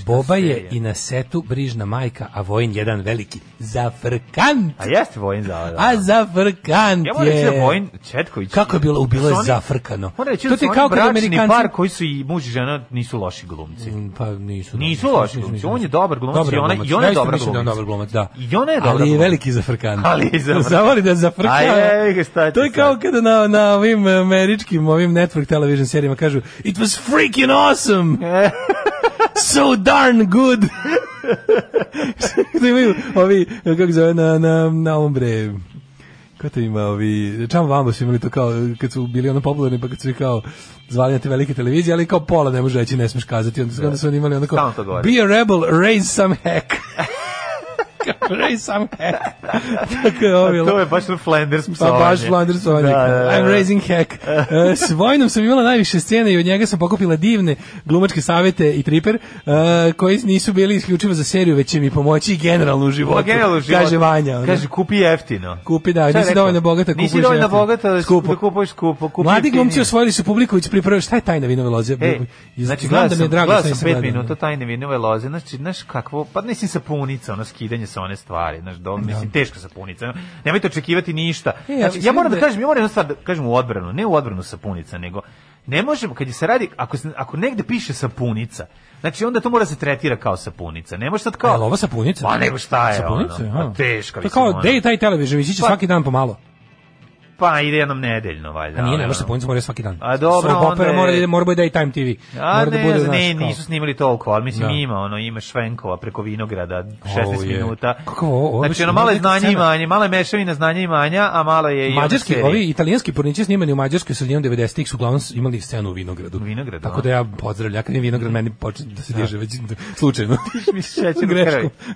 [SPEAKER 7] Boba je i na setu brižna majka, a Vojin jedan veliki zafrkant.
[SPEAKER 6] A jeste Vojin za...
[SPEAKER 7] A zafrkant
[SPEAKER 6] Ja moram
[SPEAKER 7] je.
[SPEAKER 6] reći da Vojin Četković...
[SPEAKER 7] Kako je bilo? Bilo je
[SPEAKER 6] Su oni-
[SPEAKER 7] zafrkano.
[SPEAKER 6] Moram reći
[SPEAKER 7] To
[SPEAKER 6] da
[SPEAKER 7] ti
[SPEAKER 6] su
[SPEAKER 7] je
[SPEAKER 6] oni
[SPEAKER 7] kao kad
[SPEAKER 6] bračni
[SPEAKER 7] Amerikanci-
[SPEAKER 6] par koji su i muž i žena nisu loši glumci.
[SPEAKER 7] Mm, Pa nisu.
[SPEAKER 6] Nisu loši glumci, on je dobar glumac i ona- i ona je dobra
[SPEAKER 7] glumac.
[SPEAKER 6] glumica.
[SPEAKER 7] dobar glumac, da.
[SPEAKER 6] I ona je dobra
[SPEAKER 7] Ali je
[SPEAKER 6] glumica.
[SPEAKER 7] veliki zafrkan.
[SPEAKER 6] Ali je zafrkan.
[SPEAKER 7] Zavoli da zafrkan.
[SPEAKER 6] A je, ga, šta ti
[SPEAKER 7] To je
[SPEAKER 6] sad?
[SPEAKER 7] kao kada na, na ovim američkim, ovim network television serijama kažu It was freaking awesome! so darn good! da imaju ovi, kako zove, na, na, na ovom bre, Ko to ima ovi, čam vamo su imali to kao, kad su bili ono popularni, pa kad su ih kao zvali na te velike televizije, ali kao pola ne može reći, ne smiješ kazati, onda, onda su oni imali onako,
[SPEAKER 6] Stalno to govori.
[SPEAKER 7] be a rebel, raise some heck. raise some heck. Tako je ovi,
[SPEAKER 6] Pa To je baš Flanders
[SPEAKER 7] pa
[SPEAKER 6] psovanje.
[SPEAKER 7] baš Flanders Sonic.
[SPEAKER 6] Da, da, da.
[SPEAKER 7] I'm raising heck. E, S Vojnom sam imala najviše scene i od njega sam pokupila divne glumačke savete i triper e, koji nisu bili isključivo za seriju, već će mi pomoći i generalno u životu.
[SPEAKER 6] Pa generalno u životu.
[SPEAKER 7] Kaže Vanja. ono.
[SPEAKER 6] Kaže, kupi jeftino.
[SPEAKER 7] Kupi, da,
[SPEAKER 6] Šta je
[SPEAKER 7] nisi
[SPEAKER 6] rekao?
[SPEAKER 7] dovoljno bogata,
[SPEAKER 6] Nisi
[SPEAKER 7] kupuješ
[SPEAKER 6] dovoljno
[SPEAKER 7] jeftino.
[SPEAKER 6] bogata da,
[SPEAKER 7] Skupo.
[SPEAKER 6] da kupuješ skupo. Kupi
[SPEAKER 7] Mladi
[SPEAKER 6] jeftinije.
[SPEAKER 7] glumci osvojili su publiku već pri prvoj. Šta je tajna vinove loze?
[SPEAKER 6] Ej,
[SPEAKER 7] I
[SPEAKER 6] znači, gledao
[SPEAKER 7] znam da
[SPEAKER 6] sam,
[SPEAKER 7] mi je drago
[SPEAKER 6] gledao sam
[SPEAKER 7] što nisam
[SPEAKER 6] pet
[SPEAKER 7] gledao.
[SPEAKER 6] minuta tajne vinove loze, znači, znaš kakvo, pa mislim sapunica, ono skidanje sa one stvari, znaš, do, mislim, teška sapunica, ono, nemojte očekivati ništa.
[SPEAKER 7] E, ja
[SPEAKER 6] Znači, ja
[SPEAKER 7] mislim
[SPEAKER 6] moram da
[SPEAKER 7] da-
[SPEAKER 6] kažem, ja moram jednu stvar da kažem u odbranu, ne u odbranu sapunica, nego, ne možemo, kad je se radi, ako, se- ako negde piše sapunica, znači, onda to mora se tretira kao sapunica, ne može sad kao...
[SPEAKER 7] Jel E, ovo sapunica?
[SPEAKER 6] Pa nego šta je
[SPEAKER 7] Sapunica,
[SPEAKER 6] ono,
[SPEAKER 7] aha.
[SPEAKER 6] pa teška,
[SPEAKER 7] To
[SPEAKER 6] mislim,
[SPEAKER 7] kao,
[SPEAKER 6] ono.
[SPEAKER 7] gde je taj televizion? Ići će
[SPEAKER 6] Pa-
[SPEAKER 7] svaki dan pomalo.
[SPEAKER 6] Pa ide jednom nedeljno, valjda.
[SPEAKER 7] A Pa nije, ne
[SPEAKER 6] ono.
[SPEAKER 7] može sapunica, mora svaki dan.
[SPEAKER 6] A dobro,
[SPEAKER 7] Soap opera
[SPEAKER 6] onda je-
[SPEAKER 7] mora, da ide- mora da je i Time TV.
[SPEAKER 6] A
[SPEAKER 7] mora da
[SPEAKER 6] ne,
[SPEAKER 7] bude,
[SPEAKER 6] ne,
[SPEAKER 7] znaš,
[SPEAKER 6] ne,
[SPEAKER 7] kao-
[SPEAKER 6] nisu snimili toliko, ali mislim
[SPEAKER 7] Da.
[SPEAKER 6] ima, ono, ima Švenkova preko Vinograda, 16
[SPEAKER 7] Ovo je.
[SPEAKER 6] minuta.
[SPEAKER 7] Kako ovo- ovo je
[SPEAKER 6] znači,
[SPEAKER 7] baš
[SPEAKER 6] ono, malo je
[SPEAKER 7] neka
[SPEAKER 6] znanje i
[SPEAKER 7] scena.
[SPEAKER 6] manje, malo je mešavina znanja i manja, a malo je i... ono
[SPEAKER 7] Mađarski,
[SPEAKER 6] serije.
[SPEAKER 7] ovi italijanski porniči snimani u Mađarskoj sredinom 90-ih su uglavnom s- imali scenu u Vinogradu.
[SPEAKER 6] U Vinogradu,
[SPEAKER 7] Tako
[SPEAKER 6] a?
[SPEAKER 7] da ja pozdravljam, ja kad je Vinograd meni počne da se diže već slučajno.
[SPEAKER 6] Mi se šećer u kraju.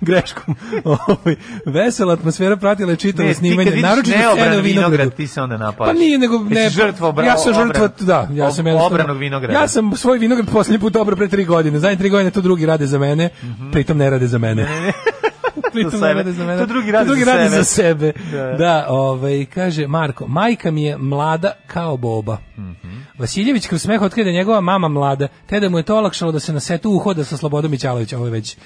[SPEAKER 7] greškom, greškom. Ovaj, vesela atmosfera pratila je čitavo
[SPEAKER 6] Ne, ti
[SPEAKER 7] snimanje,
[SPEAKER 6] kad vidiš
[SPEAKER 7] naročito scenu u
[SPEAKER 6] neobran
[SPEAKER 7] Vinogradu.
[SPEAKER 6] vinograd, ti se onda
[SPEAKER 7] Pa
[SPEAKER 6] napaš.
[SPEAKER 7] nije, nego ne.
[SPEAKER 6] Jesi žrtva obra,
[SPEAKER 7] ja sam žrtva,
[SPEAKER 6] obran-
[SPEAKER 7] da, ja sam
[SPEAKER 6] ob-
[SPEAKER 7] jednostavno-
[SPEAKER 6] Obranog vinograda.
[SPEAKER 7] Ja sam svoj vinograd posljednji put obrao pre tri godine. Zadnje tri godine to drugi rade za mene, pritom ne rade za mene.
[SPEAKER 6] Za
[SPEAKER 7] pritom
[SPEAKER 6] sebe.
[SPEAKER 7] ne rade za mene.
[SPEAKER 6] Mhm. To drugi rade za sebe.
[SPEAKER 7] za sebe.
[SPEAKER 6] Da.
[SPEAKER 7] Da, ovaj, kaže Marko, majka mi je mlada kao boba.
[SPEAKER 6] Mhm.
[SPEAKER 7] Vasiljević kroz smeh otkrije da je njegova mama mlada, te da mu je to olakšalo da se na setu uhoda sa Slobodom Mićalović, ovo je već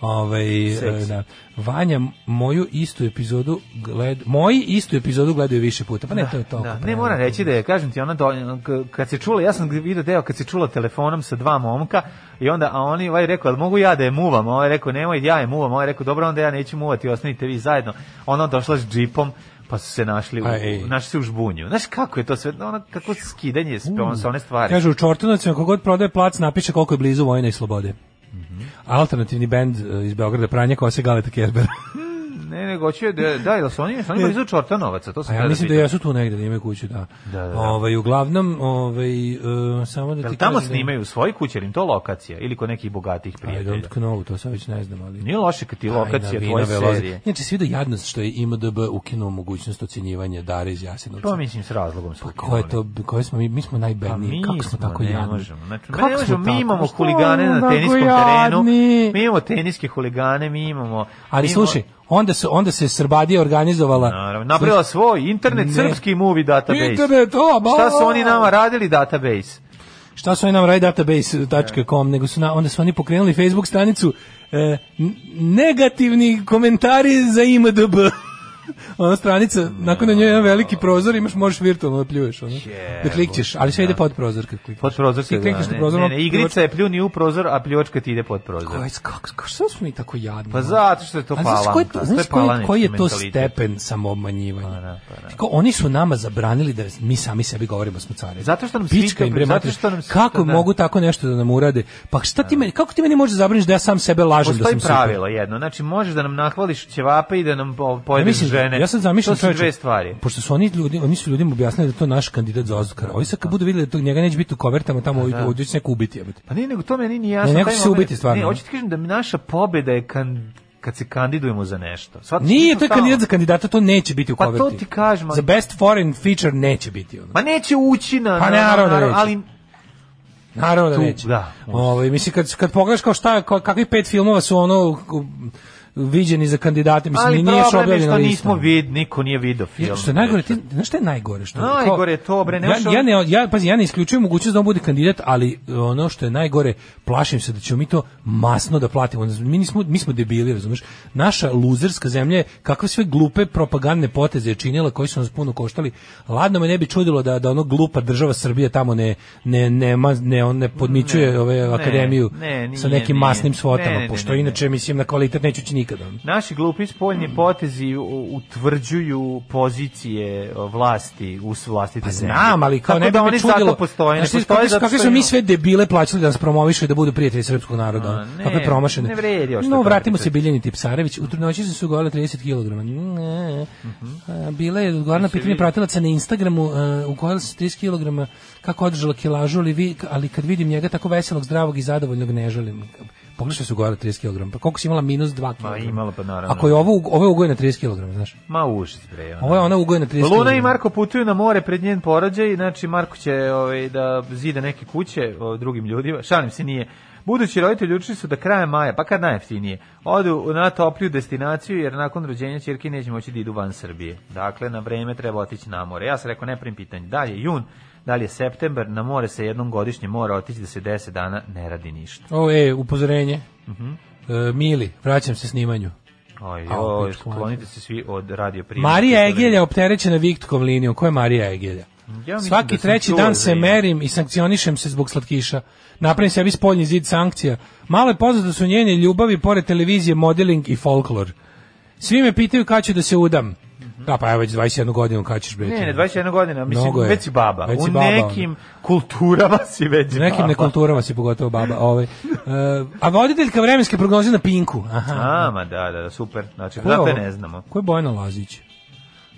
[SPEAKER 7] ovaj, e, da. Vanja moju istu epizodu gled, moji istu epizodu gledaju više puta. Pa ne, to je to.
[SPEAKER 6] Da, ne moram reći da je, kažem ti, ona do, ono, k- kad se čula, ja sam vidio deo kad se čula telefonom sa dva momka i onda, a oni, ovaj rekao, ali mogu ja da je muvam, a ovaj rekao, nemoj, ja je muvam, a ovaj rekao, dobro, onda ja neću muvati, ostanite vi zajedno. Ona došla s džipom, pa su se našli, u,
[SPEAKER 7] Aj.
[SPEAKER 6] našli se u žbunju. Znaš kako je to sve, ono, kako skidanje s, ono, sa one stvari.
[SPEAKER 7] Kaže u Čortunovcima kogod prodaje plac napiše koliko je blizu vojne i slobode.
[SPEAKER 6] Mhm.
[SPEAKER 7] Alternativni bend e, iz Beograda Pranja Kose Galeta Kerbera.
[SPEAKER 6] Ne, nego hoću, da, da, jel su oni, su oni blizu Čortanovaca, to
[SPEAKER 7] E. A
[SPEAKER 6] sam
[SPEAKER 7] Pa ja
[SPEAKER 6] gledao
[SPEAKER 7] mislim da
[SPEAKER 6] video.
[SPEAKER 7] jesu tu negde, da imaju kuću, da.
[SPEAKER 6] Da, da, da.
[SPEAKER 7] Ovaj, uglavnom, ovaj, e, samo da ti
[SPEAKER 6] Jel tamo
[SPEAKER 7] kažem da- Pa,
[SPEAKER 6] snimaju u svojoj kući, jer im to lokacija, ili kod nekih bogatih
[SPEAKER 7] I
[SPEAKER 6] prijatelja.
[SPEAKER 7] don't know, to sad već ne znam, ali...
[SPEAKER 6] Nije loše kad ti lokacija
[SPEAKER 7] Tajna
[SPEAKER 6] tvoje
[SPEAKER 7] vinove loze.
[SPEAKER 6] serije.
[SPEAKER 7] Inače, svi do jadnost što je IMDB ukinuo mogućnost ocjenjivanja dare iz Jasenovca.
[SPEAKER 6] To mislim s razlogom. su
[SPEAKER 7] Pa ko
[SPEAKER 6] ukinuli.
[SPEAKER 7] je to, koje smo mi, mi smo najbedniji,
[SPEAKER 6] Pa mi
[SPEAKER 7] kako smo tako
[SPEAKER 6] ne
[SPEAKER 7] jadni?
[SPEAKER 6] možemo. Znači,
[SPEAKER 7] Kako
[SPEAKER 6] ne
[SPEAKER 7] smo
[SPEAKER 6] možemo, mi
[SPEAKER 7] tako?
[SPEAKER 6] imamo
[SPEAKER 7] Što
[SPEAKER 6] huligane
[SPEAKER 7] smo
[SPEAKER 6] na
[SPEAKER 7] tako
[SPEAKER 6] teniskom terenu,
[SPEAKER 7] jadni?
[SPEAKER 6] mi imamo teniske huligane, mi imamo... mi
[SPEAKER 7] Ali
[SPEAKER 6] imamo-
[SPEAKER 7] slušaj, onda se, onda se Srbadija organizovala...
[SPEAKER 6] Naravno, napravila svoj internet,
[SPEAKER 7] Ne.
[SPEAKER 6] srpski movie database.
[SPEAKER 7] Internet, o, ba!
[SPEAKER 6] Šta su oni nama radili database?
[SPEAKER 7] šta su oni nam radili database.com, nego su na, onda su oni pokrenuli Facebook stranicu e, n- negativni komentari za IMDB. ona Ono stranica, nakon na njoj jedan veliki prozor, imaš, možeš virtualno da pljuješ. Ono. Da klikćeš, ali sve ide pod prozor. Kad klikneš.
[SPEAKER 6] Pod prozor se
[SPEAKER 7] Ti klikneš
[SPEAKER 6] da,
[SPEAKER 7] na
[SPEAKER 6] ne,
[SPEAKER 7] prozor,
[SPEAKER 6] ne,
[SPEAKER 7] ono
[SPEAKER 6] ne, igrica je pljuni u prozor, a pljučka ti ide pod prozor.
[SPEAKER 7] Koji, kako, kako, što smo mi tako jadni? ono?
[SPEAKER 6] Pa zato što je to
[SPEAKER 7] A znaš
[SPEAKER 6] palanka.
[SPEAKER 7] koji je to-
[SPEAKER 6] to je
[SPEAKER 7] Znaš koji,
[SPEAKER 6] palanački
[SPEAKER 7] koji je to
[SPEAKER 6] mentalitet. Pa
[SPEAKER 7] stepen samoobmanjivanja? Kao, oni su nama zabranili da mi sami sebi govorimo smo cari.
[SPEAKER 6] Zato što nam slika-
[SPEAKER 7] Pička im, bre,
[SPEAKER 6] zato
[SPEAKER 7] mater,
[SPEAKER 6] što nam slika,
[SPEAKER 7] Kako
[SPEAKER 6] da.
[SPEAKER 7] mogu tako nešto da nam urade? Pa šta ti meni, kako ti meni možeš zabraniti da ja sam sebe lažem da
[SPEAKER 6] Postoji
[SPEAKER 7] sam super?
[SPEAKER 6] pravilo jedno, znači možeš da nam nahvališ ćevape i da nam po- pojedeš
[SPEAKER 7] misliš da
[SPEAKER 6] žene.
[SPEAKER 7] Ja sad zamišljam
[SPEAKER 6] to su
[SPEAKER 7] čoveče,
[SPEAKER 6] dve stvari.
[SPEAKER 7] Pošto su oni ljudi, oni su ljudima objasnili da je to naš kandidat za Oscara. Ovi sad kad budu videli da to njega neće biti u kovertama tamo ovi ovdje će se neko ubiti, jebote.
[SPEAKER 6] Pa nije nego to meni nije jasno.
[SPEAKER 7] Ne, neko
[SPEAKER 6] taj
[SPEAKER 7] će se
[SPEAKER 6] moment-
[SPEAKER 7] ubiti stvarno.
[SPEAKER 6] Ne, hoću ti kažem da mi naša pobeda je kan, kad se kandidujemo za nešto. Shvataš,
[SPEAKER 7] Nije,
[SPEAKER 6] mi
[SPEAKER 7] to je
[SPEAKER 6] stalno-
[SPEAKER 7] kandidat za kandidata, to neće biti u
[SPEAKER 6] Pa to
[SPEAKER 7] koverti.
[SPEAKER 6] ti kažem, ali-
[SPEAKER 7] Za best foreign feature neće biti. Ono.
[SPEAKER 6] Ma neće ući na...
[SPEAKER 7] Pa
[SPEAKER 6] na- na-
[SPEAKER 7] naravno da
[SPEAKER 6] na-
[SPEAKER 7] neće.
[SPEAKER 6] Ali
[SPEAKER 7] Naravno da
[SPEAKER 6] Tu,
[SPEAKER 7] neće.
[SPEAKER 6] da,
[SPEAKER 7] Ovaj mislim kad kad pogledaš kao šta kao, kakvih pet filmova su ono k- viđeni za kandidate, mislim
[SPEAKER 6] ali
[SPEAKER 7] ni nije što
[SPEAKER 6] problem je
[SPEAKER 7] objavljeno
[SPEAKER 6] što
[SPEAKER 7] na
[SPEAKER 6] nismo
[SPEAKER 7] listama.
[SPEAKER 6] vid, niko nije video film.
[SPEAKER 7] Ja, što je najgore, ti, znaš šta je najgore? Što, kao-
[SPEAKER 6] Najgore je to, bre, ne
[SPEAKER 7] ja,
[SPEAKER 6] možeš
[SPEAKER 7] ja,
[SPEAKER 6] ono-
[SPEAKER 7] ne, ja, pazi, ja ne isključujem mogućnost da on bude kandidat, ali ono što je najgore, plašim se da ćemo mi to masno da platimo. Ono, Mi, nismo, mi smo debili, razumeš? Naša luzerska zemlja je kakve sve glupe propagandne poteze je činila koji su nas puno koštali. Ladno me ne bi čudilo da, da ono glupa država Srbije tamo ne, ne, ne, ma- ne, on ne podmićuje
[SPEAKER 6] Ne,
[SPEAKER 7] ove
[SPEAKER 6] ne,
[SPEAKER 7] akademiju
[SPEAKER 6] ne, nije,
[SPEAKER 7] sa nekim
[SPEAKER 6] nije.
[SPEAKER 7] masnim svotama,
[SPEAKER 6] Ne, ne, ne,
[SPEAKER 7] pošto
[SPEAKER 6] ne, ne.
[SPEAKER 7] inače mislim na kvalitet neću ići nikada.
[SPEAKER 6] Naši glupi spoljni potezi u- utvrđuju pozicije o, vlasti u vlastitoj
[SPEAKER 7] Pa
[SPEAKER 6] zemlji.
[SPEAKER 7] znam, ali kao
[SPEAKER 6] Tako
[SPEAKER 7] ne bi
[SPEAKER 6] da
[SPEAKER 7] me
[SPEAKER 6] oni
[SPEAKER 7] čudilo.
[SPEAKER 6] zato postoje. Ne
[SPEAKER 7] Znaš ti
[SPEAKER 6] postoje
[SPEAKER 7] kakvi su-
[SPEAKER 6] zato
[SPEAKER 7] kakvi
[SPEAKER 6] što
[SPEAKER 7] su mi
[SPEAKER 6] imamo-
[SPEAKER 7] sve debile plaćali da nas promovišu i da budu prijatelji srpskog naroda.
[SPEAKER 6] A,
[SPEAKER 7] ono.
[SPEAKER 6] ne,
[SPEAKER 7] Kakve promašene.
[SPEAKER 6] ne vredi još
[SPEAKER 7] No,
[SPEAKER 6] to
[SPEAKER 7] vratimo
[SPEAKER 6] pričati.
[SPEAKER 7] se Biljani Tipsarević. U trudnoći su se ugovorila 30 kg. Mm, Ne.
[SPEAKER 6] Mhm.
[SPEAKER 7] A, Bila je odgovorna pitanje
[SPEAKER 6] vidi.
[SPEAKER 7] pratilaca na Instagramu, a, ugovorila se 30 kg, kako održala kilažu, ali, vi, ali kad vidim njega tako veselog, zdravog i zadovoljnog, ne želim. Pogledaj što se ugovorila 30 kg. Pa koliko si imala minus 2 kg?
[SPEAKER 6] Ma, imala, pa naravno.
[SPEAKER 7] Ako je ovo, ovo je ugoj na 30 kg, znaš.
[SPEAKER 6] Ma užas, bre. ono.
[SPEAKER 7] Ovo je ona ugoj na 30 kg.
[SPEAKER 6] Luna i Marko putuju na more pred njen porođaj, znači Marko će ovaj, da zida neke kuće ovaj, drugim ljudima, šalim se nije. Budući roditelji učili su da krajem maja, pa kad najjeftinije, odu na topliju destinaciju jer nakon rođenja ćerke neće moći da idu van Srbije. Dakle, na vreme treba otići na more. Ja sam rekao, ne prim pitanje, da li je jun, da li je september, na more se jednom godišnje mora otići da se 10 dana ne radi ništa.
[SPEAKER 7] O, e, upozorenje.
[SPEAKER 6] Mhm.
[SPEAKER 7] E, mili, vraćam se snimanju.
[SPEAKER 6] Oj,
[SPEAKER 7] A,
[SPEAKER 6] oj,
[SPEAKER 7] opet hvala.
[SPEAKER 6] sklonite se svi od radio prijema.
[SPEAKER 7] Marija Egelja opterećena Viktkom linijom. Ko je Marija Egelja?
[SPEAKER 6] Ja mislim
[SPEAKER 7] Svaki
[SPEAKER 6] da sam
[SPEAKER 7] treći
[SPEAKER 6] čuo
[SPEAKER 7] dan
[SPEAKER 6] za
[SPEAKER 7] se
[SPEAKER 6] ime.
[SPEAKER 7] merim i sankcionišem se zbog slatkiša. Napravim sebi spoljni zid sankcija. Malo je poznato da su njene ljubavi pored televizije, modeling i folklor. Svi me pitaju kad ću da se udam. Da, pa evo već 21 godinu kad ćeš biti.
[SPEAKER 6] Mhm. Ne, ne, 21 godina, mislim,
[SPEAKER 7] Mnogo je.
[SPEAKER 6] već si baba.
[SPEAKER 7] Već si
[SPEAKER 6] u
[SPEAKER 7] baba,
[SPEAKER 6] nekim kulturama si već
[SPEAKER 7] U nekim
[SPEAKER 6] baba.
[SPEAKER 7] nekulturama si pogotovo baba. Ovaj. E, a voditeljka vremenske prognoze na Pinku. Aha.
[SPEAKER 6] A, ma da, da, da, super. Znači,
[SPEAKER 7] Ko je
[SPEAKER 6] zato
[SPEAKER 7] ovo?
[SPEAKER 6] ne znamo.
[SPEAKER 7] Ko je Bojana Lazić?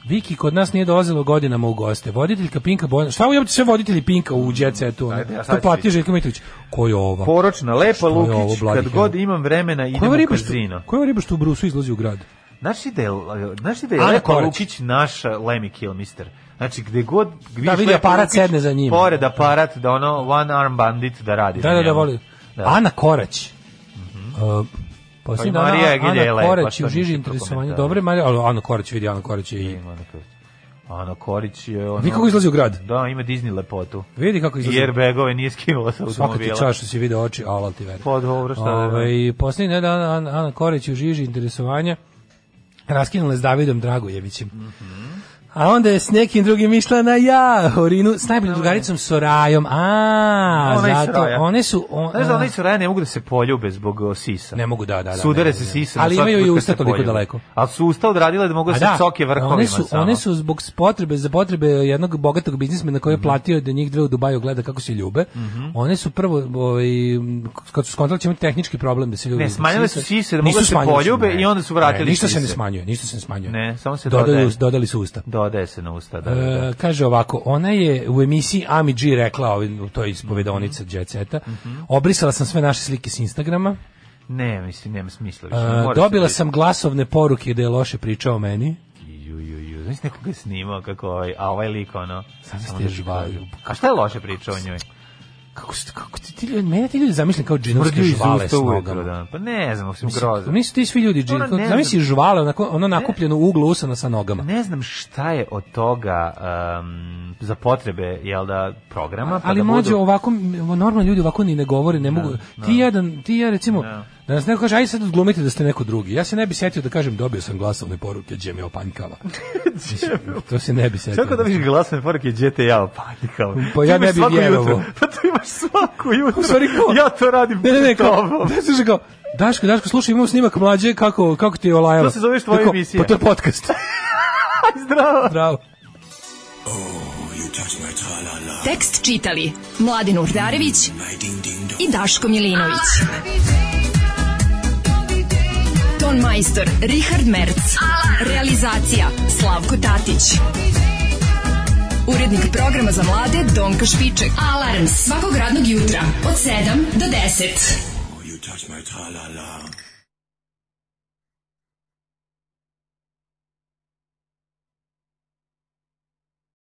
[SPEAKER 7] Viki kod nas nije dolazilo godinama u goste. Voditeljka Pinka Bojana. Šta ujebate sve voditelji Pinka u Jet Setu?
[SPEAKER 6] Ajde, ja
[SPEAKER 7] Ajde,
[SPEAKER 6] sad
[SPEAKER 7] Šta
[SPEAKER 6] ću
[SPEAKER 7] platio
[SPEAKER 6] vidjeti.
[SPEAKER 7] Željko Mitrović? Ko je ova? Ko
[SPEAKER 6] Poročna, lepa
[SPEAKER 7] je ovo,
[SPEAKER 6] Lukić,
[SPEAKER 7] blagi
[SPEAKER 6] kad
[SPEAKER 7] hero?
[SPEAKER 6] god imam vremena
[SPEAKER 7] je
[SPEAKER 6] idem
[SPEAKER 7] ova
[SPEAKER 6] u
[SPEAKER 7] riba što,
[SPEAKER 6] kazino.
[SPEAKER 7] ko je ova riba što u Brusu izlazi u grad?
[SPEAKER 6] Znaš li da je, znaš li da je
[SPEAKER 7] Ana
[SPEAKER 6] lepa
[SPEAKER 7] Kovač.
[SPEAKER 6] Lukić naša Lemmy Kilmister? Znači, gde god vidiš
[SPEAKER 7] vidi
[SPEAKER 6] Lepu
[SPEAKER 7] aparat
[SPEAKER 6] Lukić,
[SPEAKER 7] sedne za njim.
[SPEAKER 6] Pored aparat, da ono, one arm bandit da radi.
[SPEAKER 7] Da,
[SPEAKER 6] na
[SPEAKER 7] da, da,
[SPEAKER 6] njemu.
[SPEAKER 7] voli.
[SPEAKER 6] Da. Mhm.
[SPEAKER 7] Ana Korać. Uh, Poslije
[SPEAKER 6] Pa i
[SPEAKER 7] dana
[SPEAKER 6] Marija Egilja je
[SPEAKER 7] Ana
[SPEAKER 6] lepa,
[SPEAKER 7] Korać
[SPEAKER 6] što
[SPEAKER 7] je u žiži
[SPEAKER 6] nisi
[SPEAKER 7] interesovanja.
[SPEAKER 6] prokomentarila.
[SPEAKER 7] Dobre, Marija, ali Ana Korać vidi, Ana Korać je i...
[SPEAKER 6] Ima ona Korić. Ana Korić je ono...
[SPEAKER 7] Vi kako izlazi u grad?
[SPEAKER 6] Da, ima Disney lepotu.
[SPEAKER 7] Vidi kako izlazi.
[SPEAKER 6] I airbagove nije skinula sa automobila.
[SPEAKER 7] Svaka ti čast što si video oči, alal ti veri.
[SPEAKER 6] Pa dobro, šta da radim?
[SPEAKER 7] Ovaj, Posljednji nedan Ana, Ana Koreć je u žiži interesovanja raskinula s Davidom Dragojevićem. A onda je s nekim drugim išla na ja, Horinu, s najboljim drugaricom Sorajom. A,
[SPEAKER 6] Ona i
[SPEAKER 7] zato,
[SPEAKER 6] Soraja.
[SPEAKER 7] one su... On,
[SPEAKER 6] Znaš da
[SPEAKER 7] a,
[SPEAKER 6] oni su raja ne mogu da se poljube zbog o, sisa.
[SPEAKER 7] Ne mogu, da, da, da,
[SPEAKER 6] Sudare
[SPEAKER 7] ne,
[SPEAKER 6] se
[SPEAKER 7] ne, ne.
[SPEAKER 6] sisa.
[SPEAKER 7] Ali
[SPEAKER 6] na svaki
[SPEAKER 7] imaju i
[SPEAKER 6] put kad
[SPEAKER 7] usta
[SPEAKER 6] se
[SPEAKER 7] toliko
[SPEAKER 6] poljubu.
[SPEAKER 7] daleko.
[SPEAKER 6] Ali su usta odradile da mogu da se coke Pa vrhovima
[SPEAKER 7] one su,
[SPEAKER 6] samo.
[SPEAKER 7] one su zbog potrebe za potrebe jednog bogatog biznismena
[SPEAKER 6] Mhm.
[SPEAKER 7] koji je platio da njih dve u Dubaju gleda kako se ljube. One su prvo ovaj kad su skontrali će imati tehnički problem da se ljube.
[SPEAKER 6] Ne, smanjile su sise da mogu
[SPEAKER 7] Nisu
[SPEAKER 6] da se
[SPEAKER 7] smanjile
[SPEAKER 6] poljube
[SPEAKER 7] ne.
[SPEAKER 6] i onda su vratili
[SPEAKER 7] Ne, ništa se ne
[SPEAKER 6] sise.
[SPEAKER 7] smanjuje, ništa se ne smanjuje.
[SPEAKER 6] Ne, samo se dodaje.
[SPEAKER 7] dodali, us- dodali su usta.
[SPEAKER 6] Dodaje se na usta, da, da, da.
[SPEAKER 7] E, kaže ovako, ona je u emisiji Ami G rekla, ovaj, u toj
[SPEAKER 6] Mhm.
[SPEAKER 7] ispovedonici Jet Seta, obrisala sam sve naše slike s Instagrama,
[SPEAKER 6] Ne, mislim, nema smisla.
[SPEAKER 7] e,
[SPEAKER 6] Više. Mora se
[SPEAKER 7] dobila
[SPEAKER 6] vidjeti.
[SPEAKER 7] sam glasovne poruke da je loše pričao o meni,
[SPEAKER 6] Ju, ju, ju. Znaš nekoga je snimao kako ovaj, a ovaj lik ono... Sam
[SPEAKER 7] ste žvalju.
[SPEAKER 6] A šta je loše priča o njoj?
[SPEAKER 7] kako se kako ti, ti ljudi, mene ti ljudi zamišljaju kao džinovske
[SPEAKER 6] Tvrdio iz
[SPEAKER 7] žvale s
[SPEAKER 6] usta ujutro,
[SPEAKER 7] nogama.
[SPEAKER 6] da. Pa ne znam, mislim,
[SPEAKER 7] ono. Mislim,
[SPEAKER 6] grozno.
[SPEAKER 7] Nisu ti svi ljudi
[SPEAKER 6] Ona
[SPEAKER 7] džin,
[SPEAKER 6] ne
[SPEAKER 7] kao-
[SPEAKER 6] zna-
[SPEAKER 7] zamisli žvale, onako, ono nakupljeno u uglu usana sa nogama.
[SPEAKER 6] Ne znam šta je od toga em, za potrebe jel da programa pa
[SPEAKER 7] Ali
[SPEAKER 6] da
[SPEAKER 7] mlađe
[SPEAKER 6] budu...
[SPEAKER 7] ovako normalni ljudi ovako ni ne govore, ne mogu. Ti jedan, ti ja recimo Da nas neko kaže, aj sad odglumite da ste neko drugi. Ja se ne bi setio da kažem, dobio sam glasovne poruke, gdje me opanjkava. Mislim, to se ne bi setio.
[SPEAKER 6] Čako da viš glasne poruke, gdje te ja opanikao?
[SPEAKER 7] Pa ja ne bi vjerovao.
[SPEAKER 6] Pa to imaš svako jutro.
[SPEAKER 7] U stvari kao-
[SPEAKER 6] Ja to radim
[SPEAKER 7] Ne, ne, ne,
[SPEAKER 6] pred
[SPEAKER 7] kao,
[SPEAKER 6] tobom.
[SPEAKER 7] ne, slušaj, kao, Daško, Daško, slušaj, imam snimak mlađe, kako, kako ti je olajala.
[SPEAKER 6] To se zoveš tvoja
[SPEAKER 7] Tako,
[SPEAKER 6] emisija.
[SPEAKER 7] Pa to je podcast.
[SPEAKER 6] Zdravo.
[SPEAKER 7] Bravo.
[SPEAKER 5] Tekst čitali Mladin Urdarević i Daško Milinović. To Ton majstor Richard Merc. Realizacija Slavko Tatić. Urednik programa za mlade Donka Špiček. Alarms svakog radnog jutra od 7 do 10.